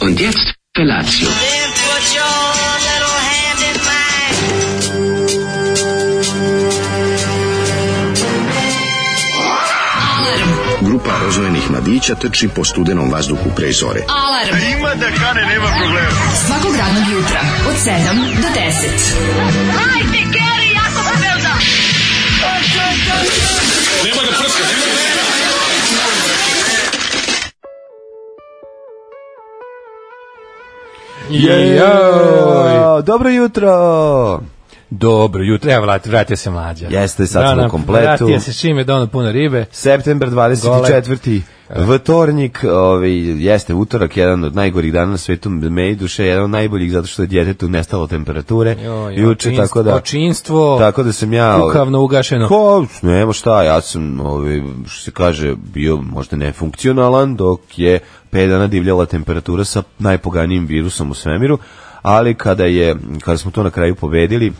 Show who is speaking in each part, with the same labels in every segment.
Speaker 1: Und jetzt Felatio.
Speaker 2: Then put your little hand in mine.
Speaker 3: Grupa rozvojenih mladića trči po studenom vazduhu pre zore.
Speaker 4: Alarm. Ima da kane, nema problema. Svakog radnog jutra, od 7 do 10.
Speaker 5: Jao,
Speaker 6: Dobro jutro!
Speaker 5: Dobro jutro, evo vrati, vratio se mlađa.
Speaker 6: Jeste, sad smo
Speaker 5: Dana,
Speaker 6: u kompletu.
Speaker 5: Vratio se s čime, dono puno ribe.
Speaker 6: September 24. Vtornik, ovaj, jeste utorak, jedan od najgorih dana na svetu, meni duše, jedan od najboljih zato što je djetetu nestalo temperature.
Speaker 5: Joj,
Speaker 6: juče,
Speaker 5: očinstvo,
Speaker 6: tako da...
Speaker 5: Očinstvo,
Speaker 6: Tako da sam ja... ovaj,
Speaker 5: kukavno ugašeno.
Speaker 6: Ko, nema šta, ja sam, ovaj, što se kaže, bio možda nefunkcionalan, dok je 5 dana divljala temperatura sa najpoganijim virusom u svemiru, ali kada je, kada smo to na kraju pobedili,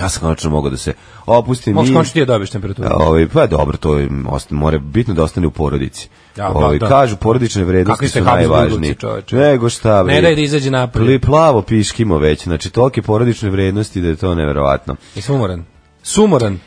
Speaker 6: ja sam konačno mogao da se opustim.
Speaker 5: Možeš
Speaker 6: i-
Speaker 5: končiti da dobiješ temperaturu.
Speaker 6: Ovaj pa dobro, to je osta, mora bitno da ostane u porodici.
Speaker 5: Ja,
Speaker 6: Ja,
Speaker 5: da,
Speaker 6: ovaj
Speaker 5: da.
Speaker 6: kažu porodične
Speaker 5: Kakvi
Speaker 6: vrednosti
Speaker 5: ste
Speaker 6: su
Speaker 5: Habsburgovci,
Speaker 6: najvažnije.
Speaker 5: čoveče.
Speaker 6: Nego šta bre.
Speaker 5: Ne daj da izađe napolje.
Speaker 6: Li plavo piškimo već, znači tolke porodične vrednosti da je to neverovatno.
Speaker 5: Jesam umoran. Sumoran.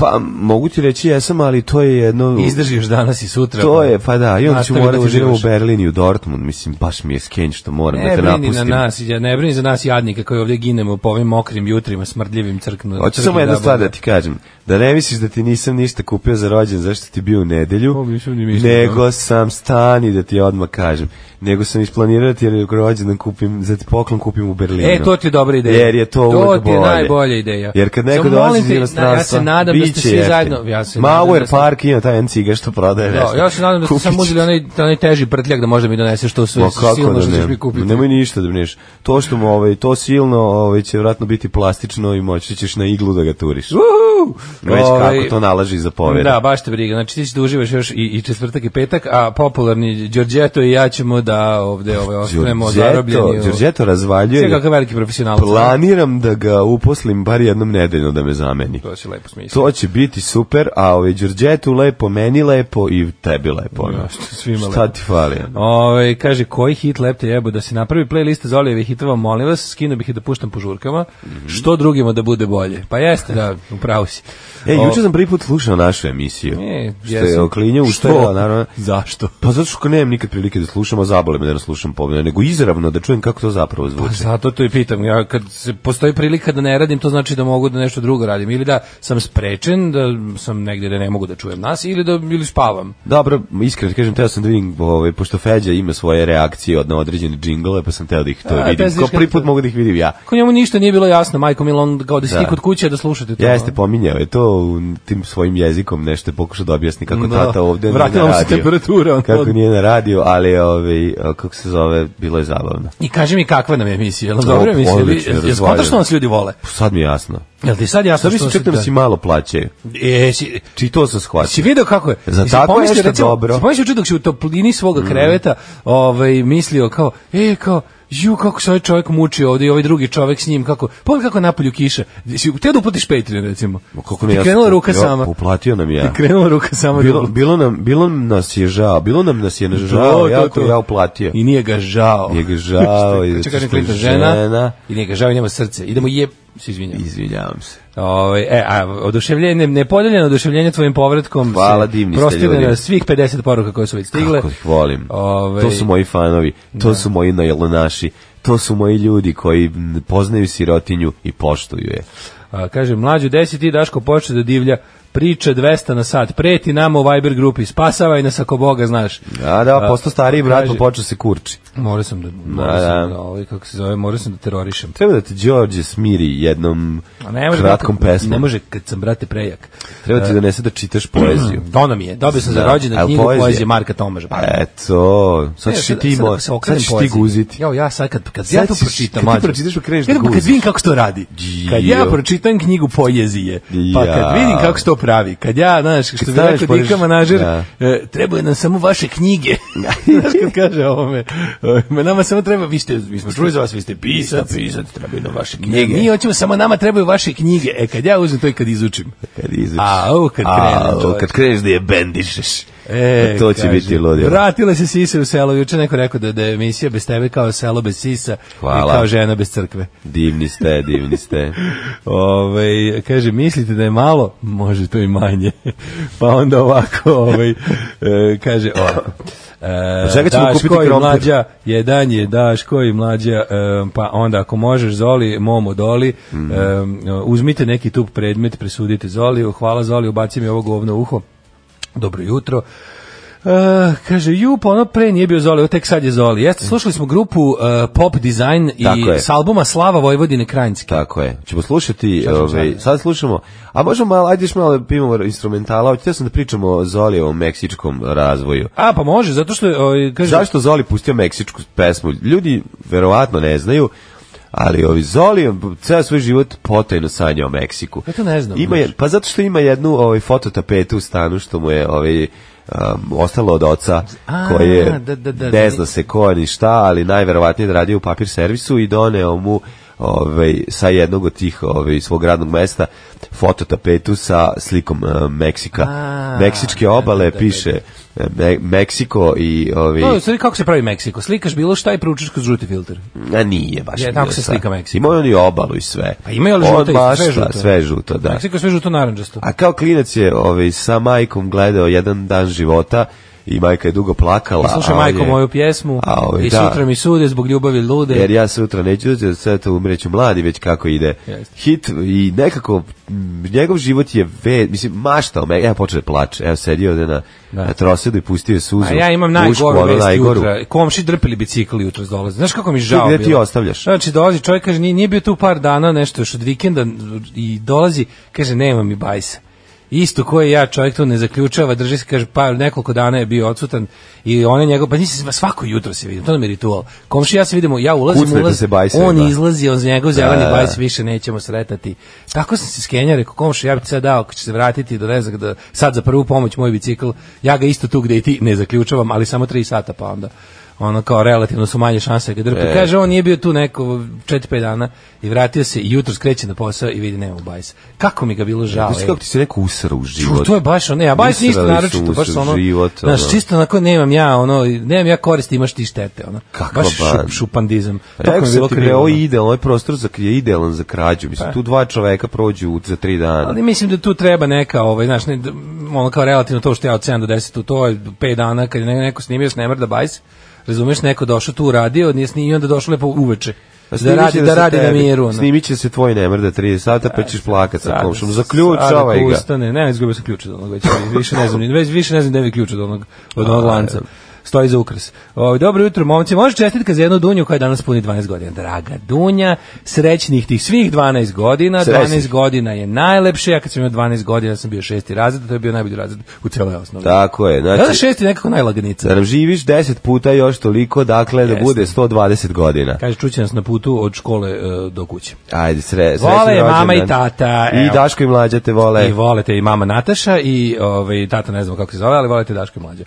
Speaker 6: Pa mogu ti reći jesam, ali to je jedno
Speaker 5: Izdrži još danas i sutra.
Speaker 6: To
Speaker 5: pa
Speaker 6: je, pa da, i onda ću
Speaker 5: nastavi
Speaker 6: morati da živim u
Speaker 5: uživaš.
Speaker 6: Berlin i u Dortmund, mislim, baš mi je skenj što moram da
Speaker 5: Ne
Speaker 6: te
Speaker 5: brini na
Speaker 6: napustim.
Speaker 5: nas, ja ne brini za nas jadnike koji ovdje ginemo po ovim mokrim jutrima, smrdljivim crknu.
Speaker 6: Hoću
Speaker 5: crknim
Speaker 6: samo jednu
Speaker 5: dabama.
Speaker 6: stvar da ti kažem. Da ne misliš da ti nisam ništa kupio za rođen zašto ti bio u nedelju,
Speaker 5: O, nisam ni mislio, da.
Speaker 6: nego sam stani da ti odmah kažem. Nego sam isplanirao da ti jer je rođendan kupim, za ti poklon kupim u Berlinu.
Speaker 5: E, to ti je dobra ideja.
Speaker 6: Jer je to
Speaker 5: To
Speaker 6: uvek
Speaker 5: ti je
Speaker 6: bolje.
Speaker 5: najbolja ideja.
Speaker 6: Jer kad neko
Speaker 5: Samo
Speaker 6: dolazi
Speaker 5: molim
Speaker 6: iz
Speaker 5: te,
Speaker 6: inostranstva,
Speaker 5: ja se nadam da ste
Speaker 6: biće
Speaker 5: svi
Speaker 6: jeftino.
Speaker 5: zajedno- ja se nadam
Speaker 6: Mauer
Speaker 5: da ste-
Speaker 6: Park ima taj jedan ciga što prodaje
Speaker 5: Da,
Speaker 6: nešto.
Speaker 5: ja se nadam da ste
Speaker 6: Kupit
Speaker 5: samo
Speaker 6: ću.
Speaker 5: uzeli onaj, onaj teži prtljak da možda mi donese što sve
Speaker 6: Ma
Speaker 5: silno
Speaker 6: kako
Speaker 5: što
Speaker 6: da
Speaker 5: ćeš mi
Speaker 6: ne,
Speaker 5: kupiti.
Speaker 6: nemoj ništa da brineš. To što mu ovaj, to silno ovaj, će vratno biti plastično i moći ćeš na iglu da ga turiš.
Speaker 5: Uhu!
Speaker 6: Već
Speaker 5: Ovaj,
Speaker 6: kako to nalaži za povede.
Speaker 5: Da, baš te briga. Znači ti ćeš da uživaš još i, i četvrtak i petak, a popularni Đorđeto i ja ćemo da ovde ovaj, ostanemo zarobljeni. u-
Speaker 6: Đorđeto
Speaker 5: Sve
Speaker 6: razvaljuje.
Speaker 5: kakav veliki profesionalac.
Speaker 6: Planiram da ga uposlim bar jednom nedeljno da me zameni.
Speaker 5: To si lepo smislio.
Speaker 6: To će biti super, a ovaj Đorđetu lepo, meni lepo i tebi lepo. ono.
Speaker 5: Ja, što svima
Speaker 6: Šta
Speaker 5: lepo.
Speaker 6: ti fali? ono?
Speaker 5: Ove, Ovaj, kaže, koji hit lepte jebo da se napravi playlista za Olijeve hitova, molim vas, skinu bih i da puštam po žurkama,
Speaker 6: Mhm.
Speaker 5: što drugima da bude bolje. Pa jeste, da, upravo si.
Speaker 6: E, juče sam prvi put slušao našu emisiju.
Speaker 5: E,
Speaker 6: što je
Speaker 5: jesam.
Speaker 6: oklinja
Speaker 5: Što?
Speaker 6: ustajala, naravno.
Speaker 5: Zašto?
Speaker 6: Pa zato što nemam nikad prilike da slušam, a zabole me da ne slušam pobjede, nego izravno da čujem kako to zapravo
Speaker 5: Pa
Speaker 6: zvuči.
Speaker 5: zato to i pitam. Ja kad se postoji prilika da ne radim, to znači da mogu da nešto drugo radim ili da sam sprečen, da sam negdje da ne mogu da čujem nas ili da ili spavam.
Speaker 6: Dobro, iskreno ti kažem, teo sam da vidim, ovaj, pošto Feđa ima svoje reakcije od na određene džingle, pa sam teo da ih to
Speaker 5: A,
Speaker 6: vidim.
Speaker 5: da, znaš
Speaker 6: Kao
Speaker 5: kako
Speaker 6: prvi put
Speaker 5: to-
Speaker 6: mogu da ih vidim ja.
Speaker 5: Ako njemu ništa nije bilo jasno, majko Milo, on kao da si
Speaker 6: Da.
Speaker 5: ti kod kuće da slušate to.
Speaker 6: Jeste, pominjao je to u tim svojim jezikom, nešto je pokušao da objasni kako
Speaker 5: Da.
Speaker 6: tata ovde
Speaker 5: Vratila
Speaker 6: nije
Speaker 5: mu
Speaker 6: na
Speaker 5: se
Speaker 6: radiju.
Speaker 5: temperatura, on
Speaker 6: Kako
Speaker 5: od-
Speaker 6: nije na radiju, ali ovaj, a, kako se zove, bilo je zabavno.
Speaker 5: I kaži mi kakva nam je emisija, jel dobro
Speaker 6: O,
Speaker 5: emisija? Jel-
Speaker 6: odlično,
Speaker 5: Jel jel
Speaker 6: razvaljena.
Speaker 5: skontaš što nas ljudi vole?
Speaker 6: Sad mi je jasno.
Speaker 5: Jel ti sad jasno
Speaker 6: Sad mislim čak da mi da si malo plaćaju.
Speaker 5: E, si,
Speaker 6: Či to sam shvatio.
Speaker 5: si video kako je?
Speaker 6: Za
Speaker 5: Jesi
Speaker 6: tako
Speaker 5: pomislio,
Speaker 6: nešto
Speaker 5: recimo,
Speaker 6: dobro.
Speaker 5: Si pomislio juče dok si u toplini svoga kreveta ovaj, mislio kao, e, kao, ju, kako se ovaj čovjek muči ovdje i ovaj drugi čovjek s njim, kako, pogledaj kako je napolju kiše. Si htio da uplatiš Patreon, recimo.
Speaker 6: Ma Kako ne
Speaker 5: Ti krenula ruka
Speaker 6: jo,
Speaker 5: sama.
Speaker 6: Uplatio nam je.
Speaker 5: Ti krenula ruka sama.
Speaker 6: Bilo,
Speaker 5: da-
Speaker 6: bilo, nam, bilo nas je žao, bilo nam nas je
Speaker 5: To,
Speaker 6: žao,
Speaker 5: to,
Speaker 6: ja, to,
Speaker 5: to.
Speaker 6: ja uplatio.
Speaker 5: I nije ga žao.
Speaker 6: Nije ga žao, i zato
Speaker 5: Čekaj, kažem
Speaker 6: što je
Speaker 5: Clinton žena,
Speaker 6: žena.
Speaker 5: I nije ga žao i nema srce. Idemo je... Se izvinjam.
Speaker 6: Izvinjavam se.
Speaker 5: Ovaj e, a oduševljenje, nepodeljeno oduševljenje tvojim povratkom.
Speaker 6: Hvala, divni ste
Speaker 5: prostigne
Speaker 6: ljudi.
Speaker 5: na svih 50 poruka koje su već stigle.
Speaker 6: Kako ih volim.
Speaker 5: Ovaj,
Speaker 6: To su moji fanovi,
Speaker 5: Da.
Speaker 6: to su moji najlonaši, to su moji ljudi koji m, poznaju sirotinju i poštuju je.
Speaker 5: a, kaže, mlađu desi ti Daško počne da divlja priča 200 na sat. Preti nama u Viber grupi, spasavaj nas ako Boga znaš.
Speaker 6: A da, postao stariji brat, pa
Speaker 5: kaže-
Speaker 6: počeo se kurči.
Speaker 5: Morao sam da, morao
Speaker 6: Da,
Speaker 5: sam
Speaker 6: da.
Speaker 5: da, ovaj, kako se zove, morao sam da terorišem.
Speaker 6: Treba da te Đorđe smiri jednom
Speaker 5: A ne može,
Speaker 6: kratkom
Speaker 5: brate,
Speaker 6: pesmom.
Speaker 5: Ne može kad sam, brate, prejak.
Speaker 6: Treba ti donese da čitaš poeziju.
Speaker 5: Dono mi je, dobio sam za
Speaker 6: Da.
Speaker 5: rođendan
Speaker 6: Al
Speaker 5: knjigu
Speaker 6: poezija? E,
Speaker 5: poezije Marka Tomaža. Pa,
Speaker 6: Eto, sad ćeš i
Speaker 5: E, sad-
Speaker 6: ti,
Speaker 5: sad
Speaker 6: mo-
Speaker 5: ako se
Speaker 6: sad
Speaker 5: okrenem
Speaker 6: ćeš ti
Speaker 5: poeziji.
Speaker 6: guziti.
Speaker 5: Jao, ja sad kad, kad
Speaker 6: Sad
Speaker 5: ja to
Speaker 6: ćeš-
Speaker 5: pročitam,
Speaker 6: kad ti
Speaker 5: mlađe.
Speaker 6: pročitaš pa kreneš
Speaker 5: Ja
Speaker 6: da
Speaker 5: kad
Speaker 6: guziš.
Speaker 5: vidim kako se to radi. Kad ja
Speaker 6: Jio.
Speaker 5: pročitam knjigu poezije, pa kad
Speaker 6: Jao.
Speaker 5: vidim kako se to pravi, kad ja, znaš, što bi
Speaker 6: staneš
Speaker 5: rekao
Speaker 6: pored-
Speaker 5: Dika manažer,
Speaker 6: Da.
Speaker 5: e, trebaju nam samo vaše knjige. Znaš kad kaže ovome, e, nama samo treba, vi ste, mi smo čuli za vas, vi ste pisac, pisac, trebaju nam vaše knjige. Mi hoćemo, samo nama trebaju vaše knjige. E, kad ja uzmem to i kad izučim.
Speaker 6: Kad izađeš.
Speaker 5: Au, kad krenem,
Speaker 6: Au,
Speaker 5: čoveče.
Speaker 6: kad kreneš da je bendišeš.
Speaker 5: E,
Speaker 6: to će
Speaker 5: kaže,
Speaker 6: biti ludilo.
Speaker 5: Vratile se sise u selo, juče neko rekao da, da je emisija bez tebe kao selo bez sisa
Speaker 6: Hvala.
Speaker 5: i kao žena bez crkve.
Speaker 6: Divni ste, divni ste.
Speaker 5: Ove, kaže, mislite da je malo? Može to i manje. pa onda ovako, ovaj, e, kaže, ovako. E,
Speaker 6: Od čega Pa ćemo kupiti
Speaker 5: Daško i
Speaker 6: krompir?
Speaker 5: mlađa, jedan je Daško i mlađa, e, pa onda ako možeš Zoli, momo Doli,
Speaker 6: Mhm.
Speaker 5: e, uzmite neki tup predmet, presudite Zoliju, hvala Zoliju, baci mi ovo govno u uho, dobro jutro. E, kaže, ju, pa ono pre nije bio Zoli, evo tek sad je Zoli. Jeste, slušali smo grupu e, Pop Design i
Speaker 6: Tako je.
Speaker 5: s albuma Slava Vojvodine Krajinske.
Speaker 6: Tako je. Ćemo slušati,
Speaker 5: Šta ćemo
Speaker 6: ovaj,
Speaker 5: sad?
Speaker 6: sad slušamo. A možemo malo, ajde još malo pimamo instrumentala. Hoćete sam da pričamo o Zolijevom meksičkom razvoju.
Speaker 5: A, pa može, zato što, ovaj, kaže,
Speaker 6: Zašto Zoli pustio meksičku pesmu? Ljudi verovatno ne znaju, ali ovi Zoli ceo svoj život potajno sanja o Meksiku.
Speaker 5: Ja to ne znam,
Speaker 6: Ima je-
Speaker 5: znaš.
Speaker 6: pa zato što ima jednu ovaj fototapetu u stanu što mu je ovaj um, ostalo od oca
Speaker 5: A,
Speaker 6: koje
Speaker 5: da, da, da,
Speaker 6: ne zna
Speaker 5: da.
Speaker 6: se ko je ni šta, ali najverovatnije da radio u papir servisu i doneo mu ovaj, sa jednog od tih ovaj, svog radnog mesta fototapetu sa slikom eh, Meksika.
Speaker 5: A,
Speaker 6: Meksičke
Speaker 5: da,
Speaker 6: obale
Speaker 5: da, da, da.
Speaker 6: piše eh, Me- Meksiko i ovaj,
Speaker 5: To je u stvari kako se pravi Meksiko. Slikaš bilo šta i proučiš kroz žuti filter.
Speaker 6: A nije baš.
Speaker 5: Je,
Speaker 6: bilo
Speaker 5: tako se
Speaker 6: sad.
Speaker 5: slika Meksiko.
Speaker 6: Imaju oni obalu i sve.
Speaker 5: Pa imaju ali
Speaker 6: On
Speaker 5: žuto i
Speaker 6: baš
Speaker 5: sve
Speaker 6: šta,
Speaker 5: žuto.
Speaker 6: Sve žuto, da.
Speaker 5: Meksiko je sve žuto naranđasto.
Speaker 6: A kao klinac je ovaj, sa majkom gledao jedan dan života i majka je dugo plakala.
Speaker 5: E, Slušaj
Speaker 6: a on
Speaker 5: majko
Speaker 6: je,
Speaker 5: moju pjesmu
Speaker 6: a ovaj,
Speaker 5: i
Speaker 6: da.
Speaker 5: sutra mi sude zbog ljubavi lude.
Speaker 6: Jer ja sutra neću da sve to umreću mladi, već kako ide
Speaker 5: Jeste.
Speaker 6: hit i nekako m, njegov život je ve, mislim, maštao me, evo počeo da plače, evo sedio ovde na,
Speaker 5: Da.
Speaker 6: na trosedu i pustio je suzu.
Speaker 5: A ja imam
Speaker 6: Ušku,
Speaker 5: najgoru
Speaker 6: ono,
Speaker 5: vest
Speaker 6: najgoru.
Speaker 5: jutra. Komši drpili bicikl jutro dolaze. Znaš kako mi žao
Speaker 6: Gde
Speaker 5: bilo?
Speaker 6: ti ostavljaš?
Speaker 5: Znači dolazi čovjek, kaže, nije, nije bio tu par dana, nešto još od vikenda i dolazi, kaže, nema mi bajsa. Isto koji ja, čovjek to ne zaključava, drži se, kaže, par nekoliko dana je bio odsutan i on je njegov, pa nisi svako jutro se vidim, to nam je ritual. Komši i ja se vidimo, ja ulazim,
Speaker 6: Kucnete
Speaker 5: ulazim,
Speaker 6: se bajseve,
Speaker 5: on
Speaker 6: da.
Speaker 5: izlazi, on njegov zeleni
Speaker 6: da, da.
Speaker 5: bajs više nećemo sretati. Tako sam se skenja, rekao, komši, ja bi ti sad dao, ako će se vratiti do nezak, da sad za prvu pomoć moj bicikl, ja ga isto tu gde i ti ne zaključavam, ali samo tri sata, pa onda ono kao relativno su manje šanse da ga drpe.
Speaker 6: E.
Speaker 5: Kaže, on nije bio tu neko 4-5 dana i vratio se i jutro skreće na posao i vidi nema bajsa. Kako mi ga bilo žao.
Speaker 6: Znaš
Speaker 5: ej.
Speaker 6: kako ti se neko usra u
Speaker 5: Ču,
Speaker 6: život.
Speaker 5: to je baš ono, ne, a baš ništa
Speaker 6: Usrali su
Speaker 5: naročito,
Speaker 6: mu
Speaker 5: baš
Speaker 6: se u
Speaker 5: ono,
Speaker 6: život, ono.
Speaker 5: znaš, čisto onako nemam ja, ono, nemam ja koristi, imaš ti štete, ono,
Speaker 6: Kakva
Speaker 5: baš
Speaker 6: ba-
Speaker 5: šup, šupandizam. Tako mi
Speaker 6: Pa Rekao
Speaker 5: je bilo
Speaker 6: sam ti, bre,
Speaker 5: krivo. Pa.
Speaker 6: ovo
Speaker 5: ono.
Speaker 6: je idealan, ovaj prostor za, je idealan za krađu. Mislim, tu dva čoveka prođu u- za tri dana.
Speaker 5: Ali mislim da tu treba neka, ovaj, znaš, ne, d- ono kao relativno to što ja od 7 do 10, u to je 5 dana kad je ne- neko snimio Snemrda Bajs, razumeš, neko došao tu uradio, nije snimio, i onda došao lepo uveče. Da
Speaker 6: snimit
Speaker 5: radi,
Speaker 6: će
Speaker 5: da
Speaker 6: se
Speaker 5: radi na
Speaker 6: tebi.
Speaker 5: miru. ono.
Speaker 6: Snimit će se tvoj nemrda 30 sata, pa ćeš plakat sa
Speaker 5: Sad- sad
Speaker 6: komšom.
Speaker 5: ako
Speaker 6: Zaključavaj ga.
Speaker 5: Ustane, ne, izgubio sam ključ od onog, već više ne znam, ni- već više ne znam gde mi je ključ od onog, od onog lanca. Stoji za ukras. O, dobro jutro, momci. Može čestitka za jednu Dunju koja danas puni 12 godina. Draga Dunja, srećnih tih svih 12 godina.
Speaker 6: Srećnih.
Speaker 5: 12 godina je najlepše. Ja kad sam imao 12 godina sam bio šesti razred, to je bio najbolji razred u celoj osnovi.
Speaker 6: Tako je,
Speaker 5: Da, da,
Speaker 6: znači,
Speaker 5: šesti je nekako najlaganica.
Speaker 6: da nam živiš 10 puta još toliko, dakle, da
Speaker 5: Jeste.
Speaker 6: bude 120 godina.
Speaker 5: Kaže, čuće nas na putu od škole e, do kuće.
Speaker 6: Ajde, sre, srećan
Speaker 5: Vole je
Speaker 6: rođendan.
Speaker 5: mama i tata,
Speaker 6: I
Speaker 5: evo.
Speaker 6: Daško i mlađa te vole.
Speaker 5: I volete i mama Nataša i ovaj tata ne znam kako se zove, ali volite Daško i mlađe.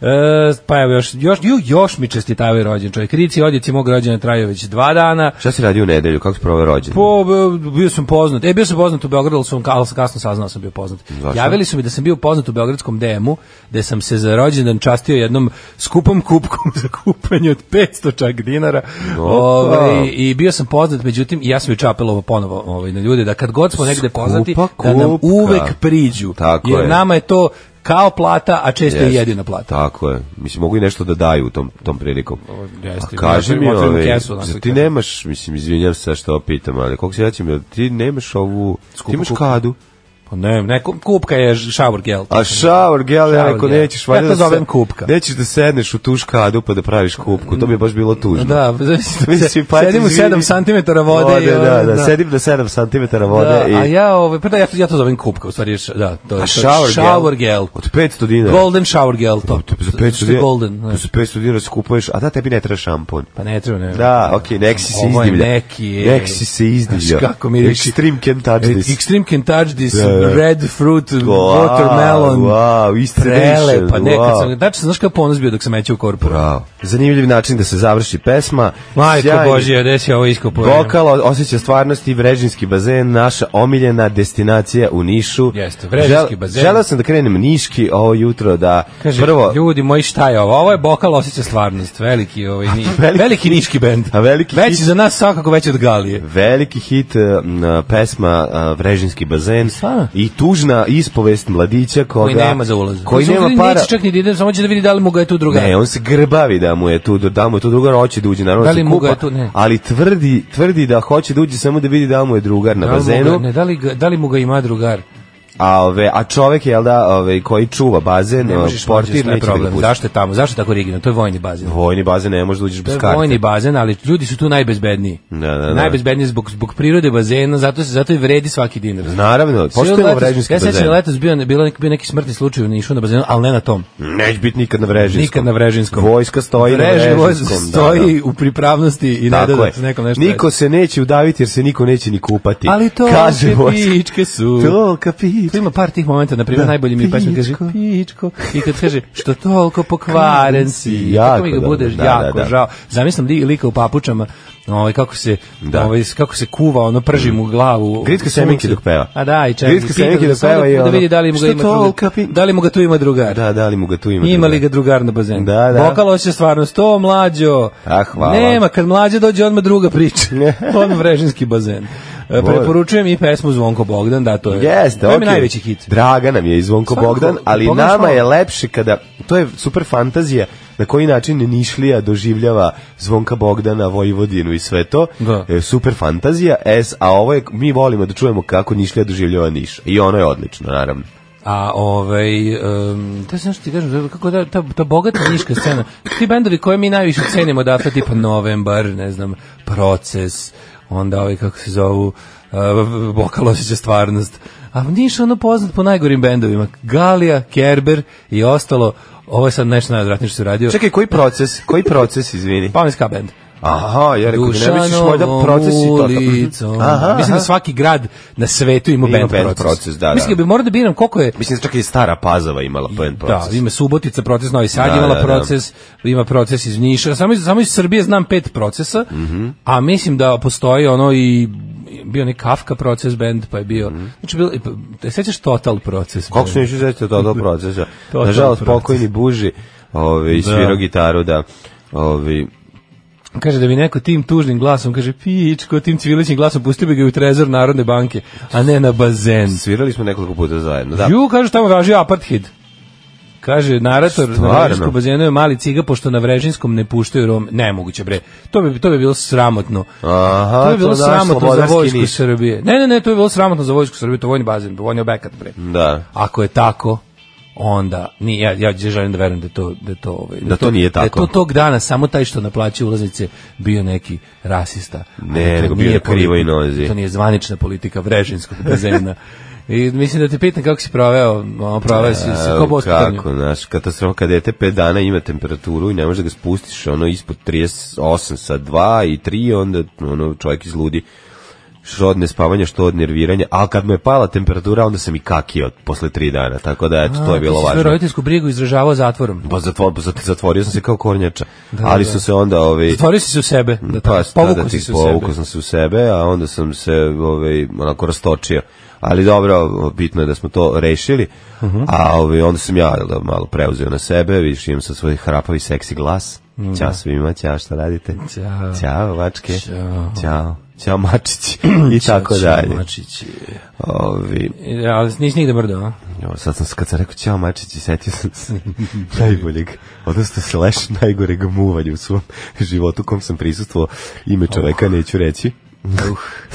Speaker 5: E, pa evo još, još, ju, još mi čestitavaju rođen čovjek. Rici odjeci mog rođena traju već dva dana.
Speaker 6: Šta si radio u nedelju, kako si proveo rođendan?
Speaker 5: Po, b- bio sam poznat. E, bio sam poznat u Beogradu, ali sam ka- ali sam kasno saznao da sam bio poznat.
Speaker 6: Zašto?
Speaker 5: Javili su mi da sam bio poznat u Beogradskom DM-u, gde sam se za rođendan častio jednom skupom kupkom za kupanje od 500 čak dinara. Ovaj, I bio sam poznat, međutim, i ja sam juče apelovao ponovo ovaj, na ljude, da kad god smo negde
Speaker 6: Skupa
Speaker 5: poznati, da nam
Speaker 6: kupka.
Speaker 5: uvek priđu.
Speaker 6: Tako
Speaker 5: jer
Speaker 6: je.
Speaker 5: nama je to kao plata, a često i
Speaker 6: Jeste.
Speaker 5: jedina plata.
Speaker 6: Tako je. Mislim, mogu i nešto da daju u tom, tom prilikom.
Speaker 5: jeste.
Speaker 6: A kaži
Speaker 5: Ja
Speaker 6: mi,
Speaker 5: otvorim
Speaker 6: ove,
Speaker 5: kesu, onako
Speaker 6: zar
Speaker 5: i
Speaker 6: ti
Speaker 5: kažem.
Speaker 6: nemaš, mislim, izvinjam se što pitam, ali koliko se ja ćem, ti nemaš ovu, ti
Speaker 5: Skupu
Speaker 6: imaš
Speaker 5: kupku.
Speaker 6: kadu.
Speaker 5: Pa ne, ne, ku- kupka je ž- shower gel.
Speaker 6: A šaur, gel, ja
Speaker 5: Shower
Speaker 6: rekao,
Speaker 5: da. gel.
Speaker 6: nećeš, valjda
Speaker 5: Ja to
Speaker 6: da se-
Speaker 5: zovem kupka.
Speaker 6: Nećeš da sedneš u tu škadu pa da praviš kupku, to bi je baš bilo tužno.
Speaker 5: Da,
Speaker 6: Mislim, pa
Speaker 5: sedim u
Speaker 6: izvini.
Speaker 5: 7 cm vode. i
Speaker 6: da,
Speaker 5: ono,
Speaker 6: da, sedim na 7 cm vode
Speaker 5: da,
Speaker 6: i...
Speaker 5: A ja, ovaj, pa da, ja, to- ja to zovem kupka, u stvari, je š- da, to je to
Speaker 6: A
Speaker 5: je
Speaker 6: shower gel?
Speaker 5: shower gel.
Speaker 6: Od 500 dinara. Pa
Speaker 5: Golden shower gel, to.
Speaker 6: To Za 500 dinara.
Speaker 5: Golden,
Speaker 6: to
Speaker 5: ne.
Speaker 6: Za 500 dinara skupuješ, a da, tebi ne treba šampon.
Speaker 5: Pa ne treba, ne.
Speaker 6: Da, okej, nek si se
Speaker 5: Ovo je
Speaker 6: izdivlja.
Speaker 5: Ovaj neki je.
Speaker 6: Nek si se izdivlja.
Speaker 5: Znaš kako mi reći.
Speaker 6: Extreme can touch
Speaker 5: E,
Speaker 6: this.
Speaker 5: Extreme can touch this.
Speaker 6: Da, da,
Speaker 5: Red fruit, watermelon.
Speaker 6: Wow,
Speaker 5: Prele,
Speaker 6: iscredišen.
Speaker 5: pa ne, kad
Speaker 6: wow.
Speaker 5: sam, znači, znaš kako je ponos bio dok sam mećao u korporu?
Speaker 6: Bravo. Zanimljiv način da se završi pesma.
Speaker 5: Majko
Speaker 6: Sjajni
Speaker 5: Božija, gde si ovo iskopo?
Speaker 6: Vokal osjeća stvarnosti i Vrežinski bazen, naša omiljena destinacija u Nišu.
Speaker 5: Jeste, Vrežinski bazen.
Speaker 6: Želeo sam da krenem Niški ovo jutro da
Speaker 5: Kaže,
Speaker 6: prvo...
Speaker 5: ljudi moji, šta je ovo? Ovo je Bokal osjeća stvarnost, veliki, ovaj, ni, veliki,
Speaker 6: veliki-
Speaker 5: niški bend.
Speaker 6: A veliki
Speaker 5: Veći
Speaker 6: hit-
Speaker 5: za nas svakako veći od Galije.
Speaker 6: Veliki hit eh, m, pesma eh, Vrežinski bazen
Speaker 5: Stvarno?
Speaker 6: i tužna ispovest mladića koga,
Speaker 5: koji nema za ulaz.
Speaker 6: Koji
Speaker 5: Mislim,
Speaker 6: nema
Speaker 5: ljudi
Speaker 6: para.
Speaker 5: Neće čak ni da ide, samo će da vidi da li mu ga je tu druga.
Speaker 6: Ne, on se grbavi da mu je tu, da mu je tu drugar, hoće da uđe, naravno
Speaker 5: Da
Speaker 6: da
Speaker 5: li
Speaker 6: se
Speaker 5: mu ga
Speaker 6: kupa,
Speaker 5: je tu, ne.
Speaker 6: ali tvrdi, tvrdi da hoće da uđe samo da vidi da mu je drugar na
Speaker 5: da li mu ga,
Speaker 6: bazenu,
Speaker 5: ne, da, li ga, da li mu ga ima drugar?
Speaker 6: a, ove, a čovek, jel da, ove, koji čuva bazen,
Speaker 5: Ne možeš
Speaker 6: portir,
Speaker 5: portir,
Speaker 6: neće
Speaker 5: ne
Speaker 6: da ga
Speaker 5: problem.
Speaker 6: pusti.
Speaker 5: Zašto je tamo? Zašto je tako rigidno? To je vojni bazen.
Speaker 6: Vojni bazen ne može da uđeš
Speaker 5: To
Speaker 6: bez
Speaker 5: je
Speaker 6: karte.
Speaker 5: vojni bazen, ali ljudi su tu najbezbedniji.
Speaker 6: Da, da, da.
Speaker 5: Najbezbedniji zbog, zbog prirode bazena, zato, se, zato i vredi svaki dinar.
Speaker 6: Naravno,
Speaker 5: Sve od
Speaker 6: poštujemo
Speaker 5: letos-
Speaker 6: vređinski
Speaker 5: Ja sećam da
Speaker 6: bazen.
Speaker 5: je letos bio, ne- bilo neki, bio neki smrtni slučaj u Nišu na bazenu, ali ne na tom.
Speaker 6: Neće biti nikad na vrežinskom.
Speaker 5: Nikad na Vrežinskom.
Speaker 6: Vojska stoji
Speaker 5: Vreži-
Speaker 6: na
Speaker 5: vojska
Speaker 6: vrežinskom.
Speaker 5: stoji u pripravnosti i
Speaker 6: da,
Speaker 5: ne
Speaker 6: da.
Speaker 5: da
Speaker 6: Tako
Speaker 5: da
Speaker 6: je.
Speaker 5: se nekom nešto
Speaker 6: Niko se neće udaviti jer se niko neće ni kupati.
Speaker 5: Ali to
Speaker 6: Kaže
Speaker 5: se
Speaker 6: vojska.
Speaker 5: pičke su.
Speaker 6: To kapić.
Speaker 5: Tu Pa ima par tih momenta, na primjer,
Speaker 6: Da,
Speaker 5: najbolji mi pesma kaže
Speaker 6: pičko.
Speaker 5: pičko i kad kaže što toliko pokvaren si,
Speaker 6: Jako
Speaker 5: jako mi ga
Speaker 6: dobro,
Speaker 5: budeš
Speaker 6: da,
Speaker 5: jako
Speaker 6: da, da.
Speaker 5: žao. Zamislim li lika u papučama, ovaj kako se
Speaker 6: Da.
Speaker 5: ovaj kako se kuva, ono prži mu glavu.
Speaker 6: Gritka
Speaker 5: sunce.
Speaker 6: semenke dok peva.
Speaker 5: A da, i čeka.
Speaker 6: Gritka
Speaker 5: pita
Speaker 6: semenke
Speaker 5: ga
Speaker 6: dok
Speaker 5: samo
Speaker 6: peva i
Speaker 5: da, da
Speaker 6: ono,
Speaker 5: vidi da li mu ga
Speaker 6: "Što
Speaker 5: ima
Speaker 6: toliko
Speaker 5: drugar.
Speaker 6: pi-"
Speaker 5: Da li mu ga tu ima drugar.
Speaker 6: Da, da li mu ga tu ima?
Speaker 5: Ima
Speaker 6: drugar?
Speaker 5: li ga drugar na bazenu?
Speaker 6: Da, da.
Speaker 5: Bokalo hoće stvarnost, to mlađo.
Speaker 6: A, hvala.
Speaker 5: Nema, kad mlađe dođe odmah druga priča. odmah vrežinski bazen. E,
Speaker 6: Vole.
Speaker 5: Preporučujem i pesmu Zvonko Bogdan, da, to je.
Speaker 6: Jeste,
Speaker 5: to je mi
Speaker 6: okej.
Speaker 5: najveći hit.
Speaker 6: Draga nam je i Zvonko
Speaker 5: Svakako,
Speaker 6: Bogdan, ali
Speaker 5: pogledaš
Speaker 6: nama
Speaker 5: malo.
Speaker 6: je lepše kada, to je super fantazija, na koji način Nišlija doživljava Zvonka Bogdana, Vojvodinu i sve to.
Speaker 5: Da.
Speaker 6: E, super fantazija, es, a ovo je, mi volimo da čujemo kako Nišlija doživljava Niš. I ono je odlično, naravno.
Speaker 5: A ovaj um, da se nešto ti kažem kako da ta, ta bogata niška scena. Ti bendovi koje mi najviše cenimo odatle tipa Novembar, ne znam, Proces, onda ovaj kako se zovu uh, Bokalosića stvarnost. A Niš je ono poznat po najgorim bendovima. Galija, Kerber i ostalo. Ovo je sad nešto najodvratnije što se radio.
Speaker 6: Čekaj, koji proces? Koji proces, izvini?
Speaker 5: Pa on je ska bend.
Speaker 6: Aha, ja rekao, ne misliš možda
Speaker 5: Dušanovom
Speaker 6: proces i to.
Speaker 5: ulicom.
Speaker 6: Aha,
Speaker 5: Mislim da
Speaker 6: aha.
Speaker 5: svaki grad na svetu ima,
Speaker 6: Ima
Speaker 5: bend,
Speaker 6: bend
Speaker 5: proces.
Speaker 6: proces, da, da.
Speaker 5: Mislim da bi morao da biram koliko je
Speaker 6: Mislim, čak i stara Pazova imala pen proces.
Speaker 5: Da, ima Subotica proces Novi Sad,
Speaker 6: Da,
Speaker 5: imala
Speaker 6: da, da.
Speaker 5: proces, ima proces iz Niša. Samo iz, samo iz Srbije znam pet procesa,
Speaker 6: Mhm.
Speaker 5: a mislim da postoji ono i bio neki Kafka proces band, pa je bio.
Speaker 6: Mhm.
Speaker 5: Znači bilo, te sećaš Total proces?
Speaker 6: Kako se neću sećati od tog procesa?
Speaker 5: To-
Speaker 6: Nažalost,
Speaker 5: to-
Speaker 6: pokojni Buži ovi, svirao gitaru da Ovaj, ovi,
Speaker 5: Kaže da bi neko tim tužnim glasom, kaže pičko, tim cvilićim glasom, pustio bi ga i u trezor Narodne banke, a ne na bazen.
Speaker 6: svirali smo nekoliko puta zajedno. Da.
Speaker 5: Ju, kaže, tamo važi apartheid. Kaže, narator na
Speaker 6: Stvarno?
Speaker 5: Vrežinskom bazenu je mali ciga, pošto na Vrežinskom ne puštaju Rome. Nemoguće, bre. To bi, to bi bilo sramotno.
Speaker 6: Aha,
Speaker 5: to bi bilo
Speaker 6: to naš
Speaker 5: sramotno za
Speaker 6: slobodarski
Speaker 5: vojsku
Speaker 6: Niš.
Speaker 5: Srbije. Ne, ne, ne, to bi bilo sramotno za vojsku Srbije, to je vojni bazen, vojni obekat, bre.
Speaker 6: Da.
Speaker 5: Ako je tako, onda ni ja ja želim da verujem da je to da je to ovaj
Speaker 6: Da to nije
Speaker 5: Da je
Speaker 6: tako.
Speaker 5: to tog dana samo taj što naplaćuje ulaznice bio neki rasista.
Speaker 6: Ne,
Speaker 5: Ali to
Speaker 6: nego bio
Speaker 5: nije
Speaker 6: na krivoj
Speaker 5: politika,
Speaker 6: nozi.
Speaker 5: To nije zvanična politika Vrežinskog bazena. I mislim da te pitam kako si proveo, ono, proveo si se
Speaker 6: A,
Speaker 5: kao bospitanju.
Speaker 6: Kako, znaš, katastrofa, kada dete 5 dana ima temperaturu i ne može da ga spustiš, ono, ispod 38 sa 2 i 3, onda, ono, čovjek izludi što od nespavanja, što od nerviranja, ali kad mu je pala temperatura, onda sam i kakio posle 3 dana, tako da, eto, to je bilo
Speaker 5: Svoju
Speaker 6: važno.
Speaker 5: roditeljsku brigu izražavao zatvorom.
Speaker 6: Pa zatvor, zat- zatvorio sam se kao kornjača. ali sam se onda ovaj
Speaker 5: Da, Zatvorio si se u sebe. Da,
Speaker 6: pa
Speaker 5: pa,
Speaker 6: šta
Speaker 5: povukao
Speaker 6: da
Speaker 5: si
Speaker 6: ti
Speaker 5: se u sebe.
Speaker 6: povukao sam se u sebe, a onda sam se ovaj onako rastočio. Ali dobro, bitno je da smo to rešili.
Speaker 5: Mhm.
Speaker 6: A ovaj onda sam ja jel da malo preuzeo na sebe, vidiš, imam sa svoj hrapavi seksi glas. Ćao svima, ćao šta radite?
Speaker 5: Mhm. Ćao.
Speaker 6: Ćao mačke.
Speaker 5: Ćao.
Speaker 6: Ćao. Ćao mačići i tako
Speaker 5: Znači,
Speaker 6: dalje.
Speaker 5: Mačići.
Speaker 6: Ovi,
Speaker 5: E, Ali nisi nigde mrdao, a?
Speaker 6: Jo, sad sam, kad sam rekao ćao mačići, setio sam se najboljeg, odnosno slash najgoreg muvanja u svom životu u kom sam prisustuo. Ime čoveka neću reći.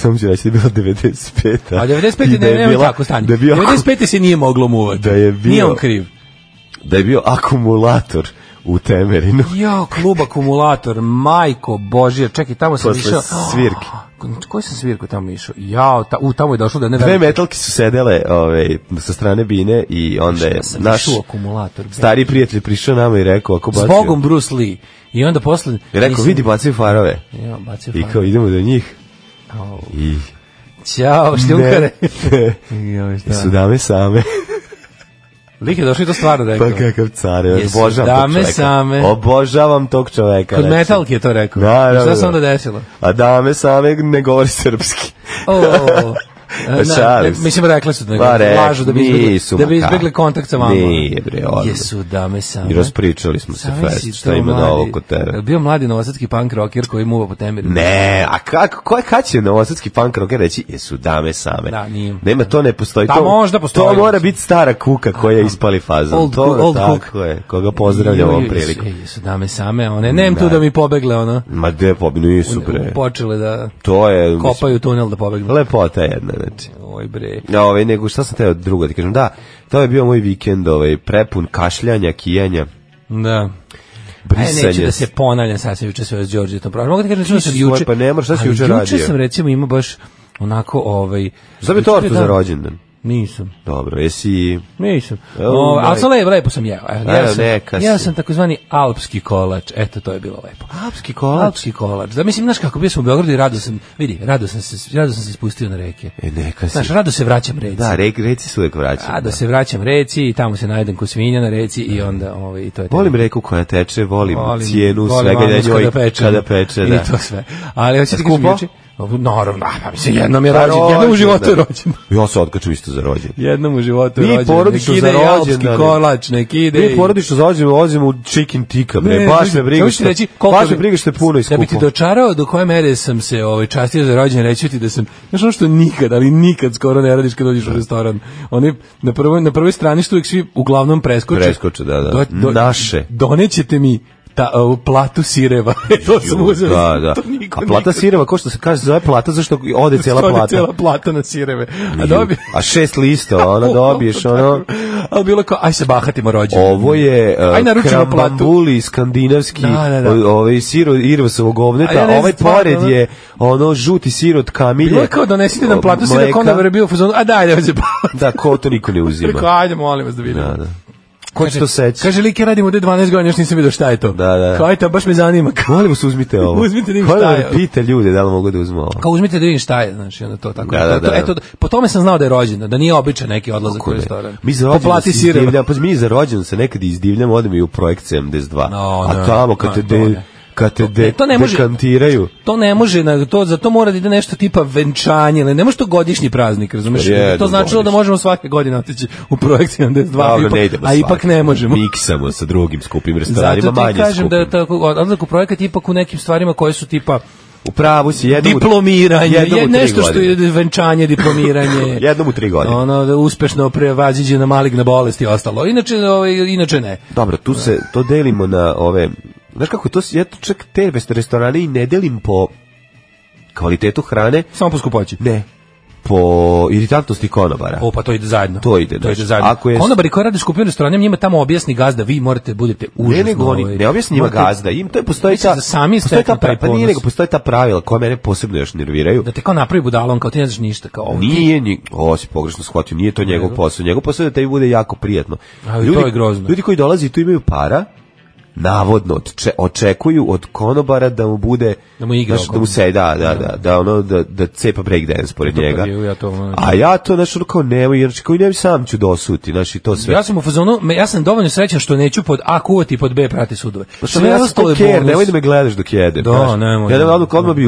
Speaker 6: Samo ću reći da je bilo 95.
Speaker 5: A 95.
Speaker 6: i
Speaker 5: ne,
Speaker 6: je
Speaker 5: nema
Speaker 6: bila-
Speaker 5: tako stanje.
Speaker 6: Da je bio,
Speaker 5: 95. se nije moglo muvati.
Speaker 6: Da je bio-
Speaker 5: Nije on kriv.
Speaker 6: da je bio akumulator u Temerinu.
Speaker 5: Jo, klub akumulator, majko božija, čekaj, tamo sam
Speaker 6: Posle
Speaker 5: išao.
Speaker 6: svirke.
Speaker 5: Koji sam svirku tamo išao? Jao, ta, u, tamo je došlo da ne
Speaker 6: Dve
Speaker 5: verujem.
Speaker 6: metalke su sedele ove, sa strane bine i onda je
Speaker 5: Ja sam
Speaker 6: naš
Speaker 5: išao u akumulator. bre.
Speaker 6: stari prijatelj prišao nama i rekao ako bacio...
Speaker 5: Zbogom Bruce Lee. I onda posle...
Speaker 6: I rekao,
Speaker 5: nisam-
Speaker 6: vidi, bacaju farove.
Speaker 5: Ja, bacio
Speaker 6: I
Speaker 5: fan.
Speaker 6: kao, idemo do njih.
Speaker 5: Au.
Speaker 6: I
Speaker 5: Ćao, šljunkare. Joj, šta?
Speaker 6: Su dame same.
Speaker 5: Lik je došao i to stvarno rekao.
Speaker 6: Pa kakav car, je,
Speaker 5: Jesu
Speaker 6: obožavam tog
Speaker 5: dame
Speaker 6: čoveka.
Speaker 5: same.
Speaker 6: Obožavam tog čoveka.
Speaker 5: Kod
Speaker 6: reći.
Speaker 5: metalke je to rekao.
Speaker 6: Da, da,
Speaker 5: Šta se
Speaker 6: da.
Speaker 5: onda desilo?
Speaker 6: A dame same ne govori srpski.
Speaker 5: O,
Speaker 6: Pa šalim se.
Speaker 5: mislim, rekli su da
Speaker 6: Pa
Speaker 5: ne
Speaker 6: rekli,
Speaker 5: lažu da bi izbjegli,
Speaker 6: nisu,
Speaker 5: da bi
Speaker 6: ma kako.
Speaker 5: izbjegli kontakt sa vama.
Speaker 6: Nije, bre, odmah.
Speaker 5: Jesu dame same.
Speaker 6: I raspričali smo se
Speaker 5: Same si
Speaker 6: fest, šta
Speaker 5: to
Speaker 6: ima
Speaker 5: mladi-
Speaker 6: novo kod tebe.
Speaker 5: Jel Bio mladi novosadski punk rocker koji muva po temelju.
Speaker 6: Ne, a kako, ko je kad će novosadski punk rocker reći, jesu dame same.
Speaker 5: Da, nije.
Speaker 6: Nema, to ne postoji.
Speaker 5: Pa
Speaker 6: to,
Speaker 5: možda postoji.
Speaker 6: To mora biti stara kuka koja je ispali fazom.
Speaker 5: Old
Speaker 6: to,
Speaker 5: cook, old
Speaker 6: tako
Speaker 5: cook.
Speaker 6: je, koga pozdravljam ovom
Speaker 5: Joj, jesu-
Speaker 6: priliku.
Speaker 5: ej, Jesu dame same, one, nem tu da mi pobegle, ono.
Speaker 6: Ma de, pobi, nisu bre.
Speaker 5: Počele da
Speaker 6: To je, mislim,
Speaker 5: kopaju tunel da pobegnu.
Speaker 6: lepota jedna, znači.
Speaker 5: Oj bre.
Speaker 6: Ja, ovaj, nego šta sam teo drugo ti kažem, da, to je bio moj vikend, ovaj, prepun kašljanja, kijanja,
Speaker 5: Da. Aj,
Speaker 6: brisanja.
Speaker 5: neću da se ponavljam, sad sam juče sve s Đorđetom prošao. Mogu ti kažem, da sam
Speaker 6: si
Speaker 5: juče...
Speaker 6: svoj, pa ne moraš, šta si
Speaker 5: ali
Speaker 6: juče radio?
Speaker 5: Juče sam recimo imao baš onako ovaj...
Speaker 6: Šta bi
Speaker 5: juče
Speaker 6: tortu
Speaker 5: dan-
Speaker 6: za rođendan?
Speaker 5: Nisam,
Speaker 6: Dobro, jesi...
Speaker 5: nisam.
Speaker 6: Oh
Speaker 5: O, Ovaj, ali
Speaker 6: my.
Speaker 5: sam lepo, lepo sam jeo. Evo,
Speaker 6: Evo,
Speaker 5: jeo sam,
Speaker 6: neka
Speaker 5: jeo
Speaker 6: si.
Speaker 5: sam takozvani alpski kolač. Eto, to je bilo lepo.
Speaker 6: Alpski
Speaker 5: Alpski kolač. Da, mislim, znaš kako, bio sam u Beogradu i rado sam, vidi, rado sam se, rado sam se spustio na reke.
Speaker 6: E, neka si.
Speaker 5: Znaš, rado se vraćam reci.
Speaker 6: Da, rek, reci se uvek vraćam.
Speaker 5: A da se vraćam reci i tamo se najdem ko svinja na reci i onda ovaj, i to je to.
Speaker 6: Da. Volim reku koja teče, volim,
Speaker 5: Volim-
Speaker 6: cijenu
Speaker 5: volim
Speaker 6: svega da
Speaker 5: anus
Speaker 6: njoj
Speaker 5: kada peče,
Speaker 6: kada peče,
Speaker 5: i
Speaker 6: da.
Speaker 5: to sve. Ali hoćete ti kažem
Speaker 6: Skupo?
Speaker 5: juče, naravno, a, pa mislim, jednom je
Speaker 6: Pa
Speaker 5: rođen, jednom u životu je
Speaker 6: rođendan.
Speaker 5: rođen.
Speaker 6: Ja se otkaču isto za rođen.
Speaker 5: Jednom u životu
Speaker 6: je
Speaker 5: je
Speaker 6: Mi
Speaker 5: rođen.
Speaker 6: rođen, da, porodično nek ide za i alpski
Speaker 5: alpski
Speaker 6: rođendane.
Speaker 5: kolač, nek ide.
Speaker 6: Mi porodično zađemo, ozimo u chicken tikka, bre, baš me briga što, baš me briga što je puno i
Speaker 5: Da bi ti
Speaker 6: skupo.
Speaker 5: dočarao do koje mere sam se ovaj, častio za rođen, reći ti da sam, znaš ono što nikad, ali nikad skoro ne radiš kad dođeš u restoran. Oni na prvoj, na prvoj strani što uvijek svi uglavnom preskoče.
Speaker 6: Preskoče, da, da. Naše.
Speaker 5: Donećete mi ta, ovu platu sireva. to sam uzeo.
Speaker 6: Da, da.
Speaker 5: To niko
Speaker 6: A plata
Speaker 5: nikad-
Speaker 6: sireva, ko što se kaže, zove plata, zašto ode cijela
Speaker 5: to je
Speaker 6: plata.
Speaker 5: Cijela plata na sireve. A dobije...
Speaker 6: A šest lista, ona dobiješ, ono...
Speaker 5: Ali bilo kao, aj se bahatimo rođen.
Speaker 6: Ovo je
Speaker 5: Aj,
Speaker 6: uh,
Speaker 5: naručimo platu.
Speaker 6: krambambuli skandinavski,
Speaker 5: Da, da, da.
Speaker 6: o- ovaj siro irvasovog
Speaker 5: A ja
Speaker 6: ovneta,
Speaker 5: ne znam
Speaker 6: ovaj
Speaker 5: stvarno,
Speaker 6: pored
Speaker 5: ono.
Speaker 6: je ono žuti sirot kamilje.
Speaker 5: Bilo je kao donesite nam platu sireva, kao
Speaker 6: mleka.
Speaker 5: onda je bio u fazonu, a daj, da se
Speaker 6: Da, ko to niko ne
Speaker 5: Rekao,
Speaker 6: uzima.
Speaker 5: ajde, molim vas da vidimo.
Speaker 6: Da, da. Ko će to seći?
Speaker 5: Kaže, like, radim ovde 12 godina, još nisam vidio šta je to.
Speaker 6: Da, da.
Speaker 5: Kao, ajte, baš me zanima.
Speaker 6: Molim vas, uzmite ovo.
Speaker 5: Uzmite njim šta
Speaker 6: Molim
Speaker 5: je
Speaker 6: vas,
Speaker 5: ovo.
Speaker 6: Pite ljude da li mogu da uzmu ovo.
Speaker 5: Kao uzmite da vidim šta je, znači, onda to tako.
Speaker 6: Da, da,
Speaker 5: To- to-
Speaker 6: da.
Speaker 5: Eto, po tome sam znao da je rođen, da nije običan neki odlazak u
Speaker 6: Kako ne?
Speaker 5: restoran.
Speaker 6: Mi za rođendan se
Speaker 5: Poplati sireva.
Speaker 6: izdivljamo, pa mi za rođendan se nekad izdivljamo, odemo i u projekt 72.
Speaker 5: No,
Speaker 6: A
Speaker 5: ne.
Speaker 6: tamo kad te
Speaker 5: Ma, to
Speaker 6: de,
Speaker 5: ne.
Speaker 6: kad te de,
Speaker 5: ne, to ne može.
Speaker 6: dekantiraju.
Speaker 5: To ne može, na, to, za to mora da ide nešto tipa venčanje, ali ne može to godišnji praznik, razumeš?
Speaker 6: Jednom
Speaker 5: to značilo da
Speaker 6: godišnje.
Speaker 5: možemo svake godine otići u projekt 72,
Speaker 6: Dobro, ne
Speaker 5: ipak,
Speaker 6: idemo
Speaker 5: a ipak
Speaker 6: svaki.
Speaker 5: ne možemo.
Speaker 6: Miksamo sa drugim skupim restoranima,
Speaker 5: Zato ti
Speaker 6: manje
Speaker 5: kažem
Speaker 6: skupim.
Speaker 5: da je tako, odlazak u projekat ipak u nekim stvarima koje su tipa
Speaker 6: U pravu si jednom... u-
Speaker 5: diplomiranje,
Speaker 6: jednom u
Speaker 5: je
Speaker 6: tri
Speaker 5: nešto što
Speaker 6: godine.
Speaker 5: je venčanje, diplomiranje.
Speaker 6: Jednom u tri godine.
Speaker 5: Ono da uspešno prevaziđe na maligna bolest i ostalo. Inače, ovaj, inače ne.
Speaker 6: Dobro, tu se, to delimo na ove... Znaš kako, to, s- ja to čak te restorane i ne delim po kvalitetu hrane,
Speaker 5: Samo po skupoći.
Speaker 6: ne, po iritantnosti konobara.
Speaker 5: O, pa to ide zajedno.
Speaker 6: To ide,
Speaker 5: to
Speaker 6: znači,
Speaker 5: ide zajedno.
Speaker 6: ako je-
Speaker 5: Konobari koji rade u skupinu restoranima, njima tamo objasni gazda, vi morate da budete užasno.
Speaker 6: Ne, nego oni,
Speaker 5: ovaj,
Speaker 6: ne objasni njima
Speaker 5: morate-
Speaker 6: gazda, im to je postoji
Speaker 5: Mislim
Speaker 6: ta,
Speaker 5: da sami
Speaker 6: postoji ta,
Speaker 5: steknu taj
Speaker 6: pra- pa nije
Speaker 5: ponos.
Speaker 6: nego postoji ta pravila koja mene posebno još nerviraju.
Speaker 5: Da te kao napravi budalom, kao ti ne znaš ništa, kao ovo.
Speaker 6: Nije, ni, o, si pogrešno shvatio, nije to njegov posao. Njegov posao je da tebi bude jako prijatno.
Speaker 5: Ali to je grozno.
Speaker 6: Ljudi koji dolazi tu imaju para, navodno odče- očekuju od konobara da mu bude
Speaker 5: Da mu igra
Speaker 6: znaš,
Speaker 5: oko. Da
Speaker 6: da mu se da da da da ono da da cepa breakdance pored
Speaker 5: To
Speaker 6: njega
Speaker 5: prije, Pa ja to, ono,
Speaker 6: a ja to znači ono kao nemoj jer koji ne sam ću dosuti znači to sve
Speaker 5: Ja sam u fazonu, me- ja sam dovoljno srećan što neću pod A kuvati i pod B prati sudove.
Speaker 6: Pa što ja sam
Speaker 5: ostalo je
Speaker 6: koker,
Speaker 5: bonus.
Speaker 6: nemoj da me gledaš dok jedem.
Speaker 5: Da,
Speaker 6: znaš.
Speaker 5: nemoj.
Speaker 6: Ja da odmah, odmah bi,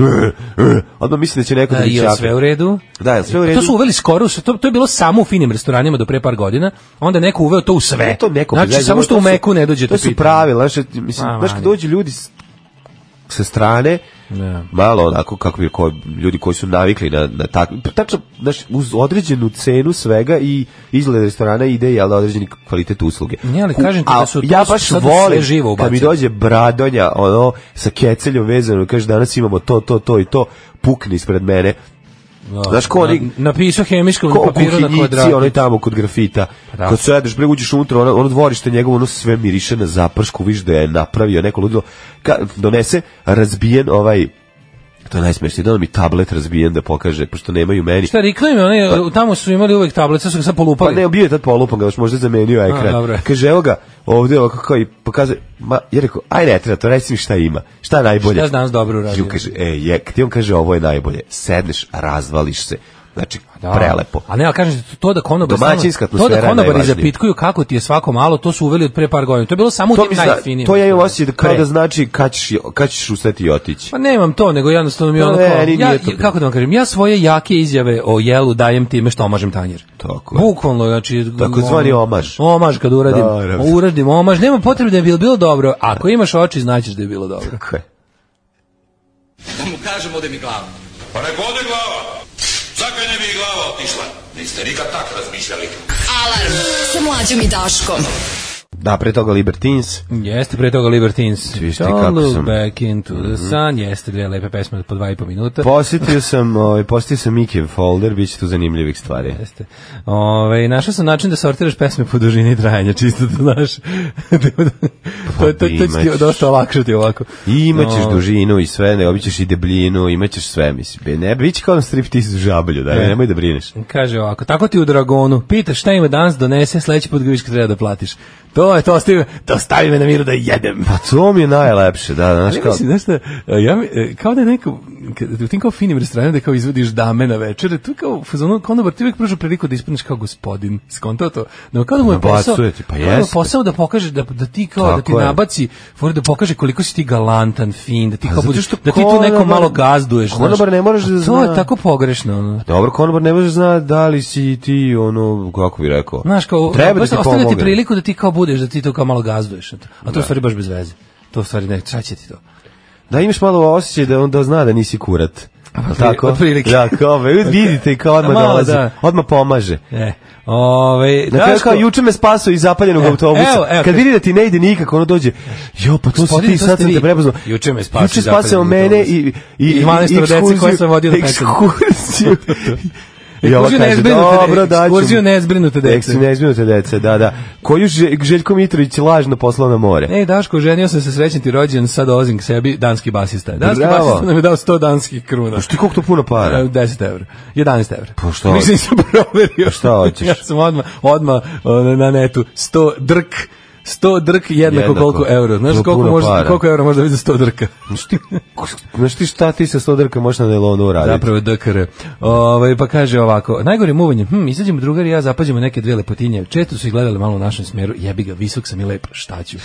Speaker 6: odmah mislim da će neko da,
Speaker 5: Da,
Speaker 6: mi
Speaker 5: je
Speaker 6: čaka.
Speaker 5: sve u redu?
Speaker 6: Da, jel sve u redu?
Speaker 5: To su uveli skoro, su- to, to je bilo samo u finim restoranima do pre par godina, onda je neko uveo to u sve.
Speaker 6: Ne, to neko
Speaker 5: znači,
Speaker 6: priznaje,
Speaker 5: samo
Speaker 6: dobro,
Speaker 5: što
Speaker 6: to
Speaker 5: u
Speaker 6: su-
Speaker 5: meku ne dođe
Speaker 6: To su pravila, znaš, e, mislim,
Speaker 5: Ma,
Speaker 6: znaš kad
Speaker 5: manje.
Speaker 6: dođu ljudi s- sa strane,
Speaker 5: Ne.
Speaker 6: malo onako kako bi ko, ljudi koji su navikli na, na tako tačno znaš, uz određenu cenu svega i izgled restorana ide jel da, određeni kvalitet usluge.
Speaker 5: Ne, ali
Speaker 6: Ku-
Speaker 5: kažem ti
Speaker 6: a
Speaker 5: da su-
Speaker 6: ja
Speaker 5: to su
Speaker 6: baš
Speaker 5: sad
Speaker 6: volim
Speaker 5: sve živo
Speaker 6: kad mi
Speaker 5: ubacili.
Speaker 6: dođe bradonja ono sa keceljom vezano kaže danas imamo to to to i to pukni ispred mene.
Speaker 5: Da,
Speaker 6: Znaš ko oni
Speaker 5: Na, napisao hemičkom
Speaker 6: ko
Speaker 5: papiru na
Speaker 6: kuhinjici,
Speaker 5: kvadratu.
Speaker 6: onaj tamo kod grafita.
Speaker 5: Da.
Speaker 6: Kad sedeš, bre, uđeš unutra, ono, ono dvorište njegovo, ono sve miriše na zapršku, viš da je napravio neko ludilo. Ka, donese razbijen ovaj to je najsmešnije, da mi tablet razbijen da pokaže, pošto nemaju meni.
Speaker 5: Šta rekla im, je, oni, tamo su imali uvek tablice, su ga sad
Speaker 6: Pa
Speaker 5: polupali.
Speaker 6: ne, bio je tad polupan, ga još možda je zamenio ekran.
Speaker 5: dobro.
Speaker 6: Kaže, evo ga, ovdje ovako kao i pokazuje, ma, ja rekao, aj ne treba to, reci mi šta ima, šta je najbolje.
Speaker 5: Šta je danas dobro uradio?
Speaker 6: Ju kaže, e, je, ti on kaže, ovo je najbolje, sedneš, razvališ se, Znači,
Speaker 5: Pa
Speaker 6: prelepo.
Speaker 5: Da. A ne, ali kažem ti, to da konobar
Speaker 6: Domaćinska
Speaker 5: to da
Speaker 6: atmosfera je
Speaker 5: konobari
Speaker 6: najvažnije.
Speaker 5: zapitkuju kako ti je svako malo, to su uveli od pre par godina. To je bilo samo u
Speaker 6: To,
Speaker 5: tim
Speaker 6: mi zna,
Speaker 5: najfinijim.
Speaker 6: to ja imam osjećaj da kao
Speaker 5: Pre.
Speaker 6: da znači kad ćeš, kad ćeš ustati i otići.
Speaker 5: Pa nemam to, nego jednostavno mi je
Speaker 6: Pa
Speaker 5: ono
Speaker 6: ne,
Speaker 5: kao,
Speaker 6: ni
Speaker 5: ja,
Speaker 6: nije to
Speaker 5: kako da vam kažem, ja svoje jake izjave o jelu dajem time što omažem tanjir.
Speaker 6: Tako je.
Speaker 5: Bukvalno, znači...
Speaker 6: Takozvani
Speaker 5: ono,
Speaker 6: omaž. Da,
Speaker 5: Omaž kad uradim,
Speaker 6: Naravno.
Speaker 5: uradim omaž, nema potrebe da je bilo, bilo dobro, ako imaš oči znaćeš da je bilo dobro.
Speaker 6: Tako je.
Speaker 1: Pa nek ode glava. Zakaj ne bi i glava otišla? Niste nikad tak razmišljali.
Speaker 4: Alarm sa mlađom i Daškom.
Speaker 6: Da, pre toga Libertins.
Speaker 5: Jeste pre toga Libertines.
Speaker 6: Viš ti
Speaker 5: Don't
Speaker 6: kako
Speaker 5: look
Speaker 6: sam- Mhm.
Speaker 5: back into the sun. Jeste dve lepe pesme po dva i po minuta.
Speaker 6: Posjetio sam, ovaj, posjetio sam Mikiv folder, bit će tu zanimljivih stvari.
Speaker 5: Jeste. Ove, našao sam način da sortiraš pesme po dužini trajanja, čisto da znaš.
Speaker 6: Pa
Speaker 5: to, je- to, to, će ti
Speaker 6: imaćeš.
Speaker 5: dosta olakšati ovako.
Speaker 6: I imaćeš
Speaker 5: No.
Speaker 6: dužinu i sve, ne obićeš i debljinu, imaćeš sve, mislim. Be- Ne, bit će kao na striptiz u žablju, da, nemoj da brineš.
Speaker 5: Kaže ovako, tako ti u Dragonu, pitaš šta ima danas, donese, sledeći put ga viš kad treba da platiš. To je to, stavi, to stavi me na miru da jedem.
Speaker 6: Pa to mi je najlepše, da, znaš
Speaker 5: Ali
Speaker 6: kao...
Speaker 5: mislim, znaš šta, ja, mi- e, kao da je neko, kad- u tim kao finim restoranima da kao izvodiš dame na večer, tu kao u fazonu konobar, ti uvijek pruža priliku da ispadneš kao gospodin, skonto to. No, kao da mu je posao,
Speaker 6: Nabacuje ti, pa
Speaker 5: kao da mu je
Speaker 6: jeste.
Speaker 5: posao da pokaže, da, da ti kao, da
Speaker 6: Tako
Speaker 5: ti
Speaker 6: je.
Speaker 5: nabaci, for, da pokaže koliko si ti galantan, fin, da ti
Speaker 6: Pa
Speaker 5: kao
Speaker 6: zato
Speaker 5: budeš,
Speaker 6: što
Speaker 5: da ti tu
Speaker 6: konobar-
Speaker 5: neko malo gazduješ. znaš.
Speaker 6: konobar ne moraš da
Speaker 5: A To je
Speaker 6: zna.
Speaker 5: tako pogrešno. ono.
Speaker 6: Dobro, konobar ne može zna da li si ti, ono, kako bi rekao...
Speaker 5: Znaš, kao,
Speaker 6: Treba da
Speaker 5: baš
Speaker 6: ti
Speaker 5: ostavlja ti
Speaker 6: pomogne.
Speaker 5: priliku da ti kao budeš, da ti to kao malo gazduješ. eto. A to u stvari baš bez veze. To u stvari ne, šta će ti to?
Speaker 6: Da imaš malo osjećaj da onda zna da nisi kurat. Jel Tako?
Speaker 5: otprilike.
Speaker 6: Da, kao, ve- vidite i kao odmah
Speaker 5: Malo,
Speaker 6: dolazi.
Speaker 5: da.
Speaker 6: Odmah pomaže.
Speaker 5: E, ove,
Speaker 6: Na kraju
Speaker 5: Daško-
Speaker 6: kao, juče me spaso iz zapaljenog
Speaker 5: Evo,
Speaker 6: autobusa.
Speaker 5: E, evo, evo,
Speaker 6: kad
Speaker 5: kad-
Speaker 6: vidi da ti ne ide nikako, ono dođe, jo, pa to si
Speaker 5: Gospodine,
Speaker 6: ti,
Speaker 5: to
Speaker 6: sad
Speaker 5: ste
Speaker 6: sam
Speaker 5: vi.
Speaker 6: te prepoznao.
Speaker 5: Juče me spasio
Speaker 6: Juče
Speaker 5: iz zapaljenog
Speaker 6: spasao mene
Speaker 5: autobusa.
Speaker 6: i,
Speaker 5: I manastira dece
Speaker 6: ekskurziju-
Speaker 5: koje sam vodio do pecanja.
Speaker 6: Ekskurziju. I ova
Speaker 5: Ekskurziju
Speaker 6: kaže,
Speaker 5: nezbrinute de-
Speaker 6: dobro, daću.
Speaker 5: ekskurziju nezbrinute dece."
Speaker 6: Ekskurziju nezbrinute dece, da, da. Koju Ž- Željko Mitrović lažno poslao na more.
Speaker 5: Ej, E, Daško, ženio sam se, srećen ti rođen, sad dolazim k sebi, danski basista. je. Danski
Speaker 6: Bravo.
Speaker 5: basista nam je dao 100 danskih kruna.
Speaker 6: Pa što ti koliko to puno para?
Speaker 5: E, 10 evra. 11 evra.
Speaker 6: Pa šta
Speaker 5: Mislim sam proverio.
Speaker 6: Pa šta hoćeš?
Speaker 5: ja sam odmah, odmah ono, na netu, 100 drk, 100 drk jednako,
Speaker 6: Jednako.
Speaker 5: koliko euro. Znaš
Speaker 6: To je
Speaker 5: koliko,
Speaker 6: puno
Speaker 5: može,
Speaker 6: para.
Speaker 5: koliko euro može da vidi za 100 drka?
Speaker 6: Znaš ti, znaš ti šta ti sa stodarka možeš na nelonu uraditi?
Speaker 5: Zapravo DKR. Ovaj pa kaže ovako, najgore muvanje, hm, izađemo drugari i ja zapađemo neke dve lepotinje. Četu su ih gledale malo u našem smeru. Jebi ga, visok sam i lep, šta ću?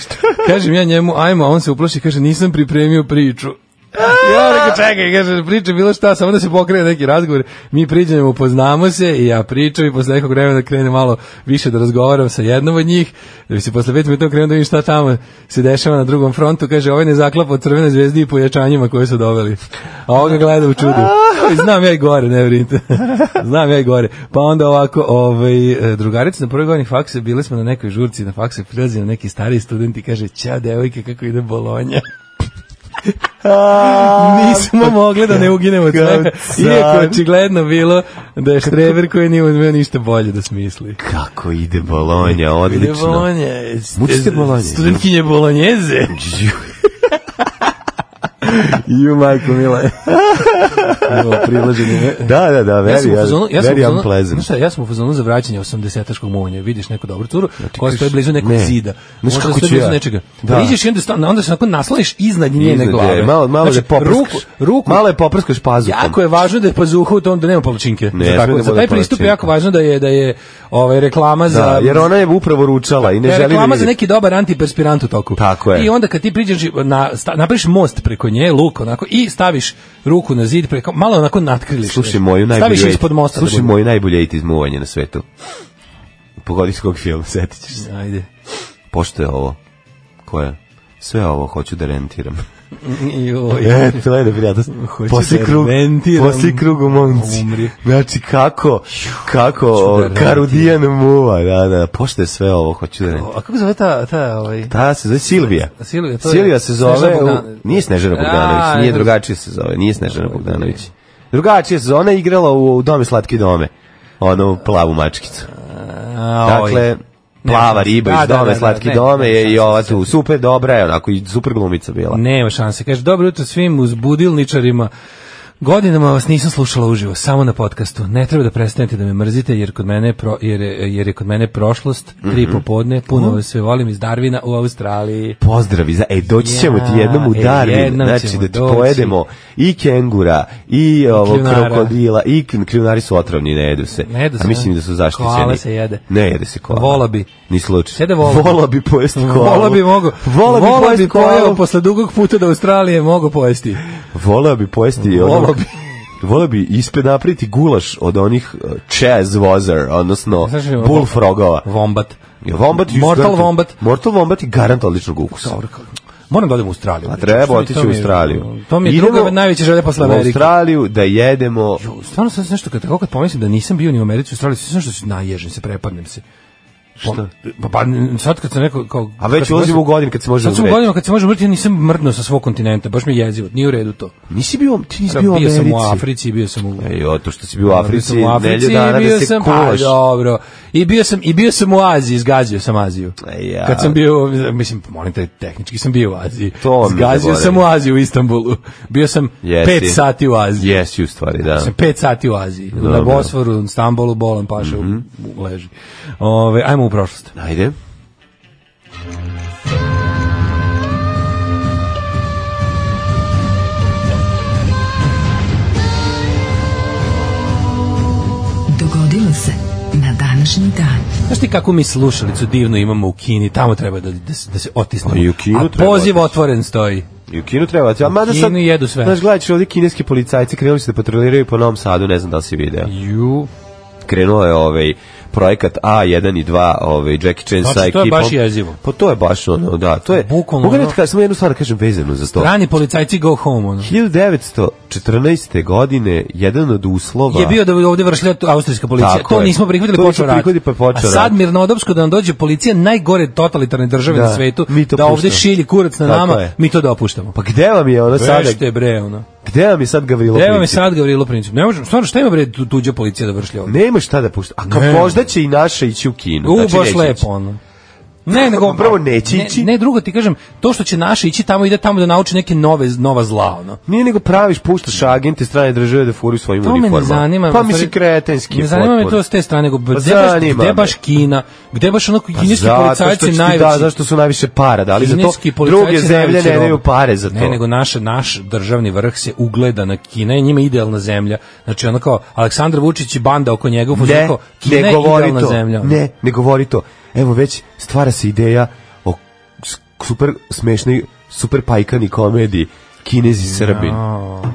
Speaker 5: Kažem ja njemu, ajmo, a on se uplaši, kaže nisam pripremio priču. Ja rekao, čekaj, kaže, priča bilo šta, samo da se pokrene neki razgovor, mi priđemo, upoznamo se i ja pričam i posle nekog vremena krenem malo više da razgovaram sa jednom od njih, da bi se posle pet minuta krenuo da vidim šta tamo se dešava na drugom frontu, kaže, ovaj ne zaklapa od crvene zvezde i pojačanjima koje su doveli. A ovo ga gleda u čudu. Znam ja i gore, ne vrinite. Znam ja i gore. Pa onda ovako, ovaj, e, drugarica na prvoj godini faksa, bili smo na nekoj žurci na faksa, prilazi na neki stari student i kaže, ćao devojke, kako ide Bolonja. Nismo mogli da ne uginemo tebe,
Speaker 6: car.
Speaker 5: iako je očigledno bilo da je Štreber koji nije umeo ništa bolje da smisli.
Speaker 6: Kako ide Bolonja,
Speaker 5: Ide
Speaker 6: odlično.
Speaker 5: Bolonja,
Speaker 6: Mučite Bolonje. da.
Speaker 5: studentkinje Bolonjeze.
Speaker 6: Ju, majko mila. Da, da, da,
Speaker 5: Ja sam
Speaker 6: very,
Speaker 5: u fazonu, ja sam u
Speaker 6: very
Speaker 5: fazonu,
Speaker 6: unpleasant.
Speaker 5: znaš šta, ja sam u fazonu za vraćanje 80-taškog muvanja. Vidiš neku dobru curu koja
Speaker 6: kažeš,
Speaker 5: stoji blizu nekog
Speaker 6: ne.
Speaker 5: zida.
Speaker 6: Znaš
Speaker 5: Možda
Speaker 6: kako
Speaker 5: stoji
Speaker 6: ću
Speaker 5: blizu
Speaker 6: ja?
Speaker 5: nečega.
Speaker 6: Da.
Speaker 5: Priđeš i onda, sta- onda se onako nasloniš iznad njene
Speaker 6: Iznad je,
Speaker 5: glave.
Speaker 6: Malo, malo
Speaker 5: Znači,
Speaker 6: da poprskaš.
Speaker 5: ruku, ruku,
Speaker 6: Malo je poprskaš pazukom.
Speaker 5: Jako je važno da je pazuha u tom da nema palačinke.
Speaker 6: Ne,
Speaker 5: za,
Speaker 6: sme da
Speaker 5: tako, za
Speaker 6: bude
Speaker 5: taj pristup je
Speaker 6: palačinka.
Speaker 5: jako važno da je da je ovaj reklama
Speaker 6: Da,
Speaker 5: za
Speaker 6: jer ona je upravo ručala i ne
Speaker 5: da je
Speaker 6: želi da
Speaker 5: reklama za
Speaker 6: vidi.
Speaker 5: neki dobar antiperspirant u toku.
Speaker 6: Tako je.
Speaker 5: I onda kad ti priđeš i na sta, napraviš most preko nje, luk onako i staviš ruku na zid preko malo onako natkriliš.
Speaker 6: Slušaj
Speaker 5: nešto.
Speaker 6: moju najbolju
Speaker 5: Staviš
Speaker 6: ejt-
Speaker 5: ispod mosta. da
Speaker 6: Slušaj
Speaker 5: bude.
Speaker 6: moju najbolje it izmuvanje na svetu. Pogodi s kog filma, setit ćeš se.
Speaker 5: Ajde.
Speaker 6: Pošto je ovo? Koje? Sve ovo hoću da rentiram.
Speaker 5: Joj.
Speaker 6: E, to je neprijatnost.
Speaker 5: Hoću
Speaker 6: Posle
Speaker 5: da
Speaker 6: krug,
Speaker 5: rentiram.
Speaker 6: posle krug u momci.
Speaker 5: Umri.
Speaker 6: Znači, kako, kako
Speaker 5: da
Speaker 6: o,
Speaker 5: rentiram.
Speaker 6: Karudijan muva, da, da, pošto je sve ovo, hoću da rentiram.
Speaker 5: A kako zove ta, ta ovaj...
Speaker 6: Ta se zove Silvija.
Speaker 5: Silvija, to je
Speaker 6: Silvija se
Speaker 5: Snežana
Speaker 6: zove, u,
Speaker 5: Bogdanović.
Speaker 6: nije Snežana
Speaker 5: A,
Speaker 6: Bogdanović,
Speaker 5: ne.
Speaker 6: nije drugačije se zove, nije Snežana Bogdanović. Drugačije se zove, ona je igrala u, u Dome slatki dome, onu plavu mačkicu.
Speaker 5: A, ovaj, oj.
Speaker 6: Dakle, plava
Speaker 5: šanse.
Speaker 6: riba
Speaker 5: Da,
Speaker 6: iz
Speaker 5: da, da,
Speaker 6: Dome
Speaker 5: da,
Speaker 6: slatki
Speaker 5: ne,
Speaker 6: dome
Speaker 5: ne,
Speaker 6: je
Speaker 5: ne,
Speaker 6: i ova tu, super
Speaker 5: Mm.
Speaker 6: dobra je, onako i super glumica bila.
Speaker 5: Nema šanse. Kaže, dobro jutro svim uzbudilničarima Godinama vas nisam slušala uživo, samo na podcastu. Ne treba da prestanete da me mrzite, jer, kod mene je pro, jer, je- jer je kod mene prošlost,
Speaker 6: Mhm.
Speaker 5: tri popodne, puno vas sve volim iz Darvina u Australiji.
Speaker 6: Pozdravi za ej doći
Speaker 5: Ja,
Speaker 6: ćemo ti jednom u
Speaker 5: e,
Speaker 6: Darwin,
Speaker 5: jednom
Speaker 6: znači
Speaker 5: ćemo
Speaker 6: da ti
Speaker 5: doći.
Speaker 6: pojedemo i kengura i ovo
Speaker 5: kljunara.
Speaker 6: krokodila i kljun- kljunari su otrovni, ne jedu se.
Speaker 5: Ne jedu se,
Speaker 6: A mislim
Speaker 5: ne.
Speaker 6: da su zaštićeni.
Speaker 5: Koala se jede.
Speaker 6: Ne jede se koala.
Speaker 5: Vola bi.
Speaker 6: Ni slučaj.
Speaker 5: Jede vola bi.
Speaker 6: Vola bi pojesti koalu.
Speaker 5: Vola da bi mogo,
Speaker 6: Vola bi
Speaker 5: vola
Speaker 6: pojesti
Speaker 5: bi pojeo
Speaker 6: koalu.
Speaker 5: posle dugog puta do Australije, mogo pojesti.
Speaker 6: Vola bi pojesti
Speaker 5: Vola
Speaker 6: ono-
Speaker 5: bi.
Speaker 6: Vola bi ispred napriti gulaš od onih uh, Chaz Vozer, odnosno
Speaker 5: Znaš, vo-
Speaker 6: bullfrogova.
Speaker 5: Wombat.
Speaker 6: Wombat i
Speaker 5: Mortal
Speaker 6: garant-
Speaker 5: Wombat.
Speaker 6: Mortal Wombat i garant odličnog ukusa.
Speaker 5: Dobro, kao- Moram da odem u Australiju.
Speaker 6: A treba
Speaker 5: Što mi-
Speaker 6: otići
Speaker 5: to
Speaker 6: u
Speaker 5: mi je-
Speaker 6: Australiju.
Speaker 5: To mi je
Speaker 6: Idemo
Speaker 5: druga najveća želja posle
Speaker 6: U
Speaker 5: Amerike.
Speaker 6: Australiju da jedemo
Speaker 5: Jo, Stvarno sam se nešto, kad, kako kad pomislim da nisam bio ni u Americi, u Australiji, sve što se naježim, se prepadnem se.
Speaker 6: Šta?
Speaker 5: Pa, pa sad kad sam rekao... Kao,
Speaker 6: A već
Speaker 5: kad sam-
Speaker 6: ulazimo u godinu kad se može
Speaker 5: Sad sam u
Speaker 6: uzreti.
Speaker 5: godinama kad se može umreti, ja nisam mrdno sa svog kontinenta, baš mi je jezivo, nije u redu to.
Speaker 6: Nisi bio, ti nisi bio u
Speaker 5: Bio,
Speaker 6: Americi. E,
Speaker 5: sam u Africi, bio sam u...
Speaker 6: Ej, o, to što si bio u Africi,
Speaker 5: Bio sam u Africi
Speaker 6: nelju
Speaker 5: i
Speaker 6: dana
Speaker 5: bio
Speaker 6: da se
Speaker 5: sam,
Speaker 6: kulaš.
Speaker 5: pa, dobro. I bio sam i bio sam u Aziji, zgazio sam Aziju.
Speaker 6: Ej, E, ja.
Speaker 5: Kad sam bio, mislim, molim te, tehnički sam bio u Aziji.
Speaker 6: To mi
Speaker 5: zgazio
Speaker 6: zaboravi.
Speaker 5: sam u Aziju u Istanbulu. Bio sam
Speaker 6: Jesi.
Speaker 5: 5 sati u Aziji.
Speaker 6: Jesi u stvari, da.
Speaker 5: Sam 5 sati u Aziji. Na
Speaker 6: Dobro. Mhm.
Speaker 5: Bosforu, u Stambolu, Bolan Paša, u- u- leži. Ove, ajmo u prošlost.
Speaker 6: Ajde.
Speaker 4: Dogodilo se na današnji dan.
Speaker 5: Znaš ti kakvu mi slušalicu divno imamo u Kini, tamo treba da, da, se- da se otisnemo.
Speaker 6: A i u Kinu
Speaker 5: A
Speaker 6: treba
Speaker 5: poziv
Speaker 6: otići.
Speaker 5: otvoren stoji.
Speaker 6: I u kinu treba, a mada sad...
Speaker 5: Kinu jedu sve.
Speaker 6: Znaš, gledaš ovdje kineski policajci krenuli su da patroliraju po Novom Sadu, ne znam da li si video.
Speaker 5: Ju,
Speaker 6: Krenuo je ovaj projekat A1 i 2, ovaj Jackie Chan
Speaker 5: Znači,
Speaker 6: sa
Speaker 5: to je
Speaker 6: ekipom.
Speaker 5: baš jezivo.
Speaker 6: Pa to je baš ono, da, to je.
Speaker 5: Bukvalno
Speaker 6: Mogu da
Speaker 5: ono-
Speaker 6: ti kažem samo jednu stvar da kažem vezanu za to.
Speaker 5: rani policajci go home, ono.
Speaker 6: 1914. godine jedan od uslova
Speaker 5: je bio da ovde vršlja tu austrijska policija.
Speaker 6: Tako
Speaker 5: to
Speaker 6: je.
Speaker 5: nismo prihvatili,
Speaker 6: To
Speaker 5: počeo
Speaker 6: nismo
Speaker 5: rat.
Speaker 6: prihvatili, pa počeo
Speaker 5: A sad
Speaker 6: rat.
Speaker 5: mirnodopsko da nam dođe policija najgore totalitarne države
Speaker 6: Da,
Speaker 5: na svetu, da
Speaker 6: mi to
Speaker 5: ovde
Speaker 6: puštamo.
Speaker 5: šilji kurac na
Speaker 6: Tako
Speaker 5: nama,
Speaker 6: je.
Speaker 5: mi to dopuštamo.
Speaker 6: Pa gde vam je ono sada?
Speaker 5: Vešte bre, ono.
Speaker 6: Gde vam je sad Gavrilo
Speaker 5: Treba mi
Speaker 6: Princip?
Speaker 5: sad Gavrilo Princip. Ne možem, stvarno šta ima bre tu- tuđa policija da vršlja ovde?
Speaker 6: Nema šta da pušta. A kao
Speaker 5: Ne.
Speaker 6: možda će i naše ići u kinu.
Speaker 5: U,
Speaker 6: znači
Speaker 5: baš
Speaker 6: neće
Speaker 5: lepo,
Speaker 6: ići.
Speaker 5: ono. Ne, nego
Speaker 6: Prvo, neće ići.
Speaker 5: Ne, ne, drugo ti kažem, to što će naši ići tamo ide tamo da nauči neke nove nova zla, ono.
Speaker 6: Nije nego praviš, puštaš agente strane države da furaju svojim
Speaker 5: To me
Speaker 6: uniformama.
Speaker 5: ne zanima.
Speaker 6: Pa
Speaker 5: u stvari,
Speaker 6: mislim kretenski. je
Speaker 5: Ne zanima me to
Speaker 6: potpuno.
Speaker 5: s te strane, nego gde, baš,
Speaker 6: zanima
Speaker 5: gde
Speaker 6: me.
Speaker 5: baš Kina, gde baš onako
Speaker 6: Pa
Speaker 5: kineski
Speaker 6: zato što
Speaker 5: policajci
Speaker 6: će ti-
Speaker 5: najveći.
Speaker 6: Da, zašto su najviše para dali za to.
Speaker 5: Kineski policajci
Speaker 6: Druge zemlje
Speaker 5: najveći
Speaker 6: ne daju
Speaker 5: rob.
Speaker 6: pare za to.
Speaker 5: Ne, nego naš, naš državni vrh se ugleda na Kina i njima je idealna zemlja. Znači ono kao Aleksandar Vučić i banda oko njega, u fazonu
Speaker 6: ne,
Speaker 5: kao, Kina
Speaker 6: ne
Speaker 5: je
Speaker 6: govori
Speaker 5: idealna
Speaker 6: to.
Speaker 5: zemlja. ono.
Speaker 6: Ne, ne govori to. Evo već stvara se ideja o s- super smešnoj, super pajkani komediji Kinezi i Srbin.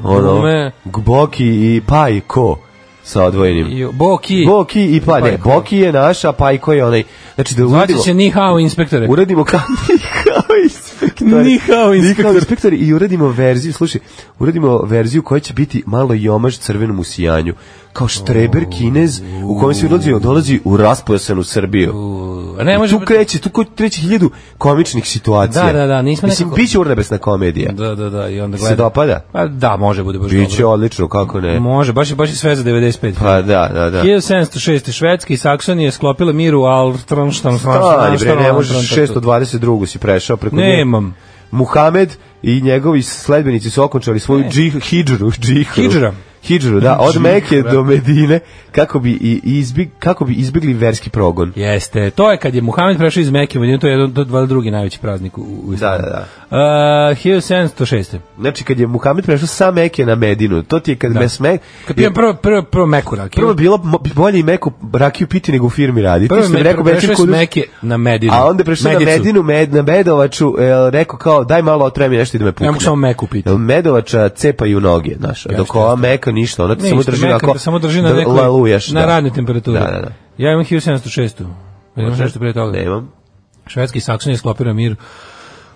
Speaker 6: ono,
Speaker 5: glume.
Speaker 6: Gboki i Pajko sa odvojenim.
Speaker 5: I, Boki,
Speaker 6: Boki i pa, ne,
Speaker 5: Pajko.
Speaker 6: Boki je naš, a Pajko je onaj. Znači da
Speaker 5: Zvaće
Speaker 6: uradimo,
Speaker 5: se ni hao inspektore.
Speaker 6: uradimo kao Nihao inspektor.
Speaker 5: Ni hao inspektor.
Speaker 6: inspektor i uradimo verziju, slušaj, uradimo verziju koja će biti malo i omaž crvenom usijanju. Kao štreber kinez u kojem se dolazi, dolazi u raspojasanu Srbiju.
Speaker 5: U, A ne
Speaker 6: I
Speaker 5: može...
Speaker 6: tu kreće, tu ko- treći hiljadu komičnih situacija.
Speaker 5: Da, da, da, nismo
Speaker 6: Mislim,
Speaker 5: nekako-
Speaker 6: biće urnebesna komedija.
Speaker 5: Da, da, da, i onda
Speaker 6: Se
Speaker 5: gleda.
Speaker 6: dopada?
Speaker 5: Pa da, može, bude baš
Speaker 6: Biće
Speaker 5: dobro.
Speaker 6: odlično, kako ne.
Speaker 5: Može, baš je, baš je sve za 95.
Speaker 6: Pa da, da, da.
Speaker 5: 1706. Švedski i Saksonija je sklopila mir u Altronstan.
Speaker 6: Stani Pa, bre, ne možeš 622. si prešao preko nje.
Speaker 5: Nemam.
Speaker 6: Muhamed i njegovi sledbenici su okončali svoju džih, hidžru, džihru.
Speaker 5: Hidžra.
Speaker 6: Hidžru, da, od
Speaker 5: Džihra.
Speaker 6: Meke do Medine, kako bi, i izbjeg, kako bi izbjegli verski progon.
Speaker 5: Jeste, to je kad je Muhamed prešao iz Mekke u Medinu, to je jedan to je valjda drugi najveći praznik u, u islamu.
Speaker 6: Da, da,
Speaker 5: Uh, 1706.
Speaker 6: Znači, kad je Muhamed prešao sa Meke na Medinu, to ti je kad da. Mesme...
Speaker 5: Kad pijem prvo prvo prvo Meku rakiju.
Speaker 6: Prvo bilo mo- bolje i Meku rakiju piti nego u firmi raditi. Prvo
Speaker 5: me-
Speaker 6: me rekao
Speaker 5: prešao
Speaker 6: Bečir
Speaker 5: iz
Speaker 6: Kudus,
Speaker 5: Mekke na Medinu.
Speaker 6: a onda je prešao na
Speaker 5: Medicu.
Speaker 6: Medinu, med, na Medovaču, e, rekao kao daj malo otremi nešto i da me pukne.
Speaker 5: Ja mogu samo Meku piti.
Speaker 6: Jel Medovača cepaju noge, znaš, dok ova meka ništa, ona te
Speaker 5: Ne,
Speaker 6: samo
Speaker 5: isto,
Speaker 6: drži
Speaker 5: Mekka
Speaker 6: onako,
Speaker 5: te samo drži na
Speaker 6: da
Speaker 5: nekoj,
Speaker 6: laluješ,
Speaker 5: na
Speaker 6: da.
Speaker 5: radnoj temperaturi.
Speaker 6: Da, da, da.
Speaker 5: Ja imam 1706. Ja imam nešto prije toga.
Speaker 6: Nemam.
Speaker 5: Švedski i Saksonija sklopila mir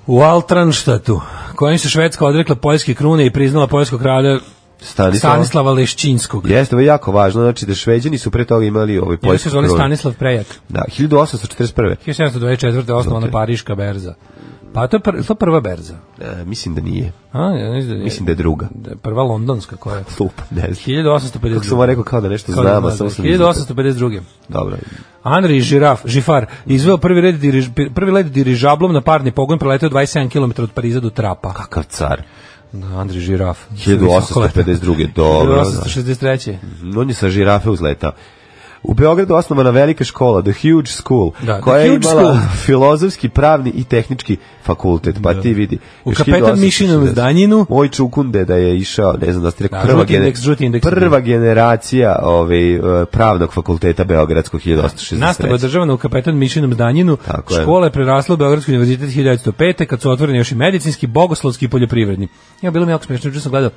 Speaker 5: u Altranštatu, kojim se Švedska odrekla poljske krune i priznala poljskog kralja
Speaker 6: Stanislava.
Speaker 5: Stanislava Leščinskog.
Speaker 6: Jeste, ovo je jako važno, znači da Šveđani su pre toga imali ovaj
Speaker 5: Ili
Speaker 6: poljsku
Speaker 5: se zvali
Speaker 6: krunu.
Speaker 5: Stanislav Prejak.
Speaker 6: Da, 1841.
Speaker 5: 1724. osnovana Pariška berza. Pa to je pr to prva berza.
Speaker 6: E, mislim da nije.
Speaker 5: A, ja ne znam,
Speaker 6: Mislim da je druga.
Speaker 5: da je prva londonska koja je.
Speaker 6: Lupa, ne znam. Kako sam
Speaker 5: 1852.
Speaker 6: vam rekao kao da nešto
Speaker 5: Kao
Speaker 6: znam,
Speaker 5: da
Speaker 6: a
Speaker 5: znaš,
Speaker 6: samo sam...
Speaker 5: 1852.
Speaker 6: Dobro.
Speaker 5: Henri Giraf, Žifar, izveo prvi red diriž, prvi led dirižablom na parni pogon, preleteo 27 km od Pariza do Trapa. Da,
Speaker 6: Kakav car.
Speaker 5: Andri Žiraf.
Speaker 6: 1852. Dobro. da.
Speaker 5: 1863.
Speaker 6: On je sa žirafe uzletao. U Beogradu osnovana velika škola, The Huge School,
Speaker 5: Da, The
Speaker 6: koja je
Speaker 5: Huge
Speaker 6: imala
Speaker 5: School.
Speaker 6: filozofski, pravni i tehnički fakultet. Pa ti vidi.
Speaker 5: Da. U
Speaker 6: još
Speaker 5: Kapetan
Speaker 6: 1860.
Speaker 5: Mišinom zdanjinu.
Speaker 6: Moj čukunde da je išao, ne znam da ste rekao,
Speaker 5: Da,
Speaker 6: prva,
Speaker 5: žuti indeks, žuti indeks.
Speaker 6: prva generacija ovaj, e, pravnog fakulteta Beogradskog 1863.
Speaker 5: Nastava održavana u kapetan Mišinom zdanjinu.
Speaker 6: Tako je.
Speaker 5: Škola je prerasla u Beogradski univerzitet 1905. kad su otvoreni još i medicinski, bogoslovski i poljoprivredni. Ja, bilo mi jako smiješno, juče sam gledao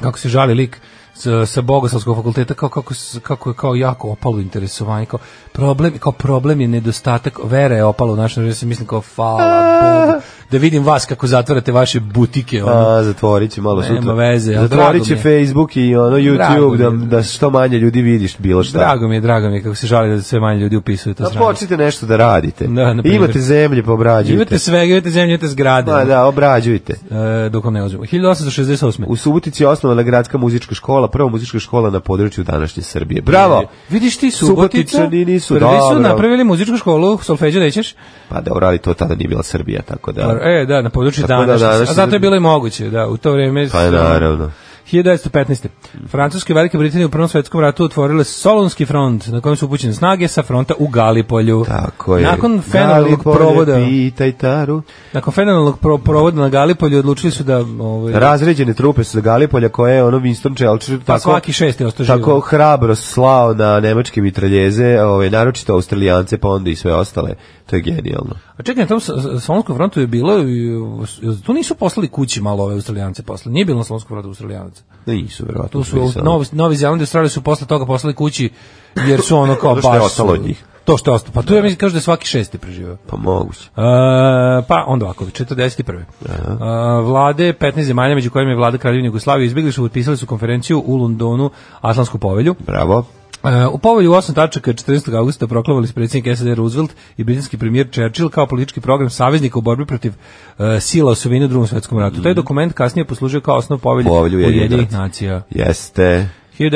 Speaker 5: kako se žali lik sa, sa bogoslovskog fakulteta, kao, kako, s- kako je kao jako opalo interesovanje, kao problem, kao problem je nedostatak, vera je opalo u našem, društvu, ja se mislim kao, hvala Bogu, da vidim vas kako zatvarate vaše butike, ono,
Speaker 6: A, zatvorit će malo
Speaker 5: da- Nema
Speaker 6: sutra.
Speaker 5: veze, ali
Speaker 6: Zatvorit će
Speaker 5: drago mi
Speaker 6: Facebook i ono YouTube
Speaker 5: Drago mi
Speaker 6: da,
Speaker 5: je.
Speaker 6: da što manje ljudi vidiš bilo šta.
Speaker 5: Drago mi je, drago mi je kako se žali da sve manje ljudi upisuju to
Speaker 6: Da
Speaker 5: sranje.
Speaker 6: počnite nešto da radite.
Speaker 5: Da, na primjer.
Speaker 6: imate zemlje, pa obrađujte.
Speaker 5: Imate svega, imate zemlje, imate zgrade.
Speaker 6: Ma da, obrađujte.
Speaker 5: E, dok vam ne uzmemo. 1868.
Speaker 6: U Subotici je osnovana gradska muzička škola, prva muzička škola na području današnje Srbije. Bravo!
Speaker 5: Vidiš ti Subotica,
Speaker 6: Subotičani nisu,
Speaker 5: prvi su
Speaker 6: dobro.
Speaker 5: napravili muzičku školu, solfeđe rećeš,
Speaker 6: Pa da, urali to tada nije bila Srbija, tako da...
Speaker 5: e, da, na području
Speaker 6: Tako da,
Speaker 5: današnje,
Speaker 6: danas-
Speaker 5: a zato je bilo i moguće, da, u to vreme...
Speaker 6: Pa naravno.
Speaker 5: 1915. Francuske i Velike Britanije u Prvom svetskom ratu otvorile Solonski front, na kojem su upućene snage sa fronta u Galipolju.
Speaker 6: Tako je.
Speaker 5: Nakon fenomenalnog
Speaker 6: Galipolje,
Speaker 5: provoda,
Speaker 6: Pitaj taru.
Speaker 5: nakon fenomenalnog pro- provoda na Galipolju odlučili su da... Ovaj,
Speaker 6: Razređene trupe su Galipolja koje je ono Winston Churchill
Speaker 5: pa
Speaker 6: tako,
Speaker 5: svaki šesti ostao živo.
Speaker 6: tako hrabro slao na nemačke mitraljeze, ovaj, naročito Australijance, pa onda i sve ostale. To je genijalno.
Speaker 5: A Pa čekaj, na tom s- s- Solonskom frontu je bilo, i, e, tu nisu poslali kući malo ove Australijance posle, nije bilo na Solonskom frontu Australijanaca.
Speaker 6: Nisu, verovatno.
Speaker 5: Tu su Novi, Novi Zeland i Australija su posle toga poslali kući jer su ono kao
Speaker 6: Ono što je
Speaker 5: baš
Speaker 6: ostalo od njih.
Speaker 5: To što je ostalo. Pa tu ja mislim kažu da je svaki šesti preživeo.
Speaker 6: Pa moguće.
Speaker 5: E, pa onda ovako, 41. E, vlade 15 zemalja, među kojima je vlada Kraljevine Jugoslavije, izbjegli su, potpisali su konferenciju u Londonu, Atlantsku povelju.
Speaker 6: Bravo.
Speaker 5: E, u povelju u 8 tačaka 14. augusta proklamovali su predsjednik SAD Roosevelt i britanski premijer Churchill kao politički program saveznika u borbi protiv e, sila osovine u drugom svetskom ratu. Taj dokument kasnije poslužio kao osnov povelje
Speaker 6: Mhm. Povelju Ujedinjenih
Speaker 5: Ujedinjenih nacija.
Speaker 6: Jeste.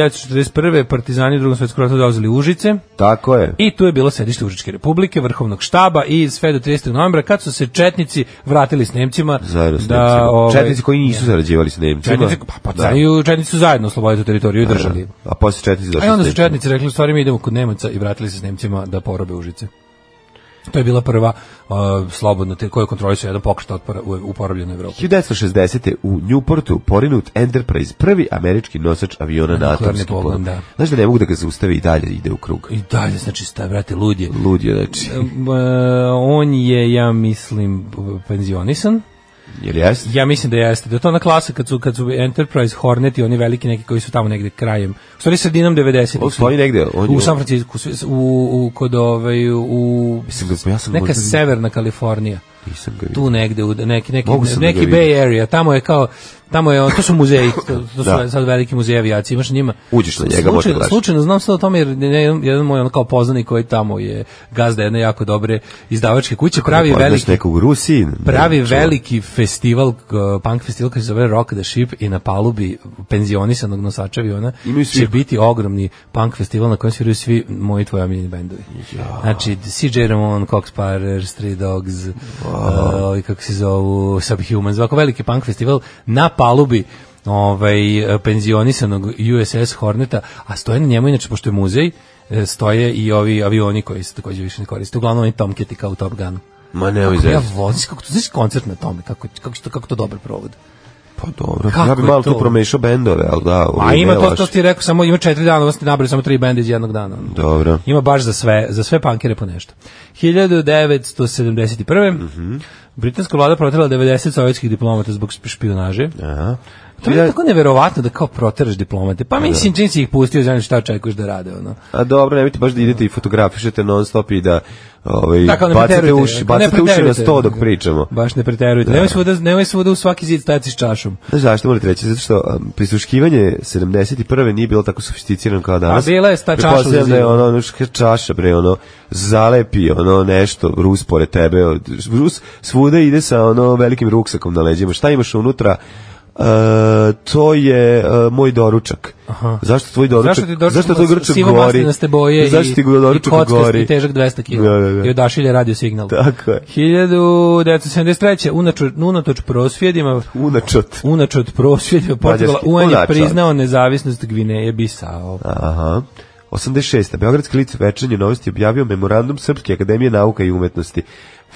Speaker 5: 1941. partizani u drugom svetskom ratu zauzeli Užice
Speaker 6: Tako je.
Speaker 5: i tu je bilo sedište Užičke republike, vrhovnog štaba i sve do 30. novembra kad su se četnici vratili s Nemcima.
Speaker 6: Zajedno s
Speaker 5: da,
Speaker 6: Nemcima.
Speaker 5: ovaj,
Speaker 6: Četnici koji nisu zarađivali s Nemcima. Da.
Speaker 5: Četnici, pa, pa, cariju- četnici su zajedno oslobodili tu teritoriju i držali.
Speaker 6: A posle četnici došli
Speaker 5: A i onda
Speaker 6: s
Speaker 5: su
Speaker 6: Nemcima.
Speaker 5: četnici rekli, u stvari mi idemo kod Nemaca i vratili se s Nemcima da porobe Užice. To je bila prva uh, slobodna, te- koju kontrolisao jedan pokret otpora u, u porobljenoj Evropi.
Speaker 6: 1960. u Newportu porinut Enterprise, prvi američki nosač aviona na
Speaker 5: Nuklearni
Speaker 6: atomski
Speaker 5: pogon,
Speaker 6: pogon.
Speaker 5: da.
Speaker 6: Znaš da ne mogu da ga zaustavi i dalje ide u krug.
Speaker 5: I dalje, znači, sta, brate, lud je.
Speaker 6: Lud je, znači.
Speaker 5: Um, e, on je, ja mislim, p- penzionisan.
Speaker 6: Jer jeste?
Speaker 5: Ja mislim da jeste. Da je to ona klasa kad su, kad su Enterprise, Hornet i oni veliki neki koji su tamo negde krajem. U stvari sredinom 90.
Speaker 6: On stoji negde. On je-
Speaker 5: U San Francisco, svi- u, u, kod ovaj, u...
Speaker 6: Mislim da smo- ja sam
Speaker 5: neka
Speaker 6: možda-
Speaker 5: severna Kalifornija.
Speaker 6: Nisam ga vidio.
Speaker 5: tu negde u neki neki
Speaker 6: Mogu sam da
Speaker 5: neki
Speaker 6: ga vidim.
Speaker 5: Bay Area, tamo je kao tamo je to su muzeji, to, to su
Speaker 6: Da.
Speaker 5: sad veliki muzeji avijacije, imaš na njima.
Speaker 6: Uđeš na njega, možda
Speaker 5: slučajno,
Speaker 6: gledaš.
Speaker 5: slučajno znam sve o tome jer ne- jedan, jedan moj ono kao poznanik koji tamo je gazda jedne jako dobre izdavačke kuće, pravi
Speaker 6: Poznaš
Speaker 5: veliki
Speaker 6: nekog u Rusiji. ne,
Speaker 5: pravi
Speaker 6: Da, čuo.
Speaker 5: veliki festival, k- punk festival koji se zove Rock the Ship i na palubi penzionisanog nosača aviona
Speaker 6: Imaju svi-
Speaker 5: će biti ogromni punk festival na kojem sviraju svi moji tvoji omiljeni bendovi. Znači, CJ Ramon, Cox Parer, Stray Dogs, uh, ovi kako se zovu, Subhumans, ovako veliki punk festival na palubi ovaj eh, penzionisanog USS Horneta, a stoje na njemu inače pošto je muzej, eh, stoje i ovi avioni koji se takođe više ne koriste. Uglavnom oni Tomcati kao u Top Gunu.
Speaker 6: Ma ne, ovaj
Speaker 5: Kako ja
Speaker 6: zez.
Speaker 5: vozim, kako to znaš koncert na tome, kako, kako, što, kako to dobro provode.
Speaker 6: Pa dobro.
Speaker 5: Kako
Speaker 6: Ja bi
Speaker 5: je
Speaker 6: malo
Speaker 5: to?
Speaker 6: tu promešao bendove, ali da.
Speaker 5: A
Speaker 6: ovaj,
Speaker 5: Pa ima
Speaker 6: ne
Speaker 5: to,
Speaker 6: laže.
Speaker 5: to ti rekao, samo ima četiri dana, ovo ste nabrali samo tri benda iz jednog dana. ono.
Speaker 6: Dobro.
Speaker 5: Ima baš za sve, za sve punkere po nešto. 1971. Britanska vlada proterala 90 sovjetskih diplomata zbog šp- špionaže.
Speaker 6: Aha.
Speaker 5: To je tako neverovatno da kao proteraš diplomate. Pa mislim, čim si ih pustio, znam šta očekuješ da rade, ono.
Speaker 6: A dobro, nemojte baš da idete i fotografišete non stop i da ovaj,
Speaker 5: Da, kao ne
Speaker 6: bacate
Speaker 5: preterujte,
Speaker 6: uši,
Speaker 5: kao ne
Speaker 6: bacate uši na
Speaker 5: preterujte.
Speaker 6: sto dok pričamo.
Speaker 5: Baš ne preterujte. Nemoj svuda, nemoj svuda u svaki zid stajati s čašom.
Speaker 6: Znaš zašto morate reći? Zato što um, prisluškivanje 71. nije bilo tako sofisticirano kao danas.
Speaker 5: A bila je sta čaša
Speaker 6: Pretpostavljam
Speaker 5: za
Speaker 6: da je
Speaker 5: zidu.
Speaker 6: ono, ono š- čaša, bre, ono, zalepi, ono, nešto, Rus pored tebe. od- Rus svuda ide sa, ono, velikim ruksakom na leđima. Šta imaš unutra? E, to je e, moj doručak.
Speaker 5: Aha.
Speaker 6: Zašto tvoj doručak?
Speaker 5: Zašto ti doručak?
Speaker 6: zašto tvoj doručak
Speaker 5: sivo
Speaker 6: gori?
Speaker 5: maslinaste boje
Speaker 6: zašto ti doručak
Speaker 5: i kockast
Speaker 6: gori?
Speaker 5: i težak 200 kg.
Speaker 6: Da, da, da.
Speaker 5: I odašilje radio signal.
Speaker 6: Tako je.
Speaker 5: 1973. Unaču, unatoč prosvjedima
Speaker 6: Unačot.
Speaker 5: Unačot prosvjedima Portugala
Speaker 6: Mađarski.
Speaker 5: UN je
Speaker 6: Unačot.
Speaker 5: priznao nezavisnost Gvineje Bisao.
Speaker 6: Aha. 86. Beogradski lic Večernje novosti objavio memorandum Srpske akademije nauka i umetnosti.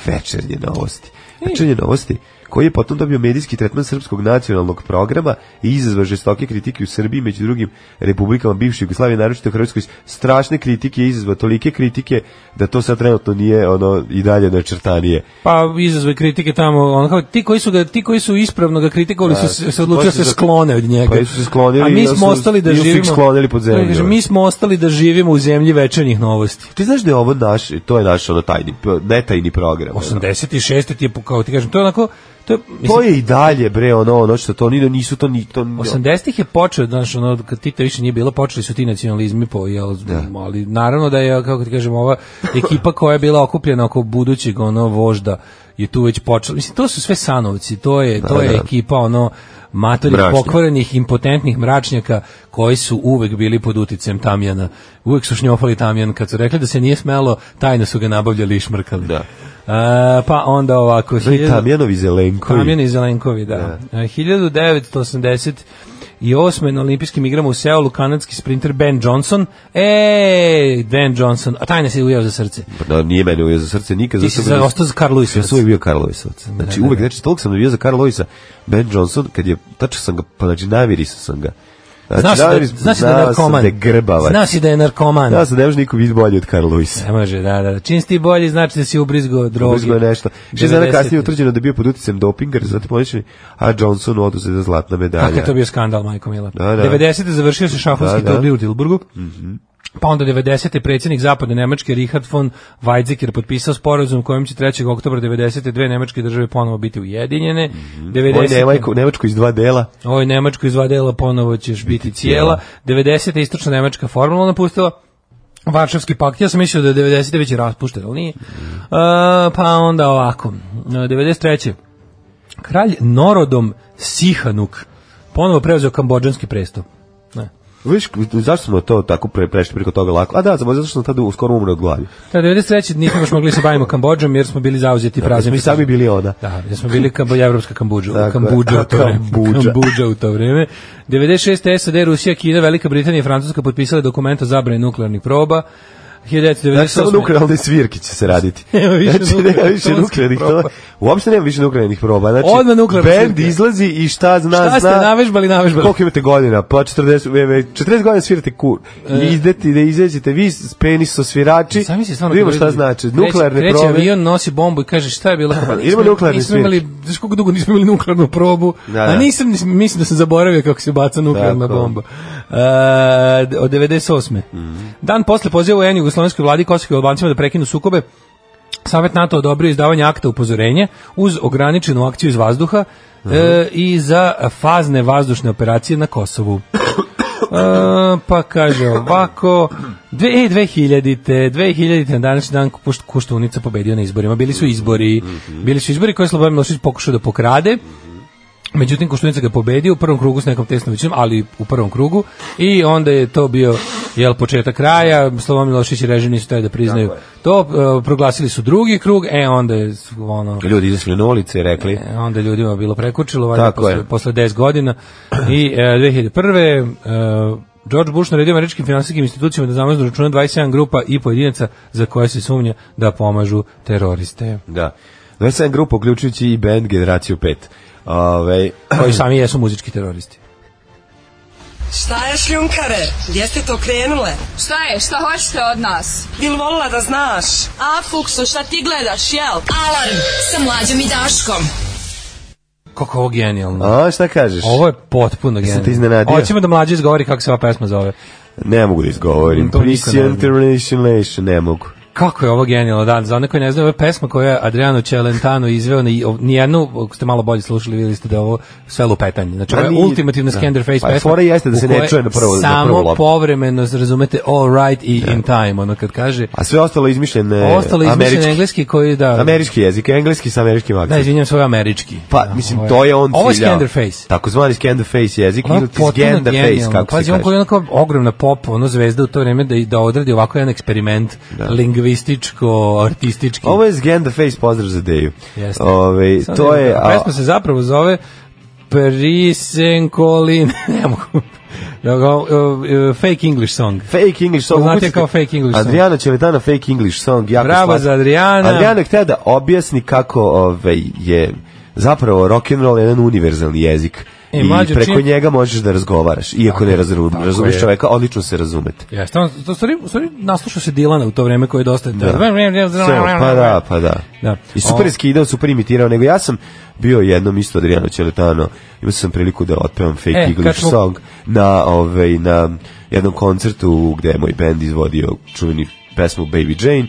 Speaker 6: Večernje novosti. Večernje novosti koji je potom dobio medijski tretman srpskog nacionalnog programa i izazva žestoke kritike u Srbiji, među drugim republikama bivše Jugoslavije, naročito u Hrvatskoj, strašne kritike je izazva, tolike kritike da to sad trenutno nije ono i dalje načrtanije.
Speaker 5: Pa izazove kritike tamo, on kao ti koji su ga ti koji su ispravno ga kritikovali su se, se odlučili da se
Speaker 6: Pa su-
Speaker 5: sklone od njega.
Speaker 6: pa su se sklonili
Speaker 5: A
Speaker 6: ili
Speaker 5: mi
Speaker 6: su-
Speaker 5: smo ostali da
Speaker 6: ili su ih
Speaker 5: živimo.
Speaker 6: sklonili ovaj. pod zemlju.
Speaker 5: Kaže, mi smo ostali da živimo u zemlji večernjih novosti.
Speaker 6: Ti znaš da je ovo naš, to je naš ono tajni, ne tajni program.
Speaker 5: 86. ti je po- kao ti kažem, to je onako to je, mislim,
Speaker 6: To je i dalje bre ono ono što to ni nisu to ni to ni-
Speaker 5: 80-ih je počeo, znaš, ono, kad Tita više nije bilo, počeli su ti nacionalizmi, po, jel, ali naravno da je, kako ti kažem, ova ekipa koja je bila okupljena oko budućeg, ono, vožda, je tu već počela. Mislim, to su sve sanovci, to je, to je
Speaker 6: da.
Speaker 5: ekipa, ono, matorih,
Speaker 6: Mračnjak.
Speaker 5: pokvarenih, impotentnih mračnjaka koji su uvek bili pod uticem Tamjana. Uvek su šnjofali Tamjan, kad su rekli da se nije smelo, tajno su ga nabavljali i šmrkali.
Speaker 6: Da.
Speaker 5: E, pa onda ovako...
Speaker 6: Zli
Speaker 5: 1000
Speaker 6: Tamjanovi Zelenkovi.
Speaker 5: Kamjeni Zelenkovi, da. E, 1980 i osme na olimpijskim igrama u Seulu kanadski sprinter Ben Johnson. E, Ben Johnson, a tajna se ujeo za srce.
Speaker 6: Da, nije mene uvijek za srce nikad.
Speaker 5: Ti
Speaker 6: zato
Speaker 5: si
Speaker 6: sam-
Speaker 5: za, ostao za Da, Karl Lewis.
Speaker 6: Ja sam uvijek bio Karl Lewisovac. Znači, uvijek, znači, toliko sam bio za Karl Lewisa. Ben Johnson, kad je, tačno sam ga, pa znači, namirisao sam ga. Znači,
Speaker 5: Znaš da,
Speaker 6: namirisao-
Speaker 5: znaš da je
Speaker 6: znao sam
Speaker 5: narkoman.
Speaker 6: da je grbavac.
Speaker 5: Znaš si da je narkoman.
Speaker 6: Znao sam da ne može niko biti bolji od Karl Lewisa.
Speaker 5: Ne može, da, da. Čim si ti bolji, znači da si ubrizgo drogi.
Speaker 6: Ubrzgo je nešto. Šest dana
Speaker 5: 90-te.
Speaker 6: kasnije je utvrđeno da je bio pod uticajem dopinga, zato ponećeni, a Johnsonu oduzeta zlatna medalja.
Speaker 5: Kakav je to bio skandal, majko Mila.
Speaker 6: Da, da.
Speaker 5: 90. završio se šahovski
Speaker 6: Da, da. Mhm.
Speaker 5: da, u Dilburgu. Pa onda 90. predsjednik zapadne Nemačke Richard von Weizsäcker potpisao sporazum kojim će 3. oktobra 90. dve nemačke države ponovo biti ujedinjene.
Speaker 6: Ovo
Speaker 5: 90.
Speaker 6: je Nemačko- Nemačko iz dva dela.
Speaker 5: Ovoj Nemačkoj iz dva dela ponovo ćeš biti cijela. 90. istočna Nemačka formalno napustila. Varšavski pakt, ja sam mislio da je 90. već je raspušten, ali nije. E, pa onda ovako, E, 93. Kralj Norodom Sihanuk ponovo preuzeo kambođanski presto. Ne.
Speaker 6: Viš, zašto smo to tako pre, prešli preko toga lako? A da, samo zato što sam tada skoro umre od glavi.
Speaker 5: Da, 93. nismo baš mogli da se bavimo Kambođom jer smo bili zauzeti
Speaker 6: Razum,
Speaker 5: praznim.
Speaker 6: mi sami bili ona.
Speaker 5: Da, jer smo bili kambo, evropska Kambuđa,
Speaker 6: Tako je.
Speaker 5: Kambuđa u to vreme.
Speaker 6: Kambudža.
Speaker 5: Kambudža u to vreme. 96. SAD, Rusija, Kina, Velika Britanija i Francuska potpisali dokument o zabrani nuklearnih proba. 1998.
Speaker 6: Znači, samo nuklearne svirke će se raditi.
Speaker 5: Nema više
Speaker 6: znači, nema
Speaker 5: nuklearnih,
Speaker 6: više
Speaker 5: samo
Speaker 6: nuklearnih
Speaker 5: proba.
Speaker 6: proba. Uopšte nema više nuklearnih proba. Znači,
Speaker 5: Odmah nuklearne
Speaker 6: band
Speaker 5: svirke.
Speaker 6: izlazi i šta zna,
Speaker 5: Šta ste
Speaker 6: zna.
Speaker 5: navežbali, navežbali.
Speaker 6: Koliko imate godina? Pa 40, e, e, 40 godina svirate kur.
Speaker 5: E.
Speaker 6: I idete, da izađete vi s penis sa svirači.
Speaker 5: Sami si stvarno...
Speaker 6: Da vidimo
Speaker 5: kako
Speaker 6: šta
Speaker 5: ljudi-
Speaker 6: znači.
Speaker 5: Kreće-
Speaker 6: Nuklearne
Speaker 5: kreće
Speaker 6: probe.
Speaker 5: avion, nosi bombu i kaže šta je bilo? Pa,
Speaker 6: Idemo nuklearne
Speaker 5: nismo imali, znaš koliko dugo nismo imali nuklearnu probu,
Speaker 6: Da, da.
Speaker 5: a nisam, nisam- mislim da sam zaboravio kako se baca nuklearna
Speaker 6: Tako.
Speaker 5: bomba. E, od 98.
Speaker 6: Mhm.
Speaker 5: Dan posle poziva UN Jugoslovenskoj vladi Kosovskoj Albancima da prekinu sukobe, Savet NATO odobrio izdavanje akta upozorenja uz ograničenu akciju iz vazduha
Speaker 6: Mhm.
Speaker 5: e, i za fazne vazdušne operacije na Kosovu. E, pa kaže ovako dve, e, 2000-te 2000-te na današnji dan Kušt- Kuštunica pobedio na izborima, bili su izbori bili su izbori koje je Slobodan Milošić pokušao da pokrade Međutim, Koštunica ga je pobedio u prvom krugu s nekom tesnom većinom, ali u prvom krugu i onda je to bio jel, početak kraja, Slobodan Milošić i režim nisu taj da priznaju to, e, proglasili su drugi krug, e onda je ono,
Speaker 6: Ljudi izašli na ulice i rekli...
Speaker 5: E, onda je ljudima bilo prekučilo valjda
Speaker 6: Tako je.
Speaker 5: posle, posle 10 godina i e, 2001. E, George Bush naredio američkim finansijskim institucijama da zamrznu računa 27 grupa i pojedinaca za koje se sumnja da pomažu teroriste.
Speaker 6: Da. 27 grupa, uključujući i band Generaciju Ovaj, 5. Ove,
Speaker 5: Koji sami jesu muzički teroristi.
Speaker 7: Šta je šljunkare? Gdje ste to krenule?
Speaker 8: Šta je? Šta hoćete od nas?
Speaker 7: Bil volila da znaš?
Speaker 8: A, Fuksu, šta ti gledaš, jel?
Speaker 4: Alarm sa mlađom i Daškom.
Speaker 5: Kako je ovo genijalno.
Speaker 6: a šta kažeš?
Speaker 5: Ovo je potpuno
Speaker 6: te
Speaker 5: genijalno.
Speaker 6: iznenadio?
Speaker 5: Hoćemo da mlađi izgovori kako se ova pesma zove.
Speaker 6: Ne mogu da izgovorim.
Speaker 5: To niko ne zna.
Speaker 6: Prisian Nation, ne mogu.
Speaker 5: Kako je ovo genijalno dan, za one koji ne znaju, ovo je pesma koja je Adriano Celentano izveo, ni, nijednu, ako ste malo bolje slušali, videli ste da je ovo sve lupetanje. Znači, ovo je
Speaker 6: Ma nije-
Speaker 5: ultimativna
Speaker 6: da.
Speaker 5: Scanderface
Speaker 6: Pa,
Speaker 5: pesma.
Speaker 6: fora jeste da
Speaker 5: u
Speaker 6: se ne
Speaker 5: kojoj
Speaker 6: čuje na prvo- na
Speaker 5: Samo
Speaker 6: prvu loptu.
Speaker 5: povremeno, razumete, all right i in time, ono kad kaže...
Speaker 6: A sve ostalo je izmišljene
Speaker 5: Ostalo je izmišljen
Speaker 6: E, američki,
Speaker 5: engleski koji, da...
Speaker 6: američki jezik, engleski sa američkim
Speaker 5: Da,
Speaker 6: akcentom.
Speaker 5: izvinjam svoj američki.
Speaker 6: Pa,
Speaker 5: Da,
Speaker 6: mislim,
Speaker 5: ovo
Speaker 6: to je on
Speaker 5: Ovo je
Speaker 6: ciljao.
Speaker 5: Scanderface.
Speaker 6: Takozvani scan the face jezik
Speaker 5: Ono
Speaker 6: ili ti
Speaker 5: potpuno
Speaker 6: scan the face,
Speaker 5: genijalno.
Speaker 6: kako
Speaker 5: Pazi,
Speaker 6: se
Speaker 5: on koji
Speaker 6: kaže.
Speaker 5: je onako ogromna pop, ono zvezda u to vreme da, da odradi ovako jedan eksperiment
Speaker 6: Da.
Speaker 5: lingvističko, artistički.
Speaker 6: Ovo je scan the face, pozdrav za Deju.
Speaker 5: Jeste.
Speaker 6: Ove,
Speaker 5: Sad
Speaker 6: Ovaj, to
Speaker 5: ne znam
Speaker 6: je...
Speaker 5: kako.
Speaker 6: a-
Speaker 5: Pesma se zapravo zove Prisenkolin. ne mogu. Da ga, uh, uh, fake English song.
Speaker 6: Fake English song.
Speaker 5: Poznat je
Speaker 6: ukucajte
Speaker 5: kao fake English song.
Speaker 6: Adriana Čeletana fake English song. Jako
Speaker 5: Bravo
Speaker 6: slatko.
Speaker 5: za Adriana.
Speaker 6: Adriana je htela da objasni kako ovaj, je zapravo rock and roll jedan univerzalni jezik.
Speaker 5: E,
Speaker 6: I
Speaker 5: mlađo,
Speaker 6: preko
Speaker 5: čim-
Speaker 6: njega možeš da razgovaraš, iako ne razum,
Speaker 5: tako
Speaker 6: razumeš
Speaker 5: je.
Speaker 6: čoveka, odlično se razumete.
Speaker 5: Jeste, on, to stvari, u stvari naslušao se Dilana u to vreme koje je dosta... Da.
Speaker 6: Sve, pa da, pa da.
Speaker 5: Da.
Speaker 6: I
Speaker 5: O.
Speaker 6: super je skidao, super imitirao, nego ja sam bio jednom isto Adriano Celentano, imao sam priliku da otpevam fake
Speaker 5: E, kad
Speaker 6: English
Speaker 5: smo-
Speaker 6: song na, ovaj, na jednom koncertu gde je moj band izvodio čuveni pesmu Baby Jane,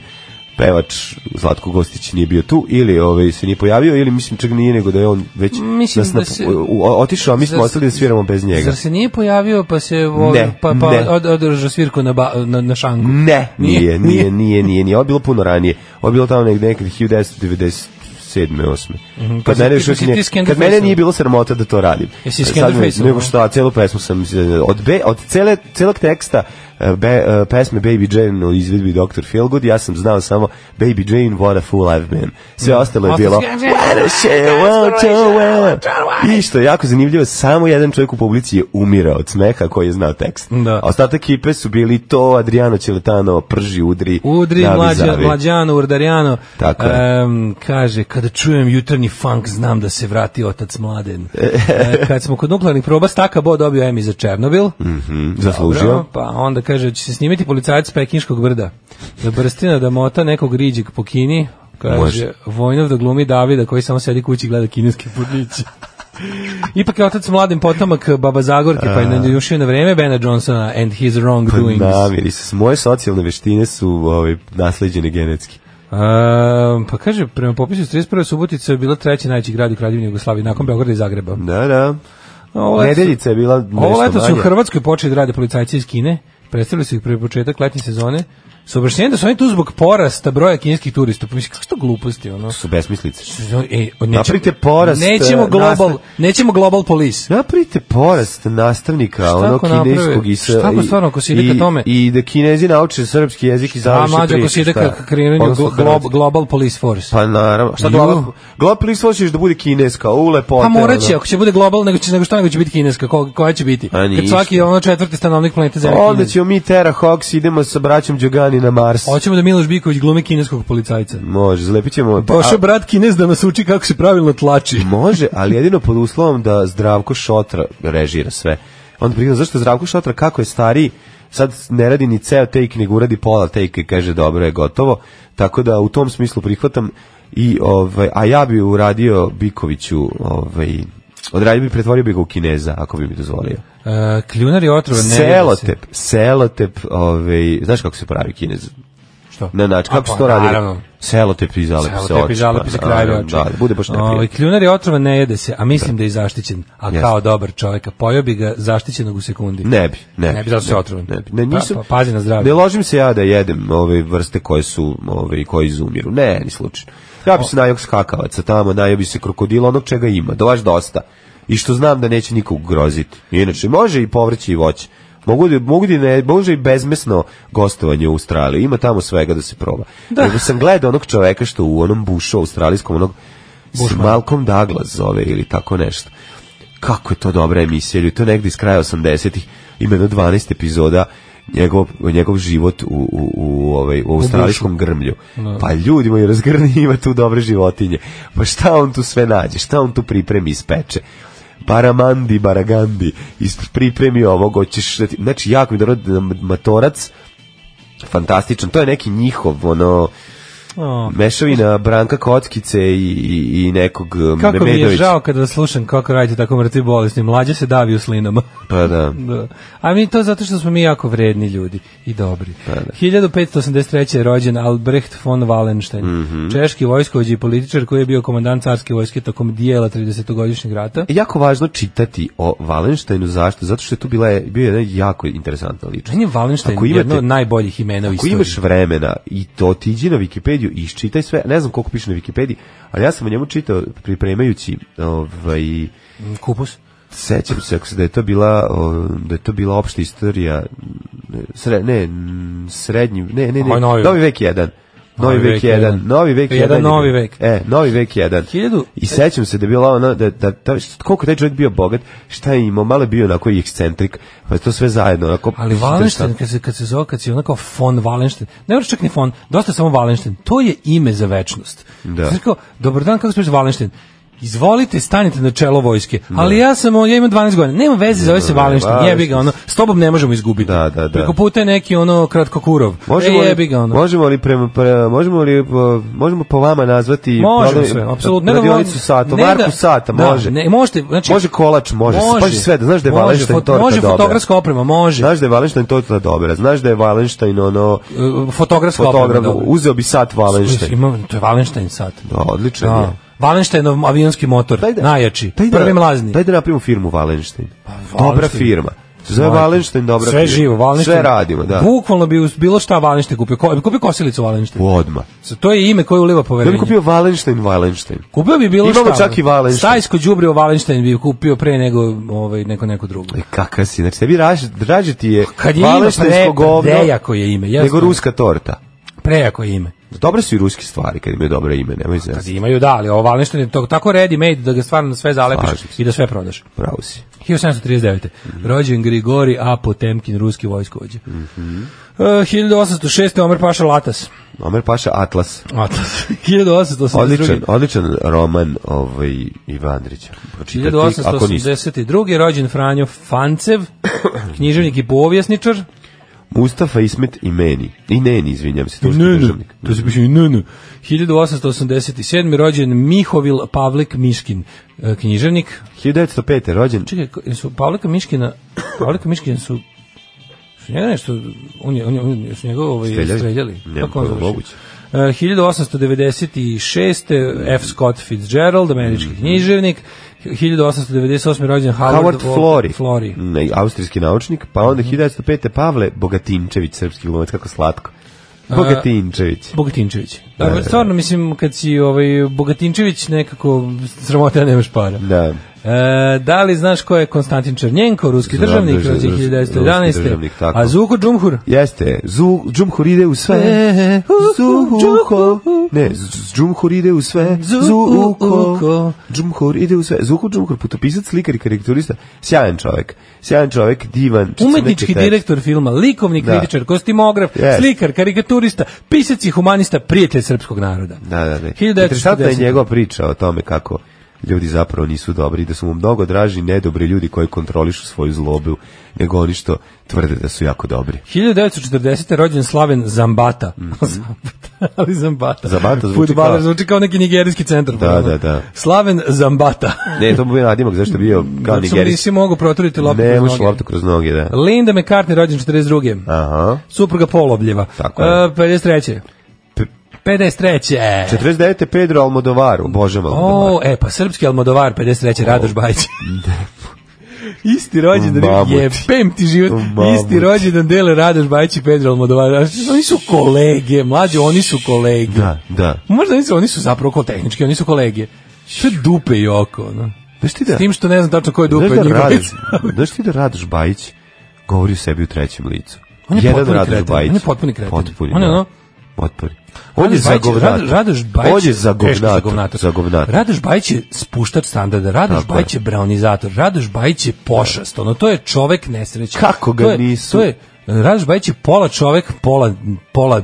Speaker 6: pevač Zlatko Gostić nije bio tu ili ovaj se nije pojavio ili mislim čak nije nego da je on već
Speaker 5: Mislim
Speaker 6: nas
Speaker 5: da
Speaker 6: napu-
Speaker 5: se-
Speaker 6: u- u- otišao a mi smo
Speaker 5: Zar-
Speaker 6: ostali da sviramo bez njega.
Speaker 5: Zar se nije pojavio pa se voli,
Speaker 6: Ne,
Speaker 5: pa, pa
Speaker 6: ne.
Speaker 5: Od, održao svirku na, ba, na, na šanku?
Speaker 6: Ne,
Speaker 5: Nije?
Speaker 6: nije, nije, nije, nije, nije, Ovo je bilo puno ranije. Ovo je bilo tamo negde nekad 1997. 8.
Speaker 5: pa
Speaker 6: Mhm, Kad,
Speaker 5: si
Speaker 6: mene,
Speaker 5: ti-
Speaker 6: još
Speaker 5: pa
Speaker 6: uvijek
Speaker 5: si ti
Speaker 6: nije-
Speaker 5: Scanderface-om?
Speaker 6: kad mene nije bilo sramota da to radim.
Speaker 5: Jesi
Speaker 6: Sad
Speaker 5: Scanderface-om,
Speaker 6: mi- Nego
Speaker 5: a?
Speaker 6: šta, celu pesmu sam, od, be, od cele, celog teksta e, be, e, pesme Baby Jane u izvedbi Dr. Feelgood, ja sam znao samo Baby Jane, what a fool I've been. Sve Mhm. ostalo je bilo...
Speaker 5: Ostalo-
Speaker 6: "What a shame, what a well." I što je jako zanimljivo, samo jedan čovjek u publici je umirao od smeha koji je znao tekst.
Speaker 5: Da.
Speaker 6: A Ostatak ekipe su bili to, Adriano Celetano, prži, udri,
Speaker 5: Udri,
Speaker 6: navi,
Speaker 5: mlađa,
Speaker 6: Da, zavi.
Speaker 5: mlađano, urdarjano.
Speaker 6: Tako je.
Speaker 5: Em, kaže, kada čujem jutarnji funk, znam da se vrati otac mladen. E, kad smo kod nuklearnih proba, Staka Bo dobio Emmy za Černobil.
Speaker 6: Mhm, Zaslužio.
Speaker 5: Dobro, Pa onda kaže, će se snimiti policajac s pekinškog brda. Da brstina da mota nekog riđeg po Kini. Kaže,
Speaker 6: Može.
Speaker 5: Vojnov da glumi Davida koji samo sedi kući i gleda kineske furniće. Ipak je otac mladen potomak Baba Zagorke, pa je najušio na vreme Bena Johnsona and his wrongdoings.
Speaker 6: Pa Namiri se. Moje socijalne veštine su ovaj, nasleđene genetski.
Speaker 5: Um, pa kaže, prema popisu iz 31. Subotica je bila treći najveći grad u Kraljevini Jugoslaviji, nakon Beograda i Zagreba.
Speaker 6: Da, da.
Speaker 5: Ovo leto-
Speaker 6: Nedeljica je bila
Speaker 5: Ovo leto
Speaker 6: nešto
Speaker 5: su u
Speaker 6: manje.
Speaker 5: Hrvatskoj počeli da rade policajci iz Kine, predstavili su ih pre početak letnje sezone, sa objašnjenjem da su oni tu zbog porasta broja kineskih turista. Pa mislim, kako su to gluposti, ono?
Speaker 6: To su besmislice.
Speaker 5: E,
Speaker 6: Napravite porast,
Speaker 5: Nećemo
Speaker 6: e,
Speaker 5: global,
Speaker 6: nastav-
Speaker 5: nećemo global police.
Speaker 6: Napravite porast nastavnika
Speaker 5: Šta
Speaker 6: ono
Speaker 5: ako naprave?
Speaker 6: kineskog i sa-
Speaker 5: Šta ako
Speaker 6: i-
Speaker 5: stvarno, ako se ide ka
Speaker 6: i-
Speaker 5: tome?
Speaker 6: i da Kinezi nauče srpski jezik i
Speaker 5: A
Speaker 6: završe
Speaker 5: Pa, mlađe, ako
Speaker 6: priču,
Speaker 5: se ide
Speaker 6: Da, šta?
Speaker 5: ka kreiranju
Speaker 6: Odnosno
Speaker 5: glo- glob-
Speaker 6: hrvatski.
Speaker 5: global police force.
Speaker 6: Pa naravno, šta
Speaker 5: Ju.
Speaker 6: glava? Glava plis hoćeš da bude kineska, u lepote.
Speaker 5: Pa morat će,
Speaker 6: ono.
Speaker 5: ako će bude global, nego, će, nego što nego će biti kineska, ko, koja će biti?
Speaker 6: A
Speaker 5: Kad
Speaker 6: ništa.
Speaker 5: svaki ono četvrti stanovnik planete Zemlje je
Speaker 6: Onda
Speaker 5: Kinez.
Speaker 6: ćemo mi Tera Hawks, idemo sa braćom Đogani na Mars.
Speaker 5: Hoćemo da Miloš Biković glumi kineskog policajca.
Speaker 6: Može, zlepit ćemo... Pa,
Speaker 5: Pošao
Speaker 6: a-
Speaker 5: Pa brat Kines da nas uči kako se pravilno tlači.
Speaker 6: Može, ali jedino pod uslovom da Zdravko Šotra režira sve. Onda prigleda, zašto Zdravko Šotra, kako je stariji, sad ne radi ni ceo take, nego uradi pola take i kaže dobro je gotovo. Tako da u tom smislu prihvatam i ovaj a ja bi uradio Bikoviću ovaj odradio bi pretvorio bi ga u Kineza ako bi mi dozvolio.
Speaker 5: E, kljunar je otrovan. ne vidi se.
Speaker 6: Selotep, selotep, ovaj, znaš kako se pravi kinez?
Speaker 5: Što?
Speaker 6: Ne, znači,
Speaker 5: A,
Speaker 6: kako
Speaker 5: pa,
Speaker 6: se to radi?
Speaker 5: naravno.
Speaker 6: Selotep i zalepi se
Speaker 5: Selotep i
Speaker 6: oči,
Speaker 5: zalepi
Speaker 6: pa,
Speaker 5: se kraljevi
Speaker 6: naravno,
Speaker 5: oči.
Speaker 6: Da, da bude baš
Speaker 5: Ovaj
Speaker 6: neprijatno.
Speaker 5: kljunar je otrovan, ne jede se, a mislim da je i zaštićen. A
Speaker 6: Jeste.
Speaker 5: kao dobar čovjek, a pojeo bi ga zaštićenog u sekundi.
Speaker 6: Ne bi, ne bi.
Speaker 5: Ne bi, zato se otrovan.
Speaker 6: Ne, bi. ne, nisam,
Speaker 5: Pa- pa pazi na zdravlje.
Speaker 6: Ne ložim se ja da jedem ove vrste koje su, ove, koje izumiru. Ne, ni slučajno. Ja bi se najog skakavaca tamo, najao bi se krokodila, onog čega ima, da baš dosta. I što znam da neće nikog groziti. Inače, može i povrće i voće. Mogu da, mogu da i ne, može i bezmesno gostovanje u Australiji. Ima tamo svega da se proba. Da. Nego sam gledao onog čoveka što u onom bušu australijskom, onog s Malcolm Douglas zove ili tako nešto kako je to dobra emisija, ljudi, to je negdje iz kraja 80-ih, ima jedno 12 epizoda njegov, njegov život u, u, u, ovaj, u australijskom grmlju.
Speaker 5: Da.
Speaker 6: Pa ljudi moji, razgrni ima tu dobre životinje. Pa šta on tu sve nađe, šta on tu pripremi i speče? Baramandi, baragandi, ispred pripremi ovog, hoćeš... da ti- Znači, jako mi je dobro da matorac, fantastičan, to je neki njihov, ono,
Speaker 5: O.
Speaker 6: Mešavina Branka Kockice i, i, i nekog eh,
Speaker 5: Kako mi je
Speaker 6: Medovića.
Speaker 5: žao kada slušam kako radite tako mrtvi bolesni. Mlađe se davi u slinama.
Speaker 6: Pa da.
Speaker 5: Da. A mi to zato što smo mi jako vredni ljudi i dobri.
Speaker 6: Pa da.
Speaker 5: 1583. je rođen Albrecht von Wallenstein,
Speaker 6: Mhm.
Speaker 5: češki vojskovođi i političar koji je bio komandant carske vojske tokom dijela 30-godišnjeg rata.
Speaker 6: E, Jako važno čitati o Valenštajnu, zašto? Zato što je tu bila, je- bio jedan jako interesantna ličnost.
Speaker 5: Meni je Wallenstein
Speaker 6: Ako imate-
Speaker 5: jedno od najboljih imena u
Speaker 6: Ako
Speaker 5: istoriji.
Speaker 6: imaš vremena i to otiđi na Wikipediju i iščitaj sve, ne znam koliko piše na Wikipediji, ali ja sam o njemu čitao pripremajući ovaj,
Speaker 5: Kupus.
Speaker 6: sećam se ako se da je to bila o, da je to bila opšta istorija m, sre, ne m, srednji ne ne ne
Speaker 5: Aj, Ovaj novi.
Speaker 6: novi vek 1 Novi vek 1, novi vek 1.
Speaker 5: Jedan novi vek.
Speaker 6: E, novi vek 1.
Speaker 5: Hiljadu-
Speaker 6: I sećam se da je bila ona, da, da, da, koliko je taj čovjek bio bogat, šta je imao, malo je bio onako i ekscentrik, pa je to sve zajedno. Onako,
Speaker 5: Ali Wallenstein, kad se, kad se zove, kad se onako von Wallenstein, ne moraš čak ni von, dosta je samo Wallenstein, to je ime za večnost.
Speaker 6: Da.
Speaker 5: Znaš kao, dobar dan, kako se zove Wallenstein? Izvolite, stanite na čelo vojske. Ali ja sam, ja imam 12 godina. Nema veze, zove se
Speaker 6: Da, da,
Speaker 5: Wallenstein.
Speaker 6: da,
Speaker 5: Jebi ga, ono, s tobom ne možemo izgubiti.
Speaker 6: Da, da, da.
Speaker 5: Preko puta je neki, ono, kratkokurov.
Speaker 6: Možemo
Speaker 5: e, jebi
Speaker 6: li,
Speaker 5: ga, ono.
Speaker 6: možemo li prema, pre, možemo li po, možemo po vama nazvati
Speaker 5: Možemo
Speaker 6: prodaj-
Speaker 5: sve, apsolutno. Ne da
Speaker 6: radionicu
Speaker 5: vam-
Speaker 6: sata,
Speaker 5: ne
Speaker 6: marku
Speaker 5: da-
Speaker 6: sata,
Speaker 5: da,
Speaker 6: može.
Speaker 5: ne, možete, znači-
Speaker 6: može kolač, može, može, sve, da znaš da je
Speaker 5: može,
Speaker 6: Valenštajn
Speaker 5: fot-
Speaker 6: torta
Speaker 5: Može
Speaker 6: dobra.
Speaker 5: fotografska oprema, može.
Speaker 6: Znaš da je Valenštajn torta dobra, znaš da je Valenštajn ono
Speaker 5: E, da, Fotografska oprema,
Speaker 6: fotograf,
Speaker 5: dobra.
Speaker 6: uzeo bi sat Valenštajn.
Speaker 5: Ima, to je Wallenstein sad.
Speaker 6: Da, odličan je.
Speaker 5: Da. Valensteinov avionski motor,
Speaker 6: Daj da-
Speaker 5: najjači,
Speaker 6: daj da-
Speaker 5: prvi mlazni.
Speaker 6: Daj da napravimo firmu Valenštajn. Dobra
Speaker 5: Wallenstein.
Speaker 6: firma. Se Zove
Speaker 5: Majko.
Speaker 6: Valenštajn, dobra
Speaker 5: Znači, Sve
Speaker 6: firma.
Speaker 5: živo, Valenštajn.
Speaker 6: Sve radimo, da.
Speaker 5: Bukvalno bi uz bilo šta Valenštajn kupio. Ko, bi kupio kosilicu Valenštajn.
Speaker 6: Odma.
Speaker 5: To je ime koje uliva
Speaker 6: Da bi
Speaker 5: poverenje.
Speaker 6: kupio Valenštajn, Valenštajn.
Speaker 5: Kupio bi bilo
Speaker 6: Imamo
Speaker 5: šta.
Speaker 6: čak i Wallenstein.
Speaker 5: Stajsko đubrivo Valenštajn bi kupio pre nego ovaj, neko neko drugo.
Speaker 6: E, kakav si, znači tebi raž, draže ti je
Speaker 5: Pa, Kad je ime
Speaker 6: Valenštajnsko
Speaker 5: preko,
Speaker 6: govno
Speaker 5: prejako je ime, pa, jasno.
Speaker 6: nego ruska torta.
Speaker 5: Prejako je ime.
Speaker 6: Dobre su i ruske stvari kad imaju dobro ime, nemoj se.
Speaker 5: Kad imaju da, ali ovo Valenštajn je to, tako ready made da ga stvarno na sve zalepiš
Speaker 6: Slažem se.
Speaker 5: i da sve prodaš.
Speaker 6: Pravo si.
Speaker 5: 1739.
Speaker 6: Mhm.
Speaker 5: Rođen Grigori A. Potemkin, ruski vojskovođa.
Speaker 6: Mhm.
Speaker 5: E, 1806. Omer Paša Latas.
Speaker 6: Omer Paša Atlas.
Speaker 5: Latas. 1882.
Speaker 6: Odličan, odličan roman ovaj Ivandrića. Pročitati ako niste.
Speaker 5: 1882. rođen Franjo Fancev, književnik i povjesničar.
Speaker 6: Mustafa Ismet i meni. I neni, izvinjam se, turski
Speaker 5: Ne, ne,
Speaker 6: državnik.
Speaker 5: to se piše i ne, ne. 1887. rođen Mihovil Pavlik Miškin, e, književnik.
Speaker 6: 1905. rođen.
Speaker 5: Čekaj, ko- su Pavlika Miškina, Pavlika Miškina su su njega nešto, on je, on je, on je su njega ovaj,
Speaker 6: Streljali?
Speaker 5: streljali.
Speaker 6: Nema
Speaker 5: Kako on
Speaker 6: pojma,
Speaker 5: završio?
Speaker 6: moguće.
Speaker 5: E, 1896. F. Scott Fitzgerald, američki književnik. 1898. rođen Howard,
Speaker 6: Mhm. Howard Mhm.
Speaker 5: Walter
Speaker 6: Flori,
Speaker 5: Flori.
Speaker 6: Ne, austrijski naučnik, pa onda 1905. Pavle Bogatinčević, srpski glumac, kako slatko. Bogatinčević.
Speaker 5: Bogatinčević. Da,
Speaker 6: Da, da, da.
Speaker 5: stvarno, mislim, kad si ovaj, Bogatinčević nekako sramota da nemaš para.
Speaker 6: Da.
Speaker 5: E, da li znaš ko je Konstantin Černjenko, ruski
Speaker 6: Znam,
Speaker 5: državnik,
Speaker 6: drži-
Speaker 5: rođen
Speaker 6: ruski
Speaker 5: 1911.
Speaker 6: državnik, tako.
Speaker 5: A Zuko Džumhur?
Speaker 6: Jeste, zu, Džumhur ide u
Speaker 5: E,
Speaker 6: sve, Zuhuko, ne, z- Džumhur ide u sve, Zuhuko, Džumhur ide u sve, Zuhu Džumhur, putopisac, slikar i karikaturista, sjajan čovek, sjajan čovek, divan, čisto
Speaker 5: Umetnički
Speaker 6: neki tekst.
Speaker 5: direktor filma, likovni
Speaker 6: Da.
Speaker 5: kritičar, kostimograf,
Speaker 6: Yes.
Speaker 5: slikar, karikaturista, pisac i humanista, prijatelj srpskog naroda.
Speaker 6: Da, da, da.
Speaker 5: 1940.
Speaker 6: Interesantna je njegova priča o tome kako ljudi zapravo nisu dobri, i da su mu mnogo draži nedobri ljudi koji kontrolišu svoju zlobu, nego oni što tvrde da su jako dobri.
Speaker 5: 1940. rođen Slaven Zambata. Zambata, ali Zambata.
Speaker 6: Mhm. Zambata zvuči
Speaker 5: Fudbaler
Speaker 6: kao-
Speaker 5: zvuči kao neki nigerijski centar.
Speaker 6: Da, da, da.
Speaker 5: Slaven Zambata.
Speaker 6: Ne, to mu je bio nadimak, zašto je bio kao
Speaker 5: Zato što mu nisi
Speaker 6: nigerijski.
Speaker 5: mogu proturiti loptu
Speaker 6: Ne,
Speaker 5: kroz
Speaker 6: ušla
Speaker 5: noge.
Speaker 6: loptu kroz noge, da.
Speaker 5: Linda McCartney, rođen 42.
Speaker 6: Aha.
Speaker 5: Supruga Polobljeva.
Speaker 6: Tako
Speaker 5: E,
Speaker 6: je.
Speaker 5: 53.
Speaker 6: P-
Speaker 5: 53.
Speaker 6: 49. Pedro Almodovaru, bože Almodovar.
Speaker 5: O, e, pa srpski Almodovar, 53. Radoš Bajić. Isti rođendan
Speaker 6: Mamut.
Speaker 5: je pem ti život.
Speaker 6: Mamut.
Speaker 5: Isti rođendan dele Radoš Bajić i Pedro Almodovar. A što, Oni su kolege, mlađe, oni su kolege.
Speaker 6: Da, da.
Speaker 5: Možda nisu, oni su zapravo ko tehnički, oni su kolege. Sve dupe i oko, no.
Speaker 6: Znaš ti da,
Speaker 5: S tim što ne znam tačno ko je dupe
Speaker 6: znaš
Speaker 5: od
Speaker 6: da,
Speaker 5: njih
Speaker 6: Radoš,
Speaker 5: dvojice.
Speaker 6: znaš ti da Radoš Bajić govori o sebi u trećem licu?
Speaker 5: On je
Speaker 6: Jedan
Speaker 5: potpuni
Speaker 6: Radoš
Speaker 5: kreten,
Speaker 6: Bajić.
Speaker 5: on je potpuni kreten.
Speaker 6: Potpuni,
Speaker 5: On je
Speaker 6: da.
Speaker 5: ono-
Speaker 6: Potpuni. On je
Speaker 5: Radoš
Speaker 6: za
Speaker 5: Bajić-
Speaker 6: govnator.
Speaker 5: Radoš- Radoš Bajić
Speaker 6: On je za
Speaker 5: teški
Speaker 6: govnator. Za govnator.
Speaker 5: Radoš Bajić je spuštač standarda, Radoš
Speaker 6: Tako je.
Speaker 5: Bajić je braunizator, Radoš Bajić je pošast, ono to je čovek nesreća.
Speaker 6: Kako ga
Speaker 5: To je-
Speaker 6: nisu?
Speaker 5: To je Radoš Bajić je pola čovek, pola pola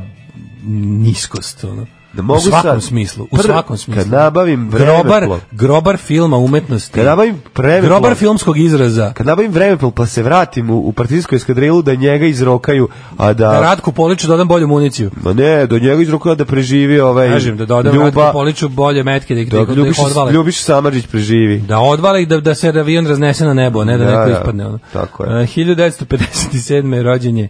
Speaker 5: niskost, ono.
Speaker 6: Da mogu
Speaker 5: u svakom
Speaker 6: sad-
Speaker 5: smislu, u
Speaker 6: Prvi-
Speaker 5: svakom smislu.
Speaker 6: Kad nabavim
Speaker 5: grobar,
Speaker 6: vremeplov.
Speaker 5: grobar filma umetnosti.
Speaker 6: Kad nabavim vremeplov.
Speaker 5: Grobar filmskog izraza.
Speaker 6: Kad nabavim vremeplov pa se vratim u, u partijsku eskadrilu da njega izrokaju, a
Speaker 5: Da
Speaker 6: da...
Speaker 5: Ratku Poliću dodam bolju municiju.
Speaker 6: Ma ne, do njega izrokaju da preživi ovaj...
Speaker 5: Kažem da dodam Ratku Poliću bolje metke da ih, da,
Speaker 6: da,
Speaker 5: da ih
Speaker 6: ljubiš,
Speaker 5: odvale.
Speaker 6: ljubiš Samarđić preživi.
Speaker 5: Da odvale i da, da se avion raznese na nebo, ne da,
Speaker 6: Da,
Speaker 5: neko
Speaker 6: da.
Speaker 5: ispadne. Ono.
Speaker 6: Tako je.
Speaker 5: A, 1957. je rođenje.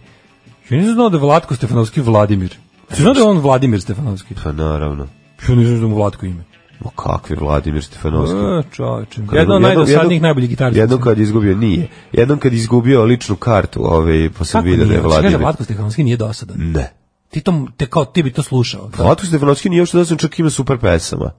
Speaker 5: Ja nisam znao da je Vlatko Stefanovski Vladimir. Ti znao da je on Vladimir Stefanovski?
Speaker 6: Pa naravno.
Speaker 5: Ja nisam znao da mu Vlatko ime.
Speaker 6: O kakvi Vladimir Stefanovski.
Speaker 5: E, čoveče.
Speaker 6: Pa, Kad
Speaker 5: Jedan od
Speaker 6: jednom-
Speaker 5: najdosadnijih
Speaker 6: jednom-
Speaker 5: najboljih gitarista.
Speaker 6: Jednom kad je izgubio, nije. Jednom kad je izgubio ličnu kartu, ovaj, pa sam
Speaker 5: Kako
Speaker 6: vidio da je
Speaker 5: nije? Vladimir. Kaže
Speaker 6: Vladimir.
Speaker 5: Vlatko Stefanovski nije dosadan.
Speaker 6: Ne.
Speaker 5: Ti, to, te kao, ti bi to slušao. Da.
Speaker 6: Vlatko Stefanovski nije još da sam čak ima super pesama.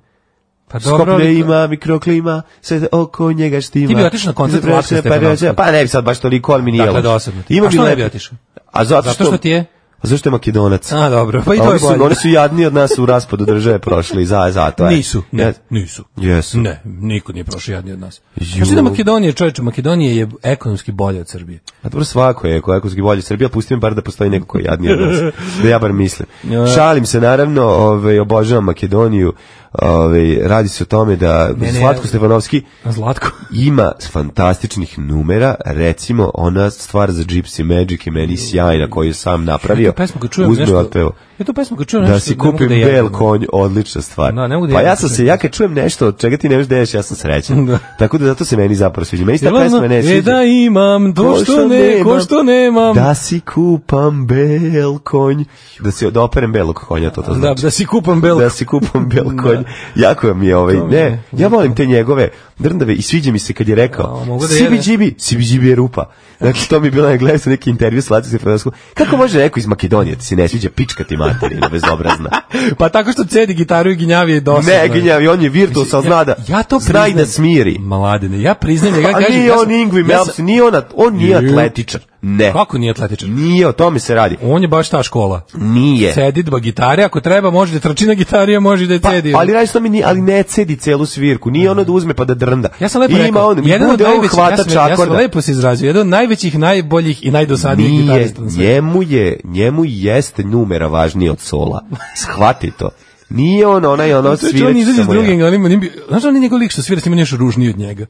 Speaker 5: Pa dobro,
Speaker 6: Skoplje
Speaker 5: ali-
Speaker 6: da ima, mikroklima, sve oko njega štima.
Speaker 5: Ti bi otišao na koncert
Speaker 6: Zapravo
Speaker 5: Vlatka
Speaker 6: se ne
Speaker 5: Stefanovskog?
Speaker 6: parira- Pa ne bi sad baš toliko, ali mi nije.
Speaker 5: Dakle,
Speaker 6: loše.
Speaker 5: dosadno ti.
Speaker 6: Ima
Speaker 5: A što ne
Speaker 6: lepe-
Speaker 5: bi otišao?
Speaker 6: A zato,
Speaker 5: Zato što ti je?
Speaker 6: A zašto je makedonac?
Speaker 5: A, dobro, pa i
Speaker 6: A
Speaker 5: to
Speaker 6: oni
Speaker 5: je
Speaker 6: su,
Speaker 5: bolje.
Speaker 6: Oni su jadni od nas u raspadu države prošli, za, zato je.
Speaker 5: Nisu, ne,
Speaker 6: Ja-
Speaker 5: nisu.
Speaker 6: Jesu.
Speaker 5: Ne, niko nije prošao jadni od nas.
Speaker 6: Ju.
Speaker 5: Znači da Makedonija, čoveče, Makedonija je ekonomski bolja od Srbije.
Speaker 6: A dobro svako je, koja je ekonomski bolje Srbija, pusti mi bar da postoji neko koji je jadniji od nas. Da ja bar mislim.
Speaker 5: Ja.
Speaker 6: Šalim se naravno, ovaj obožavam Makedoniju. Ovaj radi se o tome da
Speaker 5: ne,
Speaker 6: Slatko
Speaker 5: ja-
Speaker 6: Stefanovski
Speaker 5: A Zlatko?
Speaker 6: ima fantastičnih numera, recimo ona stvar za Gypsy Magic je meni sjajna koju je sam napravio.
Speaker 5: Ja tu pesmu kad čujem
Speaker 6: Uzme
Speaker 5: nešto...
Speaker 6: otpeo.
Speaker 5: Ja tu pesmu kad čujem nešto...
Speaker 6: Da si
Speaker 5: ne mogu
Speaker 6: kupim
Speaker 5: da jedem.
Speaker 6: bel konj, odlična stvar.
Speaker 5: Da, ne mogu da
Speaker 6: pa
Speaker 5: jedem
Speaker 6: ja
Speaker 5: tu
Speaker 6: sam se,
Speaker 5: pesmu.
Speaker 6: ja kad čujem nešto od čega ti ne možeš da ješ, ja sam srećan.
Speaker 5: Da.
Speaker 6: Tako da zato se meni zapravo sviđa. Meni se
Speaker 5: Jel
Speaker 6: ta pesma
Speaker 5: ono,
Speaker 6: ne
Speaker 5: E
Speaker 6: sviđa.
Speaker 5: da imam, to što ne, ko
Speaker 6: nemam.
Speaker 5: što nemam.
Speaker 6: Da si kupam bel konj. Da si da operem belog konja, to to
Speaker 5: Da,
Speaker 6: znači.
Speaker 5: da si kupam bel.
Speaker 6: Da si kupam bel konj. Jako mi je ovaj,
Speaker 5: mi je.
Speaker 6: ne, ja volim te njegove drndave i sviđa mi se kad je rekao
Speaker 5: A, mogu da jedem.
Speaker 6: CBGB, CBGB je rupa. Dakle, to mi je bilo, ja gledao sam neki intervju s Latvijom Stefanovskom. Kako može neko iz Makedonije, ti se ne sviđa pička ti materina, bezobrazna.
Speaker 5: Pa tako što cedi gitaru i ginjavi je dosadno.
Speaker 6: ne, ginjavi, on je virtuosan, zna da,
Speaker 5: ja to
Speaker 6: zna i da
Speaker 5: priznajem.
Speaker 6: smiri.
Speaker 5: Mladene, ja priznajem, ja
Speaker 6: A
Speaker 5: kažem...
Speaker 6: nije
Speaker 5: ja
Speaker 6: on
Speaker 5: sam-
Speaker 6: Ingvi
Speaker 5: ja sam-
Speaker 6: Melps, nije on, at- on nije
Speaker 5: Ju.
Speaker 6: atletičar. Ne.
Speaker 5: Kako nije atletičar?
Speaker 6: Nije, o tome se radi.
Speaker 5: On je baš ta škola.
Speaker 6: Nije.
Speaker 5: Cedidba gitare, ako treba može da trči na gitari, a može da je
Speaker 6: Pa,
Speaker 5: cedi.
Speaker 6: ali radi što mi ni- ali ne cedi celu svirku. Nije ono da uzme pa da drnda.
Speaker 5: Ja sam lepo
Speaker 6: Ima
Speaker 5: rekao,
Speaker 6: on,
Speaker 5: jedan od
Speaker 6: bude on
Speaker 5: najvećih, ja
Speaker 6: hvatač
Speaker 5: sam, ja sam
Speaker 6: akorda.
Speaker 5: lepo se izrazio, jedan od najvećih, najboljih i najdosadnijih
Speaker 6: Nije,
Speaker 5: gitarista na svetu.
Speaker 6: njemu je, njemu jeste numera važniji od sola. Shvati to. Nije on onaj ono
Speaker 5: To je čovjek
Speaker 6: svirač
Speaker 5: izađe iz
Speaker 6: samo
Speaker 5: druge,
Speaker 6: ja.
Speaker 5: ali ima, njim- znaš da on je njegov lik što svira, ima nešto ružniji od njega.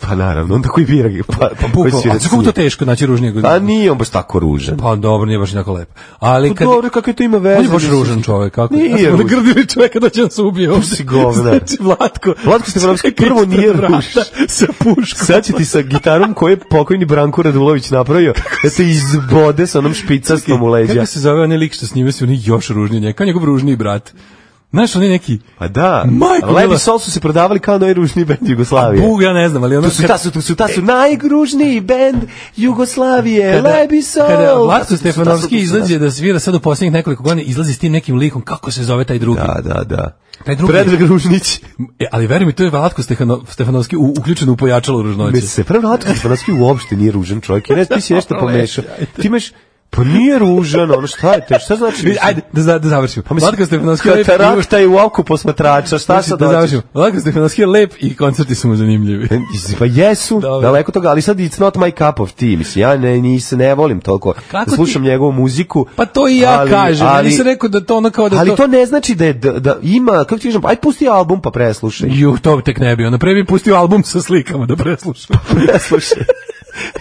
Speaker 6: Pa naravno, onda koji bira ga, pa,
Speaker 5: Pa
Speaker 6: koji
Speaker 5: bukvalno, a
Speaker 6: svirač
Speaker 5: znaš kako to
Speaker 6: nije.
Speaker 5: teško naći ružnijeg od
Speaker 6: Pa nije on baš tako ružan.
Speaker 5: Pa dobro, nije baš i tako lepo. Ali
Speaker 6: Pa
Speaker 5: kad...
Speaker 6: dobro, kakve to ima veze?
Speaker 5: On je baš
Speaker 6: mislim.
Speaker 5: ružan čovjek, kako?
Speaker 6: Nije
Speaker 5: Ja smo
Speaker 6: ružan. Pa
Speaker 5: nagrdili čovjeka da će nas ubije ovdje.
Speaker 6: si govnar.
Speaker 5: Znači, Vlatko...
Speaker 6: Vlatko Stefanovski
Speaker 5: čovjek
Speaker 6: prvo
Speaker 5: ispred
Speaker 6: nije
Speaker 5: vrata
Speaker 6: ružan.
Speaker 5: Sa puškom.
Speaker 6: Sad će ti sa gitarom koju je pokojni Branko Radulović napravio, da se izbode sa onom špicastom u leđa.
Speaker 5: Kako se zove onaj lik što s njime se oni još ružniji od njega, kao njegov ružniji brat. Znaš, on je neki...
Speaker 6: Pa da,
Speaker 5: Majko mila.
Speaker 6: Levi Sol su se prodavali kao najružniji bend Jugoslavije.
Speaker 5: Bug, ja ne znam, ali ono...
Speaker 6: To su, ta su, to su, ta su najružniji bend Jugoslavije,
Speaker 5: kada-
Speaker 6: Levi Sol.
Speaker 5: Kada
Speaker 6: Ta su- ta
Speaker 5: Vlatko
Speaker 6: su- ta su-
Speaker 5: Stefanovski
Speaker 6: ta su-
Speaker 5: izlazi da svira sad u posljednjih nekoliko godina, izlazi s tim nekim likom, kako se zove taj drugi.
Speaker 6: Da, da, da.
Speaker 5: Taj drugi-
Speaker 6: Predrag Ružnić.
Speaker 5: E, ali veruj mi, to je Vlatko Stehano- Stefanovski u, uključen u pojačalo
Speaker 6: Me
Speaker 5: ružnoće.
Speaker 6: se prvo Vlatko Stefanovski uopšte nije ružan čovjek. Ja Ne, ti si nešto pomešao.
Speaker 5: Ovaj,
Speaker 6: Ti imaš, pa nije ružan, ono šta je te, šta znači? mislim?
Speaker 5: Ajde, da, za- da završimo.
Speaker 6: Pa mislim,
Speaker 5: Vlatko Stefanovski je lep. i uš-
Speaker 6: Katarakta je u oku posmatrača, šta sad
Speaker 5: da
Speaker 6: hoćeš?
Speaker 5: završimo. Vlatko Stefanovski je lep i koncerti su mu zanimljivi.
Speaker 6: Pa jesu,
Speaker 5: Dobro.
Speaker 6: daleko toga, ali sad it's not my cup of tea, mislim, ja ne, nis, ne volim toliko
Speaker 5: kako
Speaker 6: da slušam
Speaker 5: ti-
Speaker 6: njegovu muziku.
Speaker 5: Pa to i ja
Speaker 6: ali-
Speaker 5: kažem, ali,
Speaker 6: ali-
Speaker 5: nisam rekao da to ono kao da
Speaker 6: ali to... ne znači da, je, da, da ima, kako ti kažem, aj pusti album pa preslušaj.
Speaker 5: Ju, to tek ne bi. Ono pre bi pustio album sa slikama da preslušam.
Speaker 6: preslušaj.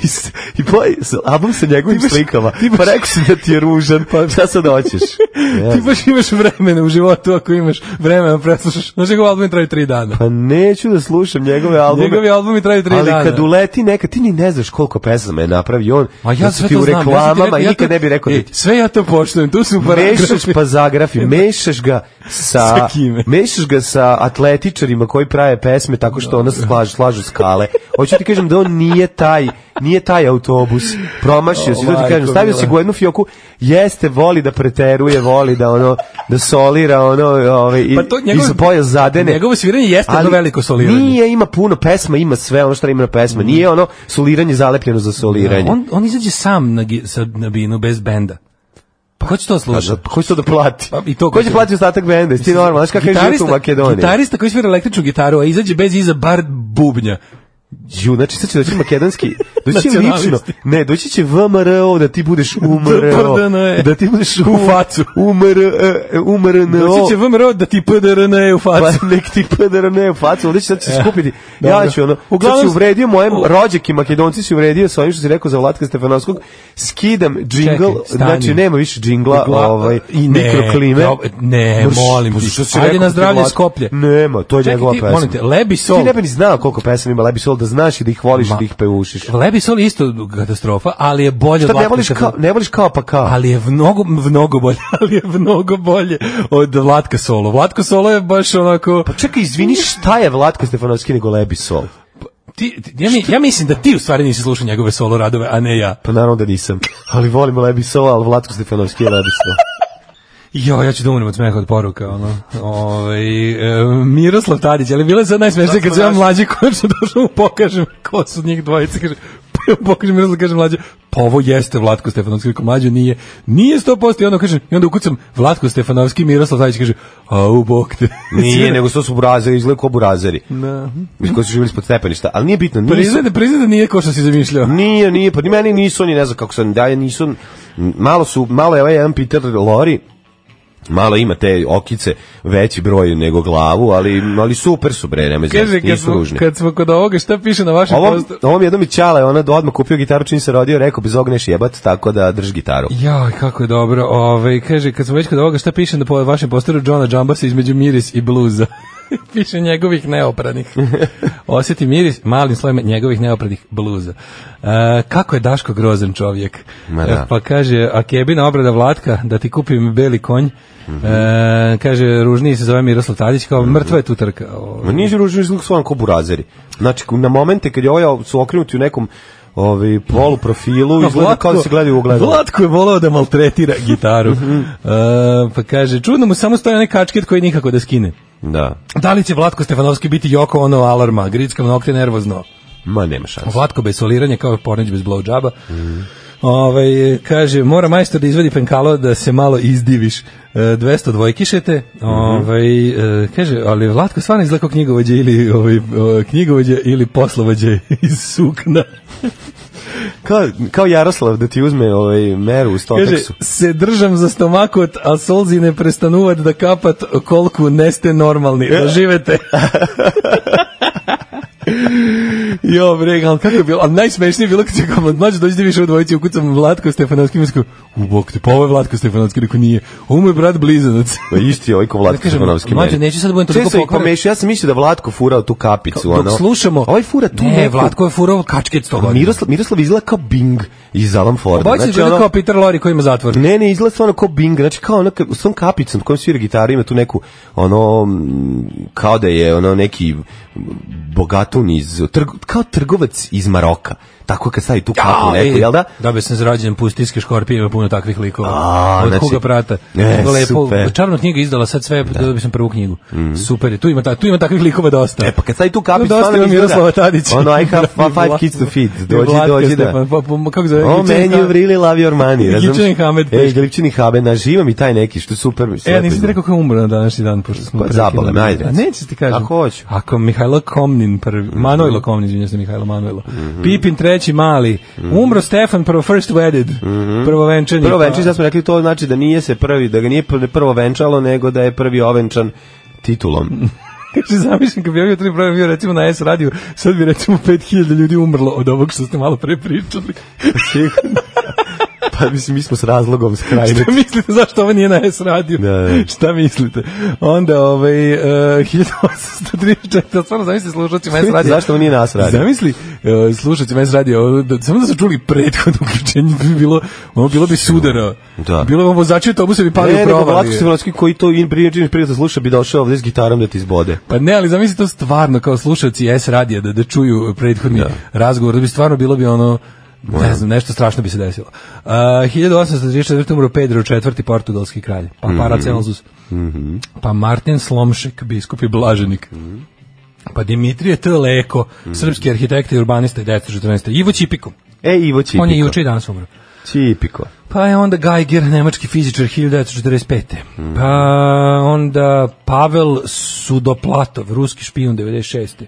Speaker 6: I, s- i play, s- album sa njegovim
Speaker 5: Ti baš-
Speaker 6: slikama,
Speaker 5: ti baš-
Speaker 6: pa rekao si da ti je ružan, pa šta sad hoćeš?
Speaker 5: Ti baš imaš vremena u životu ako imaš vremena da preslušaš. Znaš, njegov album traje tri dana.
Speaker 6: Pa neću da slušam njegove albume.
Speaker 5: Njegovi albumi traju tri
Speaker 6: ali
Speaker 5: dana.
Speaker 6: kad uleti neka, ti ni ne znaš koliko pesama je napravio on.
Speaker 5: A ja
Speaker 6: da su
Speaker 5: sve
Speaker 6: ti
Speaker 5: to
Speaker 6: u
Speaker 5: znam, ja sam E, ti
Speaker 6: reklamama
Speaker 5: rekao,
Speaker 6: i
Speaker 5: ja
Speaker 6: nikad
Speaker 5: to-
Speaker 6: ne bi rekao da
Speaker 5: Ej,
Speaker 6: ti
Speaker 5: sve ja to poštujem, tu su paragrafi.
Speaker 6: Mešaš pa zagrafi, mešaš ga sa,
Speaker 5: Sa kime?
Speaker 6: mešaš ga sa atletičarima koji prave pesme tako što
Speaker 5: Da.
Speaker 6: ona slaž, slažu skale. Hoću ti kažem da on nije taj, nije taj autobus. Promašio si,
Speaker 5: O,
Speaker 6: to ti kažem,
Speaker 5: majko
Speaker 6: stavio
Speaker 5: mila.
Speaker 6: si ga u jednu fioku, jeste, voli da preteruje, voli da ono, da solira, ono, ovaj, i,
Speaker 5: Pa to
Speaker 6: i
Speaker 5: njegov-
Speaker 6: za boja zadene.
Speaker 5: Njegovo sviranje jeste jedno veliko soliranje. Mm.
Speaker 6: Nije, ima puno pesma, ima sve ono što ima na pesma. Nije ono soliranje zalepljeno za soliranje.
Speaker 5: On, on izađe sam na, gi- sa, na binu bez benda. Pa ko će to
Speaker 6: Pa,
Speaker 5: slušati?
Speaker 6: za- ko će to da plati?
Speaker 5: Pa, i to
Speaker 6: ko će
Speaker 5: hoće.
Speaker 6: platiti ostatak benda? Jesi Ti normalno, znaš kakav je život u Makedoniji?
Speaker 5: Gitarista koji svira električnu gitaru, a izađe bez iza bar bubnja.
Speaker 6: Ju, znači sad će doći makedonski, doći će lično,
Speaker 5: Nacionalisti.
Speaker 6: ne, doći će VMRO da ti budeš UMRO,
Speaker 5: DPDNE.
Speaker 6: da ti budeš u,
Speaker 5: facu.
Speaker 6: UMR, UMRNO,
Speaker 5: Doći će VMRO da ti PDRN u facu.
Speaker 6: Pa nek ti pedera ne u facu, ovdje će sad se
Speaker 5: Ja,
Speaker 6: skupiti.
Speaker 5: E, dobro.
Speaker 6: Ja ću ono,
Speaker 5: Uglavnom-
Speaker 6: Uglavnom, sad si uvredio moje rođake, makedonci si uvredio sa onim što si rekao za Vlatka Stefanovskog, skidam džingl,
Speaker 5: stani.
Speaker 6: znači nema više džingla,
Speaker 5: Gla-
Speaker 6: ovaj,
Speaker 5: i ne,
Speaker 6: mikroklime.
Speaker 5: dobro, ne, molim ti.
Speaker 6: što si
Speaker 5: Ajde
Speaker 6: rekao
Speaker 5: na
Speaker 6: za
Speaker 5: zdravlje
Speaker 6: Vlatku?
Speaker 5: Skoplje.
Speaker 6: Nema, to je
Speaker 5: Čekaj
Speaker 6: njegova
Speaker 5: ti,
Speaker 6: pesma.
Speaker 5: molim te, Lebi Sol.
Speaker 6: Ti ne bi ni znao koliko pesama ima Lebi Sol, da znaš i da ih voliš i
Speaker 5: Ma-
Speaker 6: da ih peušiš.
Speaker 5: Lebi Sol je isto katastrofa, ali je bolje
Speaker 6: Šta
Speaker 5: od da
Speaker 6: ne voliš
Speaker 5: Vlatka
Speaker 6: kao, ne voliš kao pa kao?
Speaker 5: ali je mnogo mnogo bolje, ali je mnogo bolje od Vlatka Solo. Vlatko Solo je baš onako
Speaker 6: Pa čekaj, izvini, šta je Vlatko Stefanovski nego Lebi Sol?
Speaker 5: Pa ti, ti- ja, mi- ja mislim da ti u stvari nisi slušao njegove solo radove, a ne ja.
Speaker 6: Pa naravno da nisam. Ali volim Lebi Sol, ali Vlatko Stefanovski je Lebi Sol.
Speaker 5: Jo, ja ću da umrem od smeha od poruka, ono. Ovaj e, Miroslav Tadić, ali bilo je sad najsmešnije kad sam ja mlađi konačno došao mu pokažem ko su njih dvojica, kaže, pa ja mu pokažem Miroslav, kaže mlađi, pa ovo jeste Vlatko Stefanovski, rekao mlađi, nije, nije 100%, i onda kažem, i onda ukucam Vlatko Stefanovski, Miroslav Tadić, kaže, a u bok te. Znači,
Speaker 6: Nije, nego što su burazeri, izgledaju kao burazeri.
Speaker 5: Da.
Speaker 6: Iz koji su živjeli ispod stepeništa. Ali nije bitno, nisu,
Speaker 5: Priznaj da, priznaj da nije ko što si zamišljao.
Speaker 6: nije, nije, pa ni meni nisu, oni ne znam kako sam, da ja nisu, malo su, malo je ovaj jedan Peter Lori, malo ima te okice veći broj nego glavu, ali, ali super su bre, nema
Speaker 5: Kaže,
Speaker 6: znači,
Speaker 5: kad
Speaker 6: nisu
Speaker 5: smo,
Speaker 6: ružni.
Speaker 5: kad smo kod ovoga, šta piše na vašem
Speaker 6: Ovom,
Speaker 5: postu?
Speaker 6: ovom jednom je Ćala, ona odmah kupio gitaru čim se rodio, rekao, bez ogneš jebat, tako da drži gitaru.
Speaker 5: Joj, kako je dobro. Ove, kaže, kad smo već kod ovoga, šta piše na po- vašem posteru Johna Jambasa između miris i bluza? piše njegovih neopranih. Osjeti miris malim slojima njegovih neopranih bluza. E, kako je Daško grozan čovjek?
Speaker 6: Ma da.
Speaker 5: E, pa kaže, a kebina obrada Vlatka, da ti kupim beli konj.
Speaker 6: Mhm.
Speaker 5: E, kaže, ružniji se zove Miroslav Tadić, kao mrtva je tutarka. O,
Speaker 6: Ma nisu ružni izlog stvarno kao burazeri. Znači, na momente kad je ovaj su okrenuti u nekom ovaj, polu profilu, izgleda kao da se gledaju u ogledalo.
Speaker 5: Vlatko je volao da maltretira gitaru. E, pa kaže, čudno mu samo stoje onaj kačket koji nikako da skine.
Speaker 6: Da.
Speaker 5: Da li će Vlatko Stefanovski biti Joko ono alarma, grickam nokte nervozno?
Speaker 6: Ma nema šanse.
Speaker 5: Vlatko bez soliranja kao pornić bez blowjaba. Ovaj, kaže, mora majstor da izvadi penkalo da se malo izdiviš. E, 200 dvojkišete. Ovaj, e, kaže, ali Vlatko stvarno izgleda kao knjigovođe ili, ovaj, e, knjigovođe ili poslovođe iz sukna.
Speaker 6: Kao, kao Jaroslav da ti uzme ovaj, meru u
Speaker 5: Kaže,
Speaker 6: stoteksu.
Speaker 5: se držam za stomakot, a solzi ne prestanuvat da kapat kolku neste normalni.
Speaker 6: E.
Speaker 5: Da živete. jo, bre, ali kako je bilo? A najsmešnije je bilo kad će kao mlađe dođete više u dvojici, ukucam Vlatko Stefanovski, mi sku, u bok te, pa ovo je Vlatko Stefanovski, rekao nije, ovo mu je brat blizanac.
Speaker 6: Pa isti je ovaj ko
Speaker 5: Da
Speaker 6: Vlatko
Speaker 5: kažem,
Speaker 6: Stefanovski
Speaker 5: mlađe,
Speaker 6: meni.
Speaker 5: neću sad da budem toliko
Speaker 6: Često ih
Speaker 5: pokvaren.
Speaker 6: pomešao, ja sam mislio da Vlatko furao tu kapicu.
Speaker 5: Dok
Speaker 6: ono.
Speaker 5: slušamo...
Speaker 6: Ovaj fura tu
Speaker 5: ne,
Speaker 6: neku-
Speaker 5: Vlatko je furao kačket 100 godina.
Speaker 6: Miroslav, Miroslav izgleda kao Bing iz Alan Forda. Znači,
Speaker 5: Bojte se da
Speaker 6: ono-
Speaker 5: je kao Peter Lorre koji ima zatvor.
Speaker 6: Ne, ne, izgleda stvarno kao Bing, znači kao ono, ka- s tom kapicom s kojom svira gitaru ima tu neku, ono, mm, kao da je ono neki bogatun iz, trg, kao trgovac iz Maroka, tako kad stavi tu kapu neku, jel da?
Speaker 5: Da bi sam zrađen pustinske škorpije, ima puno takvih likova.
Speaker 6: A,
Speaker 5: Od
Speaker 6: znači-
Speaker 5: koga prata.
Speaker 6: E,
Speaker 5: Mnogo
Speaker 6: super. Mhm.
Speaker 5: Čarna knjiga izdala sad sve, da. bi sam prvu knjigu. Super je. Tu ima, ta, tu ima takvih likova dosta.
Speaker 6: E, pa kad stavi tu kapicu,
Speaker 5: dosta
Speaker 6: stvarno
Speaker 5: ima
Speaker 6: izgleda-
Speaker 5: Miroslava Tadića. Da,
Speaker 6: Ono, I have
Speaker 5: Vla-
Speaker 6: five kids to feed. Dođi,
Speaker 5: Vlatka
Speaker 6: dođi, da.
Speaker 5: Stefan, pa, pa, kako zove?
Speaker 6: Oh
Speaker 5: Gipčan
Speaker 6: man, you
Speaker 5: Hamed.
Speaker 6: really love your money. razumeš?
Speaker 5: Gipčan i Hamed.
Speaker 6: E, Glipčani Hamed, naživa mi taj neki, što je super.
Speaker 5: E, ja nisam ti rekao ko je umro na današnji dan, pošto smo
Speaker 6: Pa, zabole me, ajde.
Speaker 5: A neću ti kažem.
Speaker 6: A hoću.
Speaker 5: Ako Mihajlo Komnin prvi,
Speaker 6: Mhm.
Speaker 5: Manojlo Komnin, izvinjam se Mihajlo Manojlo. Pipin treći mali. Umro Stefan, prvo first wedded. Prvo venčani.
Speaker 6: Mhm. Prvo venčanje, sad smo rekli, to znači da nije se prvi, da ga nije pr- prvo venčalo, nego da je prvi ovenčan titulom.
Speaker 5: Kaže, zamišljam kad bi ovaj jutri program bio recimo na S radiju, sad bi recimo 5000 ljudi umrlo od ovog što ste malo pre pričali.
Speaker 6: Sigurno. pa mislim, mi smo s razlogom skrajni.
Speaker 5: Šta mislite zašto ovo nije na S radiju?
Speaker 6: Da, da.
Speaker 5: Šta mislite? Onda ovaj uh, 1834, stvarno zamisli slušaćima S radija.
Speaker 6: Zašto ovo nije nas radio?
Speaker 5: Zamisli uh, slušaćima S radija, ovo, da, samo da su čuli prethodno uključenje, bi bilo, ono bilo bi sudara.
Speaker 6: Da.
Speaker 5: Bilo bi ovo vozači autobusa bi pali
Speaker 6: Ne,
Speaker 5: u
Speaker 6: E, nego
Speaker 5: provali.
Speaker 6: Vlatko Stefanovski koji to in prijeđen prije da sluša bi došao ovde s gitarom da ti izbode.
Speaker 5: Pa ne, ali zamisli to stvarno kao slušalci S radija da da čuju prethodni razgovor, da bi stvarno bilo bi ono ne znam, nešto strašno bi se desilo. Uh, 1834. umro Pedro IV. portugalski kralj, pa Paracelsus, pa Martin Slomšek, biskup i blaženik, pa Dimitrije T. Leko, srpski arhitekta i urbanista i 1914. Ivo Čipiko,
Speaker 6: E, Ivo Čipiko.
Speaker 5: on je juče i danas umro.
Speaker 6: Čipiko.
Speaker 5: Pa je onda Geiger, nemački fizičar 1945. Pa onda Pavel Sudoplatov, ruski špijun 96.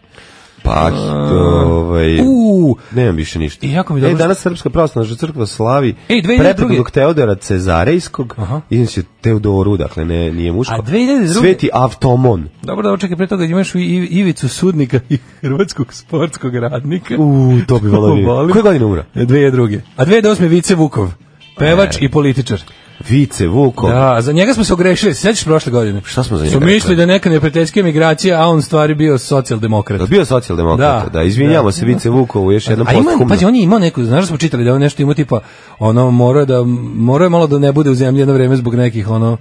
Speaker 6: Pa, to, ovaj,
Speaker 5: Uuu,
Speaker 6: nemam više ništa.
Speaker 5: I jako mi je
Speaker 6: Ej,
Speaker 5: dobro E,
Speaker 6: danas Srpska pravoslavna crkva slavi
Speaker 5: Ej, 2002.
Speaker 6: prepodobnog Teodora Cezarejskog,
Speaker 5: Aha.
Speaker 6: izim se Teodoru, dakle, ne, nije muško.
Speaker 5: A 2002.
Speaker 6: Sveti Avtomon.
Speaker 5: Dobro, dobro, čekaj, pre toga imaš i i- Ivicu Sudnika i hrvatskog sportskog radnika.
Speaker 6: U, to bi volao
Speaker 5: To
Speaker 6: vidjeti.
Speaker 5: volim.
Speaker 6: Koje godine umra?
Speaker 5: 2002. A 2008. Vice Vukov,
Speaker 6: E.
Speaker 5: pevač i političar.
Speaker 6: Vice, Vukov.
Speaker 5: Da, za njega smo se ogrešili, se sećaš prošle godine?
Speaker 6: Šta smo za njega
Speaker 5: Su mislili
Speaker 6: rekli?
Speaker 5: da neka neprijateljska migracija, a on u stvari bio socijaldemokrat.
Speaker 6: Da, bio je socijaldemokrata,
Speaker 5: Da.
Speaker 6: da, izvinjamo se Vice Vukovu, još jednom
Speaker 5: A ima,
Speaker 6: posthumno.
Speaker 5: pazi, on je imao neku, znaš da smo čitali da on nešto imao tipa, ono, mora da, mora je malo da ne bude u zemlji jedno vreme zbog nekih, ono,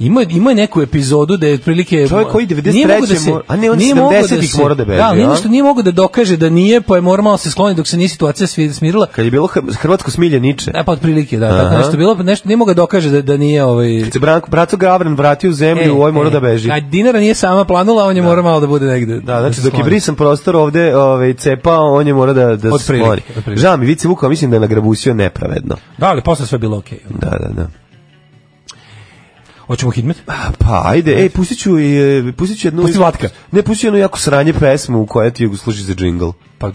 Speaker 5: Ima ima je neku epizodu da je otprilike
Speaker 6: Čovjek koji
Speaker 5: Nije mogao
Speaker 6: 93. mora- a ne, on
Speaker 5: nije mogao da
Speaker 6: 70-ih
Speaker 5: se-
Speaker 6: mora da beži,
Speaker 5: Da, ali nije
Speaker 6: a?
Speaker 5: nešto nije mogao da dokaže da nije, pa je morao se skloniti dok se nije situacija svi- smirila.
Speaker 6: Kad je bilo Hr- hrvatsko smilje Niče.
Speaker 5: E pa otprilike, da, tako
Speaker 6: Aha.
Speaker 5: nešto bilo, nešto nije mogao da dokaže da, da nije ovaj
Speaker 6: Se Branko, braco Gavran vratio u
Speaker 5: E,
Speaker 6: zemlju, ovaj mora da beži.
Speaker 5: A dinara nije sama planula, on je morao malo da bude negde.
Speaker 6: Da, znači
Speaker 5: se
Speaker 6: dok je
Speaker 5: skloni.
Speaker 6: brisan prostor ovde, ovaj cepao, on je mora da da se
Speaker 5: Otprilike,
Speaker 6: skloni.
Speaker 5: otprilike.
Speaker 6: Žao mi Vice Vukova, mislim da je nagrabusio nepravedno.
Speaker 5: Da, ali posle sve bilo okej.
Speaker 6: Da, da, da.
Speaker 5: Hoćemo hitmet?
Speaker 6: A, Pa, ajde, ej, pustit ću, i, e, pustit ću jednu...
Speaker 5: Pusti Vatka.
Speaker 6: Ne, pustit ću jednu jako sranje pesmu u kojoj ti služi za džingl.
Speaker 5: Pa, no.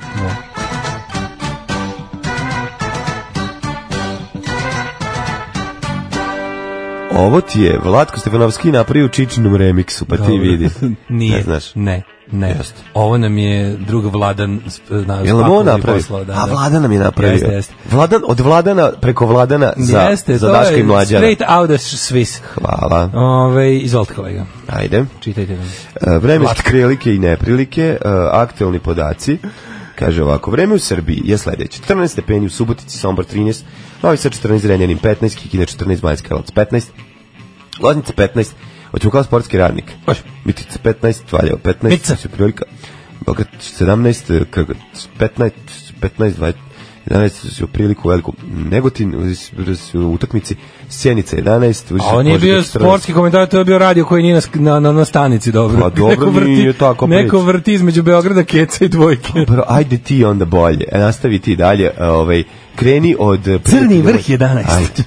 Speaker 6: Ovo ti je Vlatko Stefanovski napravio u Čičinom remiksu, pa ti
Speaker 5: Dobro.
Speaker 6: vidi.
Speaker 5: Nije.
Speaker 6: Ne znaš.
Speaker 5: Ne, ne.
Speaker 6: Jeste.
Speaker 5: Ovo nam je drug Vladan sp- na
Speaker 6: Je li nam on
Speaker 5: spakovni
Speaker 6: napravio?
Speaker 5: poslao, da,
Speaker 6: A
Speaker 5: da.
Speaker 6: Vlada nam je napravio.
Speaker 5: Jeste, jeste.
Speaker 6: Vladan, od Vladana preko Vladana za,
Speaker 5: Jeste,
Speaker 6: za
Speaker 5: to
Speaker 6: Daška
Speaker 5: je
Speaker 6: i Mlađana.
Speaker 5: Straight out of Swiss.
Speaker 6: Hvala.
Speaker 5: Ove, izvolite kolega,
Speaker 6: Ajde.
Speaker 5: čitajte nam.
Speaker 6: E, Vremenske prilike i neprilike, e, aktualni podaci. Kaže ovako, vreme u Srbiji je sledeće. 14 stepeni u Subotici, Sombor 13, Novi Sad 14, Renjanin 15, Kikina 14, Banjska Kralovac 15, Loznica 15, hoćemo kao sportski radnik.
Speaker 5: Može.
Speaker 6: Mitica 15, Valjevo 15,
Speaker 5: Mitica.
Speaker 6: Mitica. prilika. Beograd 17, Krgovic 15, 15, 20, 11 su u priliku veliku Negotin u utakmici Sjenica 11
Speaker 5: A on je
Speaker 6: Požega
Speaker 5: bio
Speaker 6: 14.
Speaker 5: sportski komentar, to je bio radio koji nije na, sk- na, na, na stanici, dobro.
Speaker 6: Pa dobro,
Speaker 5: Neko vrti-
Speaker 6: nije tako
Speaker 5: Neko
Speaker 6: priče.
Speaker 5: vrti između Beograda, Keca i dvojke.
Speaker 6: Dobro, ajde ti onda bolje. E, Nastavi ti dalje, e, ovaj kreni od e,
Speaker 5: Crni
Speaker 6: prijatelja-
Speaker 5: vrh 11.
Speaker 6: Ajde.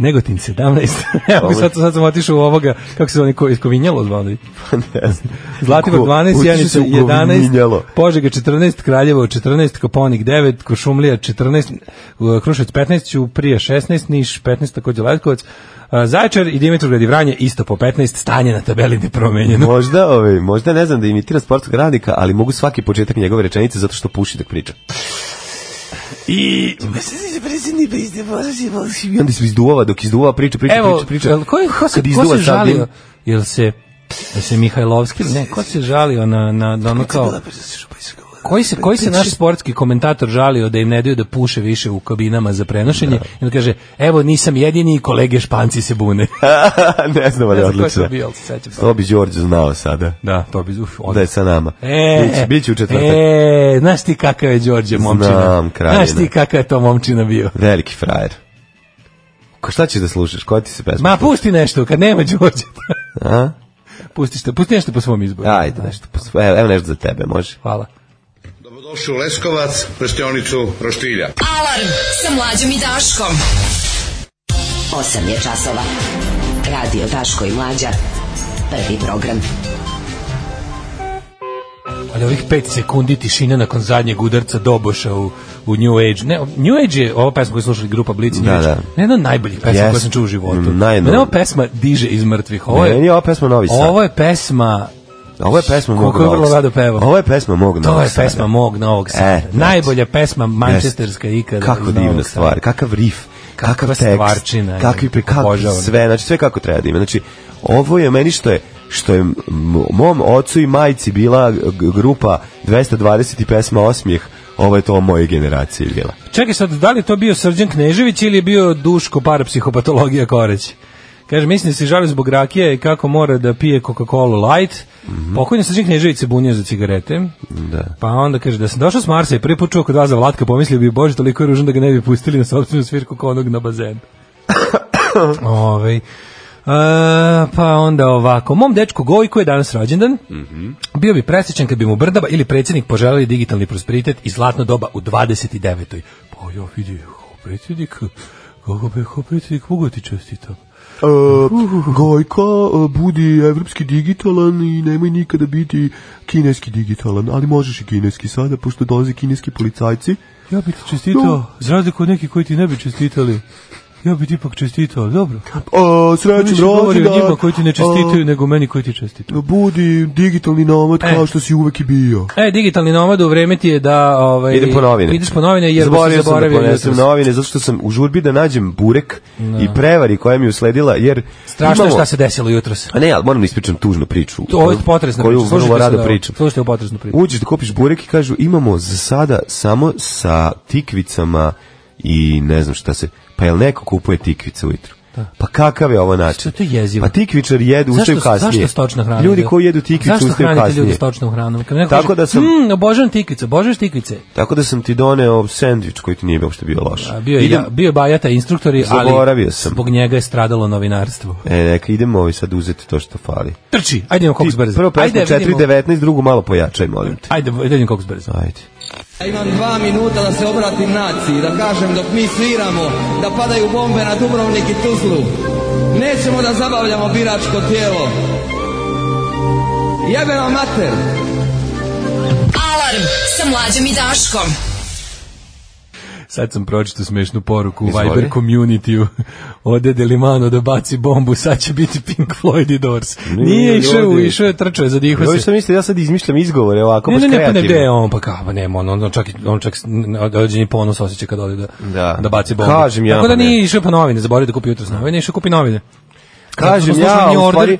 Speaker 5: Negotin 17. Evo, sad, sad sam otišao u ovoga, kako se zove, ko, iskovinjalo zvali.
Speaker 6: Ne znam.
Speaker 5: Zlatibor
Speaker 6: Ko-
Speaker 5: 12,
Speaker 6: otišao
Speaker 5: Janica
Speaker 6: se u
Speaker 5: 11,
Speaker 6: Govinjalo.
Speaker 5: Požega 14, Kraljevo 14, Koponik 9, Košumlija 14, uh, Kruševac 15, Ćuprija 16, Niš 15, takođe Leskovac, uh, Zaječar i Dimitrovgrad i Vranje isto po 15, stanje na tabeli nepromenjeno.
Speaker 6: Možda, ovaj, možda ne znam da imitira sportskog radnika, ali mogu svaki početak njegove rečenice zato što puši dok priča.
Speaker 5: I
Speaker 6: I onda se izduvava, dok izduvava priča, priča,
Speaker 5: evo,
Speaker 6: priča, priča.
Speaker 5: jel ko je ko se,
Speaker 6: Kad
Speaker 5: ko
Speaker 6: izduva
Speaker 5: se
Speaker 6: sad
Speaker 5: žalio?
Speaker 6: im-
Speaker 5: Jel se Jel se Mihajlovski, ne, ko se žalio na, na, na ono kao... Da, Koji
Speaker 6: Da,
Speaker 5: se, koji se naš sportski komentator žalio da im ne daju da puše više u kabinama za prenošenje?
Speaker 6: Da.
Speaker 5: I onda kaže, evo nisam jedini, kolege španci se bune.
Speaker 6: ne znam,
Speaker 5: Ne znam ko
Speaker 6: ali
Speaker 5: je
Speaker 6: Da, odlično.
Speaker 5: to bio, ali se sećam se.
Speaker 6: To bi Đorđe znao sada.
Speaker 5: Da, to bi, uf, odlično.
Speaker 6: Da je sa nama.
Speaker 5: E,
Speaker 6: Biće, biće u četvrtak.
Speaker 5: E, znaš ti kakav je Đorđe momčina?
Speaker 6: Znam, kraljina.
Speaker 5: Znaš ti kakav je to momčina bio?
Speaker 6: Veliki frajer. Ko šta ćeš da slušaš? Koja ti se pesma?
Speaker 5: Ma pusti nešto, kad nema Đorđe.
Speaker 6: A? Da.
Speaker 5: pusti, što, pusti nešto po svom izboru.
Speaker 6: Ajde, nešto. pos- Evo, evo nešto za tebe, može.
Speaker 5: Hvala.
Speaker 9: Dobrodošli u Leskovac, prštionicu Roštilja.
Speaker 4: Alarm sa mlađom i Daškom.
Speaker 2: 8 je časova. Radio Daško i Mlađa. Prvi program.
Speaker 5: Ali Pa da ovih 5 sekundi tišine nakon zadnjeg udarca Doboša u, u New Age. Ne, New Age je ova pesma koju slušali grupa Blic i New
Speaker 6: Da,
Speaker 5: Age.
Speaker 6: da.
Speaker 5: Ne, jedna od najboljih pesma
Speaker 6: Jest.
Speaker 5: koju sam čuo u životu.
Speaker 6: Mm, najno-
Speaker 5: Mene ova pesma diže iz mrtvih. Ovo
Speaker 6: Meni
Speaker 5: je,
Speaker 6: je ova pesma Novi Sad.
Speaker 5: ovo je pesma
Speaker 6: Ovo je pesma mog
Speaker 5: Koliko je vrlo
Speaker 6: novog
Speaker 5: rado pevao.
Speaker 6: Ovo je pesma mog novog
Speaker 5: To je
Speaker 6: sada.
Speaker 5: pesma mog Novog Sada.
Speaker 6: E, znači.
Speaker 5: Najbolja pesma mančesterska ikada. iz
Speaker 6: Kako divna
Speaker 5: Novog Sada.
Speaker 6: stvar, kakav rif, kakav
Speaker 5: Kakva
Speaker 6: tekst,
Speaker 5: stvarčina,
Speaker 6: kakvi pe, kako
Speaker 5: obožavam.
Speaker 6: sve, znači sve kako treba da ima. Znači, ovo je meni što je što je m- mom ocu i majci bila g- grupa 220 i pesma Osmijeh, ovo je to o mojoj generaciji bila.
Speaker 5: Čekaj sad, da li je to bio Srđan Knežević ili je bio Duško parapsihopatologija Koreć? Kaže, mislim da se žali zbog rakije i kako mora da pije Coca-Cola Light. Pokojni Srđan Knežević se bunio za cigarete.
Speaker 6: Da.
Speaker 5: Pa onda kaže, da sam došao s Marsa i prvi put čuo kod vas za Vlatka, pomislio bi, bože, toliko je ružan da ga ne bi pustili na sobstvenu svirku kao onog na bazenu. Ovaj. E, pa onda ovako, mom dečku Gojko je danas rođendan,
Speaker 6: Mhm.
Speaker 5: bio bi presrećan kad bi mu Brdaba ili predsjednik poželeli digitalni prosperitet i zlatno doba u 29. Pa ja vidi, kao predsjednik, kako bi, kao predsjednik, mogu ti čestitam.
Speaker 6: Uh, Gojka, uh, budi evropski digitalan i nemoj nikada biti kineski digitalan, ali možeš i kineski sada, pošto dolaze kineski policajci.
Speaker 5: Ja bi ti čestitao,
Speaker 6: No.
Speaker 5: za razliku od nekih koji ti ne bi čestitali. Ja bi ti ipak čestitao, dobro.
Speaker 6: Uh,
Speaker 5: Ja
Speaker 6: srećem
Speaker 5: više govori o
Speaker 6: rođendan.
Speaker 5: njima koji ti ne čestitaju, nego meni koji ti čestitaju.
Speaker 6: Uh, budi digitalni nomad
Speaker 5: E.
Speaker 6: kao što si uvek i bio.
Speaker 5: E, digitalni nomad u vreme ti je da... Ovaj,
Speaker 6: Idem po novine.
Speaker 5: Ideš po novine jer zaboravio
Speaker 6: zaboravio sam da
Speaker 5: zaboravio
Speaker 6: ponesem
Speaker 5: jutros. Da.
Speaker 6: novine zato što sam u žurbi da nađem burek i prevari koja mi je usledila jer
Speaker 5: Strašno je
Speaker 6: imamo-
Speaker 5: šta se desilo jutros.
Speaker 6: A ne, ali moram da ispričam tužnu priču.
Speaker 5: Ovo je
Speaker 6: koju-
Speaker 5: potresna
Speaker 6: koju
Speaker 5: priča.
Speaker 6: vrlo
Speaker 5: Slušajte
Speaker 6: rado
Speaker 5: sad ovo.
Speaker 6: pričam.
Speaker 5: Slušajte ovu potresnu priču.
Speaker 6: Uđeš da kupiš burek i kažu imamo za sada samo sa tikvicama i ne znam šta se... Pa jel neko kupuje tikvice ujutru? Pa kakav je ovo način?
Speaker 5: Da. Što je to jezivo?
Speaker 6: Pa tikvičar jedu, ustaju
Speaker 5: zašto,
Speaker 6: kasnije.
Speaker 5: zašto stočna hrana?
Speaker 6: Ljudi koji jedu tikvicu
Speaker 5: Zašto
Speaker 6: ustaju
Speaker 5: hranite
Speaker 6: kasnije.
Speaker 5: ljudi stočnom hranom? Kad neko
Speaker 6: Tako
Speaker 5: kaže,
Speaker 6: da sam-
Speaker 5: "Mm, obožavam tikvice, obožavaš tikvice.
Speaker 6: Tako da sam ti doneo sendvič koji ti nije uopšte bio loš.
Speaker 5: A bio je,
Speaker 6: Idem-
Speaker 5: ja, bio je Bajata instruktori,
Speaker 6: Zaboravio
Speaker 5: ali
Speaker 6: sam.
Speaker 5: zbog njega je stradalo novinarstvo.
Speaker 6: E, neka, idemo ovaj sad uzeti to što fali.
Speaker 5: Trči, ajde idemo koks brzo.
Speaker 6: Prvo pesmu
Speaker 5: Ajde, da vidimo-
Speaker 6: 4.19, drugu malo pojačaj, molim te.
Speaker 5: Ajde, ajde idemo koks brzo.
Speaker 6: Ajde.
Speaker 10: Ja imam dva minuta da se obratim naciji, da kažem dok mi sviramo, da padaju bombe na Dubrovnik i Tuzlu. Nećemo da zabavljamo biračko tijelo. Jebe vam mater!
Speaker 4: Alarm sa mlađom i Daškom.
Speaker 5: Sad sam pročitao smešnu poruku u
Speaker 6: Izvoli.
Speaker 5: Viber community-u. Ode Delimano da baci bombu, sad će biti Pink Floyd i Doors.
Speaker 6: Nije,
Speaker 5: Nije, išao,
Speaker 6: ljudi.
Speaker 5: išao je trčao, je, zadihao
Speaker 6: Ovo
Speaker 5: se.
Speaker 6: što mislite, ja sad izmišljam izgovore ovako,
Speaker 5: Ne,
Speaker 6: baš
Speaker 5: ne, ne, pa ne,
Speaker 6: kreativno.
Speaker 5: gde je on, pa kao, pa nema, on, on čak, i- on čak s- n- određeni ponos osjeća kad ode da,
Speaker 6: Da.
Speaker 5: da. baci bombu.
Speaker 6: Kažem ja,
Speaker 5: Tako da
Speaker 6: pa ne.
Speaker 5: nije išao po novine, zaboravio da kupi jutros novine, išao kupi novine.
Speaker 6: Kažem
Speaker 5: Zato smo
Speaker 6: ja,
Speaker 5: slušali New
Speaker 6: u
Speaker 5: Order
Speaker 6: stvari,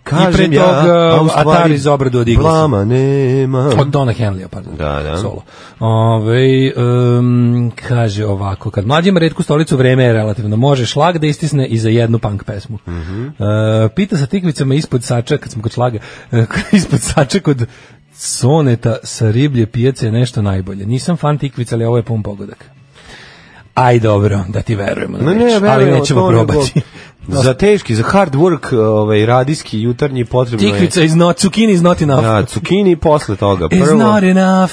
Speaker 5: i
Speaker 6: kažem
Speaker 5: pre
Speaker 6: ja,
Speaker 5: toga,
Speaker 6: a u stvari
Speaker 5: Atari za obradu od Eaglesa.
Speaker 6: Blama nema.
Speaker 5: Od Dona Henleya, pardon.
Speaker 6: Da, da.
Speaker 5: Solo. Ove, um, kaže ovako, kad mlađima redku stolicu vreme je relativno, može šlag da istisne i za jednu punk pesmu.
Speaker 6: Mhm.
Speaker 5: E, pita sa tikvicama ispod sača, kad smo kod šlaga, e, ispod sača kod soneta sa riblje pijace je nešto najbolje. Nisam fan tikvica, ali ovo je pun pogodak. Aj dobro, da ti verujemo na
Speaker 6: Ne, ne,
Speaker 5: reč, ali
Speaker 6: verujemo
Speaker 5: nećemo
Speaker 6: to, nego-
Speaker 5: probati.
Speaker 6: za teški, za hard work, ovaj, radijski, jutarnji potrebno je...
Speaker 5: Tikvica is not, cukini is not enough.
Speaker 6: Da, cukini posle toga.
Speaker 5: Is
Speaker 6: Prvo,
Speaker 5: not enough.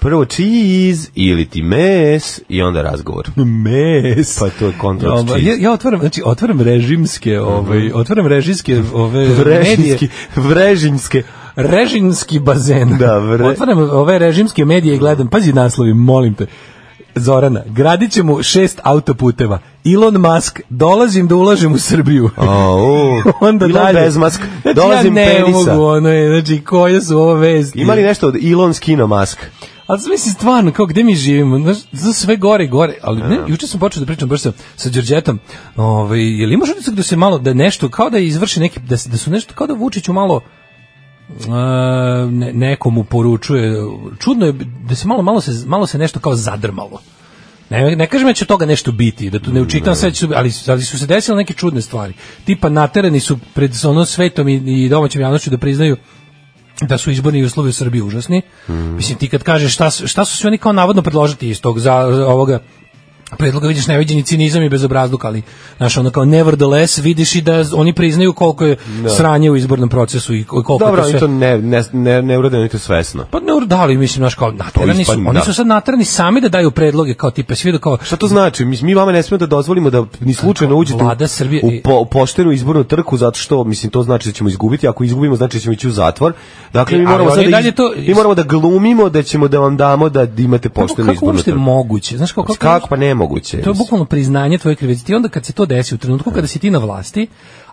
Speaker 6: prvo cheese ili ti mes i onda razgovor.
Speaker 5: Mes.
Speaker 6: Pa to je kontrast
Speaker 5: Ovo,
Speaker 6: cheese.
Speaker 5: ja, ja otvaram, znači otvaram režimske, ovaj,
Speaker 6: Mhm.
Speaker 5: otvaram režimske ove medije.
Speaker 6: Vrežinski, vrežinske.
Speaker 5: Režimski bazen.
Speaker 6: Da, vre-
Speaker 5: Otvaram ove režimske medije i gledam, pazi naslovi, molim te. Zorana, gradit ćemo šest autoputeva. Elon Musk, dolazim da ulažem u Srbiju.
Speaker 6: A, o,
Speaker 5: Onda
Speaker 6: Elon
Speaker 5: dalje.
Speaker 6: Bezmask,
Speaker 5: Znači,
Speaker 6: dolazim
Speaker 5: ja ne
Speaker 6: penisa.
Speaker 5: mogu, ono je, znači, koje su ovo vesti?
Speaker 6: Ima li nešto od Elon Skino Musk?
Speaker 5: Ali sam mislim stvarno, kao gde mi živimo, znaš, za sve gore i gore, ali ne, juče sam počeo da pričam baš sa, sa Đorđetom, ovaj, je li imaš utisak da se malo, da nešto, kao da izvrši neki, da, se- da su nešto, kao da Vučiću malo, a, ne, nekomu poručuje, čudno je da se malo, malo, se, malo se nešto kao zadrmalo. Ne, ne kažem da će od toga nešto biti, da tu ne učitam sve, će- ali, ali su se desile neke čudne stvari. Tipa naterani su pred ono svetom i, i domaćom javnošću da priznaju da su izborni uslovi u Srbiji užasni. Mislim, ti kad kažeš šta, su- šta su svi oni kao navodno predložiti iz tog za, za ovoga predloga vidiš neviđeni cinizam i bezobrazluk, ali znaš, ono kao nevertheless vidiš i da z- oni priznaju koliko je sranje u izbornom procesu Da. i ko- koliko
Speaker 6: Dobro,
Speaker 5: je to
Speaker 6: oni
Speaker 5: sve.
Speaker 6: to ne, ne, ne, ne urade, oni to svesno.
Speaker 5: Pa ne dali, mislim, znaš, kao naterani su,
Speaker 6: ispadne,
Speaker 5: oni
Speaker 6: da.
Speaker 5: su sad naterani sami da daju predloge, kao tipe, svi da kao,
Speaker 6: Šta to znači? Mi, mi vama ne smemo da dozvolimo da ni slučajno uđete
Speaker 5: Vlada
Speaker 6: u,
Speaker 5: Srbije-
Speaker 6: u, po, u poštenu izbornu trku zato što mislim to znači da ćemo izgubiti, ako izgubimo znači da ćemo ići u zatvor. Dakle mi
Speaker 5: E, ali
Speaker 6: moramo
Speaker 5: oni
Speaker 6: sad da
Speaker 5: dalje
Speaker 6: iz-
Speaker 5: to-
Speaker 6: mi moramo da glumimo da ćemo da vam damo da imate
Speaker 5: kako,
Speaker 6: poštenu
Speaker 5: kako
Speaker 6: izbornu
Speaker 5: uopšte
Speaker 6: trku.
Speaker 5: moguće? Znaš, kao, kako,
Speaker 6: Kako pa nemoguće.
Speaker 5: To je
Speaker 6: mislim.
Speaker 5: bukvalno priznanje tvoje krivice. Ti onda kad se to desi u trenutku kada si ti na vlasti,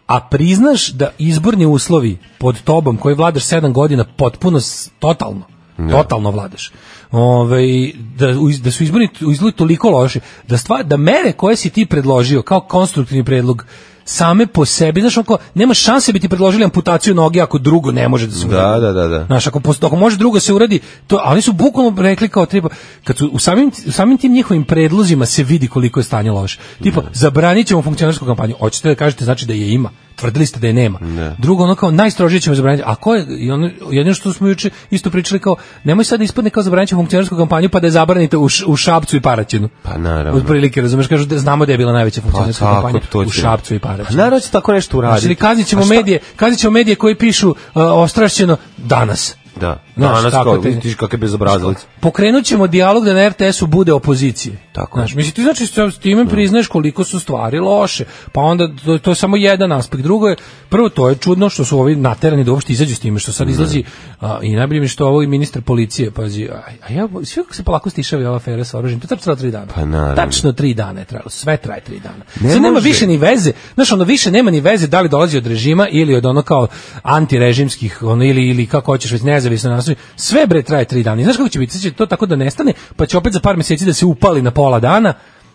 Speaker 5: a priznaš da izborni uslovi pod tobom koji vladaš 7 godina potpuno s- totalno
Speaker 6: Da.
Speaker 5: totalno vladaš. Ove, da, u- da su izborni izlovi toliko loši, da, stvar, da mere koje si ti predložio kao konstruktivni predlog same po sebi, znaš, oko, nema šanse da bi ti predložili amputaciju noge ako drugo ne može da se
Speaker 6: Da,
Speaker 5: uradi.
Speaker 6: da, da, da.
Speaker 5: Znaš, ako, posto, ako može drugo se uradi, to, ali su bukvalno rekli kao treba, kad su u samim, u samim tim njihovim predlozima se vidi koliko je stanje loše. Tipa,
Speaker 6: Da.
Speaker 5: zabranit ćemo funkcionarsku kampanju. Hoćete da kažete znači da je ima. Tvrdili ste da je nema. Drugo, ono kao, najstrožije ćemo zabraniti. A ko je, i ono, jedino što smo juče isto pričali kao, nemoj sad da ispadne kao zabranit ćemo funkcionarsku kampanju pa da je zabranite u, Š- u Šapcu i Paraćinu.
Speaker 6: Pa naravno. Pa
Speaker 5: Otprilike, razumeš, kažu, da, znamo da je bila najveća funkcionarska
Speaker 6: tako,
Speaker 5: kampanja
Speaker 6: to
Speaker 5: u
Speaker 6: će-
Speaker 5: Šapcu i Paraćinu.
Speaker 6: Naravno će tako nešto uraditi.
Speaker 5: Znači, kazićemo
Speaker 6: A šta-
Speaker 5: medije, kazićemo medije koji pišu uh, e, ostrašćeno danas.
Speaker 6: Da.
Speaker 5: Znaš,
Speaker 6: Danas
Speaker 5: tako
Speaker 6: kao,
Speaker 5: te-
Speaker 6: vidiš kakve bezobrazlice.
Speaker 5: Pokrenut ćemo dijalog da na RTS-u bude opozicije.
Speaker 6: Tako. Da.
Speaker 5: Znaš, mislim, ti znači s- s time priznaš koliko su stvari loše. Pa onda to, to je samo jedan aspekt. Drugo je, prvo to je čudno što su ovi naterani da uopšte izađu s time, što sad izlazi a, i najbolje mi je što ovo i ministar policije, pazi, a, a ja, sve kako se polako stišavi ova afera sa oružjem, to je tačno trajalo tri dana.
Speaker 6: Pa naravno.
Speaker 5: Tačno tri dana je trajalo, sve traje tri dana.
Speaker 6: Ne
Speaker 5: Ne Sad nema
Speaker 6: može.
Speaker 5: više ni veze, znaš, ono više nema ni veze da li dolazi od režima ili od ono kao antirežimskih, ono ili, ili kako hoćeš, već nezavisno nastoji, sve bre traje tri dana. I znaš kako će biti, Sad će to tako da nestane, pa će opet za par meseci da se upali na pola dana,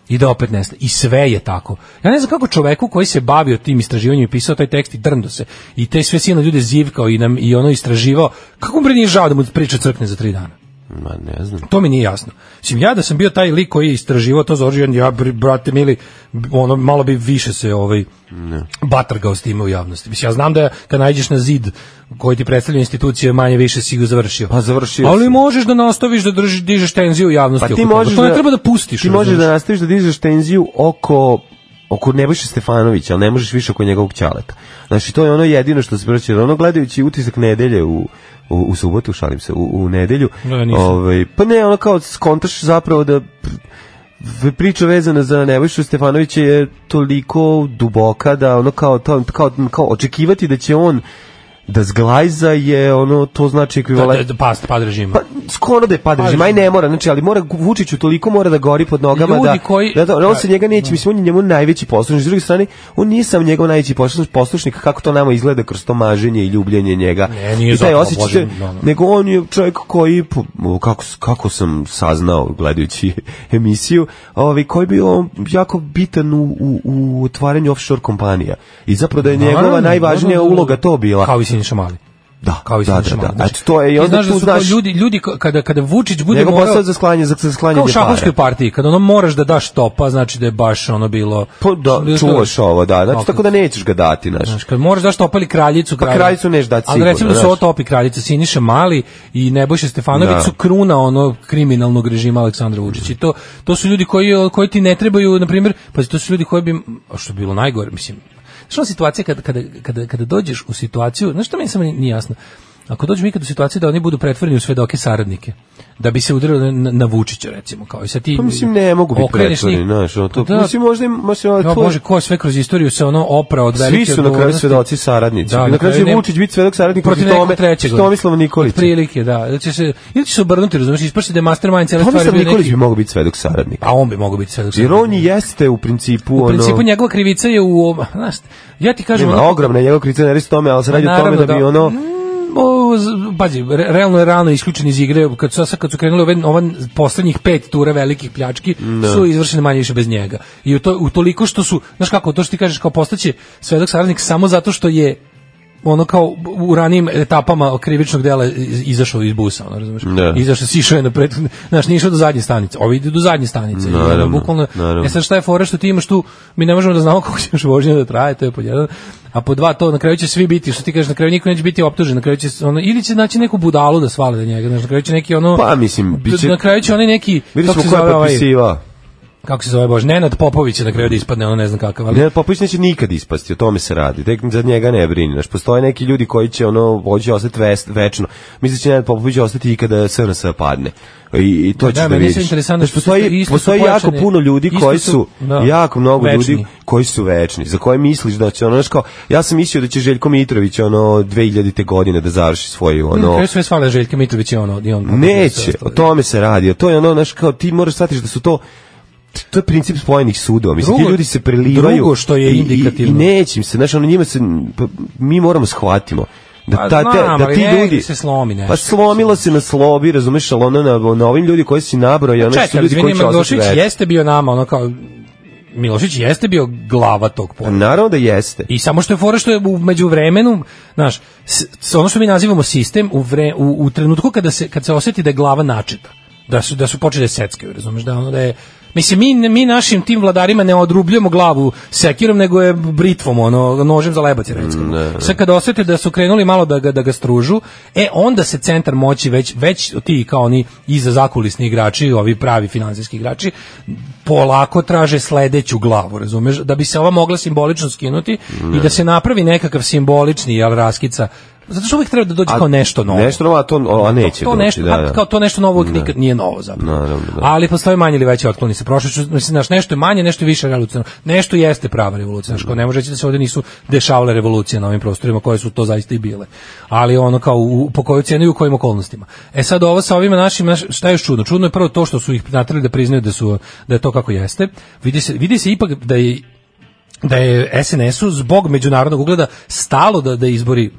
Speaker 5: i da opet nestane. I sve je tako. Ja ne znam kako čoveku koji se bavio tim istraživanjem i pisao taj tekst i drndo se i te sve silne ljude zivkao i, nam, i ono istraživao, kako mu bre nije žao da mu priča crkne za tri dana?
Speaker 6: Ma ne znam.
Speaker 5: To mi nije jasno. Mislim, ja da sam bio taj lik koji je istraživao to za oružje, ja, br- brate mili, b- ono, malo bi više se ovaj, batrgao s time u javnosti. Mislim, ja znam da kad najđeš na zid koji ti predstavlja institucije, manje više si ga završio.
Speaker 6: Pa završio
Speaker 5: Ali
Speaker 6: si.
Speaker 5: možeš da nastaviš da drži, dižeš tenziju u javnosti.
Speaker 6: Pa
Speaker 5: oko
Speaker 6: ti
Speaker 5: toga.
Speaker 6: možeš
Speaker 5: to ne treba da pustiš.
Speaker 6: Ti možeš
Speaker 5: razumeš?
Speaker 6: da nastaviš da dižeš tenziju oko oko Nebojše Stefanovića, ali ne možeš više oko njegovog ćaleta. Znači, to je ono jedino što se preći. Ono gledajući utisak nedelje u, u, u subotu, šalim se, u, u nedelju.
Speaker 5: Ne, ja nisam.
Speaker 6: ovaj, pa ne, ono kao skontaš zapravo da v- priča vezana za Nebojšu Stefanovića je toliko duboka da ono kao, to, kao, kao očekivati da će on da zglajza je ono, to znači
Speaker 5: da,
Speaker 6: ekvivalent.
Speaker 5: da, da past, pad režima.
Speaker 6: Pa skoro da je padne režim, aj ne mora, znači, ali mora Vučiću toliko mora da gori pod nogama
Speaker 5: Ljudi
Speaker 6: da,
Speaker 5: koji-
Speaker 6: da, da, on se
Speaker 5: da,
Speaker 6: njega neće, mislim, on je njemu najveći poslušnik, s druge strane, on nije sam njegov najveći poslušnik, poslušnik kako to nama izgleda kroz to maženje i ljubljenje njega.
Speaker 5: Ne, nije
Speaker 6: I taj
Speaker 5: zato,
Speaker 6: osjećaj,
Speaker 5: Bože,
Speaker 6: te-
Speaker 5: da, da.
Speaker 6: nego on je čovjek koji, po- o, kako, s- kako sam saznao gledajući emisiju, ovaj, koji je bio jako bitan u, u, u otvaranju offshore kompanija. I zapravo da je njegova
Speaker 5: Naravno,
Speaker 6: najvažnija
Speaker 5: naravno,
Speaker 6: uloga to bila.
Speaker 5: Kao i Siniša Mali.
Speaker 6: Da,
Speaker 5: Kao i
Speaker 6: da,
Speaker 5: Siniša
Speaker 6: da,
Speaker 5: Mali.
Speaker 6: da.
Speaker 5: Znači,
Speaker 6: Eto, to je, i
Speaker 5: ti
Speaker 6: onda
Speaker 5: znaš da
Speaker 6: tu
Speaker 5: su to
Speaker 6: znaš-
Speaker 5: ljudi, ljudi ko- kada, kada Vučić bude
Speaker 6: Njegov
Speaker 5: morao...
Speaker 6: posao za sklanje, za, za sklanje
Speaker 5: Kao u šahovskoj partiji, kad ono moraš da daš topa, znači da je baš ono bilo...
Speaker 6: Pa da, čuvaš ovo, da, znači tako da nećeš ga dati,
Speaker 5: Znaš,
Speaker 6: znaš.
Speaker 5: kad moraš daš topali kraljicu,
Speaker 6: Pa kraljicu neš dati
Speaker 5: Ali
Speaker 6: sigurno,
Speaker 5: recimo da su
Speaker 6: znaš.
Speaker 5: ovo topi kraljica, Siniša Mali i Nebojša Stefanović
Speaker 6: Da.
Speaker 5: su kruna ono kriminalnog režima Aleksandra Vučića. I to, to su ljudi koji, koji ti ne trebaju, na primjer, pa to su ljudi koji bi, a što bi bilo najgore, mislim, znaš ona situacija kada, kada, kada, kada dođeš u situaciju, znaš što meni samo nije jasno, ako dođemo ikad u situaciju da oni budu pretvoreni u svedoke saradnike, da bi se udarilo na, na Vučića recimo, kao i sad ti
Speaker 6: Pa mislim ne mogu biti
Speaker 5: okreneš
Speaker 6: pretvoreni,
Speaker 5: njih-
Speaker 6: znaš, ono, to,
Speaker 5: Da,
Speaker 6: mislim možda im, možda
Speaker 5: Ja,
Speaker 6: to,
Speaker 5: Bože, ko je sve kroz istoriju se ono oprao od velike
Speaker 6: svi su na kraju
Speaker 5: odgovornosti?
Speaker 6: svedoci saradnici.
Speaker 5: Da,
Speaker 6: na kraju će
Speaker 5: nema-
Speaker 6: Vučić biti svedok saradnik protiv
Speaker 5: nekog
Speaker 6: tome,
Speaker 5: trećeg.
Speaker 6: što Tomislava Nikolića.
Speaker 5: Otprilike, da. Ili će se, ili će se obrnuti, razumiješ, ispašće da je mastermind cijela stvar
Speaker 6: Tomislav
Speaker 5: bio
Speaker 6: Nikolić
Speaker 5: neki...
Speaker 6: bi mogao biti svedok saradnik.
Speaker 5: Pa on bi mogao biti svedok
Speaker 6: Jer
Speaker 5: saradnik.
Speaker 6: on i jeste u principu,
Speaker 5: Da. U principu
Speaker 6: ono,
Speaker 5: njegova krivica je u... ovom- Znaš, ja ti kažem...
Speaker 6: nema
Speaker 5: ono-
Speaker 6: ogromna je njegov kritica, ne radi se tome, ali se radi o tome
Speaker 5: naravno
Speaker 6: da bi
Speaker 5: da-
Speaker 6: ono,
Speaker 5: Mm, o, z- pazi, re- realno je rano isključen iz igre, kad su, sad kad su krenuli ove, ova poslednjih pet tura velikih pljački,
Speaker 6: Da.
Speaker 5: su izvršene manje više bez njega. I u, to, u toliko što su, znaš kako, to što ti kažeš kao postaće svedok saradnik samo zato što je ono kao u ranijim etapama krivičnog dela iz- izašao iz busa, ono, razumeš?
Speaker 6: Da.
Speaker 5: Izašao si išao je na prethodne, znaš, nije išao do zadnje stanice, ovi idu do zadnje stanice. I ono,
Speaker 6: Naravno,
Speaker 5: bukvalno,
Speaker 6: naravno.
Speaker 5: E sad šta je fora što ti imaš tu, mi ne možemo da znamo kako će još vožnja da traje, to je pod jedan. A po dva to, na kraju će svi biti, što ti kažeš, na kraju niko neće biti optužen, na kraju će, se ono, ili će naći neku budalu da svale da njega, znaš, na kraju će neki ono... Da,
Speaker 6: Pa, mislim, bit će-
Speaker 5: Na kraju će oni neki...
Speaker 6: vidi
Speaker 5: kako se
Speaker 6: smo ko je
Speaker 5: zove ovaj-
Speaker 6: potpisivao.
Speaker 5: Kako se zove, Bože, Nenad Popović je na kraju da ispadne, ono ne znam kakav, ali...
Speaker 6: Ne, Popović neće nikad ispasti, o tome se radi. Tek za njega ne brini. Znaš, postoje neki ljudi koji će ono vođe ostati vest, večno. Misli će Nenad Popović ostati i kada SNS padne. I, i to
Speaker 5: Da,
Speaker 6: ćeš da,
Speaker 5: meni se
Speaker 6: vidiš.
Speaker 5: interesantno
Speaker 6: Znaš,
Speaker 5: što su-
Speaker 6: postoji,
Speaker 5: isto su
Speaker 6: postoji
Speaker 5: pojačane-
Speaker 6: jako puno ljudi
Speaker 5: isto
Speaker 6: koji
Speaker 5: su-
Speaker 6: su,
Speaker 5: da,
Speaker 6: jako mnogo
Speaker 5: večni.
Speaker 6: ljudi koji su večni, za koje misliš da će ono, znaš kao, ja sam mislio da će Željko Mitrović ono 2000. godine da završi svoju
Speaker 5: Na
Speaker 6: ono,
Speaker 5: kraju sve svale Željka Mitrović i ono... I on
Speaker 6: Neće, o tome se radi. To je ono, znaš, kao ti moraš shvatiti da su to to je princip spojenih sudova. Mislim,
Speaker 5: Drugo-
Speaker 6: ti ljudi se prelivaju.
Speaker 5: drugo što je
Speaker 6: i- i-
Speaker 5: indikativno.
Speaker 6: I, neće im se, znaš, ono njima se, pa, mi moramo shvatimo. Da,
Speaker 5: Pa
Speaker 6: ta, te-
Speaker 5: znam,
Speaker 6: da
Speaker 5: ali
Speaker 6: ti
Speaker 5: negde
Speaker 6: ljudi...
Speaker 5: se slomi nešto.
Speaker 6: Pa slomilo se na slobi, razumeš, ali ono na, na ovim ljudi koji si nabrojao, ono su
Speaker 5: Pa Čekaj,
Speaker 6: ljudi koji
Speaker 5: izvini,
Speaker 6: će ostati
Speaker 5: Milošić
Speaker 6: veći.
Speaker 5: jeste bio nama, ono kao... Milošić jeste bio glava tog
Speaker 6: Pa
Speaker 5: pora.
Speaker 6: naravno da jeste.
Speaker 5: I samo što je fora što je u međuvremenu, znaš, s, s- ono što mi nazivamo sistem u, vre, u, u trenutku kada se kad se oseti da je glava načeta, da su da su počeli da seckaju, razumeš, da ono da je Mislim, mi, mi našim tim vladarima ne odrubljujemo glavu sekirom, nego je britvom, ono, nožem za lebac je recimo. Sve kada osete da su krenuli malo da ga, da ga stružu, e, onda se centar moći već, već ti kao oni iza zakulisni igrači, ovi pravi finansijski igrači, polako traže sledeću glavu, razumeš, da bi se ova mogla simbolično skinuti i da se napravi nekakav simbolični jel raskica zato što uvijek treba da dođe
Speaker 6: A
Speaker 5: kao nešto novo.
Speaker 6: Nešto novo, a to- o, a neće
Speaker 5: to,
Speaker 6: doći,
Speaker 5: nešto,
Speaker 6: da,
Speaker 5: a
Speaker 6: da.
Speaker 5: Kao to nešto novo uvijek nikad nije novo zapravo.
Speaker 6: Naravno, da.
Speaker 5: Ali postoje manje ili veće otkloni sa prošlošću. Mislim, znaš, nešto je manje, nešto je više revolucionarno. Nešto jeste prava revolucija. Znaš, kao ne može reći da se ovdje nisu dešavale revolucije na ovim prostorima koje su to zaista i bile. Ali ono kao u, po kojoj cijeni i u kojim okolnostima. E sad ovo sa ovima našim, znaš, šta je još čudno? Čudno je prvo to što su ih natrali da priznaju da, su, da je to kako jeste. Vidi se, vidi se ipak da je da je SNS-u zbog međunarodnog ugleda stalo da, da izbori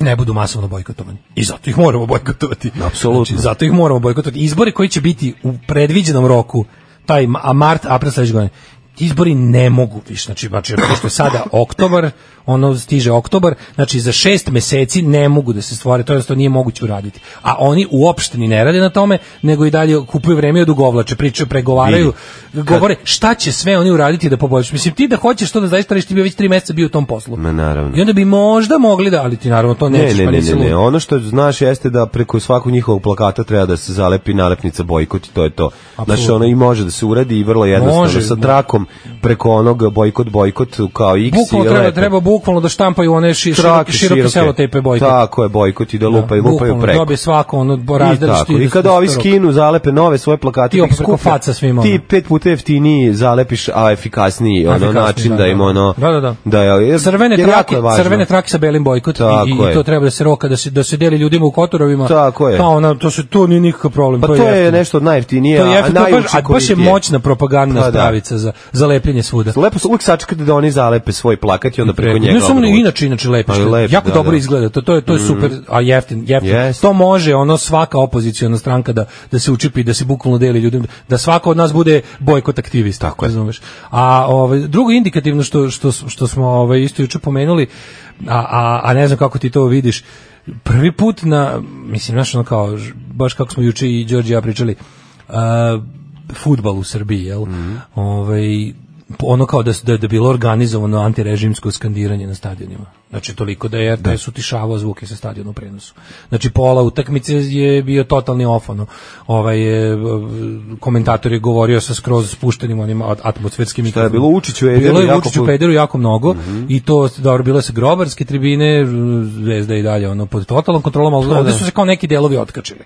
Speaker 5: ne budu masovno bojkotovani. I zato ih moramo bojkotovati.
Speaker 6: Apsolutno.
Speaker 5: Znači, zato ih moramo bojkotovati. Izbori koji će biti u predviđenom roku, taj ma- a mart, april sledeće godine, ti izbori ne mogu više. Znači, znači pošto je sada oktobar, ono stiže oktobar, znači za šest meseci ne mogu da se stvore, to jednostavno nije moguće uraditi. A oni uopšte ni ne rade na tome, nego i dalje kupuju vreme i odugovlače, pričaju, pregovaraju, govore šta će sve oni uraditi da poboljšaju. Mislim, ti da hoćeš to da zaista reći, ti bi već tri meseca bio u tom poslu.
Speaker 6: Ma, naravno.
Speaker 5: I onda bi možda mogli da, ali ti naravno to
Speaker 6: Ne,
Speaker 5: nećeš,
Speaker 6: ne,
Speaker 5: pa
Speaker 6: ne,
Speaker 5: nisi
Speaker 6: ne, ne.
Speaker 5: lud.
Speaker 6: Ono što znaš jeste da preko svakog njihovog plakata treba da se zalepi nalepnica bojkot i to je to. Znači
Speaker 5: Apsolutno.
Speaker 6: ono i može da se uradi i vrlo jednostavno
Speaker 5: Može,
Speaker 6: sa
Speaker 5: da.
Speaker 6: trakom preko onog bojkot bojkot kao X
Speaker 5: Bukvalno
Speaker 6: i
Speaker 5: treba,
Speaker 6: lepe.
Speaker 5: treba bukvalno da štampaju one ši, široke,
Speaker 6: Trake
Speaker 5: široke selotepe bojkot.
Speaker 6: Tako je, bojkot i da lupaju, lupaju
Speaker 5: Bukvalno,
Speaker 6: preko.
Speaker 5: Dobije svako ono bo-
Speaker 6: I,
Speaker 5: razdeliš
Speaker 6: tako.
Speaker 5: ti
Speaker 6: I
Speaker 5: da
Speaker 6: kada
Speaker 5: sto-
Speaker 6: ovi
Speaker 5: sto-
Speaker 6: skinu, zalepe nove svoje plakate,
Speaker 5: Ti
Speaker 6: pa ih
Speaker 5: opreko
Speaker 6: skuplja.
Speaker 5: faca svima,
Speaker 6: Ti
Speaker 5: ono.
Speaker 6: pet puta jeftiniji zalepiš, a efikasniji, ono,
Speaker 5: Efikasniji,
Speaker 6: način
Speaker 5: da,
Speaker 6: da
Speaker 5: da.
Speaker 6: im ono...
Speaker 5: Da, da, da.
Speaker 6: je, jer-
Speaker 5: Crvene
Speaker 6: jer jako
Speaker 5: trake,
Speaker 6: je važno.
Speaker 5: crvene trake sa belim bojkot i,
Speaker 6: Tako
Speaker 5: i,
Speaker 6: je.
Speaker 5: i to treba da se roka da se da se deli ljudima u kotorovima.
Speaker 6: Tako je.
Speaker 5: To ona to se to nije nikakav problem.
Speaker 6: Pa to je
Speaker 5: jeftino.
Speaker 6: nešto od najjeftinije,
Speaker 5: To je
Speaker 6: a
Speaker 5: jeftino, to je baš, a baš je
Speaker 6: najučinkovitije.
Speaker 5: moćna propagandna
Speaker 6: Pa da.
Speaker 5: spravica za za lepljenje svuda.
Speaker 6: Lepo su uvijek sačekati da oni zalepe svoj plakat i onda preko njega.
Speaker 5: Ne samo
Speaker 6: odvuče.
Speaker 5: inače inače lepo,
Speaker 6: Pa
Speaker 5: što je
Speaker 6: lepo,
Speaker 5: jako
Speaker 6: da,
Speaker 5: dobro
Speaker 6: da.
Speaker 5: izgleda. To to je to je super, a jeftin, jeftin.
Speaker 6: Jest.
Speaker 5: To može ono svaka opoziciona stranka da da se učipi, da se bukvalno deli ljudima, da svako od nas bude bojkot aktivist, tako razumeš. A ovaj drugo indikativno što što što smo ovaj isto juče pomenuli, a, a, a ne znam kako ti to vidiš. Prvi put na mislim znaš ono kao ž- baš kako smo juče i Đorđe i ja pričali. a, futbal u Srbiji, jel? Ovaj, ono kao da, su- da, da je bilo organizovano antirežimsko skandiranje na stadionima. Znači, toliko da je RTS utišavao zvuke sa stadiona u prenosu. Znači, pola utakmice je bio totalni ofono. Ovaj, je, komentator je govorio sa skroz spuštenim onim at- atmosferskim
Speaker 6: je bilo? Učiću Ederu
Speaker 5: Bilo je
Speaker 6: jako
Speaker 5: Vučiću
Speaker 6: pu-
Speaker 5: Pederu jako mnogo i to dobro bilo je sa grobarske tribine Zvezda je i dalje ono pod totalnom kontrolom ali ovde su se kao neki delovi otkačili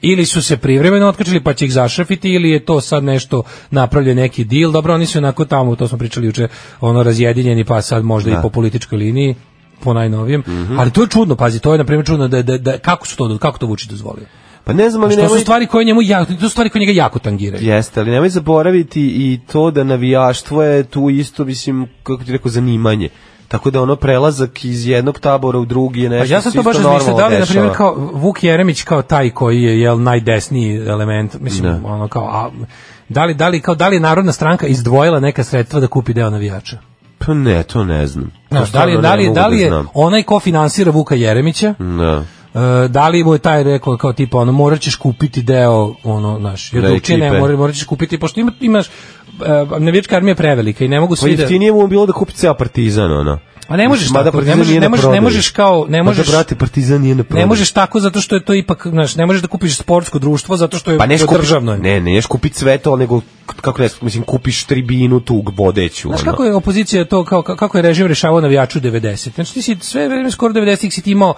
Speaker 5: ili su se privremeno otkačili pa će ih zašrafiti ili je to sad nešto napravljen neki deal dobro oni su onako tamo to smo pričali juče ono razjedinjeni pa sad možda i po političkoj liniji po najnovijem ali to je čudno pazi to je na primjer čudno da, da, da kako su to kako to Vučić dozvolio
Speaker 6: Pa ne znam, ali
Speaker 5: što su
Speaker 6: nemoj...
Speaker 5: stvari koje njemu jako, to su stvari koje njega jako tangiraju
Speaker 6: Jeste, ali nemoj zaboraviti i to da navijaštvo je tu isto, mislim, kako ti rekao, zanimanje. Tako da ono prelazak iz jednog tabora u drugi je
Speaker 5: Pa
Speaker 6: nešto
Speaker 5: ja sam
Speaker 6: se
Speaker 5: to
Speaker 6: isto
Speaker 5: baš razmišljao,
Speaker 6: normalno
Speaker 5: da li, na
Speaker 6: dešava.
Speaker 5: primjer, kao Vuk Jeremić kao taj koji je jel, najdesniji element, mislim,
Speaker 6: Da.
Speaker 5: ono kao, a, da, li, da, li, kao, da li je Narodna stranka izdvojila neka sredstva da kupi deo navijača?
Speaker 6: Pa ne, to ne znam. To
Speaker 5: Znaš, da li,
Speaker 6: stvarno
Speaker 5: da
Speaker 6: ne
Speaker 5: li,
Speaker 6: mogu
Speaker 5: da li je
Speaker 6: znam.
Speaker 5: onaj ko finansira Vuka Jeremića,
Speaker 6: Da.
Speaker 5: e, da li mu je taj rekao kao tipa ono morat ćeš kupiti deo ono naš jer
Speaker 6: Da,
Speaker 5: drugčije ne
Speaker 6: ekipe.
Speaker 5: moraš morat ćeš kupiti pošto ima, imaš e, navijačka armija je prevelika i ne mogu
Speaker 6: Pa
Speaker 5: svi da
Speaker 6: jeftinije mu je bilo da kupi ceo Partizan, ono.
Speaker 5: a ne možeš
Speaker 6: Mada
Speaker 5: tako, ne
Speaker 6: Partizan
Speaker 5: možeš
Speaker 6: nije na
Speaker 5: ne možeš ne
Speaker 6: prodaju.
Speaker 5: možeš kao ne
Speaker 6: Mada,
Speaker 5: možeš
Speaker 6: brate, Partizan nije na prodaju.
Speaker 5: Ne možeš tako zato što je to ipak, znaš, ne možeš da kupiš sportsko društvo zato što je
Speaker 6: Pa ne
Speaker 5: to
Speaker 6: kupi,
Speaker 5: državno. je.
Speaker 6: Ne, ne ješ kupiti sve to, nego kako ne, mislim kupiš tribinu tu vodeću.
Speaker 5: Znaš
Speaker 6: ono.
Speaker 5: kako je opozicija to kao ka- kako je režim rešavao navijaču 90. Znači ti si sve vreme skoro 90-ih si ti imao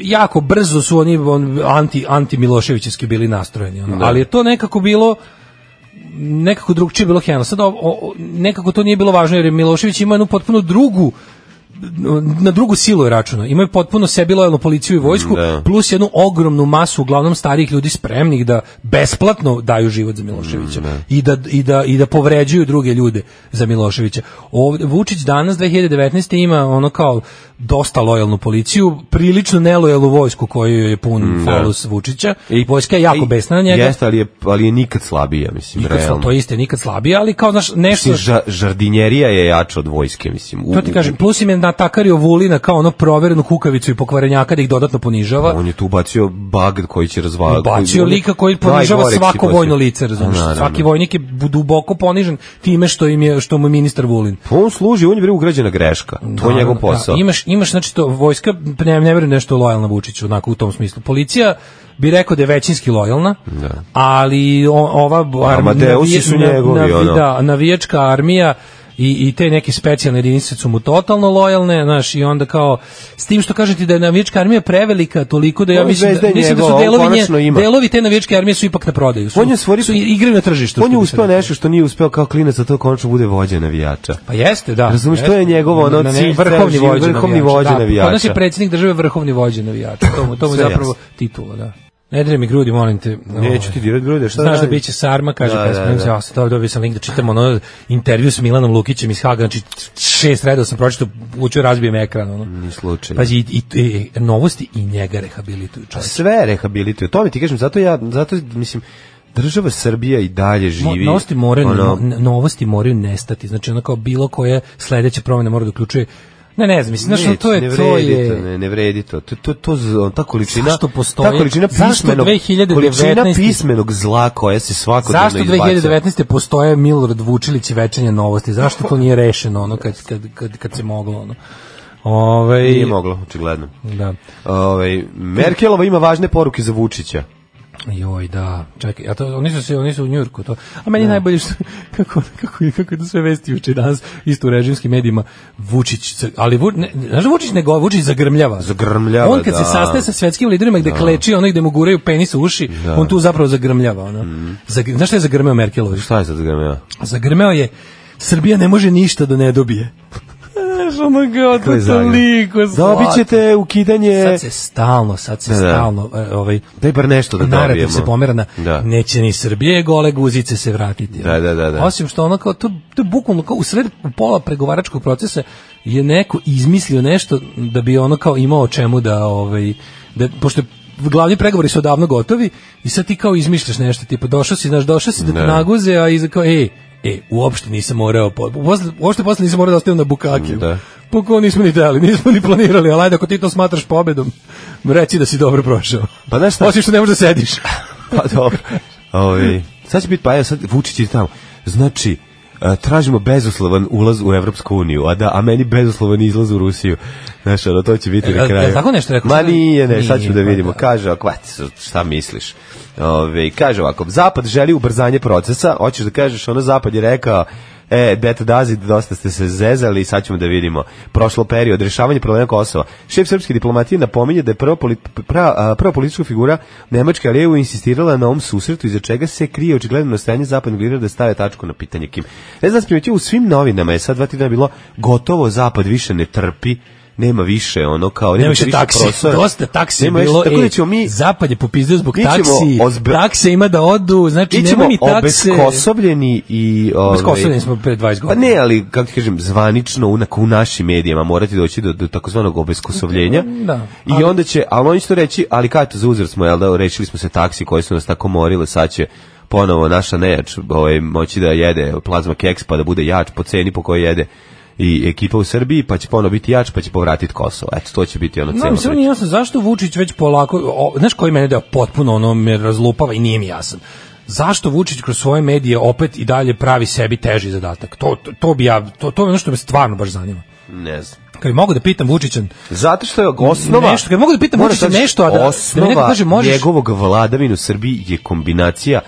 Speaker 5: jako brzo su oni on, anti anti Miloševićevski bili nastrojeni ono.
Speaker 6: Da.
Speaker 5: ali je to nekako bilo nekako drugčije bilo heno. Sad o- o- nekako to nije bilo važno jer je Milošević ima jednu potpuno drugu na drugu silu je računa. Imaju potpuno sebi lojalnu policiju i vojsku,
Speaker 6: Da.
Speaker 5: plus jednu ogromnu masu uglavnom starijih ljudi spremnih da besplatno daju život za Miloševića
Speaker 6: Mm,
Speaker 5: i, da, i, da, i da povređuju druge ljude za Miloševića. Ovde, Vučić danas 2019. ima ono kao dosta lojalnu policiju, prilično nelojalnu vojsku koju je pun falus Vučića. I, Vojska je jako
Speaker 6: Mm, da. I-
Speaker 5: besna na njega.
Speaker 6: Jeste, ali je, ali je nikad slabija, mislim,
Speaker 5: Nikad sla-
Speaker 6: realno.
Speaker 5: to je isto nikad slabije, ali kao znaš nešto
Speaker 6: Mislim, ža- žardinjerija je jača od vojske, mislim. U-
Speaker 5: to ti kažem, plus im je natakario Vulina kao ono proverenu kukavicu i pokvarenjaka da ih dodatno ponižava.
Speaker 6: On je tu bacio bag koji će razvaliti.
Speaker 5: Bacio lika koji ponižava svako vojno lice, razumiješ?
Speaker 6: Da,
Speaker 5: Svaki vojnik je bu- duboko ponižen time što im je što mu je ministar Vulin.
Speaker 6: Pa On služi, on je bre ugrađena greška. To je njegov
Speaker 5: Da,
Speaker 6: posao.
Speaker 5: da, imaš, imaš znači to vojska ne, ne verujem nešto lojalna Vučiću onako u tom smislu. Policija bi rekao da je većinski lojalna, ali o- ova armija
Speaker 6: Da. Amadeusi su njegovi, ono.
Speaker 5: da, navijačka armija i, i te neke specijalne jedinice su mu totalno lojalne, znaš, i onda kao, s tim što kažete da je navijačka armija prevelika toliko da ja
Speaker 6: Ovo je
Speaker 5: mislim
Speaker 6: zvezda
Speaker 5: da,
Speaker 6: je
Speaker 5: mislim da su
Speaker 6: njegova, ovo
Speaker 5: delovi,
Speaker 6: konačno
Speaker 5: nje,
Speaker 6: ima.
Speaker 5: delovi te navijačke armije su ipak na prodaju, su,
Speaker 6: On je stvorio-
Speaker 5: su i- igraju na tržištu.
Speaker 6: On je
Speaker 5: što bi se
Speaker 6: uspeo
Speaker 5: reklo.
Speaker 6: nešto što nije uspeo kao klinac, a to konačno bude vođa navijača.
Speaker 5: Pa jeste, da.
Speaker 6: Razumeš, to
Speaker 5: Jeste.
Speaker 6: je njegov, ono,
Speaker 5: ne-
Speaker 6: cilj,
Speaker 5: vrhovni
Speaker 6: ceo
Speaker 5: vođa,
Speaker 6: život, vrhovni
Speaker 5: navijača.
Speaker 6: vođa
Speaker 5: Da,
Speaker 6: navijača.
Speaker 5: Kod nas je predsjednik države vrhovni vođa navijača. To mu, to mu je
Speaker 6: Sve
Speaker 5: zapravo
Speaker 6: jasno.
Speaker 5: titula, da. Ne dre mi grudi, molim te.
Speaker 6: Neću ti dirati grude, šta da
Speaker 5: Ovaj. Znaš da
Speaker 6: radim?
Speaker 5: biće sarma, kaže
Speaker 6: Da,
Speaker 5: da,
Speaker 6: da, da.
Speaker 5: ja sam to dobio sam link da čitam ono intervju s Milanom Lukićem iz Haga, znači šest redova sam pročitao, učio razbijem ekran, ono.
Speaker 6: Ni slučaj.
Speaker 5: Pazi, i, i, i novosti i njega rehabilituju čovječe.
Speaker 6: sve rehabilituje. To mi ti kažem, zato ja, zato mislim, država Srbija i dalje
Speaker 5: Mo-
Speaker 6: živi.
Speaker 5: Novosti moraju,
Speaker 6: ono,
Speaker 5: no- novosti moraju nestati. Znači ono kao bilo koje sledeća promena mora da uključuje Ne, ne znam, mislim, znaš, ono,
Speaker 6: Neće,
Speaker 5: to je,
Speaker 6: ne
Speaker 5: to
Speaker 6: vredi
Speaker 5: je...
Speaker 6: to, ne, ne vredi to. To, to, to, z- ta količina,
Speaker 5: Zašto postoji-
Speaker 6: ta količina
Speaker 5: zašto
Speaker 6: pismenog,
Speaker 5: 2019
Speaker 6: količina pismenog zla koja se svakodnevno
Speaker 5: Zašto
Speaker 6: izbaca.
Speaker 5: 2019. postoje Milorad Vučilić i večanje novosti? Zašto to nije rešeno ono kad, kad, kad, kad se moglo? Ono? Ove,
Speaker 6: Nije moglo, očigledno.
Speaker 5: Da.
Speaker 6: Ovaj Merkelova ima važne poruke za Vučića.
Speaker 5: Joj, da. Čekaj, a to, oni su se oni su u Njujorku to. A
Speaker 6: Da.
Speaker 5: meni najbolje što kako kako je kako je to sve vesti juče i danas isto u režimskim medijima Vučić, za- ali Vu, ne, znaš da Vučić ne go, Vučić zagrmljava.
Speaker 6: Zagrmljava,
Speaker 5: On kad
Speaker 6: da.
Speaker 5: se sastaje sa svetskim liderima gde kleči, onaj gde mu guraju penis u uši,
Speaker 6: Da.
Speaker 5: on tu zapravo zagrmljava, ona. Zag- znaš šta je zagrmeo Merkelović?
Speaker 6: Mhm. Šta je sad ga ja?
Speaker 5: Pa Zagrmeo je Srbija ne može ništa da ne dobije. Znaš, oh ono kao, to
Speaker 6: je
Speaker 5: je
Speaker 6: zagreo?
Speaker 5: pa toliko slatko.
Speaker 6: Dobit ćete ukidanje...
Speaker 5: Sad se stalno, sad se
Speaker 6: Da, da.
Speaker 5: stalno, e, ovaj,
Speaker 6: Daj bar nešto da
Speaker 5: narativ
Speaker 6: dobijemo.
Speaker 5: se pomera na
Speaker 6: Da.
Speaker 5: neće ni Srbije gole guzice se vratiti.
Speaker 6: Da, da, da, da.
Speaker 5: Osim što ono kao, to, to je bukvalno kao u sred pola pregovaračkog procesa je neko izmislio nešto da bi ono kao imao o čemu da, ovaj, da pošto je glavni pregovori su odavno gotovi i sad ti kao izmišljaš nešto, tipa došao si, znaš, došao si da te
Speaker 6: Ne.
Speaker 5: naguze, a iza kao, ej, E, uopšte nisam morao, po, posle, uopšte posle nisam morao da ostavim na bukakiju.
Speaker 6: Da.
Speaker 5: Pa ko nismo ni dali, nismo ni planirali, ali ajde, ako ti to smatraš pobedom, reci da si dobro prošao.
Speaker 6: Pa znaš šta?
Speaker 5: Osim što ne možeš da sediš.
Speaker 6: Pa dobro. Ovi, sad će biti, pa evo sad Vučić je tamo. Znači, e, tražimo bezuslovan ulaz u Evropsku uniju, a da, a meni bezuslovan izlaz u Rusiju. Znaš, ono, to će biti
Speaker 5: E,
Speaker 6: na
Speaker 5: a-
Speaker 6: kraju.
Speaker 5: je tako nešto rekao?
Speaker 6: Ma nije, ne, sad
Speaker 5: Nije,
Speaker 6: ćemo da
Speaker 5: pa
Speaker 6: vidimo.
Speaker 5: da.
Speaker 6: Kaže ovako, vati, šta misliš? Ove, kaže ovako, Zapad želi ubrzanje procesa, hoćeš da kažeš, ono, Zapad je rekao, E, Beta Dazid, dosta ste se zezali, sad ćemo da vidimo. Prošlo period, rešavanje problema Kosova. Šef srpske diplomatije napominje da je prva, poli, pra- a, prva politička figura Nemačke Alijevu insistirala na ovom susretu, iza čega se krije očigledno nastajanje zapadnog lidera da stave tačku na pitanje kim. Ne znam, primetio, u svim novinama je sad dva tjedna bilo gotovo Zapad više ne trpi, nema više ono kao nema
Speaker 5: više taksi.
Speaker 6: prostora.
Speaker 5: Dosta taksi je
Speaker 6: Nema više,
Speaker 5: bilo.
Speaker 6: tako da
Speaker 5: e,
Speaker 6: ćemo mi
Speaker 5: Zapad je popizdio zbog
Speaker 6: mi ćemo
Speaker 5: taksi.
Speaker 6: ozbe-
Speaker 5: Takse ima da odu, znači
Speaker 6: mi
Speaker 5: nema
Speaker 6: ćemo
Speaker 5: ni takse.
Speaker 6: obeskosobljeni i ovaj
Speaker 5: Obeskosobljeni smo pre 20
Speaker 6: Pa
Speaker 5: godina.
Speaker 6: ne, ali kako ti kažem, zvanično unak u našim medijima morati doći do, do takozvanog obeskosobljenja.
Speaker 5: Da,
Speaker 6: I onda će, ali oni će to reći, ali kaj to za uzor smo, jel da, rešili smo se taksi koji su nas tako morile, sad će ponovo naša nejač ovaj, moći da jede plazma keks pa da bude jač po ceni po kojoj jede i ekipa u Srbiji, pa će ponovo biti jač, pa će povratiti Kosovo. Eto, to će biti ono
Speaker 5: No,
Speaker 6: celo.
Speaker 5: mi samo nije jasno zašto Vučić već polako, o, znaš koji mene da potpuno ono me razlupava i nije mi jasan. Zašto Vučić kroz svoje medije opet i dalje pravi sebi teži zadatak? To, to, to bi ja, to, to je ono što me stvarno baš zanima.
Speaker 6: Ne znam.
Speaker 5: Kad bi mogu da pitam Vučićan,
Speaker 6: Zato što je osnova...
Speaker 5: Nešto, kad mogu da pitam
Speaker 6: Moraš
Speaker 5: Vučića
Speaker 6: da-
Speaker 5: nešto, a da- da mi
Speaker 6: osnova
Speaker 5: neko kaže, možeš-
Speaker 6: njegovog vladavina u Srbiji je kombinacija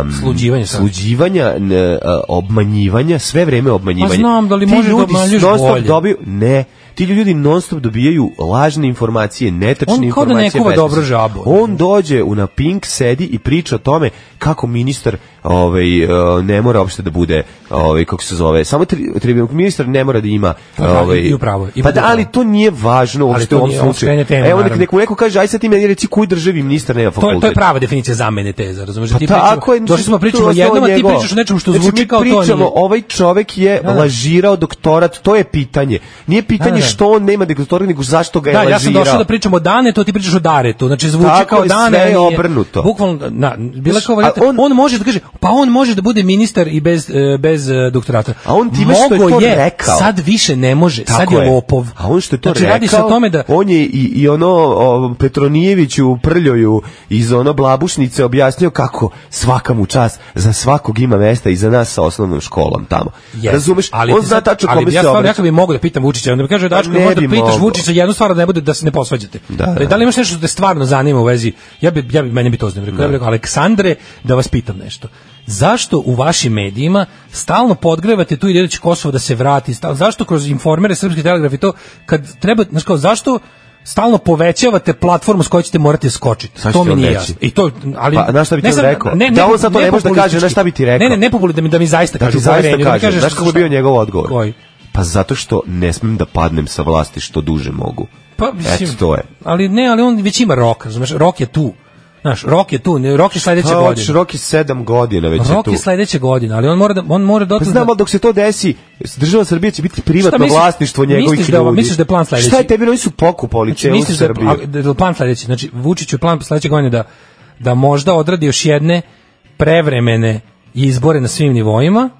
Speaker 6: um,
Speaker 5: Sluđivanja sad.
Speaker 6: sluđivanja, n- a, obmanjivanja, sve vreme obmanjivanja.
Speaker 5: Pa znam, da li
Speaker 6: Ti
Speaker 5: možeš da
Speaker 6: ljudi
Speaker 5: obmanjuješ
Speaker 6: non stop
Speaker 5: bolje?
Speaker 6: Dobiju, ne, ti ljudi non stop dobijaju lažne informacije, netačne
Speaker 5: On kao da
Speaker 6: informacije.
Speaker 5: ne kuva
Speaker 6: besmisle.
Speaker 5: dobro žabu.
Speaker 6: On dođe u na Pink, sedi i priča o tome kako ministar ovaj, e, ne mora uopšte da bude, ovaj, kako se zove, samo tri, tri, ministar ne mora da ima...
Speaker 5: Pa da,
Speaker 6: ovaj,
Speaker 5: i upravo je, i
Speaker 6: pa da,
Speaker 5: upravo je.
Speaker 6: ali to nije važno uopšte
Speaker 5: to
Speaker 6: u ovom
Speaker 5: nije,
Speaker 6: slučaju.
Speaker 5: on skrene temu,
Speaker 6: Evo nek,
Speaker 5: naravno.
Speaker 6: neko, neko kaže, aj sad ti meni reci koji državi ministar nema
Speaker 5: to je,
Speaker 6: fakultet.
Speaker 5: to je prava definicija zamene teza, razumeš?
Speaker 6: Pa
Speaker 5: ti
Speaker 6: tako je,
Speaker 5: pričamo, došli smo
Speaker 6: to je
Speaker 5: pričamo o
Speaker 6: osnova
Speaker 5: jednom, a ti
Speaker 6: njegova.
Speaker 5: pričaš o nečemu što
Speaker 6: Znači,
Speaker 5: zvuči
Speaker 6: mi
Speaker 5: kao to
Speaker 6: pričamo,
Speaker 5: nije.
Speaker 6: ovaj čovek je
Speaker 5: Da, da.
Speaker 6: lažirao doktorat, to je pitanje. Nije pitanje
Speaker 5: Da, da.
Speaker 6: što on nema doktorat, nego zašto ga je
Speaker 5: Da,
Speaker 6: lažirao.
Speaker 5: ja sam došao da pričam o dane, to ti pričaš o dare, to znači zvuči
Speaker 6: Tako
Speaker 5: kao
Speaker 6: je,
Speaker 5: dane.
Speaker 6: sve je
Speaker 5: a nije-
Speaker 6: obrnuto.
Speaker 5: Bukvalno, na, bila
Speaker 6: Znaš,
Speaker 5: kao
Speaker 6: a
Speaker 5: varijanta,
Speaker 6: on-
Speaker 5: on, može da kaže, pa on može da bude ministar i bez, e, bez e, doktorata.
Speaker 6: A on time što je
Speaker 5: Mogao
Speaker 6: to rekao-
Speaker 5: sad više ne može,
Speaker 6: Tako
Speaker 5: sad je lopov.
Speaker 6: A on što je to
Speaker 5: znači,
Speaker 6: rekao,
Speaker 5: radi se o tome da,
Speaker 6: on je i, i ono o, Petronijeviću u Prljoju iz ono Blabušnice objasnio kako svaka mu čas, za svakog ima mesta i za nas sa osnovnom školom tamo.
Speaker 5: Jeste,
Speaker 6: Razumeš? on
Speaker 5: ti
Speaker 6: zna
Speaker 5: sad-
Speaker 6: tačno
Speaker 5: ali
Speaker 6: kome
Speaker 5: bi ja
Speaker 6: se
Speaker 5: stvarno,
Speaker 6: obraća. Pa
Speaker 5: ja kad bi mogao da pitam Vučića, onda bi kaže da Daško,
Speaker 6: ne
Speaker 5: možda da
Speaker 6: bi
Speaker 5: pitaš
Speaker 6: mogao.
Speaker 5: Vučića jednu stvar da ne bude da se ne posvađate.
Speaker 6: Da,
Speaker 5: Da,
Speaker 6: da.
Speaker 5: da li imaš nešto što te stvarno zanima u vezi? Ja bi ja bi mene bi to zanimalo. Ja bih rekao Aleksandre da vas pitam nešto. Zašto u vašim medijima stalno podgrevate tu ideju da će Kosovo da se vrati? Stal, zašto kroz informere Srpski telegraf i to kad treba, znači kao zašto stalno povećavate platformu s kojoj ćete morati skočiti.
Speaker 6: Sad ću
Speaker 5: to
Speaker 6: ti
Speaker 5: mi
Speaker 6: on
Speaker 5: nije
Speaker 6: reći.
Speaker 5: jasno. I to, ali,
Speaker 6: Pa, znaš šta bi ti
Speaker 5: ne
Speaker 6: on
Speaker 5: sad-
Speaker 6: rekao? Da on sad to ne može da kaže,
Speaker 5: populistički.
Speaker 6: znaš šta bi ti rekao?
Speaker 5: Ne, ne, ne populi- da mi, da mi zaista
Speaker 6: Da
Speaker 5: kaže.
Speaker 6: ti
Speaker 5: u
Speaker 6: zaista
Speaker 5: poverenju, da mi
Speaker 6: kažem,
Speaker 5: kažeš
Speaker 6: znaš kako je
Speaker 5: šta-
Speaker 6: bio njegov odgovor?
Speaker 5: Koji?
Speaker 6: Pa zato što ne smem da padnem sa vlasti što duže mogu.
Speaker 5: Pa, mislim,
Speaker 6: Eto, to je.
Speaker 5: Ali ne, ali on već ima rok, razumeš, rok je tu. Znaš, rok je tu, ne, rok je sledeće
Speaker 6: Pa, hoćeš,
Speaker 5: godine.
Speaker 6: rok je sedam godina već je
Speaker 5: Rok
Speaker 6: tu.
Speaker 5: je sledeće godine, ali on mora da, on mora da
Speaker 6: Pa znam, ali dok se to desi, država Srbije će biti privatno
Speaker 5: Šta misliš-
Speaker 6: vlasništvo
Speaker 5: misliš
Speaker 6: njegovih
Speaker 5: da ovo-
Speaker 6: ljudi.
Speaker 5: misliš da je plan sledeći?
Speaker 6: Šta je tebi, oni su pokupali celu
Speaker 5: misliš da,
Speaker 6: Srbiju.
Speaker 5: a, da, da plan sledeći, znači Vučić je plan sledeće godine da da možda odradi još jedne prevremene izbore na svim nivoima,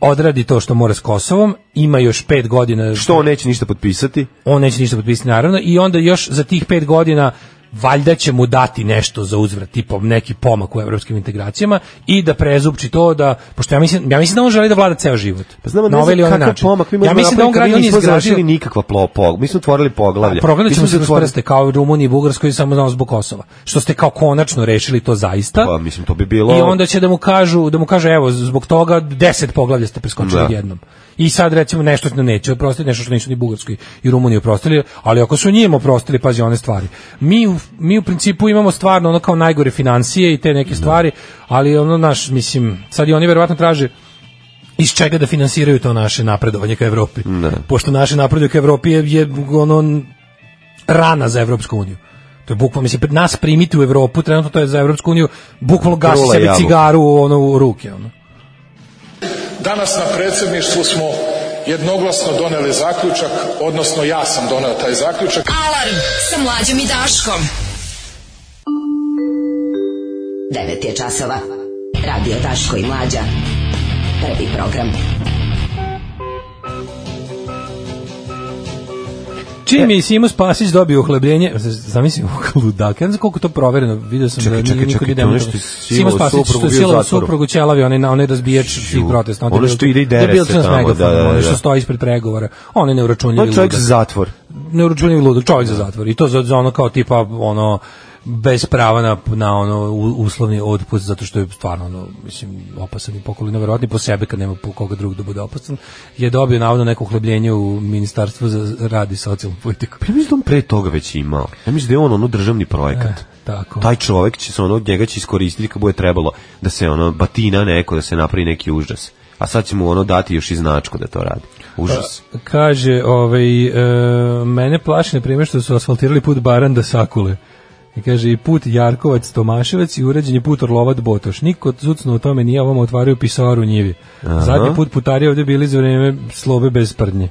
Speaker 5: odradi to što mora s Kosovom, ima još pet godina
Speaker 6: Što on neće ništa potpisati?
Speaker 5: on neće ništa potpisati naravno i onda još za tih pet godina valjda će mu dati nešto za uzvrat, tipa neki pomak u evropskim integracijama i da prezupči to da, pošto ja mislim, ja mislim da on želi da vlada ceo život.
Speaker 6: Pa znamo
Speaker 5: Na
Speaker 6: ne
Speaker 5: ovaj ili
Speaker 6: znam
Speaker 5: onaj
Speaker 6: kakav
Speaker 5: način.
Speaker 6: pomak mi možemo
Speaker 5: ja mislim da on
Speaker 6: napraviti,
Speaker 5: gradi, on
Speaker 6: kad
Speaker 5: je
Speaker 6: mi nismo
Speaker 5: izgradio,
Speaker 6: završili nikakva plo, po, mi smo otvorili poglavlja.
Speaker 5: progledat
Speaker 6: Mi
Speaker 5: ćemo
Speaker 6: smo
Speaker 5: se kroz
Speaker 6: zatvorili-
Speaker 5: prste kao i Rumuniji i Bugarskoj samo znamo zbog Kosova. Što ste kao konačno rešili to zaista.
Speaker 6: Pa, mislim, to bi bilo...
Speaker 5: I onda će da mu kažu, da mu kažu evo zbog toga 10 poglavlja ste preskočili
Speaker 6: Da.
Speaker 5: da. jednom. I sad recimo nešto što neće oprostiti, nešto što nisu ni Bugarskoj i Rumuniji oprostili, ali ako su njima oprostili, pazi one stvari. Mi u, mi u principu imamo stvarno ono kao najgore financije i te
Speaker 6: Da.
Speaker 5: neke stvari, ali ono naš, mislim, sad i oni verovatno traže iz čega da finansiraju to naše napredovanje ka Evropi.
Speaker 6: Da.
Speaker 5: Ne. Pošto naše napredovanje ka Evropi je, je ono rana za Evropsku uniju. To je bukvalno, mislim, nas primiti u Evropu, trenutno to je za Evropsku uniju, bukvalno gasi
Speaker 6: Krula
Speaker 5: sebi
Speaker 6: jabuka.
Speaker 5: cigaru ono, u ruke. Ono.
Speaker 11: Danas na predsjedništvu smo jednoglasno doneli zaključak, odnosno ja sam doneo taj zaključak.
Speaker 4: Alarm sa mlađom i Daškom.
Speaker 2: 9 je časova. Radio Daško i Mlađa. Prvi program.
Speaker 6: E.
Speaker 5: Čim je Simo Spasić dobio uhlebljenje, z- zamislim, ludaka, ja ne znam koliko je to provereno, vidio sam
Speaker 6: Čekaj,
Speaker 5: da
Speaker 6: čekaj,
Speaker 5: nije niko
Speaker 6: čekaj,
Speaker 5: ide
Speaker 6: to
Speaker 5: na
Speaker 6: nešto
Speaker 5: to.
Speaker 6: je
Speaker 5: Simo
Speaker 6: silovao
Speaker 5: Spasić što
Speaker 6: suprugu,
Speaker 5: je
Speaker 6: bio u
Speaker 5: silovao
Speaker 6: zatvoru.
Speaker 5: suprugu ćelavi, onaj, onaj razbijač tih protesta. da-
Speaker 6: Ono što ide i dere se
Speaker 5: debilčina s
Speaker 6: tamo,
Speaker 5: megafonom,
Speaker 6: da, da,
Speaker 5: ono
Speaker 6: da.
Speaker 5: što stoji ispred pregovora. On je
Speaker 6: To
Speaker 5: neuračunljivi
Speaker 6: je Ovaj čovjek
Speaker 5: ludak.
Speaker 6: za zatvor.
Speaker 5: neuročunjiv ludak, čovjek za zatvor. I to za, za ono kao tipa ono bez prava na, na ono u- uslovni otpust zato što je stvarno ono mislim opasan i pokolino verovatno i po sebe kad nema po koga drugog da bude opasan je dobio navodno neko uhlebljenje u ministarstvu za rad i socijalnu politiku.
Speaker 6: Pa ja mislim da on pre toga već imao. Ja mislim da je on ono državni projekat.
Speaker 5: E, tako.
Speaker 6: Taj čovjek će se ono, njega će iskoristiti kad bude trebalo da se ono batina neko, da se napravi neki užas. A sad će mu ono dati još i značku da to radi. Užas.
Speaker 5: Kaže, ovaj, e, mene plaši na primjer što su asfaltirali put Baran do Sakule. I kaže, i put Jarkovac Tomaševac i uređen je put Orlovac Botoš. Niko zucno u tome nije, ovom otvaraju pisoar u njivi. Zadnji put putarije ovde bili za vreme slobe bez prdnje.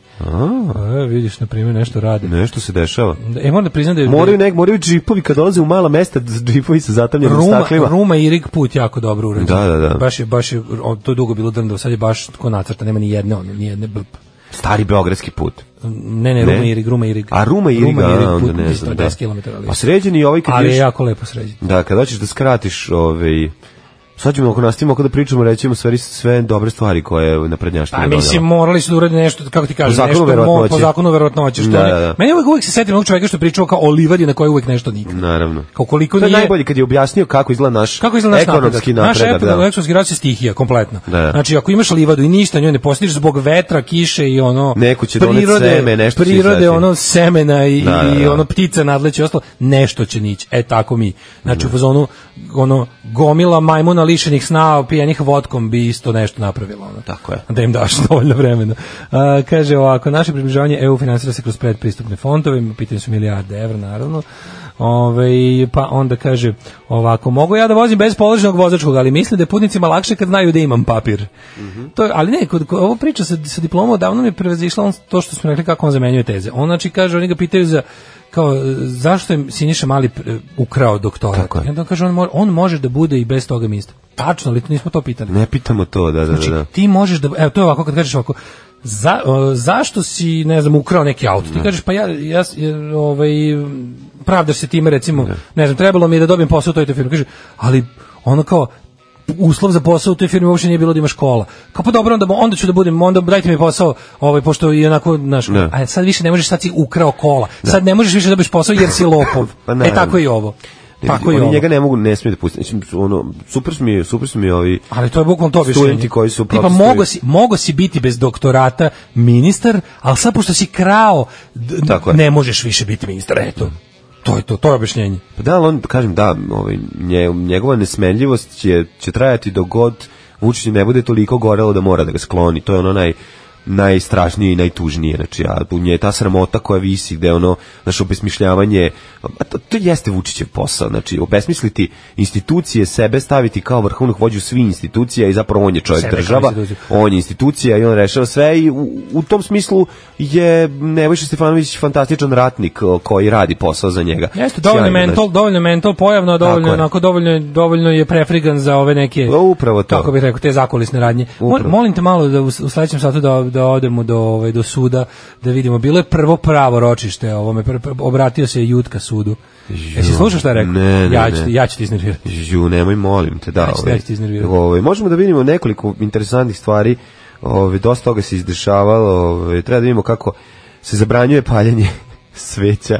Speaker 5: E, vidiš, na primjer, nešto rade.
Speaker 6: Nešto se dešava.
Speaker 5: Da, E, moram da priznam da je...
Speaker 6: Moraju, nek, moraju džipovi kad dolaze u mala mesta, džipovi sa zatamljenim
Speaker 5: Ruma,
Speaker 6: staklima.
Speaker 5: Ruma i Rig put jako dobro uređen.
Speaker 6: Da, da, da.
Speaker 5: Baš je, baš je, on, to je dugo bilo drndo, sad je baš ko nacrta, nema ni jedne, ono, ni jedne blp.
Speaker 6: Stari beogradski put.
Speaker 5: Ne, ne, Ruma
Speaker 6: Ne?
Speaker 5: Irig, Ruma Irig.
Speaker 6: A Ruma i Riga, a, onda
Speaker 5: put,
Speaker 6: ne znam. Da.
Speaker 5: 10 km, ali,
Speaker 6: A sređen je ovaj kad
Speaker 5: ali je
Speaker 6: ideš-
Speaker 5: jako lepo sređen.
Speaker 6: Da, kad hoćeš da skratiš, ovaj Sad ćemo ako nastavimo ako da pričamo, rećemo sve sve dobre stvari koje je naprednjaštvo
Speaker 5: Pa mislim morali su da urade nešto kako ti
Speaker 6: Po
Speaker 5: kažeš
Speaker 6: zakonu
Speaker 5: nešto mo- po
Speaker 6: verovatnoće.
Speaker 5: zakonu verovatnoće što
Speaker 6: Da,
Speaker 5: da,
Speaker 6: da, da.
Speaker 5: meni uvek uvek se setim onog čoveka što je pričao kao o livadi na kojoj uvek nešto nikne.
Speaker 6: Naravno.
Speaker 5: Kao koliko
Speaker 6: To je
Speaker 5: nije
Speaker 6: najbolje kad je objasnio kako izgleda naš
Speaker 5: Kako izgleda naš
Speaker 6: ekonomski
Speaker 5: napredak?
Speaker 6: napredak.
Speaker 5: Naš ekonomski ekonomski rast je stihija kompletno.
Speaker 6: Da, da.
Speaker 5: Znači ako imaš livadu i ništa njoj ne postižeš zbog vetra, kiše i ono
Speaker 6: Neko će donet seme, nešto će
Speaker 5: prirode,
Speaker 6: izleti.
Speaker 5: ono semena i,
Speaker 6: Da, da,
Speaker 5: i
Speaker 6: da.
Speaker 5: ono ptica nadleće i ostalo, nešto će nići. E tako mi. Znači u fazonu ono gomila majmuna lišenih sna, pijenih vodkom bi isto nešto napravila ono.
Speaker 6: Tako je.
Speaker 5: Da im daš dovoljno vremena. A, kaže ovako, naše približavanje EU finansira se kroz predpristupne fondove, pitanje su milijarde evra naravno. Ove, pa onda kaže ovako, mogu ja da vozim bez položenog vozačkog, ali mislim da je putnicima lakše kad znaju da imam papir.
Speaker 6: Mhm.
Speaker 5: to, je- ali ne, kod, kod, ovo priča sa, sa diplomom odavno mi je prevazišla on, to što smo rekli kako on zamenjuje teze. On znači kaže, oni ga pitaju za kao e, zašto je Siniša Mali e, ukrao doktorat.
Speaker 6: Tako je.
Speaker 5: I onda on kaže, on, mora, on može da bude i bez toga ministar. Tačno, ali to nismo to pitali.
Speaker 6: Ne pitamo to, da, da, da. da.
Speaker 5: Znači, ti možeš da, evo, to je ovako kad kažeš ovako, za, o, zašto si, ne znam, ukrao neki auto?
Speaker 6: Da.
Speaker 5: Ti kažeš, pa ja, ja, s- je, ovaj, da pravdaš se time, recimo, ne znam, trebalo mi je da dobijem posao u toj i toj firmi. Kaže, ali ono kao, uslov za posao u toj firmi uopšte nije bilo da ima škola. Kao pa dobro, onda, onda ću da budem, onda dajte mi posao, ovaj, pošto i onako, znaš,
Speaker 6: Da.
Speaker 5: a sad više ne možeš, sad si ukrao kola. Sad ne možeš više da dobiješ posao jer si lopov.
Speaker 6: Pa
Speaker 5: e,
Speaker 6: naravno.
Speaker 5: tako i ovo.
Speaker 6: Ne,
Speaker 5: Tako i
Speaker 6: oni
Speaker 5: ovo.
Speaker 6: njega ne mogu, ne smije da pusti. Mislim, ono, super su mi, super su mi ovi...
Speaker 5: Ali to je bukvalno to objašnjenje.
Speaker 6: Studenti koji su
Speaker 5: Tipa,
Speaker 6: protestuju.
Speaker 5: mogo si, mogo si biti bez doktorata ministar, ali sad pošto si krao, d-
Speaker 6: Tako je.
Speaker 5: ne možeš više biti ministar. Eto, to je to, to je objašnjenje.
Speaker 6: Pa da, ali on, kažem, da, ovaj, nje- njegova nesmenljivost će, će trajati dok god Vučić ne bude toliko gorelo da mora da ga skloni. To je ono naj, najstrašnije i najtužnije. Znači, a u nje je ta sramota koja visi gde ono, znaš, obesmišljavanje, a to, to jeste Vučićev posao. Znači, obesmisliti institucije, sebe staviti kao vrhovnog vođu svih institucija i zapravo on je čovjek
Speaker 5: Sebe kao
Speaker 6: država,
Speaker 5: instituciju.
Speaker 6: on je institucija i on rešava sve i u, u tom smislu je Nebojša Stefanović fantastičan ratnik o, koji radi posao za njega.
Speaker 5: Jeste, dovoljno je
Speaker 6: Sjajno,
Speaker 5: mental,
Speaker 6: znači.
Speaker 5: dovoljno je mental pojavno, a dovoljno je
Speaker 6: Tako je.
Speaker 5: onako, dovoljno je, dovoljno je prefrigan za ove neke,
Speaker 6: Pa Upravo to.
Speaker 5: E, kako bih rekao, te zakulisne radnje. Mol-
Speaker 6: Upravo.
Speaker 5: molim te malo da u, u sledećem satu da, da odemo do, ovaj, do suda, da vidimo. Bilo je prvo pravo ročište ovome, pr- pr- obratio se je Jutka sudu. Jesi slušao šta je rekao?
Speaker 6: ne, ne,
Speaker 5: ja, ću,
Speaker 6: ne.
Speaker 5: ti- ja ću ti iznervirati.
Speaker 6: Ju, nemoj, molim te, da.
Speaker 5: Ajde,
Speaker 6: ovaj,
Speaker 5: ja ću te iznervirati.
Speaker 6: ovaj, možemo da vidimo nekoliko interesantnih stvari. Ovaj, dosta toga se izdešavalo. Ovaj, treba da vidimo kako se zabranjuje paljenje sveća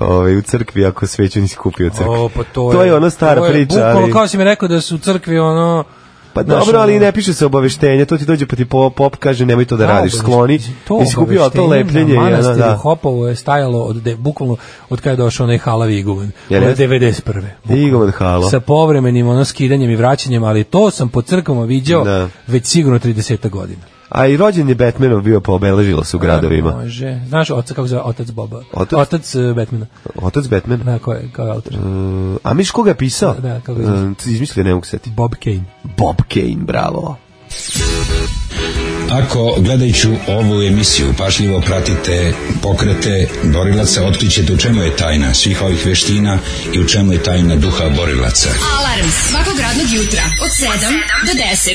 Speaker 6: ovaj, u crkvi ako sveću nisi kupio u crkvi.
Speaker 5: O, pa to,
Speaker 6: to je ona stara
Speaker 5: to je
Speaker 6: priča.
Speaker 5: bukvalno
Speaker 6: ali-
Speaker 5: kao si mi rekao da su u crkvi ono...
Speaker 6: Pa
Speaker 5: znaš,
Speaker 6: dobro, ali
Speaker 5: ono-
Speaker 6: ne piše se obaveštenje, to ti dođe pa ti pop, pop kaže nemoj to da
Speaker 5: Da,
Speaker 6: radiš, skloni,
Speaker 5: to
Speaker 6: i si kupio to
Speaker 5: obaveštenje
Speaker 6: lepljenje.
Speaker 5: Na
Speaker 6: i ono,
Speaker 5: manastiru
Speaker 6: da.
Speaker 5: Hopovo je stajalo od de, bukvalno od kada je došao onaj halavi iguman.
Speaker 6: Jel
Speaker 5: Od
Speaker 6: jeste?
Speaker 5: 91.
Speaker 6: Iguman halo.
Speaker 5: Sa povremenim ono skidanjem i vraćanjem, ali to sam po crkvama viđao
Speaker 6: Da.
Speaker 5: već sigurno 30 godina.
Speaker 6: A i rođen je Batmanom bio pa obeležilo
Speaker 5: Da,
Speaker 6: se u gradovima.
Speaker 5: Može. Znaš otac kako se zove otac Boba?
Speaker 6: Otac?
Speaker 5: otac eh, Batmana.
Speaker 6: Otac Batman.
Speaker 5: Da, ko je, kao je autor?
Speaker 6: Uh, a miš koga je pisao?
Speaker 5: Da, da, kako ga je izmislio?
Speaker 6: Uh, izmislio, ne mogu se setiti.
Speaker 5: Bob Kane.
Speaker 6: Bob Kane, bravo.
Speaker 12: Ako gledajući ovu emisiju pašljivo pratite pokrete borilaca, otkrićete u čemu je tajna svih ovih veština i u čemu je tajna duha borilaca.
Speaker 4: Alarm svakog radnog jutra od 7 do 10. Do 10.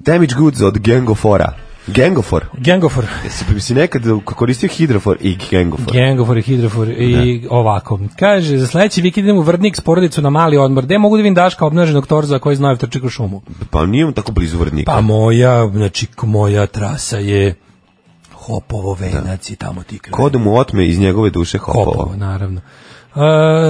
Speaker 6: Damage Goods od Gengofora. Gengofor.
Speaker 5: Gengofor.
Speaker 6: Jesi bi si nekad koristio hidrofor i gengofor?
Speaker 5: Gengofor i hidrofor i ovako. Kaže, za sledeći vikend idem u Vrdnik s porodicu na mali odmor. Gde mogu da vidim Daška obnaženog torza koji znaju trčak u šumu?
Speaker 6: Pa nije on tako blizu vrnika.
Speaker 5: Pa moja, znači k- moja trasa je Hopovo venac i tamo ti kraje.
Speaker 6: Ko da mu otme iz njegove duše hopovo?
Speaker 5: Hopovo, naravno. Uh,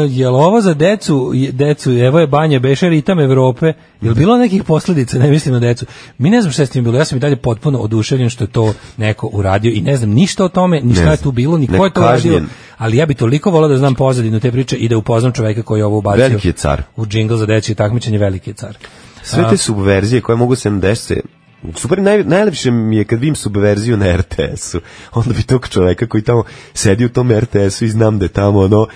Speaker 5: jel ovo za decu, je- decu, evo je banja, beše ritam Evrope, jel bilo nekih posledica, ne mislim na decu. Mi ne znam šta je s tim bilo, ja sam i dalje potpuno oduševljen što je to neko uradio i ne znam ništa o tome, ni šta je
Speaker 6: znam.
Speaker 5: tu bilo, ni
Speaker 6: Ne,
Speaker 5: ko je to uradio,
Speaker 6: kažnjen.
Speaker 5: ali ja bi toliko volao da znam pozadinu te priče i da upoznam čoveka koji je ovo ubacio
Speaker 6: Veliki je car.
Speaker 5: u džingl za dečje takmičenje, veliki je car.
Speaker 6: Sve te subverzije koje mogu se desiti Super, naj, najlepše mi je kad vidim subverziju na RTS-u. Onda bi tog čoveka koji tamo sedi u tom RTS-u i znam da je tamo ono...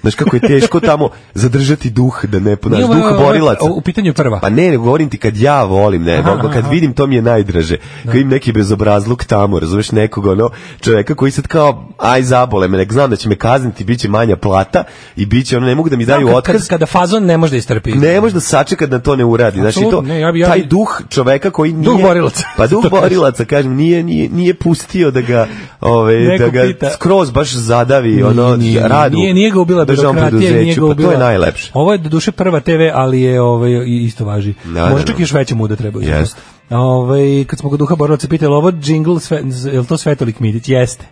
Speaker 6: Znaš kako je teško tamo zadržati duh, da ne ponaš,
Speaker 5: Nije ovo-
Speaker 6: duh
Speaker 5: ovo-
Speaker 6: borilaca.
Speaker 5: U pitanju je prva.
Speaker 6: Pa ne, nego govorim ti kad ja volim, ne,
Speaker 5: Aha,
Speaker 6: mogu, kad
Speaker 5: aha. Da.
Speaker 6: vidim to mi je najdraže. Kad vidim neki bezobrazluk tamo, razumeš nekog ono čoveka koji sad kao aj zabole me, nek znam da će me kazniti, biće manja plata i biće ono ne mogu da mi daju
Speaker 5: Kad-
Speaker 6: otkaz.
Speaker 5: Kad, kada fazon ne može da istrpi.
Speaker 6: Ne može da sačeka da to ne uradi. Znači to
Speaker 5: Apsolutno, ne, ja bi- ja bi-
Speaker 6: taj duh čoveka koji nije
Speaker 5: Duh borilaca.
Speaker 6: Pa duh borilaca kažem nije nije nije pustio da ga ovaj
Speaker 5: Neko
Speaker 6: da ga
Speaker 5: pita.
Speaker 6: skroz baš zadavi ono
Speaker 5: nije,
Speaker 6: radu.
Speaker 5: Nije, nije ga ubila
Speaker 6: državnom
Speaker 5: birokratija, nije
Speaker 6: preduzeću,
Speaker 5: ga
Speaker 6: pa
Speaker 5: ubila.
Speaker 6: to je najlepše.
Speaker 5: Ovo je doduše prva TV, ali je ovaj i- isto važi.
Speaker 6: Da,
Speaker 5: Možda
Speaker 6: da,
Speaker 5: čak
Speaker 6: da.
Speaker 5: još veća muda treba. za to.
Speaker 6: Jeste.
Speaker 5: Ovaj kad smo kod duha borilaca pitali ovo džingl sve je li to Svetolik Midić jeste.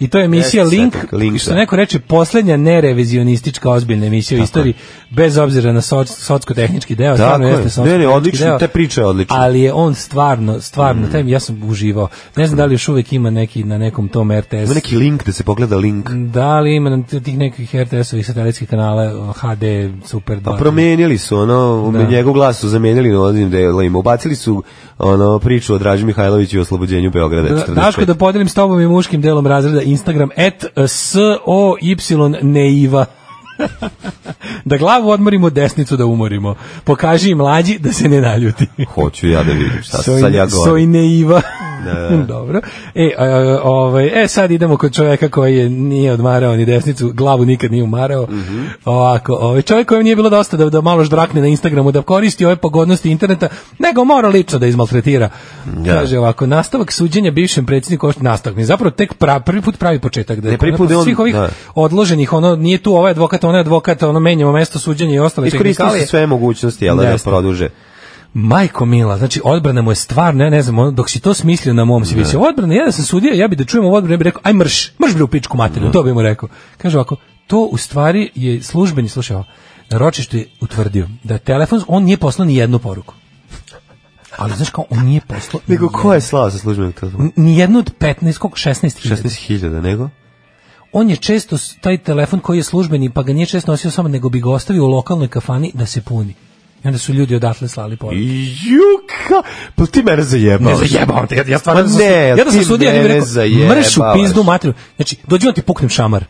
Speaker 5: I to je emisija
Speaker 6: Mm. Jeste,
Speaker 5: Link,
Speaker 6: Svetolik, Link,
Speaker 5: što
Speaker 6: da.
Speaker 5: neko reče, poslednja nerevizionistička ozbiljna emisija u istoriji, bez obzira na soc, socko-tehnički deo,
Speaker 6: Tako
Speaker 5: stvarno
Speaker 6: je.
Speaker 5: jeste
Speaker 6: Ne, ne,
Speaker 5: socsko-tehnički
Speaker 6: odlično,
Speaker 5: deo,
Speaker 6: te priče je Mm. odlična.
Speaker 5: Ali je on stvarno, stvarno, taj, ja sam uživao. Ne znam da li još uvek ima neki na nekom tom RTS
Speaker 6: Ima neki link da se pogleda link.
Speaker 5: da li ima na t- tih nekih RTS-ovih satelitskih kanala HD, Super 2?
Speaker 6: Pa promenili su ono,
Speaker 5: Da.
Speaker 6: njegov glas su zamenili novim delima. Ubacili su ono priču o Draži Mihajloviću i oslobođenju Beograda.
Speaker 5: Da,
Speaker 6: 45.
Speaker 5: Daško, da podelim s tobom i muškim delom razreda Instagram at s o y neiva. da glavu odmorimo, desnicu da umorimo. Pokaži i mlađi da se ne naljuti.
Speaker 6: Hoću ja da vidim šta
Speaker 5: Soj-
Speaker 6: sad ja govorim.
Speaker 5: Soj neiva.
Speaker 6: Da.
Speaker 5: Dobro. E, a, ovaj, e, sad idemo kod čoveka koji je, nije odmarao ni desnicu, glavu nikad nije umarao.
Speaker 6: Mhm.
Speaker 5: Ovako, ovaj, čovjek kojem nije bilo dosta da, da malo ždrakne na Instagramu, da koristi ove pogodnosti interneta, nego mora lično da izmaltretira.
Speaker 6: Da.
Speaker 5: Kaže ovako, nastavak suđenja bivšem predsjedniku opštine nastavak. mi je Zapravo tek pra, prvi put pravi početak. Da, je
Speaker 6: Ne, prvi put
Speaker 5: nakon
Speaker 6: je on-
Speaker 5: svih ovih
Speaker 6: da.
Speaker 5: odloženih, ono, nije tu ovaj advokat, advokata, onaj advokat, ono menjamo mesto suđenja i ostale
Speaker 6: Iskoristili su sve mogućnosti, jel, da, da
Speaker 5: Jeste.
Speaker 6: produže.
Speaker 5: Majko Mila, znači odbrana mu je stvarno, ja ne znam, ono, dok si to smislio na mom si visio, odbrana, ja da sam sudija, ja bi da čujem ovu odbranu, ja bi rekao, aj mrš, mrš bre u pičku
Speaker 6: Da.
Speaker 5: materinu, to bi mu rekao. Kaže ovako, to u stvari je službeni, slušaj ovo, na ročištu je utvrdio da telefon, on nije poslao ni jednu poruku. Ali znaš kao, on nije poslao ni
Speaker 6: Nego, ko je slao sa službenog telefona?
Speaker 5: jednu- ni jednu od 15, koliko, 16 hiljada.
Speaker 6: 16.000, Mm. nego?
Speaker 5: On je često s- taj telefon koji je službeni, pa ga nije često nosio samo, nego bi ga ostavio u lokalnoj kafani da se puni. I onda su ljudi odatle slali poruke.
Speaker 6: Juka! Pa ti mene zajebao.
Speaker 5: Ne zajebao te, ja, ja stvarno
Speaker 6: Ma
Speaker 5: da sam-
Speaker 6: Pa ne,
Speaker 5: ja da sam
Speaker 6: ti
Speaker 5: sudija, ne bih
Speaker 6: mene
Speaker 5: rekao, mrš u
Speaker 6: zajebavaš.
Speaker 5: pizdu materinu. Znači, dođi on ti puknem šamar.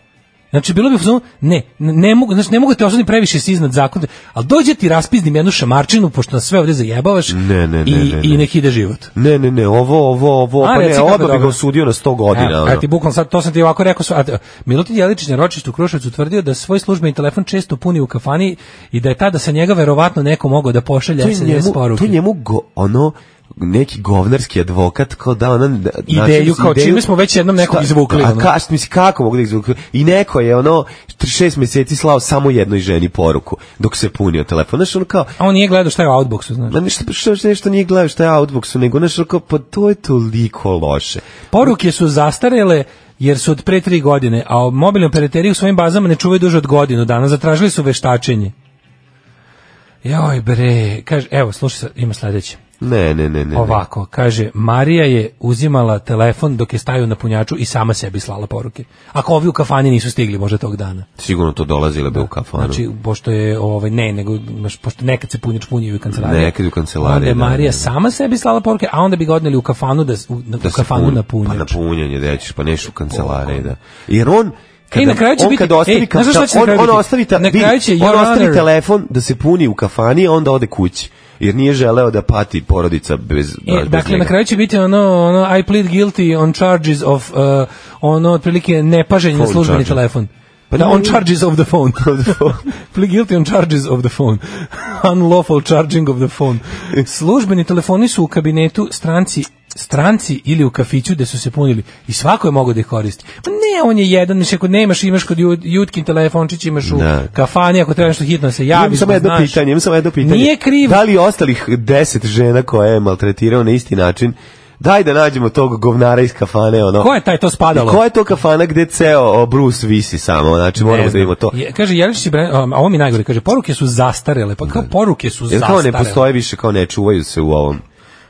Speaker 5: Znači, bilo bi, u fazonu, ne, ne, ne mogu, znači, ne mogu te osudim previše si iznad zakona, ali dođi ti raspiznim jednu šamarčinu, pošto nas sve ovde zajebavaš,
Speaker 6: Ne, ne, ne,
Speaker 5: i,
Speaker 6: ne, ne.
Speaker 5: i nek ide život.
Speaker 6: Ne, ne, ne, ovo, ovo, ovo,
Speaker 5: A,
Speaker 6: pa
Speaker 5: reci
Speaker 6: ne,
Speaker 5: kako
Speaker 6: odmah bi
Speaker 5: dobro.
Speaker 6: ga osudio na 100 godina.
Speaker 5: Evo,
Speaker 6: ono.
Speaker 5: evo ti bukvalno sad, to sam ti ovako rekao. sva- a, Milutin Jeličić na ročištu u Kruševcu tvrdio da svoj službeni telefon često puni u kafani i da je tada sa njega verovatno neko mogao da pošalje
Speaker 6: to je
Speaker 5: SMS
Speaker 6: njemu,
Speaker 5: poruke.
Speaker 6: to je njemu go, ono neki govnarski advokat kao da ona da-
Speaker 5: Ideju,
Speaker 6: mislim,
Speaker 5: kao čime smo već jednom nekog
Speaker 6: Šta-
Speaker 5: izvukli,
Speaker 6: A
Speaker 5: ono.
Speaker 6: ka, mislim, kako mogu da izvukli? I neko je ono 6 meseci slao samo jednoj ženi poruku dok se punio telefon. Znaš, ono kao
Speaker 5: A on nije gledao šta je u Outboxu, znači. znaš.
Speaker 6: Ma ništa, što, što, nešto nije gledao šta je Outboxu, nego znaš, ono kao, pa to je toliko loše.
Speaker 5: Poruke su zastarele jer su od pre tri godine, a mobilni operateri u svojim bazama ne čuvaju duže od godinu dana. Zatražili su veštačenje. Joj bre, kaže, evo, slušaj, sad, ima sledeće.
Speaker 6: Ne, ne, ne, ne, ne.
Speaker 5: Ovako, kaže, Marija je uzimala telefon dok je stajao na punjaču i sama sebi slala poruke. Ako ovi u kafani nisu stigli možda tog dana.
Speaker 6: Sigurno to dolazile bi u kafanu.
Speaker 5: Znači, pošto je, ovaj, ne, nego, znaš, pošto nekad se punjač punjaju i u kancelariji.
Speaker 6: Nekad u kancelariji,
Speaker 5: Onda je
Speaker 6: da,
Speaker 5: Marija
Speaker 6: da, da.
Speaker 5: sama sebi slala poruke, a onda bi ga odneli u kafanu da, s- u, na, u
Speaker 6: se
Speaker 5: kafanu
Speaker 6: puni-
Speaker 5: na punjač.
Speaker 6: Pa na punjanje, da ćeš, pa neš u kancelarije, da. Jer on,
Speaker 5: E, na kraju će
Speaker 6: on
Speaker 5: biti-
Speaker 6: kada ostavi,
Speaker 5: ej,
Speaker 6: kanca-
Speaker 5: znaš šta će na
Speaker 6: on,
Speaker 5: kraju
Speaker 6: on
Speaker 5: biti?
Speaker 6: ostavi, ta,
Speaker 5: Na
Speaker 6: vidi,
Speaker 5: kraju će
Speaker 6: on
Speaker 5: Your
Speaker 6: ostavi
Speaker 5: Honor-
Speaker 6: telefon da se puni u kafani, a onda ode kući. Jer nije želeo da pati porodica bez,
Speaker 5: E,
Speaker 6: bez
Speaker 5: dakle,
Speaker 6: njega.
Speaker 5: na kraju će biti ono, ono I plead guilty on charges of, uh, ono, otprilike, nepaženje na
Speaker 6: Phone
Speaker 5: službeni
Speaker 6: charges.
Speaker 5: telefon.
Speaker 6: Pa
Speaker 5: Pa da,
Speaker 6: ne-
Speaker 5: on charges of the phone. plead guilty on charges of the phone. Unlawful charging of the phone. Službeni telefoni su u kabinetu stranci stranci ili u kafiću gde su se punili i svako je mogao da ih koristi. Ma ne, on je jedan, mislim, ako nemaš, imaš kod jut, jutkin telefončić, imaš u
Speaker 6: Da.
Speaker 5: kafani, ako treba nešto hitno se
Speaker 6: Imam
Speaker 5: javiš,
Speaker 6: samo
Speaker 5: da
Speaker 6: jedno
Speaker 5: znaš.
Speaker 6: pitanje, imam samo jedno pitanje.
Speaker 5: Nije kriv.
Speaker 6: Da li ostalih deset žena koje je maltretirao na isti način, daj da nađemo tog govnara iz kafane, ono.
Speaker 5: Ko je taj to
Speaker 6: I
Speaker 5: spadalo?
Speaker 6: koja je to kafana gde ceo o, Bruce visi samo, znači
Speaker 5: Ne
Speaker 6: moramo da
Speaker 5: znam.
Speaker 6: vidimo to.
Speaker 5: Je, kaže Jeličić, i Bra- um, a ovo mi je najgore, kaže, poruke su zastarele, pa kao poruke su
Speaker 6: Jer kao
Speaker 5: zastarele.
Speaker 6: ne postoje više, kao ne čuvaju se u ovom.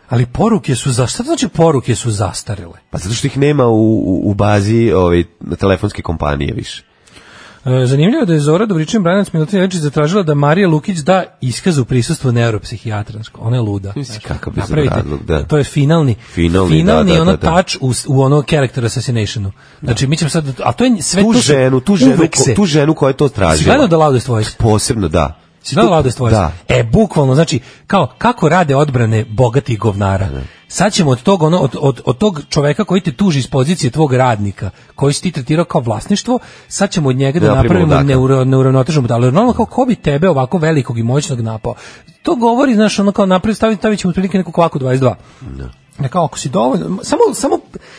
Speaker 5: Ali poruke su zastarele, šta to znači poruke su zastarele?
Speaker 6: Pa zato što ih nema u, u, u bazi ovaj, telefonske kompanije više.
Speaker 5: E, zanimljivo je da je Zora Dobričin Branac Milutin Jeličić zatražila da Marija Lukić da iskaz u prisustvu neuropsihijatra. Znaš, Ona je luda.
Speaker 6: Mislim,
Speaker 5: znaš.
Speaker 6: kakav bezobrazluk,
Speaker 5: Napravite,
Speaker 6: da.
Speaker 5: To je finalni,
Speaker 6: Finalni, da, da,
Speaker 5: ono
Speaker 6: da, da.
Speaker 5: touch u, s- u ono character assassinationu. Znači, mi ćemo sad, a to je sve
Speaker 6: Tu
Speaker 5: E, to su-
Speaker 6: ženu, tu ženu,
Speaker 5: uvek
Speaker 6: ko-
Speaker 5: se-
Speaker 6: tu ženu koja je to
Speaker 5: Si
Speaker 6: tražila.
Speaker 5: gledao da Loudest Voice?
Speaker 6: Posebno, da.
Speaker 5: Si gledao Loudest Voice?
Speaker 6: Da.
Speaker 5: E, bukvalno, znači, kao, kako rade odbrane bogatih govnara? Sad ćemo od tog, ono, od, od, od tog čoveka koji te tuži iz pozicije tvog radnika, koji si ti tretirao kao vlasništvo, sad ćemo od njega da
Speaker 6: Napravimo
Speaker 5: napravimo
Speaker 6: ludaka.
Speaker 5: neuro, neuravnotežnu budalu. Jer normalno, kao, ko bi tebe ovako velikog i moćnog napao? To govori, znaš, ono kao napravi, stavit, stavit ćemo otprilike neku kvaku 22. Da. Kao, ako si dovoljno, samo, samo,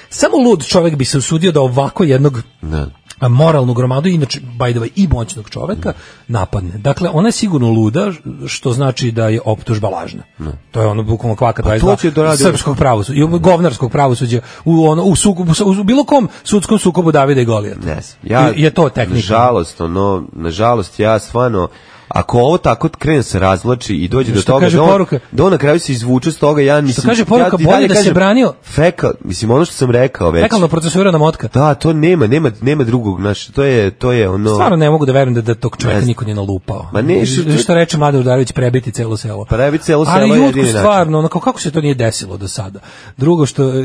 Speaker 5: samo lud čovek bi se usudio da ovako jednog
Speaker 6: Da.
Speaker 5: a, moralnu gromadu, inače, by the way, i moćnog čoveka, napadne. Dakle, ona je sigurno luda, što znači da je optužba lažna. To je ono bukvalno kvaka
Speaker 6: Da. to će da
Speaker 5: 22
Speaker 6: radi-
Speaker 5: srpskog pravosuđa, i govnarskog pravosuđa, u, ono, u, sukobu, sa- u bilo kom sudskom sukobu Davida i Golijata.
Speaker 6: Ne znam. Ja,
Speaker 5: I- je to tehnika.
Speaker 6: Nažalost, ono, nažalost, ja stvarno, ako ovo tako krene da se razvlači i dođe do
Speaker 5: Što
Speaker 6: toga
Speaker 5: kaže
Speaker 6: da on,
Speaker 5: poruka?
Speaker 6: da on na kraju se izvuče s toga, ja mislim...
Speaker 5: kaže poruka,
Speaker 6: i dalje
Speaker 5: bolje da se
Speaker 6: kažem,
Speaker 5: branio?
Speaker 6: Fekal, mislim, ono što sam rekao već.
Speaker 5: Fekalno procesuirana motka.
Speaker 6: Da, to nema, nema, nema drugog, znaš, to je, to je ono...
Speaker 5: Stvarno ne mogu da verujem da, da tog čoveka
Speaker 6: Ne znam.
Speaker 5: niko nije nalupao.
Speaker 6: Ma ne, što- Pa
Speaker 5: što, što reče Mladen Udarević, prebiti celo selo.
Speaker 6: Prebiti celo selo je
Speaker 5: Ali Jutku
Speaker 6: jedini način.
Speaker 5: stvarno, ono, kao, kako se to nije desilo do sada? Drugo što, e,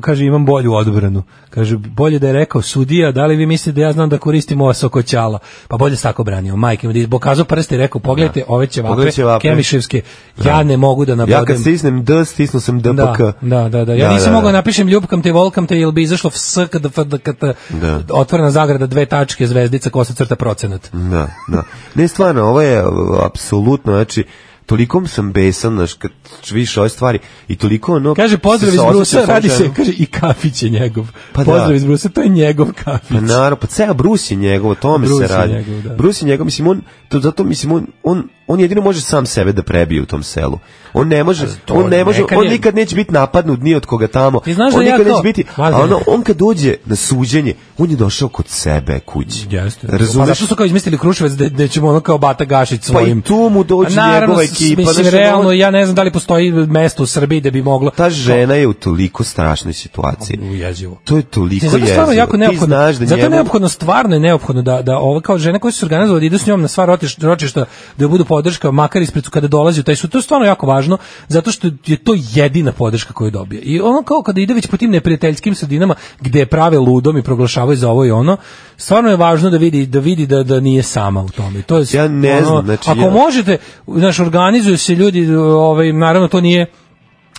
Speaker 5: kaže, imam bolju odbranu. Kaže, bolje da je rekao sudija, da li vi mislite da ja znam da koristim ova sokoćala? Pa bolje se tako branio, majke mi, da je pokazao prste i rekao, pogledajte, ove će
Speaker 6: Pogledaj
Speaker 5: vape,
Speaker 6: Da. ćevape.
Speaker 5: kemiševske, ja ne mogu da nabodem.
Speaker 6: Ja kad stisnem D, stisnuo sam
Speaker 5: Da,
Speaker 6: DPK.
Speaker 5: da, da, da. Ja nisam mogao da napišem ljubkam te, volkam te, ili bi izašlo vs, kada, kada, kada
Speaker 6: Da.
Speaker 5: otvorena zagrada, dve tačke, zvezdica, kosa crta, procenat.
Speaker 6: Da, da. Ne, stvarno, ovo je o, e, apsolutno, znači, toliko sam besan, znaš, kad vidiš ove stvari i toliko ono...
Speaker 5: Kaže, pozdrav
Speaker 6: se
Speaker 5: iz
Speaker 6: osjećam
Speaker 5: Brusa,
Speaker 6: kao
Speaker 5: radi se,
Speaker 6: ženu.
Speaker 5: kaže, i kafić je njegov.
Speaker 6: Pa da.
Speaker 5: pozdrav iz Brusa, to je njegov kafić.
Speaker 6: Pa naravno, pa ceo Bruce je njegov, o tome
Speaker 5: Bruce
Speaker 6: se
Speaker 5: je
Speaker 6: radi.
Speaker 5: njegov, da.
Speaker 6: Bruce je njegov, mislim, on, to, zato, mislim, on, on, on jedino može sam sebe da prebije u tom selu. On ne može,
Speaker 5: to
Speaker 6: on ne može,
Speaker 5: nekad
Speaker 6: on
Speaker 5: je-
Speaker 6: nikad neće biti napadnut ni od koga tamo.
Speaker 5: Ti znaš
Speaker 6: on
Speaker 5: da ja
Speaker 6: nikad
Speaker 5: to-
Speaker 6: neće biti,
Speaker 5: Mladen.
Speaker 6: a ono, on kad dođe na suđenje, on je došao kod sebe kući.
Speaker 5: Jeste. Pa
Speaker 6: Razumeš?
Speaker 5: zašto su kao izmislili Kruševac da, da ćemo ono kao Bata Gašić
Speaker 6: Pa
Speaker 5: svojim...
Speaker 6: i tu mu dođe
Speaker 5: A naravno,
Speaker 6: njegova
Speaker 5: s-
Speaker 6: ekipa.
Speaker 5: Mislim,
Speaker 6: znaš, ono,
Speaker 5: realno, ja ne znam da li postoji mesto u Srbiji da bi moglo...
Speaker 6: ta žena je u toliko strašnoj situaciji.
Speaker 5: Ujezivo.
Speaker 6: To je toliko
Speaker 5: Zato je
Speaker 6: jezivo.
Speaker 5: stvarno jako
Speaker 6: Ti
Speaker 5: neophodno.
Speaker 6: znaš da
Speaker 5: zato je
Speaker 6: njemu...
Speaker 5: neophodno, stvarno je neophodno da, da ovo kao žene koje su se organizovale da idu s njom na sva rotiš- ročišta, da joj budu podrška, makar ispred su kada dolazi u taj sud. To je stvarno jako važno, zato što je to jedina podrška koju dobije. I ono kao kada ide već po tim neprijateljskim sredinama gde je prave ludom i proglašavaju za ovo i ono, stvarno je važno da vidi da vidi da da nije sama u tome. To je
Speaker 6: Ja ne
Speaker 5: ono,
Speaker 6: znam, znači
Speaker 5: ako
Speaker 6: ja-
Speaker 5: možete, znaš, organizuju se ljudi, ovaj naravno to nije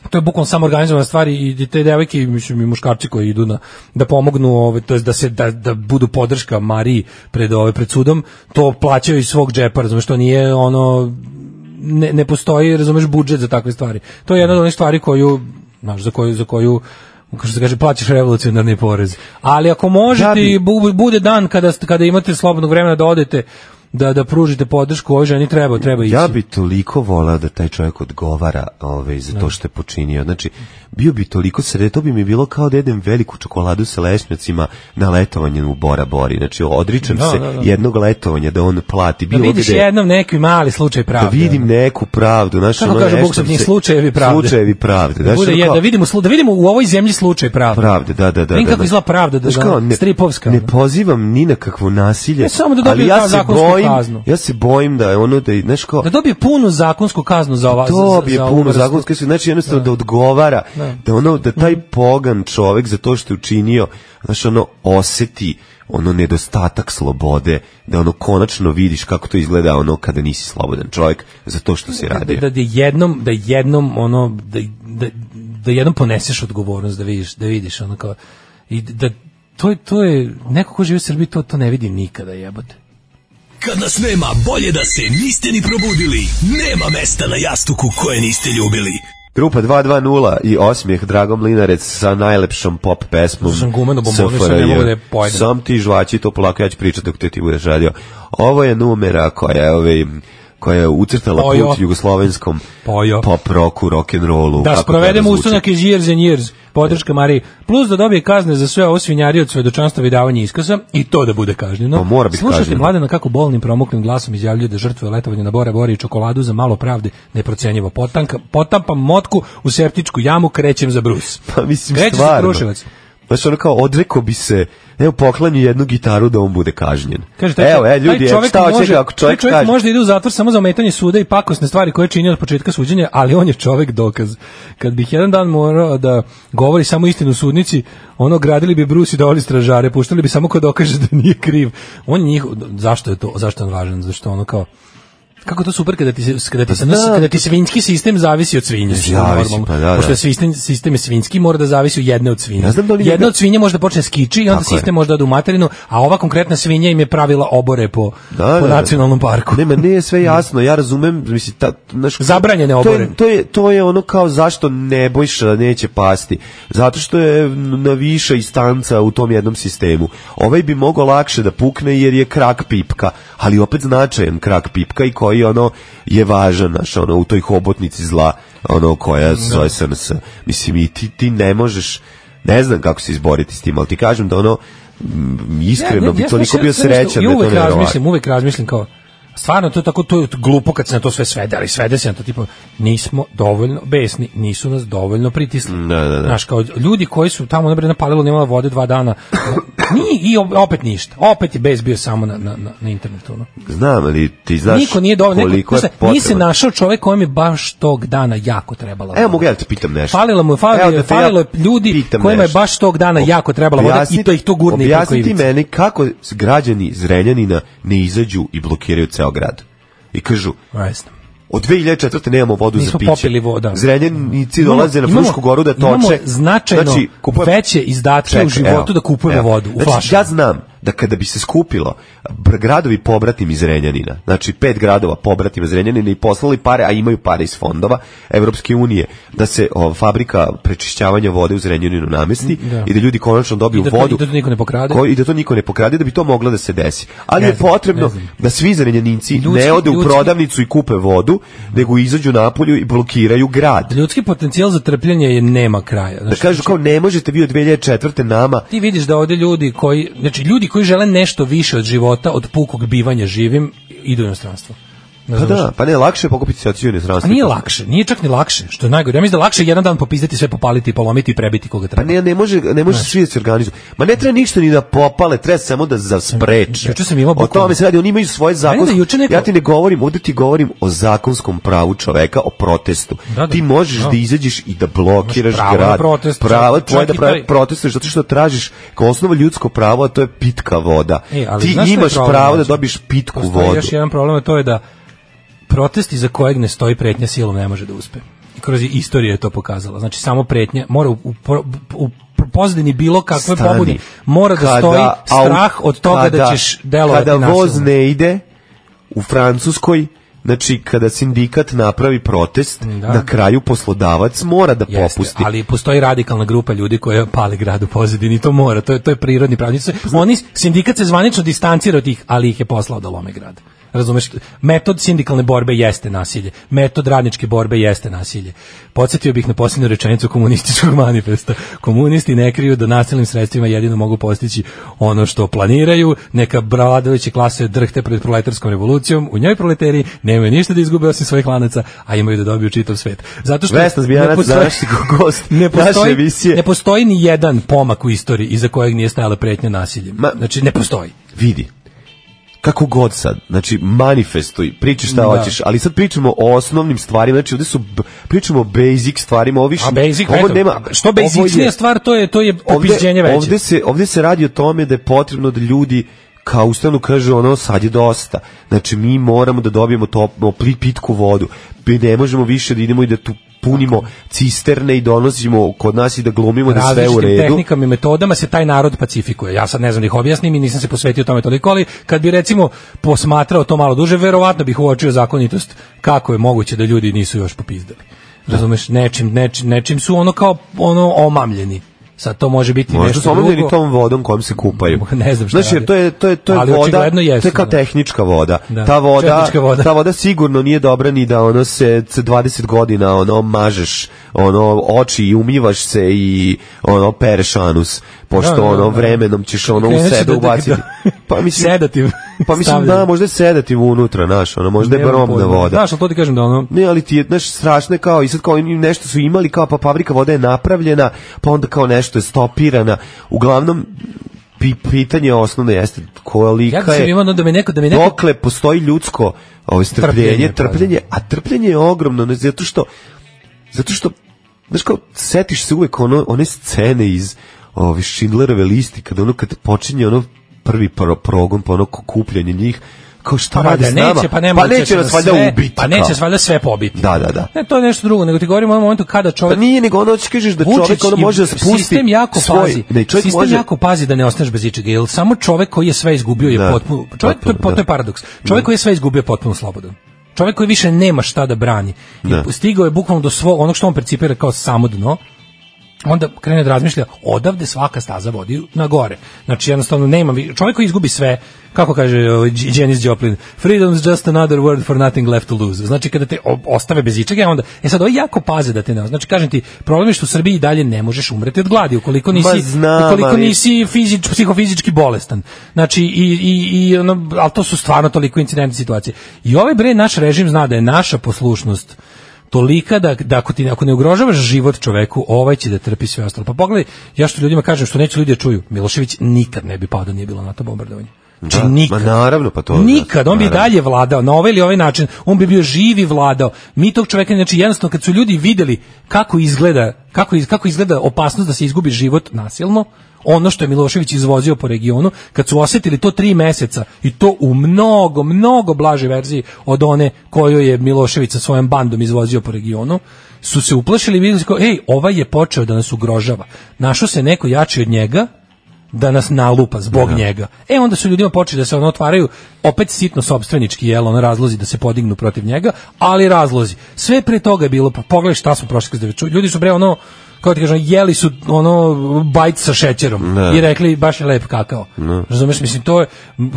Speaker 5: to je bukvalno samo organizovana stvar i i te devojke i mislim i muškarci koji idu na da pomognu ovaj to jest da se da, da budu podrška Mariji pred ove pred sudom to plaćaju iz svog džepa razumeš to nije ono ne, ne postoji razumeš budžet za takve stvari to je jedna od onih stvari koju znaš za koju za koju kako se kaže plaćaš revolucionarni porez ali ako možete
Speaker 6: Da bi-
Speaker 5: i bu- bude dan kada ste- kada imate slobodnog vremena da odete da da pružite podršku ovoj ženi treba treba ići
Speaker 6: Ja bi toliko volao da taj čovjek odgovara ovaj, za
Speaker 5: Da.
Speaker 6: to što je počinio. Znači, bio bi toliko sred, to bi mi bilo kao da jedem veliku čokoladu sa lešnjacima na letovanje u Bora Bori. Znači, odričem
Speaker 5: Da,
Speaker 6: se
Speaker 5: da, da.
Speaker 6: jednog letovanja da on plati.
Speaker 5: da
Speaker 6: Bilo
Speaker 5: vidiš
Speaker 6: gde,
Speaker 5: jednom neki mali slučaj
Speaker 6: da
Speaker 5: pravde
Speaker 6: vidim neku pravdu. Znači,
Speaker 5: Kako
Speaker 6: ono
Speaker 5: kaže
Speaker 6: nešto
Speaker 5: Bog,
Speaker 6: mi se-
Speaker 5: slučajevi pravde.
Speaker 6: Slučajevi pravde.
Speaker 5: Da
Speaker 6: Znači,
Speaker 5: bude
Speaker 6: ono
Speaker 5: je,
Speaker 6: kao-
Speaker 5: da vidimo slu- da vidimo u ovoj zemlji slučaj pravde.
Speaker 6: pravde, da, da, da.
Speaker 5: Vidim
Speaker 6: da,
Speaker 5: kako
Speaker 6: da.
Speaker 5: izgleda pravda, da,
Speaker 6: Znaš
Speaker 5: da,
Speaker 6: kao, ne,
Speaker 5: stripovska,
Speaker 6: Ne
Speaker 5: ono.
Speaker 6: pozivam ni na kakvo nasilje,
Speaker 5: Ne, samo da
Speaker 6: ali
Speaker 5: dobije
Speaker 6: ja
Speaker 5: ta
Speaker 6: se
Speaker 5: zakonsku
Speaker 6: bojim,
Speaker 5: kaznu.
Speaker 6: ja se bojim da je ono da, je, znaš kao,
Speaker 5: Da dobije punu zakonsku kaznu za ova za- za-
Speaker 6: to bi je
Speaker 5: za ovu
Speaker 6: puno
Speaker 5: vrstu.
Speaker 6: zakonske su, znači jednostavno da, odgovara, da.
Speaker 5: Da.
Speaker 6: ono, da taj pogan čovek za to što je učinio, znaš, ono, oseti ono nedostatak slobode, da ono konačno vidiš kako to izgleda ono kada nisi slobodan čovjek za to što si
Speaker 5: da,
Speaker 6: radio.
Speaker 5: da, da jednom da jednom ono da, da, da jednom poneseš odgovornost da vidiš da vidiš ono kao i da to je to je neko ko živi u Srbiji to to ne vidi nikada jebote.
Speaker 13: Kad nas nema, bolje da se niste ni probudili. Nema mesta na jastuku koje niste ljubili.
Speaker 6: Grupa 220 i osmijeh Drago Mlinarec sa najlepšom pop pesmom.
Speaker 5: Zato sam gumeno bombonu, sad ne
Speaker 6: SFRJ.
Speaker 5: mogu da je pojedem.
Speaker 6: Sam ti žvači to polako, ja ću pričati dok te ti budeš radio. Ovo je numera koja je, ovaj, koja je ucrtala
Speaker 5: Pojo.
Speaker 6: put jugoslovenskom
Speaker 5: Pojo.
Speaker 6: pop roku, rock and rollu.
Speaker 5: Da sprovedemo ustanak iz years and years, podrška Mariji, plus da dobije kazne za sve ovo svinjarije od svedočanstva i davanja iskaza i to da bude kažnjeno.
Speaker 6: Pa mora biti
Speaker 5: Slušajte
Speaker 6: kažnjeno.
Speaker 5: mladena kako bolnim promuklim glasom izjavljuje da žrtve letovanja na Bora Bora i čokoladu za malo pravde neprocenjivo potanka, potampam motku u septičku jamu, krećem za brus.
Speaker 6: Pa mislim,
Speaker 5: Kreće se
Speaker 6: stvarno.
Speaker 5: Kruševac.
Speaker 6: Znaš, ono kao, odreko bi se, evo, poklanju jednu gitaru da on bude kažnjen.
Speaker 5: Kaže, taj,
Speaker 6: evo, e,
Speaker 5: taj
Speaker 6: ljudi,
Speaker 5: čovek
Speaker 6: šta
Speaker 5: može,
Speaker 6: očekaj ako
Speaker 5: taj
Speaker 6: čovjek,
Speaker 5: čovek
Speaker 6: kaže,
Speaker 5: može da ide u zatvor samo za ometanje suda i pakosne stvari koje čini od početka suđenja, ali on je čovek dokaz. Kad bih jedan dan morao da govori samo istinu u sudnici, ono gradili bi Bruce i dovali stražare, puštali bi samo ko dokaže da nije kriv. On njih, zašto je to, zašto je on važan, zašto ono kao, Kako je to super kada ti se kada ti, se-
Speaker 6: Da.
Speaker 5: kada ti svinjski sistem zavisi od svinja. što je
Speaker 6: Zavisi,
Speaker 5: normalno.
Speaker 6: pa da, da.
Speaker 5: Pošto je sistem, sistem je svinjski, mora da zavisi od jedne od svinja.
Speaker 6: Ja znam da li
Speaker 5: Jedna
Speaker 6: njega-
Speaker 5: od svinja može da počne skiči i onda
Speaker 6: Tako je.
Speaker 5: sistem može da ode u materinu, a ova konkretna svinja im je pravila obore po,
Speaker 6: Da,
Speaker 5: po nacionalnom parku.
Speaker 6: Nema, nije sve jasno, ja razumem, mislim, ta, znaš,
Speaker 5: Zabranjene
Speaker 6: to
Speaker 5: obore.
Speaker 6: je, to, je, to je ono kao zašto Nebojša neće pasti, zato što je na više istanca u tom jednom sistemu. Ovaj bi mogao lakše da pukne jer je krak pipka, ali opet značajan krak pipka i koji ono je važan, znaš, ono, u toj hobotnici zla, ono,
Speaker 5: Da.
Speaker 6: koja se zove SNS. Mislim, i ti, ti ne možeš, ne znam kako se izboriti s tim, ali ti kažem da ono, m, iskreno bi toliko bio srećan da
Speaker 5: da
Speaker 6: je to
Speaker 5: uvek
Speaker 6: nevjerovatno.
Speaker 5: razmislim, uvek razmislim kao stvarno to je tako to je glupo kad se na to sve svede, ali svede se na to tipa nismo dovoljno besni, nisu nas dovoljno pritisli.
Speaker 6: Da, da, da.
Speaker 5: Znaš, kao ljudi koji su tamo na na palilo nemala vode dva dana. Ni i opet ništa. Opet je bez bio samo na na na, na internetu, ono.
Speaker 6: Znam, ali ti znaš
Speaker 5: Niko nije dovoljno, neko,
Speaker 6: koliko je
Speaker 5: znaš, nije se
Speaker 6: potrebno.
Speaker 5: našao čovek kojem je baš tog dana jako trebala.
Speaker 6: Evo mogu ja da te pitam nešto.
Speaker 5: Falilo mu je, falilo,
Speaker 6: Evo
Speaker 5: je,
Speaker 6: da te
Speaker 5: falilo
Speaker 6: ja
Speaker 5: je ljudi
Speaker 6: pitam
Speaker 5: kojima je
Speaker 6: nešto.
Speaker 5: baš tog dana jako trebala voda i
Speaker 6: Objasni-
Speaker 5: to ih to gurne i preko
Speaker 6: Objasni ti
Speaker 5: ivice.
Speaker 6: meni kako s- građani Zrenjanina ne izađu i blokiraju ceo grad. I kažu,
Speaker 5: Ne znam.
Speaker 6: od 2004. nemamo vodu za
Speaker 5: Nismo
Speaker 6: piće.
Speaker 5: popili voda.
Speaker 6: Zrenjaninici dolaze na
Speaker 5: Imamo-
Speaker 6: Frušku goru da toče. Znači,
Speaker 5: Imamo značajno
Speaker 6: kupuje-
Speaker 5: veće izdatke u
Speaker 6: Čekaj,
Speaker 5: životu
Speaker 6: evo,
Speaker 5: da kupujemo
Speaker 6: evo.
Speaker 5: vodu u
Speaker 6: znači,
Speaker 5: flašama.
Speaker 6: Ja znam da kada bi se skupilo br- gradovi pobratim iz Renjanina, znači pet gradova pobratim iz Renjanina i poslali pare, a imaju pare iz fondova Evropske unije, da se o, fabrika prečišćavanja vode u Zrenjaninu namesti
Speaker 5: Da.
Speaker 6: i da ljudi konačno dobiju
Speaker 5: I da to-
Speaker 6: vodu.
Speaker 5: i da to niko ne pokrade.
Speaker 6: Ko- I da to niko ne pokrade, da bi to moglo da se desi. Ali
Speaker 5: Ne
Speaker 6: je
Speaker 5: znam,
Speaker 6: potrebno
Speaker 5: ne znam.
Speaker 6: da svi Zrenjaninci
Speaker 5: Ljudski-
Speaker 6: ne ode u
Speaker 5: ljudski-
Speaker 6: prodavnicu i kupe vodu, nego izađu napolju i blokiraju grad.
Speaker 5: Ljudski potencijal za trpljenje je nema kraja.
Speaker 6: Da
Speaker 5: Znači,
Speaker 6: kažu kao ne možete vi od 2004. nama
Speaker 5: ti vidiš da ovde ljudi koji, znači ljudi koji žele nešto više od života, od pukog bivanja živim, idu u inostranstvo. Ne
Speaker 6: Pa
Speaker 5: znam
Speaker 6: da, pa ne, lakše je pokupiti se otići u inostranstvo.
Speaker 5: A nije lakše, nije čak ni lakše, što je najgore. Ja mislim da je lakše jedan dan popizdati sve, popaliti, polomiti i prebiti koga
Speaker 6: Pa
Speaker 5: treba.
Speaker 6: ne, ne može, ne može svi da se organizuju. Ma ne treba ništa ni da popale, treba samo da zaspreče.
Speaker 5: Juče sam imao
Speaker 6: O
Speaker 5: bukvalno-
Speaker 6: tome se radi, oni imaju svoje zakonsko.
Speaker 5: Meni da juče neko-
Speaker 6: Ja ti ne govorim, ovde ti govorim o zakonskom pravu čoveka, o protestu.
Speaker 5: Da, da.
Speaker 6: ti možeš da.
Speaker 5: Da.
Speaker 6: izađeš i da blokiraš
Speaker 5: Imaš pravo
Speaker 6: grad.
Speaker 5: na protest,
Speaker 6: pravo
Speaker 5: čak-
Speaker 6: tvoje
Speaker 5: čak
Speaker 6: da
Speaker 5: i
Speaker 6: pravi-
Speaker 5: taj-
Speaker 6: protestuješ zato što tražiš kao osnovo ljudsko pravo, a to je pitka voda.
Speaker 5: E, ali
Speaker 6: ti
Speaker 5: znaš šta je
Speaker 6: imaš
Speaker 5: problem,
Speaker 6: pravo da
Speaker 5: znači?
Speaker 6: dobiješ pitku
Speaker 5: Postoji
Speaker 6: vodu.
Speaker 5: još jedan problem, a to je da protesti za kojeg ne stoji pretnja silom ne može da uspe. I kroz istoriju je to pokazala. Znači, samo pretnja mora u, u, pro- u pozadini bilo kakve
Speaker 6: Stani.
Speaker 5: pobudi mora da
Speaker 6: Kada
Speaker 5: stoji
Speaker 6: au-
Speaker 5: strah od toga
Speaker 6: kada-
Speaker 5: da ćeš delovati
Speaker 6: Kada voz
Speaker 5: nasilno.
Speaker 6: ne ide u Francuskoj, znači kada sindikat napravi protest,
Speaker 5: Da.
Speaker 6: na kraju poslodavac mora da
Speaker 5: Jeste,
Speaker 6: popusti.
Speaker 5: ali postoji radikalna grupa ljudi koja pali grad u pozadini, to mora, to je, to je prirodni pravnici. Oni, sindikat se zvanično distancira od ih, ali ih je poslao da lome grad. Razumeš, metod sindikalne borbe jeste nasilje, metod radničke borbe jeste nasilje. Podsjetio bih na posljednju rečenicu komunističkog manifesta. Komunisti ne kriju da nasilnim sredstvima jedino mogu postići ono što planiraju, neka vladajuće klase drhte pred proletarskom revolucijom, u njoj proleteri nemaju ništa da izgube osim svojih lanaca, a imaju da dobiju čitav svet. Zato što
Speaker 6: Vesna Zmijanac,
Speaker 5: ne postoji-
Speaker 6: današnji gost
Speaker 5: ne
Speaker 6: naše
Speaker 5: postoji,
Speaker 6: emisije.
Speaker 5: Ne postoji ni jedan pomak u istoriji iza kojeg nije stajala pretnja nasiljem.
Speaker 6: Ma-
Speaker 5: znači, ne postoji.
Speaker 6: Vidi, kako god sad, znači manifestuj, priči
Speaker 5: Da.
Speaker 6: šta hoćeš, ali sad pričamo o osnovnim stvarima, znači ovde su, b- pričamo o basic stvarima, ovo više,
Speaker 5: A basic,
Speaker 6: ovo
Speaker 5: eto,
Speaker 6: nema,
Speaker 5: što
Speaker 6: ovo je-
Speaker 5: basicnija stvar, to je, to je popiđenje veće.
Speaker 6: Ovde se, ovde se radi o tome da je potrebno da ljudi kao ustanu kaže ono sad je dosta. Znači mi moramo da dobijemo toplo pli- pitku vodu. Mi ne možemo više da idemo i da tu punimo cisterne i donosimo kod nas i da glumimo da je sve u
Speaker 5: različitim
Speaker 6: redu.
Speaker 5: tehnikama i metodama se taj narod pacifikuje. Ja sad ne znam da ih objasnim i nisam se posvetio tome toliko, ali kad bi recimo posmatrao to malo duže, verovatno bih uočio zakonitost kako je moguće da ljudi nisu još popizdali.
Speaker 6: Da.
Speaker 5: Razumeš, nečim, nečim, nečim su ono kao ono omamljeni. Sad to može biti
Speaker 6: Možda
Speaker 5: nešto
Speaker 6: su omljeni
Speaker 5: drugo.
Speaker 6: tom vodom kojom se kupaju.
Speaker 5: Ne znam da šta
Speaker 6: znači, jer
Speaker 5: rade.
Speaker 6: to je to je to je
Speaker 5: Ali
Speaker 6: voda.
Speaker 5: očigledno
Speaker 6: To
Speaker 5: jesu,
Speaker 6: je kao
Speaker 5: da.
Speaker 6: tehnička voda.
Speaker 5: Da.
Speaker 6: Ta voda,
Speaker 5: Tehnička voda.
Speaker 6: ta voda sigurno nije dobra ni da ono se c- 20 godina ono mažeš, ono oči i umivaš se i ono pereš anus, pošto
Speaker 5: Da, da,
Speaker 6: ono
Speaker 5: da.
Speaker 6: vremenom ćeš ono u
Speaker 5: Krenut će
Speaker 6: sebe
Speaker 5: da- da-
Speaker 6: ubaciti.
Speaker 5: da-
Speaker 6: Pa mislim
Speaker 5: Sedativ
Speaker 6: Pa mislim da
Speaker 5: stavljaju.
Speaker 6: možda je sedativ unutra, znaš, ono možda je
Speaker 5: Nemam
Speaker 6: bromna
Speaker 5: pojma.
Speaker 6: voda.
Speaker 5: Znaš, ali to ti kažem da ono,
Speaker 6: Ne, ali ti je, znaš, strašno je kao, i sad kao oni nešto su imali, kao pa fabrika voda je napravljena, pa onda kao nešto je stopirana. Uglavnom, pi, pitanje osnovno jeste kolika
Speaker 5: ja da sam
Speaker 6: je,
Speaker 5: imao ono da me neko, da me neko
Speaker 6: dokle postoji ljudsko ovo,
Speaker 5: Trpljenje,
Speaker 6: strpljenje,
Speaker 5: pa da.
Speaker 6: trpljenje, a trpljenje je ogromno, ne, zato što, zato što, znaš kao, setiš se uvek ono, one scene iz ove Schindlerove listi, kada ono, kad počinje ono prvi pro, progon, pa ono kupljanje njih, kao šta rade s
Speaker 5: valjda
Speaker 6: nama,
Speaker 5: neće, pa, ne
Speaker 6: pa
Speaker 5: moguće
Speaker 6: neće
Speaker 5: će
Speaker 6: nas
Speaker 5: nas
Speaker 6: valjda
Speaker 5: sve-
Speaker 6: ubiti.
Speaker 5: Pa neće
Speaker 6: kao.
Speaker 5: nas valjda sve pobiti.
Speaker 6: Da, da, da.
Speaker 5: Ne, to je nešto drugo, nego ti govorim o onom momentu kada
Speaker 6: Pa
Speaker 5: čovjek
Speaker 6: nije, nego ono hoćeš kažeš da čovjek ono
Speaker 5: i
Speaker 6: može da spusti
Speaker 5: sistem jako
Speaker 6: svoj,
Speaker 5: pazi.
Speaker 6: Ne, čovjek
Speaker 5: sistem
Speaker 6: može,
Speaker 5: jako pazi da ne ostaneš bez ičega. Jer samo čovjek koji je sve izgubio je
Speaker 6: Da,
Speaker 5: potpuno čovjek to je,
Speaker 6: potpuno,
Speaker 5: to
Speaker 6: da.
Speaker 5: je paradoks. Čovjek koji je sve izgubio je potpuno slobodan. Čovjek koji više nema šta da brani. I
Speaker 6: Da.
Speaker 5: stigao je bukvalno do svog onog što on percipira kao samo dno onda krene da razmišlja odavde svaka staza vodi na gore. Znači jednostavno nema vi- čovjek koji izgubi sve, kako kaže ovaj, Đ- Janis Joplin, freedom's just another word for nothing left to lose. Znači kada te o- ostave bez ičega, onda e sad ovo jako paze da te ne. Znači kažem ti, problem je što u Srbiji i dalje ne možeš umreti od gladi ukoliko nisi
Speaker 6: Ma znam,
Speaker 5: ukoliko
Speaker 6: ali-
Speaker 5: nisi fizič, psihofizički bolestan. Znači i i i ono, al to su stvarno toliko incidentne situacije. I ovaj bre naš režim zna da je naša poslušnost tolika da, da ako, ti, ako ne ugrožavaš život čoveku, ovaj će da trpi sve ostalo. Pa pogledaj, ja što ljudima kažem, što neće ljudi da čuju, Milošević nikad ne bi pao da nije bilo NATO bombardovanje. Znači,
Speaker 6: Da,
Speaker 5: nikad.
Speaker 6: ma naravno, pa to-
Speaker 5: Nikad, on bi i
Speaker 6: naravno.
Speaker 5: dalje vladao, na ovaj ili ovaj način, on bi bio živ i vladao. Mi tog čoveka, znači jednostavno kad su ljudi videli kako izgleda, kako, iz, kako izgleda opasnost da se izgubi život nasilno, ono što je Milošević izvozio po regionu, kad su osetili to tri meseca i to u mnogo, mnogo blaže verziji od one koju je Milošević sa svojom bandom izvozio po regionu, su se uplašili i vidjeli kao, ej, ovaj je počeo da nas ugrožava. Našao se neko jači od njega, da nas nalupa zbog
Speaker 6: Da.
Speaker 5: njega. E onda su ljudima počeli da se ono otvaraju opet sitno sobstvenički jel, ono razlozi da se podignu protiv njega, ali razlozi. Sve pre toga je bilo, pa pogledaj šta smo prošli kroz devet- Ljudi su bre ono kao ti kažem, jeli su ono bajt sa šećerom
Speaker 6: Da.
Speaker 5: i rekli baš je lep kakao.
Speaker 6: Da.
Speaker 5: Razumeš, mislim, to je,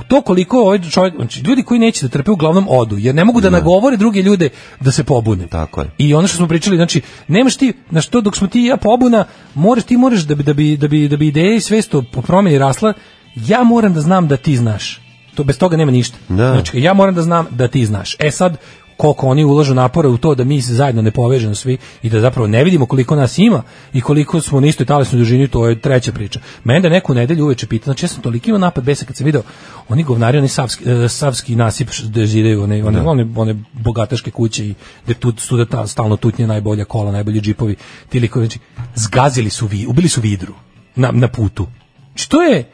Speaker 5: to koliko ovaj čovjek, znači, ljudi koji neće da trpe uglavnom odu, jer ne mogu da nagovore druge ljude da se pobune. Tako je. I ono što smo pričali, znači, nemaš ti, na što dok smo ti i ja pobuna, moraš ti moraš da bi, da bi, da bi, da bi ideja i svest o- po promjeni rasla, ja moram da znam da ti znaš. To, bez toga nema ništa. Znači, ja moram da znam da ti znaš. E sad, koliko oni ulažu napora u to da mi se zajedno ne povežemo svi i da zapravo ne vidimo koliko nas ima i koliko smo na istoj talasnoj dužini, to je treća priča. Mene da neko u nedelju uveče pita, znači ja sam toliko imao napad besa kad sam video, oni govnari, oni savski, eh, savski nasip š- gde zidaju, one, one,
Speaker 6: Da.
Speaker 5: one, one bogataške kuće i gde tu su da ta, stalno tutnje najbolja kola, najbolji džipovi, ti likovi, znači, zgazili su vi, ubili su vidru na, na putu. Znači, to je,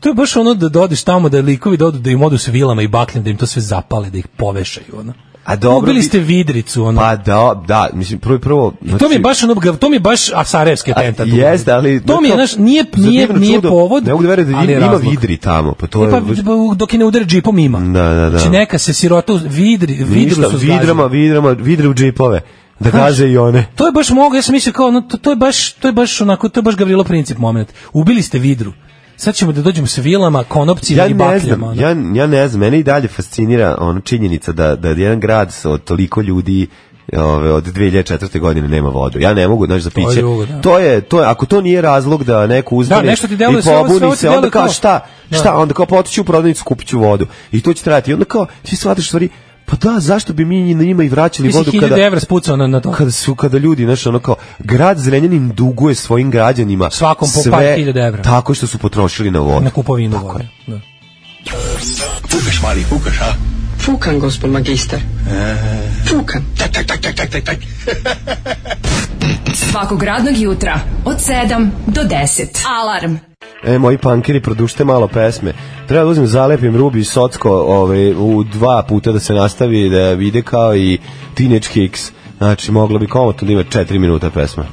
Speaker 5: to je baš ono da dodiš tamo da likovi dodu da im odu s vilama i bakljem da im to sve zapale da ih povešaju ono.
Speaker 6: A dobro,
Speaker 5: Ubili
Speaker 6: bi-
Speaker 5: ste vidricu ono.
Speaker 6: Pa da, da, mislim prvo prvo znači,
Speaker 5: to mi je baš ono ga- to mi je baš Asarevski
Speaker 6: A,
Speaker 5: atentat.
Speaker 6: Jeste, ali
Speaker 5: To mi je, znaš, nije-
Speaker 6: za
Speaker 5: nije-
Speaker 6: divno
Speaker 5: nije
Speaker 6: čudo,
Speaker 5: povod,
Speaker 6: Ne mogu da verujem da
Speaker 5: ali je
Speaker 6: im- ima
Speaker 5: razlog.
Speaker 6: vidri tamo, pa to
Speaker 5: E,
Speaker 6: je
Speaker 5: pa,
Speaker 6: baš-
Speaker 5: dok je ne udari džipom ima.
Speaker 6: da, da, da.
Speaker 5: Znači neka se sirota uz- vidri, vidru
Speaker 6: Ništa,
Speaker 5: su zgazili.
Speaker 6: vidrama, vidrama, vidre u džipove. Da
Speaker 5: Znaš,
Speaker 6: gaze i one.
Speaker 5: To je baš mogu, ja sam mislio kao, no, to, to je baš, to je baš onako, to je baš Gavrilo princip moment. Ubili ste vidru. Sad ćemo da dođemo s vilama, konopcima
Speaker 6: Ja
Speaker 5: i
Speaker 6: ne znam,
Speaker 5: bakljama. ono.
Speaker 6: ja, ja ne znam, mene i dalje fascinira ono činjenica da, da jedan grad sa od toliko ljudi ove, od 2004. godine nema vodu. Ja ne mogu, znači, za
Speaker 5: To je
Speaker 6: piće.
Speaker 5: drugo, da.
Speaker 6: To je, to je, ako to nije razlog da neko uzme
Speaker 5: nešto ti
Speaker 6: i
Speaker 5: deluje, sve ovo- sve ovo
Speaker 6: pobuni
Speaker 5: ti
Speaker 6: se, onda
Speaker 5: deluje
Speaker 6: kao
Speaker 5: kao-
Speaker 6: šta,
Speaker 5: Da.
Speaker 6: šta, onda kao potiću u prodavnicu, kupit ću vodu. I to će trajati. I onda kao, ti shvataš stvari, pa da, zašto bi mi na njima i vraćali
Speaker 5: Ti si
Speaker 6: vodu
Speaker 5: hiljadu
Speaker 6: kada,
Speaker 5: evra spucao na, na to.
Speaker 6: kada su kada ljudi znaš ono kao grad Zrenjanin duguje svojim građanima
Speaker 5: Svakom po
Speaker 6: sve
Speaker 5: par hiljada evra.
Speaker 6: tako što su potrošili na vodu
Speaker 5: Na kupovinu vode. Da.
Speaker 13: Fukaš, mali, fukaš, a? E.
Speaker 7: Fukan, gospod magister. Fukan.
Speaker 13: Tak, tak, tak, tak, tak, tak, tak.
Speaker 4: Svakog radnog jutra od 7 do 10. Alarm.
Speaker 6: E, moji pankeri, produšte malo pesme. Treba da uzmem zalepim Rubi i Socko ovaj, u dva puta da se nastavi da vide kao i Teenage Kicks. Znači, moglo bi komotno da ima četiri minuta pesma.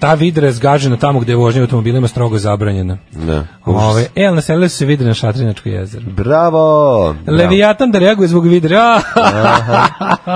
Speaker 5: Ta vidra je zgažena tamo gde je vožnja automobilima strogo zabranjena.
Speaker 6: Da. užas.
Speaker 5: Ove, e, ali naselili su se vidre na Šatrinačko jezero.
Speaker 6: Bravo!
Speaker 5: Leviatan da reaguje zbog vidre. Ah,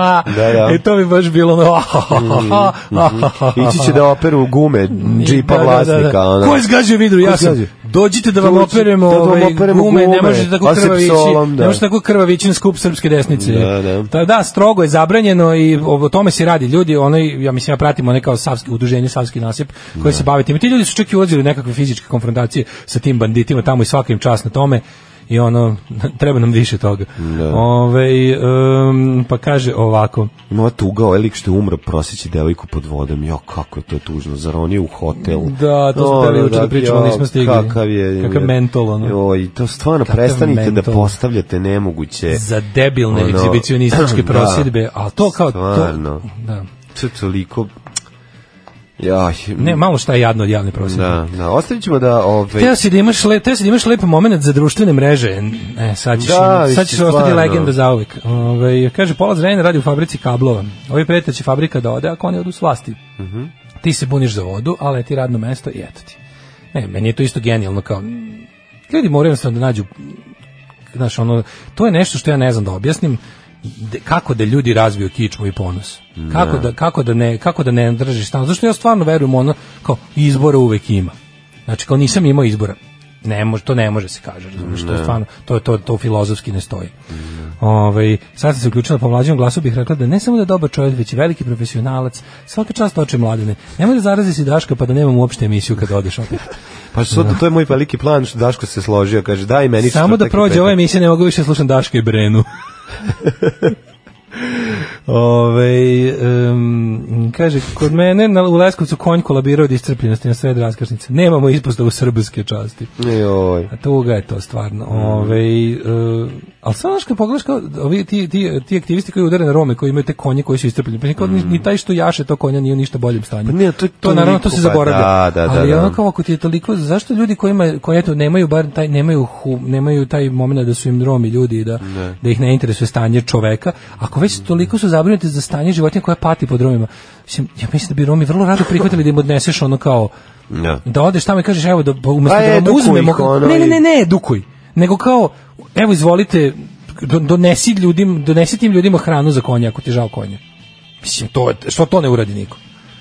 Speaker 6: Da, da.
Speaker 5: E, to bi baš bilo ono...
Speaker 6: Bravo. Ići će da operu gume
Speaker 5: da,
Speaker 6: džipa vlasnika. ono.
Speaker 5: Ko je zgađio vidru?
Speaker 6: Ko je
Speaker 5: Ja sam.
Speaker 6: zgađio?
Speaker 5: Dođite da vam
Speaker 6: Dođi-
Speaker 5: operemo,
Speaker 6: da vam
Speaker 5: ovaj,
Speaker 6: operemo
Speaker 5: gume,
Speaker 6: gume,
Speaker 5: ne možete tako krvavići.
Speaker 6: asepsolom, da.
Speaker 5: Ne možete tako krvavići na skup srpske desnice.
Speaker 6: Da, da.
Speaker 5: Da, da, strogo je zabranjeno i o tome se radi ljudi, ono ja mislim ja pratim one kao savski udruženje savski nasip koji
Speaker 6: Da.
Speaker 5: se bave tim. I ti ljudi su čak i ulazili u nekakve fizičke konfrontacije sa tim banditima tamo i svaka im čast na tome. I ono, treba nam više toga.
Speaker 6: Da.
Speaker 5: Ove, pa kaže ovako.
Speaker 6: Ima ova tuga, ovaj lik što je umro, prosjeći devojku pod vodom. Jo, kako je to tužno. Zar on je u hotel?
Speaker 5: Da, to smo
Speaker 6: Ono,
Speaker 5: hteli juče da pričamo,
Speaker 6: jo,
Speaker 5: nismo stigli.
Speaker 6: Kakav je...
Speaker 5: Kakav mentol, ono.
Speaker 6: Joj, to stvarno,
Speaker 5: Kakav
Speaker 6: prestanite da
Speaker 5: mentol.
Speaker 6: postavljate nemoguće.
Speaker 5: za debilne
Speaker 6: Ono,
Speaker 5: egzibicionističke
Speaker 6: da.
Speaker 5: prosjedbe, a to kao
Speaker 6: Stvarno.
Speaker 5: to, da.
Speaker 6: To je toliko... Jaj,
Speaker 5: Ne, malo šta je jadno od javne prosjedbe.
Speaker 6: Da, da, ostavit ćemo da... Ove,
Speaker 5: Teo si da imaš le, teo si da imaš lep moment za društvene mreže. Ne, sad ćeš,
Speaker 6: Da,
Speaker 5: da,
Speaker 6: mislim,
Speaker 5: sad ćeš ostati
Speaker 6: stvarno.
Speaker 5: legenda zauvek. Ovaj kaže pola Zrenjanina radi u fabrici kablova. Ovi prete će fabrika da ode ako oni odu s vlasti.
Speaker 6: Mhm.
Speaker 5: Ti se buniš za vodu, ali ti radno mesto i eto ti. Ne, meni je to isto genijalno kao mm, ljudi moraju jednostavno da nađu znaš, ono, to je nešto što ja ne znam da objasnim de- kako da ljudi razviju kičmu i ponos. Kako da, kako da ne, kako da ne držiš stalno. Zašto ja stvarno verujem u ono kao izbora uvek ima. Znači kao nisam imao izbora. Ne može, to ne može se kaže, razumiješ, to je stvarno, to, to, to filozofski ne stoji. Ovaj, sad sam se uključila po mlađem glasu, bih rekla da ne samo da je dobar čovjek, već i veliki profesionalac, svaka čast oče mladene. Nemoj da zarazi si Daška pa da nemam uopšte emisiju kad odeš opet.
Speaker 6: Pa što, to je moj veliki plan, što Daško se složio, kaže, daj meni...
Speaker 5: Samo da
Speaker 6: četvrtak i
Speaker 5: prođe
Speaker 6: petak.
Speaker 5: ova emisija, ne mogu više da slušam Daška i Brenu. Ove, em, kaže, kod mene na, u Leskovcu konj kolabirao od iscrpljenosti na sred raskrsnice. Nemamo ispostavu srpske časti.
Speaker 6: Joj.
Speaker 5: A tuga je to
Speaker 6: Mm.
Speaker 5: stvarno. Ove, e, ali samo znaš kad pogledaš kao, da ovi, ti, ti, ti aktivisti koji udare na Rome, koji imaju te konje koji su iscrpljeni, pa niko, ni, ni taj što jaše to konja nije u ništa boljem stanju.
Speaker 6: Mm. Pa ne, to je
Speaker 5: naravno,
Speaker 6: toliko,
Speaker 5: to se
Speaker 6: pa
Speaker 5: zaboravlja.
Speaker 6: da, da, da,
Speaker 5: ali
Speaker 6: da.
Speaker 5: ono kao ako ti je toliko, zašto ljudi koji, ima, koji eto, nemaju bar taj, nemaju, hu, nemaju taj moment da su im Romi ljudi i da, da ih ne interesuje stanje čoveka, ako već toliko su zabrinuti za stanje životinja koja pati pod Romima, mislim, ja mislim da bi Romi vrlo rado prihvatili da im odneseš ono kao,
Speaker 6: Da.
Speaker 5: da odeš tamo i kažeš, evo, da, umesto
Speaker 6: Pa
Speaker 5: da vam
Speaker 6: edukuj ih,
Speaker 5: uzmemo,
Speaker 6: ono,
Speaker 5: ne, ne,
Speaker 6: i-
Speaker 5: ne, ne, edukuj, nego kao, evo, izvolite, do- donesi, ljudim, donesi tim ljudima hranu za konja, ako ti je žao konja. Mislim, to, je- što to ne uradi niko?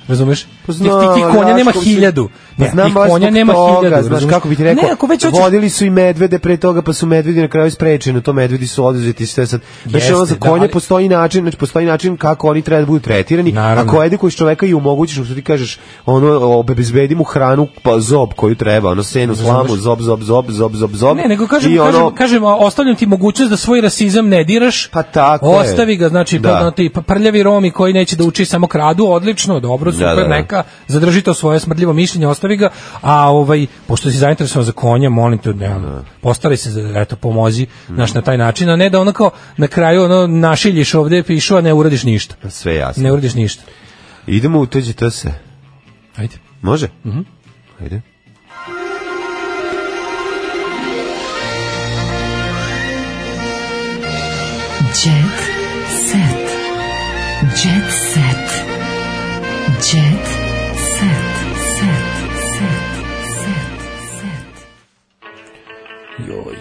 Speaker 5: Razumeš? Pa
Speaker 6: znam,
Speaker 5: ti, ti
Speaker 6: ali
Speaker 5: konja nema
Speaker 6: Rašković je-
Speaker 5: hiljadu.
Speaker 6: Pa
Speaker 5: Ne,
Speaker 6: znam,
Speaker 5: ti
Speaker 6: baš
Speaker 5: konja
Speaker 6: zbog
Speaker 5: nema
Speaker 6: toga,
Speaker 5: hiljadu.
Speaker 6: Znaš
Speaker 5: razumeš?
Speaker 6: kako bi ti rekao,
Speaker 5: Ne, ako već hoćeš
Speaker 6: vodili su i medvede pre toga, pa su medvedi na kraju sprečeni, to medvedi su oduzeti sve sad. Znači,
Speaker 5: Jeste,
Speaker 6: ono za
Speaker 5: da,
Speaker 6: konje
Speaker 5: ali-
Speaker 6: postoji način, znači postoji način kako oni treba da budu tretirani.
Speaker 5: Naravno.
Speaker 6: Ako ajde koji čoveka i omogućiš mu što ti kažeš, ono obezbedi mu hranu, pa zob koju treba, ono senu, slamu, zob, zob, zob, zob, zob, zob.
Speaker 5: Ne, nego kažem,
Speaker 6: i ono,
Speaker 5: kažem, kažem, a, ostavljam ti mogućnost da svoj rasizam ne diraš. Pa
Speaker 6: tako je.
Speaker 5: Ostavi ga, znači,
Speaker 6: Da.
Speaker 5: da. ti pa prljavi Romi koji neće da uči samo kradu, odlično, dobro,
Speaker 6: Da,
Speaker 5: super,
Speaker 6: da, da.
Speaker 5: neka, zadrži to svoje smrdljivo mišljenje, ostavi ga, a ovaj, pošto si zainteresovan za konja, molim te, ne, da. postaraj se, za- eto, pomozi, znaš, na taj način, a ne da ono kao, na kraju, ono, našiljiš ovde, pišu, a ne uradiš ništa.
Speaker 6: sve jasno.
Speaker 5: Ne uradiš ništa.
Speaker 6: Idemo u tuđe se.
Speaker 5: Ajde.
Speaker 6: Može?
Speaker 5: Mhm.
Speaker 6: Ajde.
Speaker 4: Jet set. Jet set. Jet set. Set. Set. Set.
Speaker 5: Joj.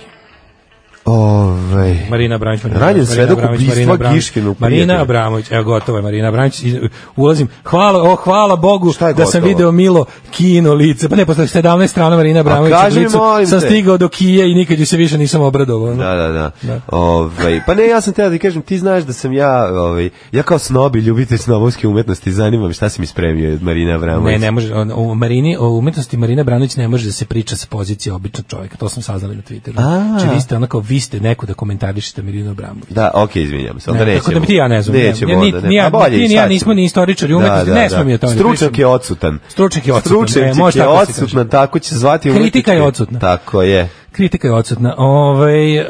Speaker 6: Ovaj.
Speaker 5: Marina Abramović. Marina
Speaker 6: Ranjen
Speaker 5: Abramović,
Speaker 6: svedok
Speaker 5: Marina Abramović,
Speaker 6: ubistva
Speaker 5: Marina Abramović.
Speaker 6: Giškinu.
Speaker 5: Marina Abramović, evo gotovo je Marina Abramović. Iz- Ulazim. Hvala, o, hvala Bogu da sam
Speaker 6: gotovo?
Speaker 5: video Milo Kino lice. Pa ne, posle 17 strana Marina Abramović
Speaker 6: kaži mi, molim
Speaker 5: sam
Speaker 6: te.
Speaker 5: stigao do Kije i nikad ju se više nisam obradovao. ono.
Speaker 6: Da, da, da. Ovaj, pa ne, ja sam teo da ti kažem, ti znaš da sam ja, ovaj, ja kao snobi, ljubitelj snobovske umetnosti, zanima me šta si mi spremio od Marina Abramović.
Speaker 5: Ne, ne može. on- O, Marini, o umetnosti Marina Branović ne može da se priča sa pozicije običnog čovjeka. To sam saznali na Twitteru.
Speaker 6: A.
Speaker 5: Znači, vi ste onako, vi ste neko da komentarišete Marinu Abramović.
Speaker 6: Da, okej, izvinjam se, onda
Speaker 5: Ne,
Speaker 6: nećemo.
Speaker 5: tako da bi ti ja ne znam, ne,
Speaker 6: Nećemo
Speaker 5: ja ni-
Speaker 6: onda, ne.
Speaker 5: ni ja-
Speaker 6: Pa bolje,
Speaker 5: ti ni ja
Speaker 6: sad ćemo. Da,
Speaker 5: nismo ni istoričari umetnosti, ne smem ja to ni
Speaker 6: Stručnjak
Speaker 5: pričam.
Speaker 6: je odsutan.
Speaker 5: da Stručnjak je odsutan, e,
Speaker 6: Stručnjak
Speaker 5: može
Speaker 6: je
Speaker 5: tako da se kaže.
Speaker 6: odsutan, tako će se zvati
Speaker 5: Kritika
Speaker 6: umetnički.
Speaker 5: je odsutna.
Speaker 6: Tako je.
Speaker 5: Kritika je odsutna. Ovaj e,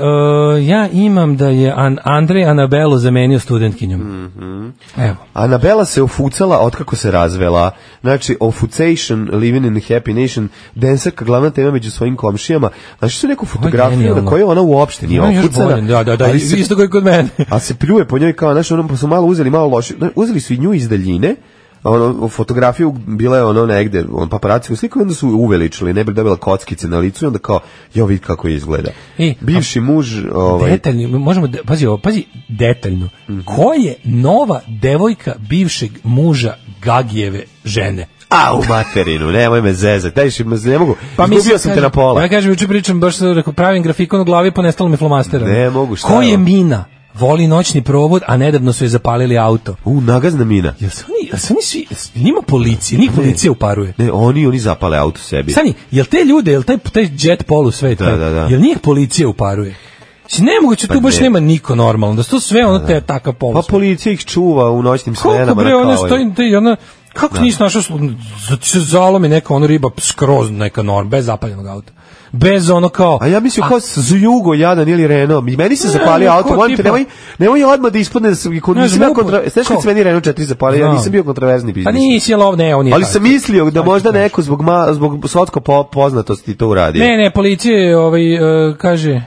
Speaker 5: ja imam da je An Andrej Anabelo zamenio studentkinjom.
Speaker 6: Mhm.
Speaker 5: Evo.
Speaker 6: Anabela se ofucala otkako se razvela. Znači, ofucation, living in a happy nation, denserka glavna tema među svojim komšijama. Znači, su neku fotografiju
Speaker 5: genijalno.
Speaker 6: na kojoj ona uopšte nije
Speaker 5: Ima još
Speaker 6: ofucana.
Speaker 5: bolje, da, da, da,
Speaker 6: ali se-
Speaker 5: isto kao i kod mene.
Speaker 6: a se pljuje po njoj kao, znaš, ono, pa su malo uzeli, malo loše, znaš, uzeli su i nju iz daljine, a ono, fotografiju bila je ono negde, on paparaci u sliku, i onda su uveličili, ne bi dobila kockice na licu, i onda kao, jo, vidi kako izgleda.
Speaker 5: E,
Speaker 6: Bivši muž, ovaj, Mhm.
Speaker 5: Detaljno, možemo, de, pazi ovo, pazi, detaljno. Ko je nova devojka bivšeg muža Gagijeve žene?
Speaker 6: a u materinu, nemoj me zezati, daj, še- ne mogu,
Speaker 5: Pa
Speaker 6: izgubio
Speaker 5: mislim,
Speaker 6: sam te
Speaker 5: kažem-
Speaker 6: na pola.
Speaker 5: Ja kažem, juče pričam, baš sam rekao, pravim grafikon u glavi, ponestalo mi flomastera.
Speaker 6: Ne mogu, šta
Speaker 5: Ko
Speaker 6: je
Speaker 5: je
Speaker 6: ovo?
Speaker 5: Mina? Voli noćni provod, a nedavno su je zapalili auto.
Speaker 6: U, nagazna mina.
Speaker 5: Jel su oni, jel su oni svi, njima policija, njih policija uparuje.
Speaker 6: Ne, oni, oni zapale auto sebi.
Speaker 5: Sani, jel te ljude, jel taj, taj jet polu sve,
Speaker 6: Da, da, da.
Speaker 5: jel njih policija uparuje? Znači, nemoguće,
Speaker 6: Pa
Speaker 5: tu baš
Speaker 6: ne.
Speaker 5: nema niko normalno, da su to sve ono te taka polu.
Speaker 6: Pa policija ih čuva u noćnim
Speaker 5: Koliko
Speaker 6: smenama.
Speaker 5: bre,
Speaker 6: na
Speaker 5: ono
Speaker 6: kao-
Speaker 5: stoji, da i ona, kako
Speaker 6: Da.
Speaker 5: nisi našao, slu- zato se zalomi neka ono riba skroz neka norm, bez zapaljenog auta. Bez ono kao...
Speaker 6: A ja mislim kao s Jugo jadan ili Renault. I meni se
Speaker 5: Ne,
Speaker 6: zapali
Speaker 5: ne,
Speaker 6: auto,
Speaker 5: ko
Speaker 6: molim te,
Speaker 5: tipa-
Speaker 6: nemoj, nemoj odmah da ispadne da sam, kod,
Speaker 5: Ne
Speaker 6: nisam
Speaker 5: znam,
Speaker 6: ja kontra...
Speaker 5: upo-
Speaker 6: Znaš kad
Speaker 5: ko?
Speaker 6: se meni Renault 4 zapali, ja
Speaker 5: Znam.
Speaker 6: nisam bio kontraverzni biznis.
Speaker 5: Pa nisi, jel ovo, ne, on je...
Speaker 6: Ali sam mislio da možda neko zbog, ma, zbog svatko po, poznatosti to uradi.
Speaker 5: Ne, ne, policija je, ovaj, e, kaže,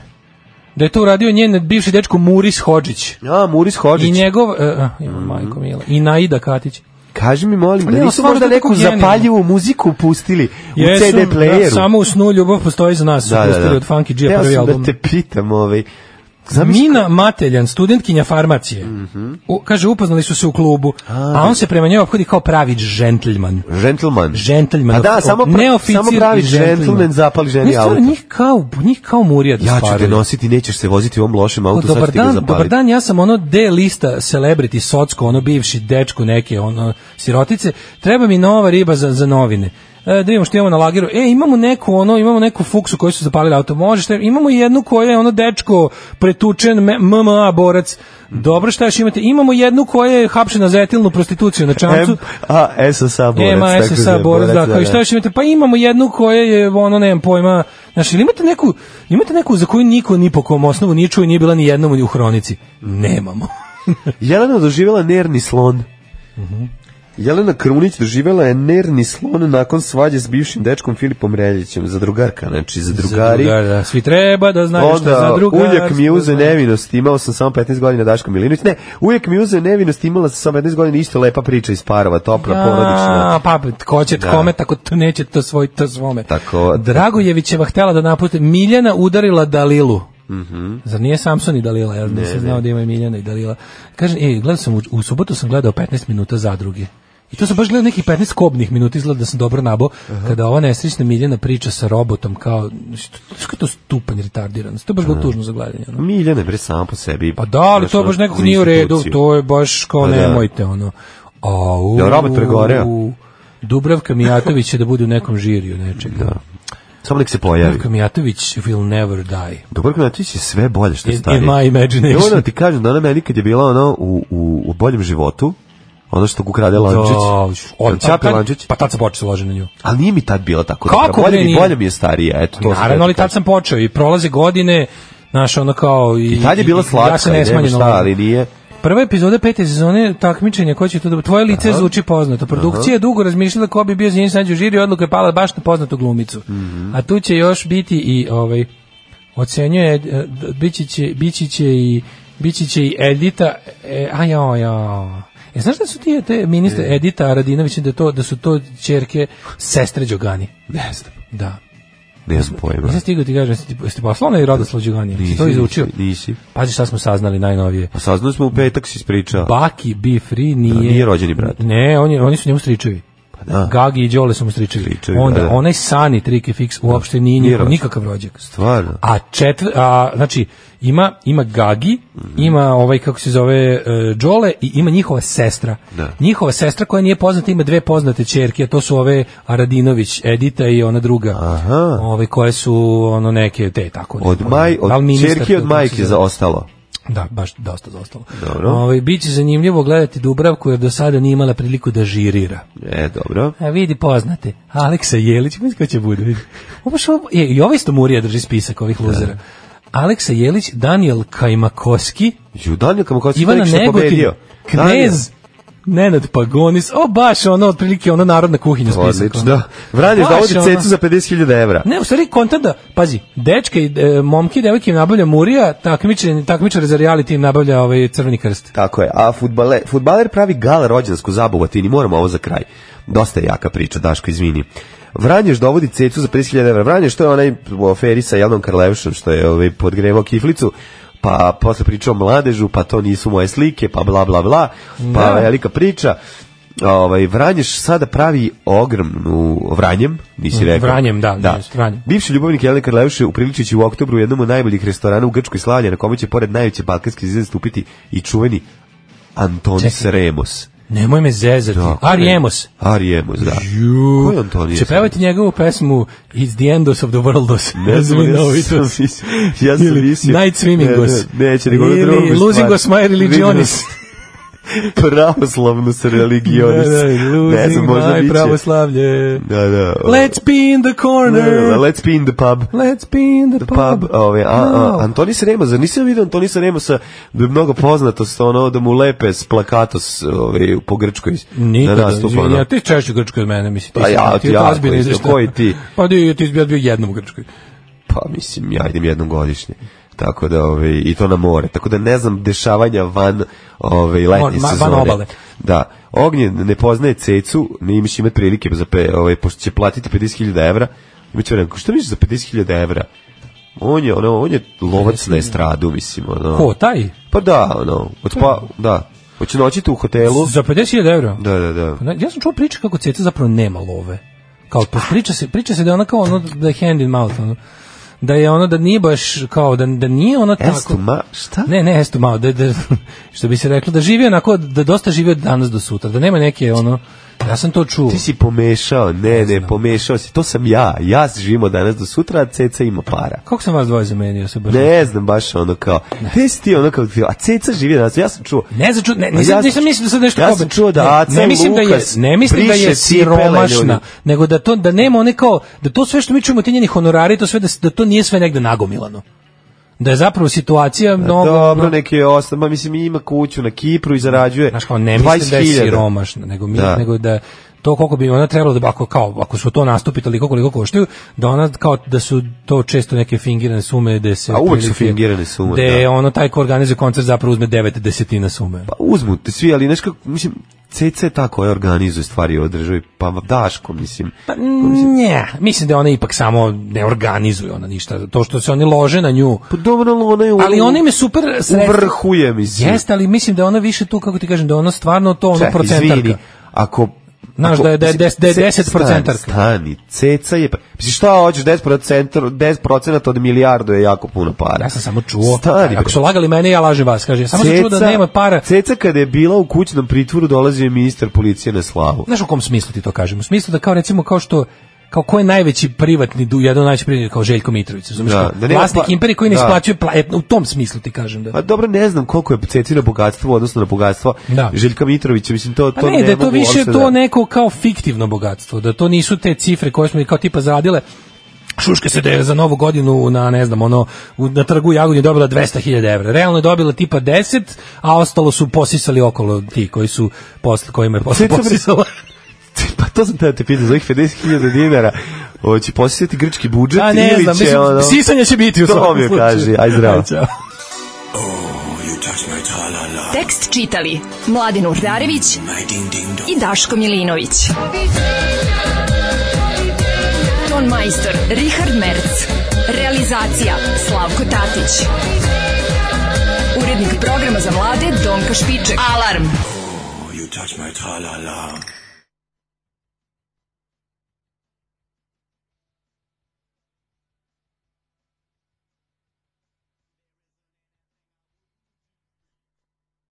Speaker 5: da je to uradio njen bivši dečko Muris Hodžić.
Speaker 6: A, Muris
Speaker 5: I
Speaker 6: Hođić.
Speaker 5: njegov, e, a, ima majko Mila, i Naida Katić.
Speaker 6: Kaži mi, molim,
Speaker 5: Pa
Speaker 6: da
Speaker 5: ne,
Speaker 6: nisu
Speaker 5: stvarno
Speaker 6: možda
Speaker 5: to je
Speaker 6: neku
Speaker 5: tako genijalno.
Speaker 6: zapaljivu muziku pustili u
Speaker 5: Jesu,
Speaker 6: CD
Speaker 5: da,
Speaker 6: playeru.
Speaker 5: samo u snu ljubav postoji za nas, da,
Speaker 6: da, da, da.
Speaker 5: od Funky G
Speaker 6: Teo
Speaker 5: prvi
Speaker 6: sam
Speaker 5: album.
Speaker 6: da te pitam, ovaj, zamisli
Speaker 5: Mina Mateljan, studentkinja farmacije.
Speaker 6: Mhm.
Speaker 5: U- kaže, upoznali su se u klubu,
Speaker 6: da.
Speaker 5: a, on se prema njoj obhodi kao pravi džentlman.
Speaker 6: Gentleman.
Speaker 5: Gentleman.
Speaker 6: A da,
Speaker 5: o-
Speaker 6: samo pra-
Speaker 5: neoficir
Speaker 6: samo pravi
Speaker 5: i gentleman.
Speaker 6: gentleman zapali ženi
Speaker 5: Ne, stvarno,
Speaker 6: auto.
Speaker 5: Njih kao, njih kao murija da
Speaker 6: Ja ću te
Speaker 5: stvaraju.
Speaker 6: nositi, nećeš se voziti u ovom lošem
Speaker 5: O,
Speaker 6: autu, sad
Speaker 5: dobar
Speaker 6: ću ti ga
Speaker 5: dan,
Speaker 6: zapaliti.
Speaker 5: dobar dan, ja sam ono D lista celebrity socko, ono bivši dečko neke ono sirotice. Treba mi nova riba za, za novine. E, da vidimo što imamo na lageru. E, imamo neku ono, imamo neku fuksu koju su zapalili auto. Može, šta, imamo jednu koja je ono dečko pretučen me- MMA borac. Dobro, šta još imate? Imamo jednu koja je hapšena za etilnu prostituciju na čamcu.
Speaker 6: M, a, SSA borac.
Speaker 5: Ema
Speaker 6: tako
Speaker 5: SSA
Speaker 6: zove,
Speaker 5: borac, da, kao i
Speaker 6: da.
Speaker 5: šta još imate? Pa imamo jednu koja je, ono, nemam pojma, znači, imate neku, imate neku za koju niko ni po kom osnovu ni čuje, nije bila ni jednom ni u hronici? Nemamo. Mhm.
Speaker 6: Jelena doživjela nerni slon. Jelena Krunić doživjela je nerni slon nakon svađe s bivšim dečkom Filipom Reljićem, za drugarka, znači za drugari.
Speaker 5: Za drugar, da. Svi treba da znaju što je
Speaker 6: Onda,
Speaker 5: za drugar.
Speaker 6: Uljak mi je
Speaker 5: što
Speaker 6: uzeo
Speaker 5: znaju.
Speaker 6: nevinost, imao sam samo 15 godina Daško Milinović. Ne, uvijek mi je uzeo nevinost, imala sam samo 15 godina, isto lepa priča iz parova, topla, porodična.
Speaker 5: A, pa, ko će
Speaker 6: Da.
Speaker 5: kome, tako to neće to svoj, to svome.
Speaker 6: Tako,
Speaker 5: Dragojevićeva htjela da naputi. Miljana udarila Dalilu.
Speaker 6: Mhm.
Speaker 5: Zar nije Samson i Dalila? Ja nisam znao da ima i Miljana i Dalila. Kažem, ej, gledao sam, u, u subotu sam gledao 15 minuta zadruge. I to sam baš gledao nekih 15 kobnih minuta, izgleda da sam dobro nabo, kada ova nesrećna Miljana priča sa robotom, kao, što, što je to stupanj retardiranosti, to je baš
Speaker 6: Da.
Speaker 5: bilo tužno za gledanje. ono.
Speaker 6: Miljana je bre sama po sebi.
Speaker 5: Pa da, ali
Speaker 6: znaš,
Speaker 5: to
Speaker 6: ono,
Speaker 5: baš nekako
Speaker 6: za
Speaker 5: nije u redu,
Speaker 6: instituciju.
Speaker 5: to je baš kao
Speaker 6: Pa da.
Speaker 5: nemojte, ono. Au,
Speaker 6: Jel Robert pregoreo?
Speaker 5: Dubravka Mijatović će da bude u nekom žiriju nečega.
Speaker 6: Da. Samo nek se pojavi.
Speaker 5: Dubravka Mijatović will never die.
Speaker 6: Dubravka Mijatović je sve bolje što
Speaker 5: In- in
Speaker 6: stari.
Speaker 5: my imagination.
Speaker 6: I ono ti kažem da ona meni kad je bila ono u, u, u boljem životu, ono što ukrade Lančić.
Speaker 5: Da, on-
Speaker 6: Ćapi
Speaker 5: tad-
Speaker 6: Lančić.
Speaker 5: Pa tad sam počeo se loži na nju.
Speaker 6: Ali nije mi tad bila tako
Speaker 5: Kako
Speaker 6: dobra. Bolje
Speaker 5: bre
Speaker 6: mi,
Speaker 5: nije?
Speaker 6: bolje mi je starija. Eto, to sam teo
Speaker 5: Naravno,
Speaker 6: da
Speaker 5: ali
Speaker 6: ti kažem.
Speaker 5: tad sam počeo i prolaze godine, znaš, ono kao... I,
Speaker 6: I tad je bila
Speaker 5: i- i
Speaker 6: slatka,
Speaker 5: ja se
Speaker 6: i
Speaker 5: ne
Speaker 6: nema
Speaker 5: smanjeno
Speaker 6: šta,
Speaker 5: ložim.
Speaker 6: ali nije.
Speaker 5: Prva epizoda pete sezone takmičenja, ko će to da... Tvoje lice zvuči poznato. Produkcija je dugo razmišljala ko bi bio za njen sanđe u žiri, odluka je pala baš na poznatu glumicu.
Speaker 6: Mhm.
Speaker 5: A tu će još biti i ovaj ocenjuje e, d- bići će bići će i bići će i Edita e, a jo jo. E, znaš da su ti te ministre Edita Aradinović da to da su to ćerke sestre Đogani?
Speaker 6: Ne znam.
Speaker 5: Da.
Speaker 6: Nemam pojma.
Speaker 5: Nisam stigao ti kažem, jesi ti- jesi ti poslao onaj Radoslav Đogani? Jesi to izučio?
Speaker 6: Nisi, Nisi.
Speaker 5: Pazi šta smo saznali najnovije.
Speaker 6: Pa saznali smo u petak si ispričao.
Speaker 5: Baki Be Free nije...
Speaker 6: Da, nije rođeni brat.
Speaker 5: Ne, on je, oni su njemu stričevi.
Speaker 6: da.
Speaker 5: Gagi i Đole su mu stričevi.
Speaker 6: Stričevi,
Speaker 5: Onda,
Speaker 6: da, da.
Speaker 5: onaj Sani Trike Fix uopšte nije
Speaker 6: Nije
Speaker 5: njihov,
Speaker 6: rođen.
Speaker 5: nikakav rođak.
Speaker 6: Stvarno.
Speaker 5: A četvr, a, znači, ima, ima Gagi,
Speaker 6: Mhm.
Speaker 5: ima ovaj, kako se zove, uh, Đole i ima njihova sestra.
Speaker 6: Da.
Speaker 5: Njihova sestra koja nije poznata, ima dve poznate čerke, a to su ove Aradinović, Edita i ona druga.
Speaker 6: Aha.
Speaker 5: Ove koje su ono neke te tako. ne
Speaker 6: Od,
Speaker 5: znam,
Speaker 6: maj,
Speaker 5: da li
Speaker 6: od
Speaker 5: ministar,
Speaker 6: čerke od
Speaker 5: kako se
Speaker 6: majke
Speaker 5: zove?
Speaker 6: za ostalo.
Speaker 5: Da, baš dosta zostalo.
Speaker 6: Dobro.
Speaker 5: Ovaj biće zanimljivo gledati Dubravku jer do sada nije imala priliku da žirira.
Speaker 6: E, dobro.
Speaker 5: A vidi poznate, Aleksa Jelić, mislim ko će bude. vidi. Ovo baš ovo- e, i ovaj isto Murija drži spisak ovih
Speaker 6: Da.
Speaker 5: luzera. Aleksa Jelić, Daniel Kajmakoski,
Speaker 6: Ju, Daniel Kamaković je
Speaker 5: Ivana
Speaker 6: tek što je
Speaker 5: Negotin,
Speaker 6: pobedio.
Speaker 5: Knez, Nenad Pagonis, o baš ono, otprilike ono narodna kuhinja
Speaker 6: Daniel.
Speaker 5: spisak.
Speaker 6: Odlično.
Speaker 5: ono.
Speaker 6: Da. Vranje
Speaker 5: Baš
Speaker 6: dovodi
Speaker 5: ono.
Speaker 6: cecu za 50.000 evra.
Speaker 5: Ne, u stvari kontam da, pazi, dečke i e, momke i devojke im nabavlja Murija, takmičare, takmičare za reality im nabavlja ovaj Crveni krst.
Speaker 6: Tako je. A futbaler, futbaler pravi gal rođensku zabavu, a ti ni moramo ovo za kraj. Dosta je jaka priča, Daško, izvini. Vranješ dovodi cecu za 50.000 evra. Vranješ, to je onaj u aferi sa Jelnom Karlevšom, što je ovaj, podgrevao kiflicu, pa posle pričao o mladežu, pa to nisu moje slike, pa bla, bla, bla, pa
Speaker 5: Da.
Speaker 6: velika priča. Ovaj, Vranješ sada pravi ogromnu Vranjem, nisi rekao.
Speaker 5: Vranjem, da, jest, Vranjem.
Speaker 6: Bivši ljubavnik Jelena Karleuše upriličići u oktobru u jednom od najboljih restorana u Grčkoj slavlje na kome će pored najveće balkanske zide stupiti i čuveni Antonis
Speaker 5: Čekaj.
Speaker 6: Remus.
Speaker 5: Nemoj me zezati.
Speaker 6: Da,
Speaker 5: Arijemos.
Speaker 6: Arijemos, da. Ko je Antonis?
Speaker 5: Će pevati njegovu pesmu It's the endos of the da worldos.
Speaker 6: Ne
Speaker 5: As
Speaker 6: znam,
Speaker 5: we
Speaker 6: ja
Speaker 5: know it
Speaker 6: sam
Speaker 5: was.
Speaker 6: mislio- ja sam
Speaker 5: Ili
Speaker 6: mislio-
Speaker 5: Night Swimming Us.
Speaker 6: Ne, ne, neće, nego ono
Speaker 5: Ili
Speaker 6: drugu stvar.
Speaker 5: Losing Us My Religionis.
Speaker 6: Pravoslavno se religionis.
Speaker 5: Da, da,
Speaker 6: ne znam,
Speaker 5: Losing
Speaker 6: možda
Speaker 5: My
Speaker 6: biće.
Speaker 5: Pravoslavlje.
Speaker 6: Da, da. o-
Speaker 5: Let's be in the corner.
Speaker 6: Let's be in the pub.
Speaker 5: Let's be in the
Speaker 6: pub,
Speaker 5: pub.
Speaker 6: Pa, ove, a, a,
Speaker 5: No.
Speaker 6: Antonis Remus, zar nisam vidio Antonisa Remusa da je mnogo poznato sa ono, da mu lepe s plakatos ove, po Grčkoj
Speaker 5: Nikada,
Speaker 6: da nastupa.
Speaker 5: izvini,
Speaker 6: ono.
Speaker 5: ja ti češće u Grčkoj od mene, mislim. Ti
Speaker 6: Pa
Speaker 5: si-
Speaker 6: ja,
Speaker 5: ti je
Speaker 6: jako
Speaker 5: ozbiljno
Speaker 6: isto,
Speaker 5: izveštaj.
Speaker 6: koji ti?
Speaker 5: Pa di, ti si bio bio jednom u Grčkoj.
Speaker 6: Pa mislim, ja idem jednom godišnje. Tako da, ove, i to na more. Tako da ne znam dešavanja van ove, letnje
Speaker 5: Ma- van
Speaker 6: sezone.
Speaker 5: obale.
Speaker 6: Da. Ognjen ne poznaje cecu, ne imaš imat prilike, za pe, ove, pošto će platiti 50.000 evra. Imaće vremena, što misliš za 50.000 evra? On je, ono, on je lovac na estradu, mislim. Ono.
Speaker 5: Ko, taj?
Speaker 6: Pa da, ono, od pa, da. Hoće noćiti u hotelu.
Speaker 5: Za 50.000 evra?
Speaker 6: Da, da, da.
Speaker 5: Na- Pa Ja sam čuo priče kako ceca zapravo nema love. Kao, pa priča se, priča se da je ona kao ono, da je hand in mouth, ono. Da je ono, da nije baš, kao, da, da nije ona tako...
Speaker 6: Estuma, šta?
Speaker 5: Ne, ne, estu malo, da, da, što bi se reklo, da živi onako, da dosta živi od danas do sutra, da nema neke, ono, ja sam to čuo.
Speaker 6: Ti si pomešao, ne, ne, pomešao si. To sam ja. Ja živimo danas do sutra, a ceca ima para.
Speaker 5: Kako sam vas dvoje zamenio se baš?
Speaker 6: Ne znam, baš ono kao, te si ti ono kao, a ceca živi danas, ja sam čuo.
Speaker 5: Ne za ču- ne,
Speaker 6: Ma
Speaker 5: nisam,
Speaker 6: Pa ja
Speaker 5: nisam
Speaker 6: sam-
Speaker 5: mislim da sad nešto
Speaker 6: ja sam
Speaker 5: problem.
Speaker 6: čuo da
Speaker 5: Ne,
Speaker 6: Aca
Speaker 5: ne mislim da je,
Speaker 6: Lukas
Speaker 5: ne mislim da je
Speaker 6: briše cipele
Speaker 5: siromašna,
Speaker 6: ljudi.
Speaker 5: nego da to da nema one kao da to sve što mi čujemo ti njeni honorari, to sve da, s- da to nije sve negde nagomilano. da je zapravo situacija mnogo...
Speaker 6: Pa Dobro, neki je ostam, ma mislim ima kuću na Kipru i zarađuje
Speaker 5: Znaš kao, ne mislim da je siromašna, nego, mi,
Speaker 6: Da.
Speaker 5: nego da to koliko bi ona trebalo da ako kao ako su to nastupi toliko koliko koštaju da ona kao da su to često neke fingirane sume da se
Speaker 6: A uvek su
Speaker 5: otprilike-
Speaker 6: fingirane sume,
Speaker 5: da je
Speaker 6: da.
Speaker 5: ono taj ko organizuje koncert zapravo uzme 9 desetina sume
Speaker 6: Pa uzmu te svi, ali nešto, mislim, CC je ta koja organizuje stvari u državi, pa Daško, mislim.
Speaker 5: Pa ne, mislim da ona ipak samo ne organizuje ona ništa. To što se oni lože na nju.
Speaker 6: Pa dobro, ona je u-
Speaker 5: Ali ona im je super sredstvo.
Speaker 6: U vrhu je, mislim.
Speaker 5: Jeste, ali mislim da je ona više tu, kako ti kažem, da je ona stvarno to ono
Speaker 6: Čekaj, izvini,
Speaker 5: procentarka.
Speaker 6: ako
Speaker 5: Znaš,
Speaker 6: ako-
Speaker 5: da je- da je des- da je
Speaker 6: Se-
Speaker 5: 10%.
Speaker 6: Stani, stani, ceca je... pa- Mislim, šta hoćeš, 10%, 10% od milijardu je jako puno para.
Speaker 5: Ja sam samo čuo.
Speaker 6: Stani,
Speaker 5: Ako su lagali mene, ja lažem vas. Kaže, samo sam čuo da
Speaker 6: Ceca-
Speaker 5: nema para.
Speaker 6: Ceca kada je bila u kućnom pritvoru dolazio je ministar policije na slavu.
Speaker 5: Znaš u kom smislu ti to kažem? U smislu da kao recimo kao što kao ko je najveći privatni du, jedan od najvećih privatnih kao Željko Mitrović, razumiješ?
Speaker 6: Da,
Speaker 5: Da,
Speaker 6: da nema
Speaker 5: vlasnik
Speaker 6: pa-
Speaker 5: imperije koji ne
Speaker 6: da.
Speaker 5: isplaćuje pla- e, u tom smislu ti kažem da.
Speaker 6: Pa dobro, ne znam koliko je Cecina bogatstvo, odnosno na bogatstvo
Speaker 5: Da.
Speaker 6: Željka Mitrovića, mislim, to,
Speaker 5: Pa
Speaker 6: to
Speaker 5: ne, da je to
Speaker 6: mogu
Speaker 5: više
Speaker 6: uopšte
Speaker 5: to
Speaker 6: da-
Speaker 5: neko kao fiktivno bogatstvo, da to nisu te cifre koje smo i kao tipa zaradile Šuška se da je za novu godinu na, ne znam, ono, u- na trgu Jagodnje dobila 200.000 evra. Realno je dobila tipa 10, a ostalo su posisali okolo ti koji su posle, kojima je posle
Speaker 6: Ceca bre-
Speaker 5: posisala.
Speaker 6: Pa to sam tada te pitao, za ovih 50.000 dinara hoće posjetiti grčki budžet
Speaker 5: A ne
Speaker 6: ili
Speaker 5: znam,
Speaker 6: će
Speaker 5: mislim,
Speaker 6: ono...
Speaker 5: sisanje će biti u
Speaker 6: To
Speaker 5: svakom
Speaker 6: mi je
Speaker 5: slučaju.
Speaker 6: kaži, aj zdravo.
Speaker 5: Aj, čao.
Speaker 4: Tekst čitali Mladin Urdarević i Daško Milinović. Ton majstor Richard Merc. Realizacija Slavko Tatić. Urednik programa za mlade Donka Špiček. Alarm!
Speaker 13: You touch my tra-la-la.